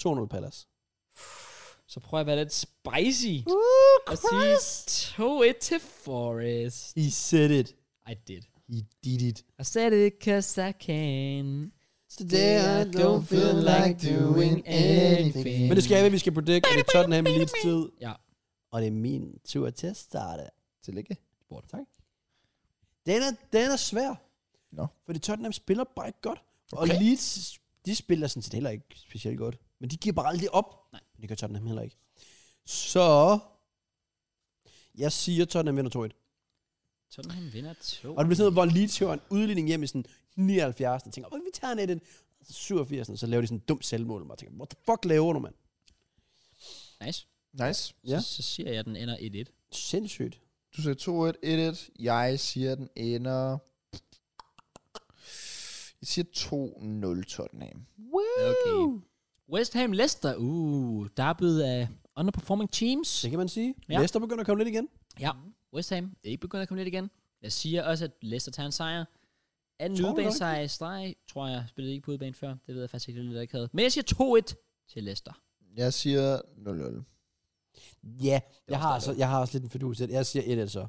[SPEAKER 2] 2-0 Palace.
[SPEAKER 1] Så prøver jeg at være lidt spicy.
[SPEAKER 3] Uh,
[SPEAKER 1] Og sige 2-1 til Forest.
[SPEAKER 2] He said it.
[SPEAKER 1] I did.
[SPEAKER 2] He did it.
[SPEAKER 1] I said it cause I can.
[SPEAKER 2] Today I don't feel like doing anything. Men det skal jeg, vi skal predict, og det er Tottenham Leeds tid.
[SPEAKER 1] Ja.
[SPEAKER 2] Og det er min tur til at starte.
[SPEAKER 3] Tillykke.
[SPEAKER 2] Bort. Tak. Den er, den er svær.
[SPEAKER 3] Nå.
[SPEAKER 2] Fordi Tottenham spiller bare ikke godt. Okay. Og
[SPEAKER 3] Okay.
[SPEAKER 2] Leeds, de spiller sådan set heller ikke specielt godt. Men de giver bare aldrig op.
[SPEAKER 1] Nej.
[SPEAKER 2] Men det gør Tottenham heller ikke. Så... Jeg siger, Tottenham vinder 2-1.
[SPEAKER 1] Tottenham vinder 2.
[SPEAKER 2] Og det bliver sådan noget, hvor Leeds hører en udligning hjem i sådan 79. Og tænker, "Åh, vi tager net ind. 87. Og så laver de sådan et dumt selvmål. Og jeg tænker, what the fuck laver du, mand?
[SPEAKER 1] Nice.
[SPEAKER 3] Nice.
[SPEAKER 1] Ja.
[SPEAKER 2] Ja.
[SPEAKER 1] Så, så siger jeg, at den ender 1-1.
[SPEAKER 2] Sindssygt.
[SPEAKER 3] Du siger 2-1, 1-1. Jeg siger, den ender... Jeg siger 2-0 Tottenham.
[SPEAKER 1] Okay. West Ham Leicester. Uh, der er blevet af underperforming teams.
[SPEAKER 2] Det kan man sige.
[SPEAKER 1] Ja.
[SPEAKER 2] Ja. Leicester begynder at komme lidt igen.
[SPEAKER 1] Ja, Mhm. West Ham er ikke begyndt at komme lidt igen. Jeg siger også, at Leicester tager en sejr. Anden
[SPEAKER 2] Tror du
[SPEAKER 1] udebane
[SPEAKER 2] det?
[SPEAKER 1] sejr i streg, tror jeg. Spillede ikke på udebane før. Det ved jeg faktisk ikke, det er lidt akavet. Men jeg siger 2-1 til Leicester.
[SPEAKER 3] Jeg siger
[SPEAKER 2] Ja, jeg har, altså, jeg har også lidt en fedus. i det. Jeg siger 1-1 så.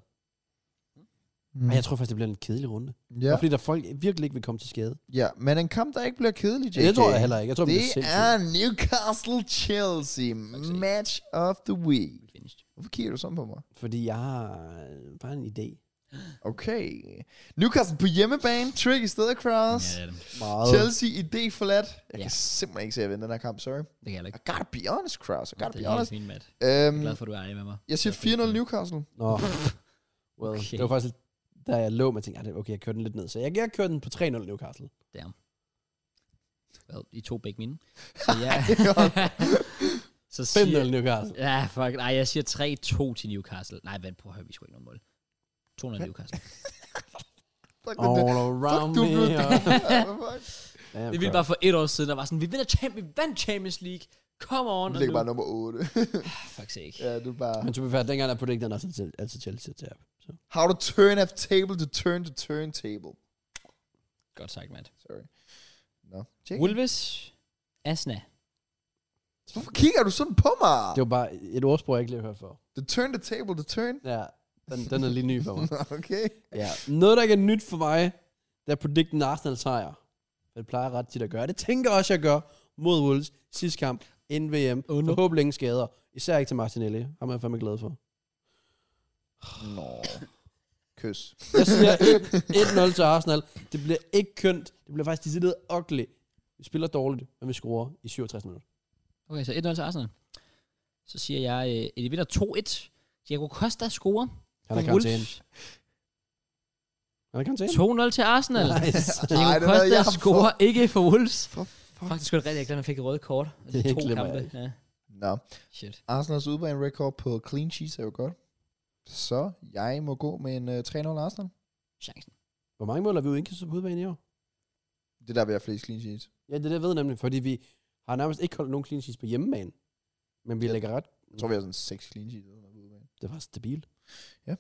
[SPEAKER 2] Men jeg tror faktisk, det bliver en kedelig runde.
[SPEAKER 3] 0-0.
[SPEAKER 2] Ja.
[SPEAKER 3] Ja.
[SPEAKER 2] Fordi der folk virkelig ikke vil komme til skade.
[SPEAKER 3] ja, men en kamp, der ikke bliver kedelig, JK.
[SPEAKER 2] Det tror jeg heller ikke. Jeg tror, det
[SPEAKER 3] Det
[SPEAKER 2] bliver sindssygt.
[SPEAKER 3] er Newcastle-Chelsea match of the week.
[SPEAKER 1] Finished.
[SPEAKER 3] Hvorfor kigger du sådan på mig?
[SPEAKER 2] Fordi jeg har øh, bare en idé.
[SPEAKER 3] Okay. Newcastle på hjemmebane. Tricky sted at cross.
[SPEAKER 1] Ja, det er det.
[SPEAKER 2] Meget.
[SPEAKER 3] Chelsea i D forladt. Jeg
[SPEAKER 1] Ja.
[SPEAKER 3] kan simpelthen ikke se, at jeg vinder den her kamp. Sorry.
[SPEAKER 1] Det kan jeg heller
[SPEAKER 3] I
[SPEAKER 1] ikke.
[SPEAKER 3] gotta be honest, Kraus. I gotta
[SPEAKER 1] Det
[SPEAKER 3] be
[SPEAKER 1] er helt
[SPEAKER 3] honest.
[SPEAKER 1] fint, Matt. Jeg
[SPEAKER 3] Øhm,
[SPEAKER 1] er glad for, at du er ærlig med mig.
[SPEAKER 3] jeg siger
[SPEAKER 1] Det er fint.
[SPEAKER 3] 4-0 Newcastle.
[SPEAKER 2] Nå. Well,
[SPEAKER 1] Okay.
[SPEAKER 2] okay. det var faktisk lidt, da jeg lå med, tænkte, "Ah, det- okay, jeg kørte den lidt ned. Så jeg, jeg kørte den på 3-0 Newcastle.
[SPEAKER 1] Well, I to begge mine. Så ja. så
[SPEAKER 2] 5-0 Newcastle.
[SPEAKER 1] Ja, fuck. Nej, jeg siger 3-2 til Newcastle. Nej, vent på at høre, vi skulle ikke nogen mål. 200 Newcastle.
[SPEAKER 3] Fuck, oh,
[SPEAKER 2] All around
[SPEAKER 3] du
[SPEAKER 2] me.
[SPEAKER 3] blev
[SPEAKER 2] Damn,
[SPEAKER 1] Det ville bare for et år siden, der var sådan, vi vinder champ- vi vandt Champions League. Come on.
[SPEAKER 3] Du
[SPEAKER 1] og
[SPEAKER 3] ligger
[SPEAKER 1] nu-
[SPEAKER 3] bare nummer 8.
[SPEAKER 1] Fuck sake.
[SPEAKER 3] ja, du er bare...
[SPEAKER 2] Men to be fair, dengang der predicted han altid, altid Chelsea til tab. Så.
[SPEAKER 3] How to turn af table to turn to turn table.
[SPEAKER 1] Godt sagt, Matt.
[SPEAKER 3] Sorry. Nå. No.
[SPEAKER 1] Wolves, Asna.
[SPEAKER 3] Hvorfor kigger du sådan på mig?
[SPEAKER 2] Det var bare et ordsprog, jeg ikke lige har hørt før.
[SPEAKER 3] The turn to table to turn.
[SPEAKER 2] Ja, den, den er lige ny for mig.
[SPEAKER 3] Nå, okay.
[SPEAKER 2] Ja. Noget, der ikke er nyt for mig, det er predict en Arsenal sejr. Det plejer jeg ret tit at gøre. Det tænker jeg også, jeg gør mod Wolves sidste kamp inden VM.
[SPEAKER 1] Oh
[SPEAKER 2] Oh,
[SPEAKER 1] no.
[SPEAKER 2] no. Forhåbentlig ingen skader. Især ikke til Martinelli. Ham er jeg fandme glad for.
[SPEAKER 3] Nå. Kys.
[SPEAKER 2] Jeg siger 1-0 til Arsenal. Det bliver ikke kønt. Det bliver faktisk decideret ugly. Vi spiller dårligt, men vi scorer i 67 minutter.
[SPEAKER 1] Okay, så 1-0 til Arsenal. Så siger jeg, øh, at de vinder 2-1. Diego Costa scorer.
[SPEAKER 2] Han er i
[SPEAKER 1] for
[SPEAKER 2] karantæne.
[SPEAKER 1] Wolves.
[SPEAKER 2] Han er i karantæne.
[SPEAKER 1] 2-0 til Arsenal.
[SPEAKER 2] Nice.
[SPEAKER 1] Diego
[SPEAKER 3] Ej, den havde
[SPEAKER 1] Costa
[SPEAKER 3] jeg fået.
[SPEAKER 1] scorer ikke for Wolves.
[SPEAKER 3] For fuck.
[SPEAKER 1] Faktisk skulle det rigtig, jeg glemte, at han fik et rødt kort. Og Det er
[SPEAKER 2] Det
[SPEAKER 1] to
[SPEAKER 2] glemmer
[SPEAKER 1] kampe.
[SPEAKER 2] jeg ikke.
[SPEAKER 1] Ja.
[SPEAKER 3] Nå.
[SPEAKER 1] Shit.
[SPEAKER 3] Arsenals udbane record på clean sheets er jo godt. Så jeg må gå med en uh, 3-0 Arsenal.
[SPEAKER 1] Chancen.
[SPEAKER 2] Hvor mange mål har vi ude indkastet på udebane i år?
[SPEAKER 3] Det er der, vi har flest clean sheets.
[SPEAKER 2] Ja, det er det, jeg ved nemlig, fordi vi har nærmest ikke holdt nogen clean sheets på hjemmebane. Men vi
[SPEAKER 3] Ja.
[SPEAKER 2] lægger ret.
[SPEAKER 3] Jeg tror, vi har sådan 6 clean sheets. under på udebane.
[SPEAKER 2] Det var stabilt.
[SPEAKER 1] Hold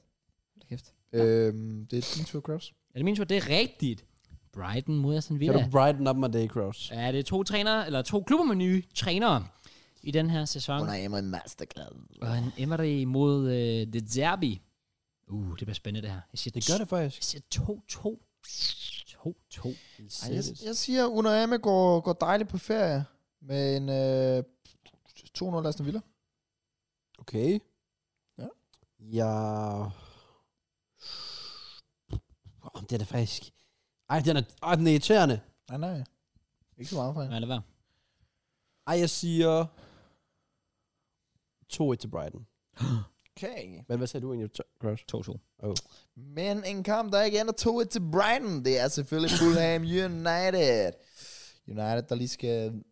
[SPEAKER 1] da Kæft. Ja.
[SPEAKER 3] Øhm, det er din tur, Krabs.
[SPEAKER 1] Er det min tur? Det er rigtigt. Brighton mod Aston
[SPEAKER 2] Kan
[SPEAKER 1] Villa.
[SPEAKER 2] du brighten up my day, Cross?
[SPEAKER 1] Ja, det er to trænere, eller to klubber med nye trænere i den her sæson.
[SPEAKER 3] Emma en masterclass.
[SPEAKER 1] Og en Emery mod øh, The Derby. Uh, det bliver spændende det her. Jeg siger,
[SPEAKER 2] Det gør det faktisk.
[SPEAKER 1] Jeg siger 2-2. 2-2.
[SPEAKER 3] Ej, jeg, jeg siger, Under Emma går, går dejligt på ferie med en øh, 2-0 Aston Villa.
[SPEAKER 2] Okay.
[SPEAKER 3] Ja.
[SPEAKER 2] Ja. Oh, det er da faktisk... Ej, den er, ej, den er irriterende.
[SPEAKER 3] Nej, nej. Ikke så meget for hende.
[SPEAKER 1] Nej, lad være.
[SPEAKER 2] Ej, jeg siger... 2-1 til Brighton.
[SPEAKER 3] Okay.
[SPEAKER 2] Men hvad sagde du egentlig, Gross?
[SPEAKER 1] 2-2.
[SPEAKER 3] Men en kamp, der ikke ender 2-1 til Brighton, det er selvfølgelig Fulham United. United, der lige skal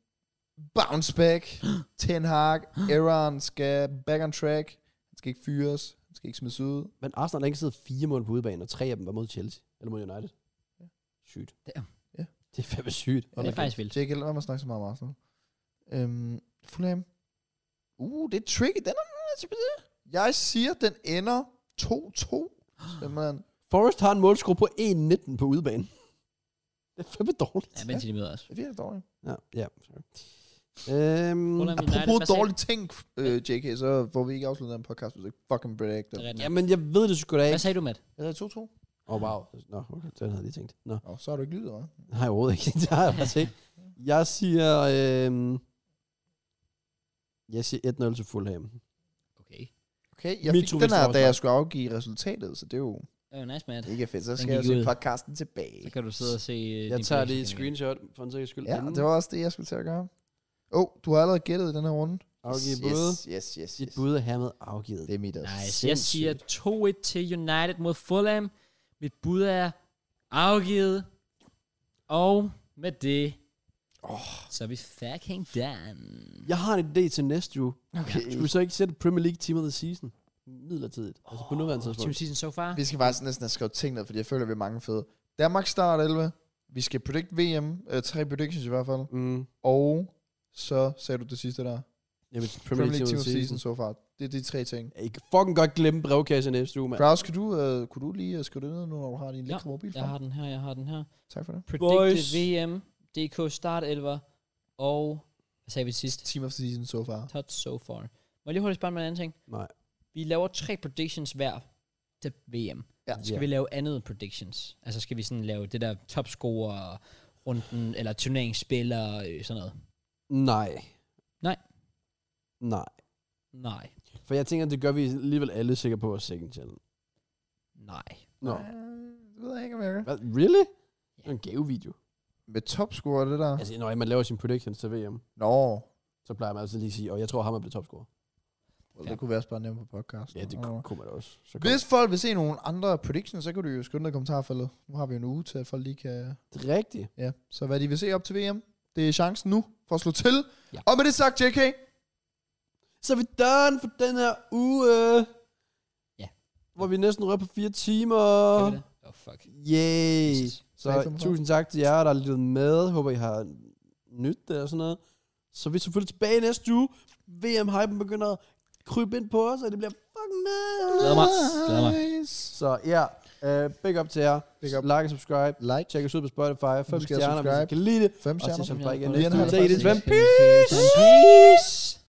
[SPEAKER 3] bounce back. Ten Hag, Aaron skal back on track. Han skal ikke fyres, han skal ikke smides ud.
[SPEAKER 2] Men Arsenal har ikke siddet fire mål på udbanen, og tre af dem var mod Chelsea, eller mod United.
[SPEAKER 3] Ja.
[SPEAKER 2] Sygt.
[SPEAKER 1] Damn.
[SPEAKER 3] Ja.
[SPEAKER 2] Det er fandme sygt.
[SPEAKER 1] Det er faktisk vildt.
[SPEAKER 3] Jake, lad mig snakke så meget om Arsenal. Øhm, Fulham. Uh, det er tricky. Den er Jeg siger, den ender 2-2. Simpelthen.
[SPEAKER 2] Forrest har en målscore på 1-19 på udbanen. Det er fandme dårligt.
[SPEAKER 1] Ja, men til de møder os.
[SPEAKER 3] Det er virkelig dårligt.
[SPEAKER 2] Ja, ja. Sorry. Øhm,
[SPEAKER 1] Fulham United, hvad
[SPEAKER 3] Apropos
[SPEAKER 1] sagde-
[SPEAKER 3] dårlige ting, øh, JK, så får vi ikke afsluttet den podcast, hvis ikke
[SPEAKER 1] Det
[SPEAKER 3] fucking predictor.
[SPEAKER 1] er rigtigt nok.
[SPEAKER 2] jamen, jeg ved det sgu da
[SPEAKER 1] Hvad
[SPEAKER 2] ikke.
[SPEAKER 1] sagde du, Matt?
[SPEAKER 3] Jeg havde 2-2.
[SPEAKER 2] Åh, oh, wow. Nå, okay, den havde jeg lige tænkt. Nå,
[SPEAKER 3] Nå, så har du ikke lyttet, hva'?
[SPEAKER 2] nej, overhovedet ikke. Det har jeg faktisk ikke. Jeg siger... Øhm, jeg siger 1-0 til Fulham.
[SPEAKER 1] Okay.
[SPEAKER 3] Okay, jeg
[SPEAKER 2] Mitrovic
[SPEAKER 3] fik den her,
[SPEAKER 2] var
[SPEAKER 3] da
[SPEAKER 2] også
[SPEAKER 3] jeg skulle afgive resultatet, så det er jo
[SPEAKER 1] Oh, nice, Matt.
[SPEAKER 3] ikke fedt. Så
[SPEAKER 1] Den
[SPEAKER 3] skal jeg
[SPEAKER 1] gik
[SPEAKER 3] se
[SPEAKER 1] ud.
[SPEAKER 3] podcasten
[SPEAKER 1] Så
[SPEAKER 3] tilbage.
[SPEAKER 1] kan du sidde og se... øh,
[SPEAKER 2] Jeg
[SPEAKER 1] din
[SPEAKER 2] tager
[SPEAKER 1] prediction
[SPEAKER 2] lige et
[SPEAKER 1] igen.
[SPEAKER 2] screenshot for en sikkerheds skyld.
[SPEAKER 3] Ja, det var også det, jeg skulle til at gøre. Åh, oh, du har allerede gættet i den her runde.
[SPEAKER 2] Afgivet
[SPEAKER 3] yes,
[SPEAKER 2] bud.
[SPEAKER 3] yes, yes, yes,
[SPEAKER 2] Dit
[SPEAKER 3] yes.
[SPEAKER 2] bud er hermed afgivet.
[SPEAKER 3] Det er mit også.
[SPEAKER 1] Nice. Jeg siger 2-1 til United mod Fulham. Mit bud er afgivet. Og med det, oh. så er vi fucking done.
[SPEAKER 2] Jeg har en idé til næste uge.
[SPEAKER 3] Okay.
[SPEAKER 2] Skulle vi så ikke sætte Premier League Team of the Season? Midlertidigt. Altså på nuværende
[SPEAKER 1] Team
[SPEAKER 2] tidspunkt.
[SPEAKER 1] season so far.
[SPEAKER 3] Vi skal faktisk næsten have skrevet ting ned, fordi jeg føler, at vi er mange fede. Danmark start 11. Vi skal predict VM. Øh, tre predictions i hvert fald.
[SPEAKER 2] Mm.
[SPEAKER 3] Og så sagde du det sidste der.
[SPEAKER 2] Jamen,
[SPEAKER 3] Premier League Team of the Season så far. Det er de tre ting.
[SPEAKER 2] Jeg kan fucking godt glemme brevkassen næste uge, mand.
[SPEAKER 3] Kraus, kan du, øh, kunne du lige øh, skrive det ned nu, når du har din
[SPEAKER 1] Ja,
[SPEAKER 3] lækre mobil?
[SPEAKER 1] Jeg har den her, jeg har den her.
[SPEAKER 3] Tak for det.
[SPEAKER 1] Predicted
[SPEAKER 2] Boys.
[SPEAKER 1] VM, DK start 11 og... Hvad sagde vi sidst?
[SPEAKER 3] Team of the Season så far.
[SPEAKER 1] Touch so far. Må jeg lige hurtigt spørge om en anden ting?
[SPEAKER 2] Nej.
[SPEAKER 1] Vi laver tre predictions hver til VM.
[SPEAKER 3] Ja.
[SPEAKER 1] Skal vi lave andet predictions? Altså skal vi sådan lave det der topscorer runden, eller turneringsspiller, øh, sådan noget?
[SPEAKER 2] Nej.
[SPEAKER 1] Nej.
[SPEAKER 2] Nej.
[SPEAKER 1] Nej.
[SPEAKER 2] For jeg tænker, det gør vi alligevel alle sikre på vores second challenge.
[SPEAKER 1] Nej.
[SPEAKER 2] Nå.
[SPEAKER 3] Nej, Øh, Det ved jeg ikke, om jeg gør.
[SPEAKER 2] Hvad? Really? Det er en gavevideo.
[SPEAKER 3] Med topscorer, det der.
[SPEAKER 2] Altså, når man laver sin predictions til VM,
[SPEAKER 3] Nå,
[SPEAKER 2] så plejer man altså lige at sige, og jeg tror, ham er blevet topscorer.
[SPEAKER 3] well, det kunne vi også bare nævne på podcast.
[SPEAKER 2] Ja, det
[SPEAKER 3] Nå.
[SPEAKER 2] kunne man da også. Så kunne-
[SPEAKER 3] Hvis folk vil se nogle andre predictions, så kan du jo skrive ned i kommentarfeltet. Nu har vi jo en uge til, at folk lige kan...
[SPEAKER 2] Det er rigtigt.
[SPEAKER 3] Ja, så hvad de vil se op til VM, det er chancen nu for at slå til.
[SPEAKER 1] Ja.
[SPEAKER 3] Ja. Og med det sagt, JK,
[SPEAKER 2] Så er vi done for den her uge.
[SPEAKER 1] Ja.
[SPEAKER 2] Hvor vi næsten rører på fire timer.
[SPEAKER 1] Kan vi det? Åh, oh, fuck.
[SPEAKER 2] Yay.
[SPEAKER 1] Jesus.
[SPEAKER 3] Tak
[SPEAKER 2] Så
[SPEAKER 3] for
[SPEAKER 2] tusind tak til jer, der har lyttet med. Håber, I har nyt det og sådan noget. Så vi er selvfølgelig tilbage næste uge. VM-hypen begynder at krybe ind på os, og det bliver fucking
[SPEAKER 1] Glæder
[SPEAKER 2] nice.
[SPEAKER 1] mig. Glæder mig.
[SPEAKER 3] nice.
[SPEAKER 2] Så ja, uh, big up til jer.
[SPEAKER 3] Big up.
[SPEAKER 2] Like og subscribe.
[SPEAKER 3] Like,
[SPEAKER 2] Tjek os ud på Spotify. 5
[SPEAKER 3] Husk at
[SPEAKER 2] stjerner, hvis I
[SPEAKER 3] subscribe.
[SPEAKER 2] kan lide det.
[SPEAKER 3] fem
[SPEAKER 2] Og så
[SPEAKER 3] stjerner.
[SPEAKER 2] som bare igen
[SPEAKER 3] Vi er
[SPEAKER 2] næste
[SPEAKER 3] en
[SPEAKER 2] uge.
[SPEAKER 3] halv
[SPEAKER 2] Take it,
[SPEAKER 3] fast.
[SPEAKER 2] it's been peace.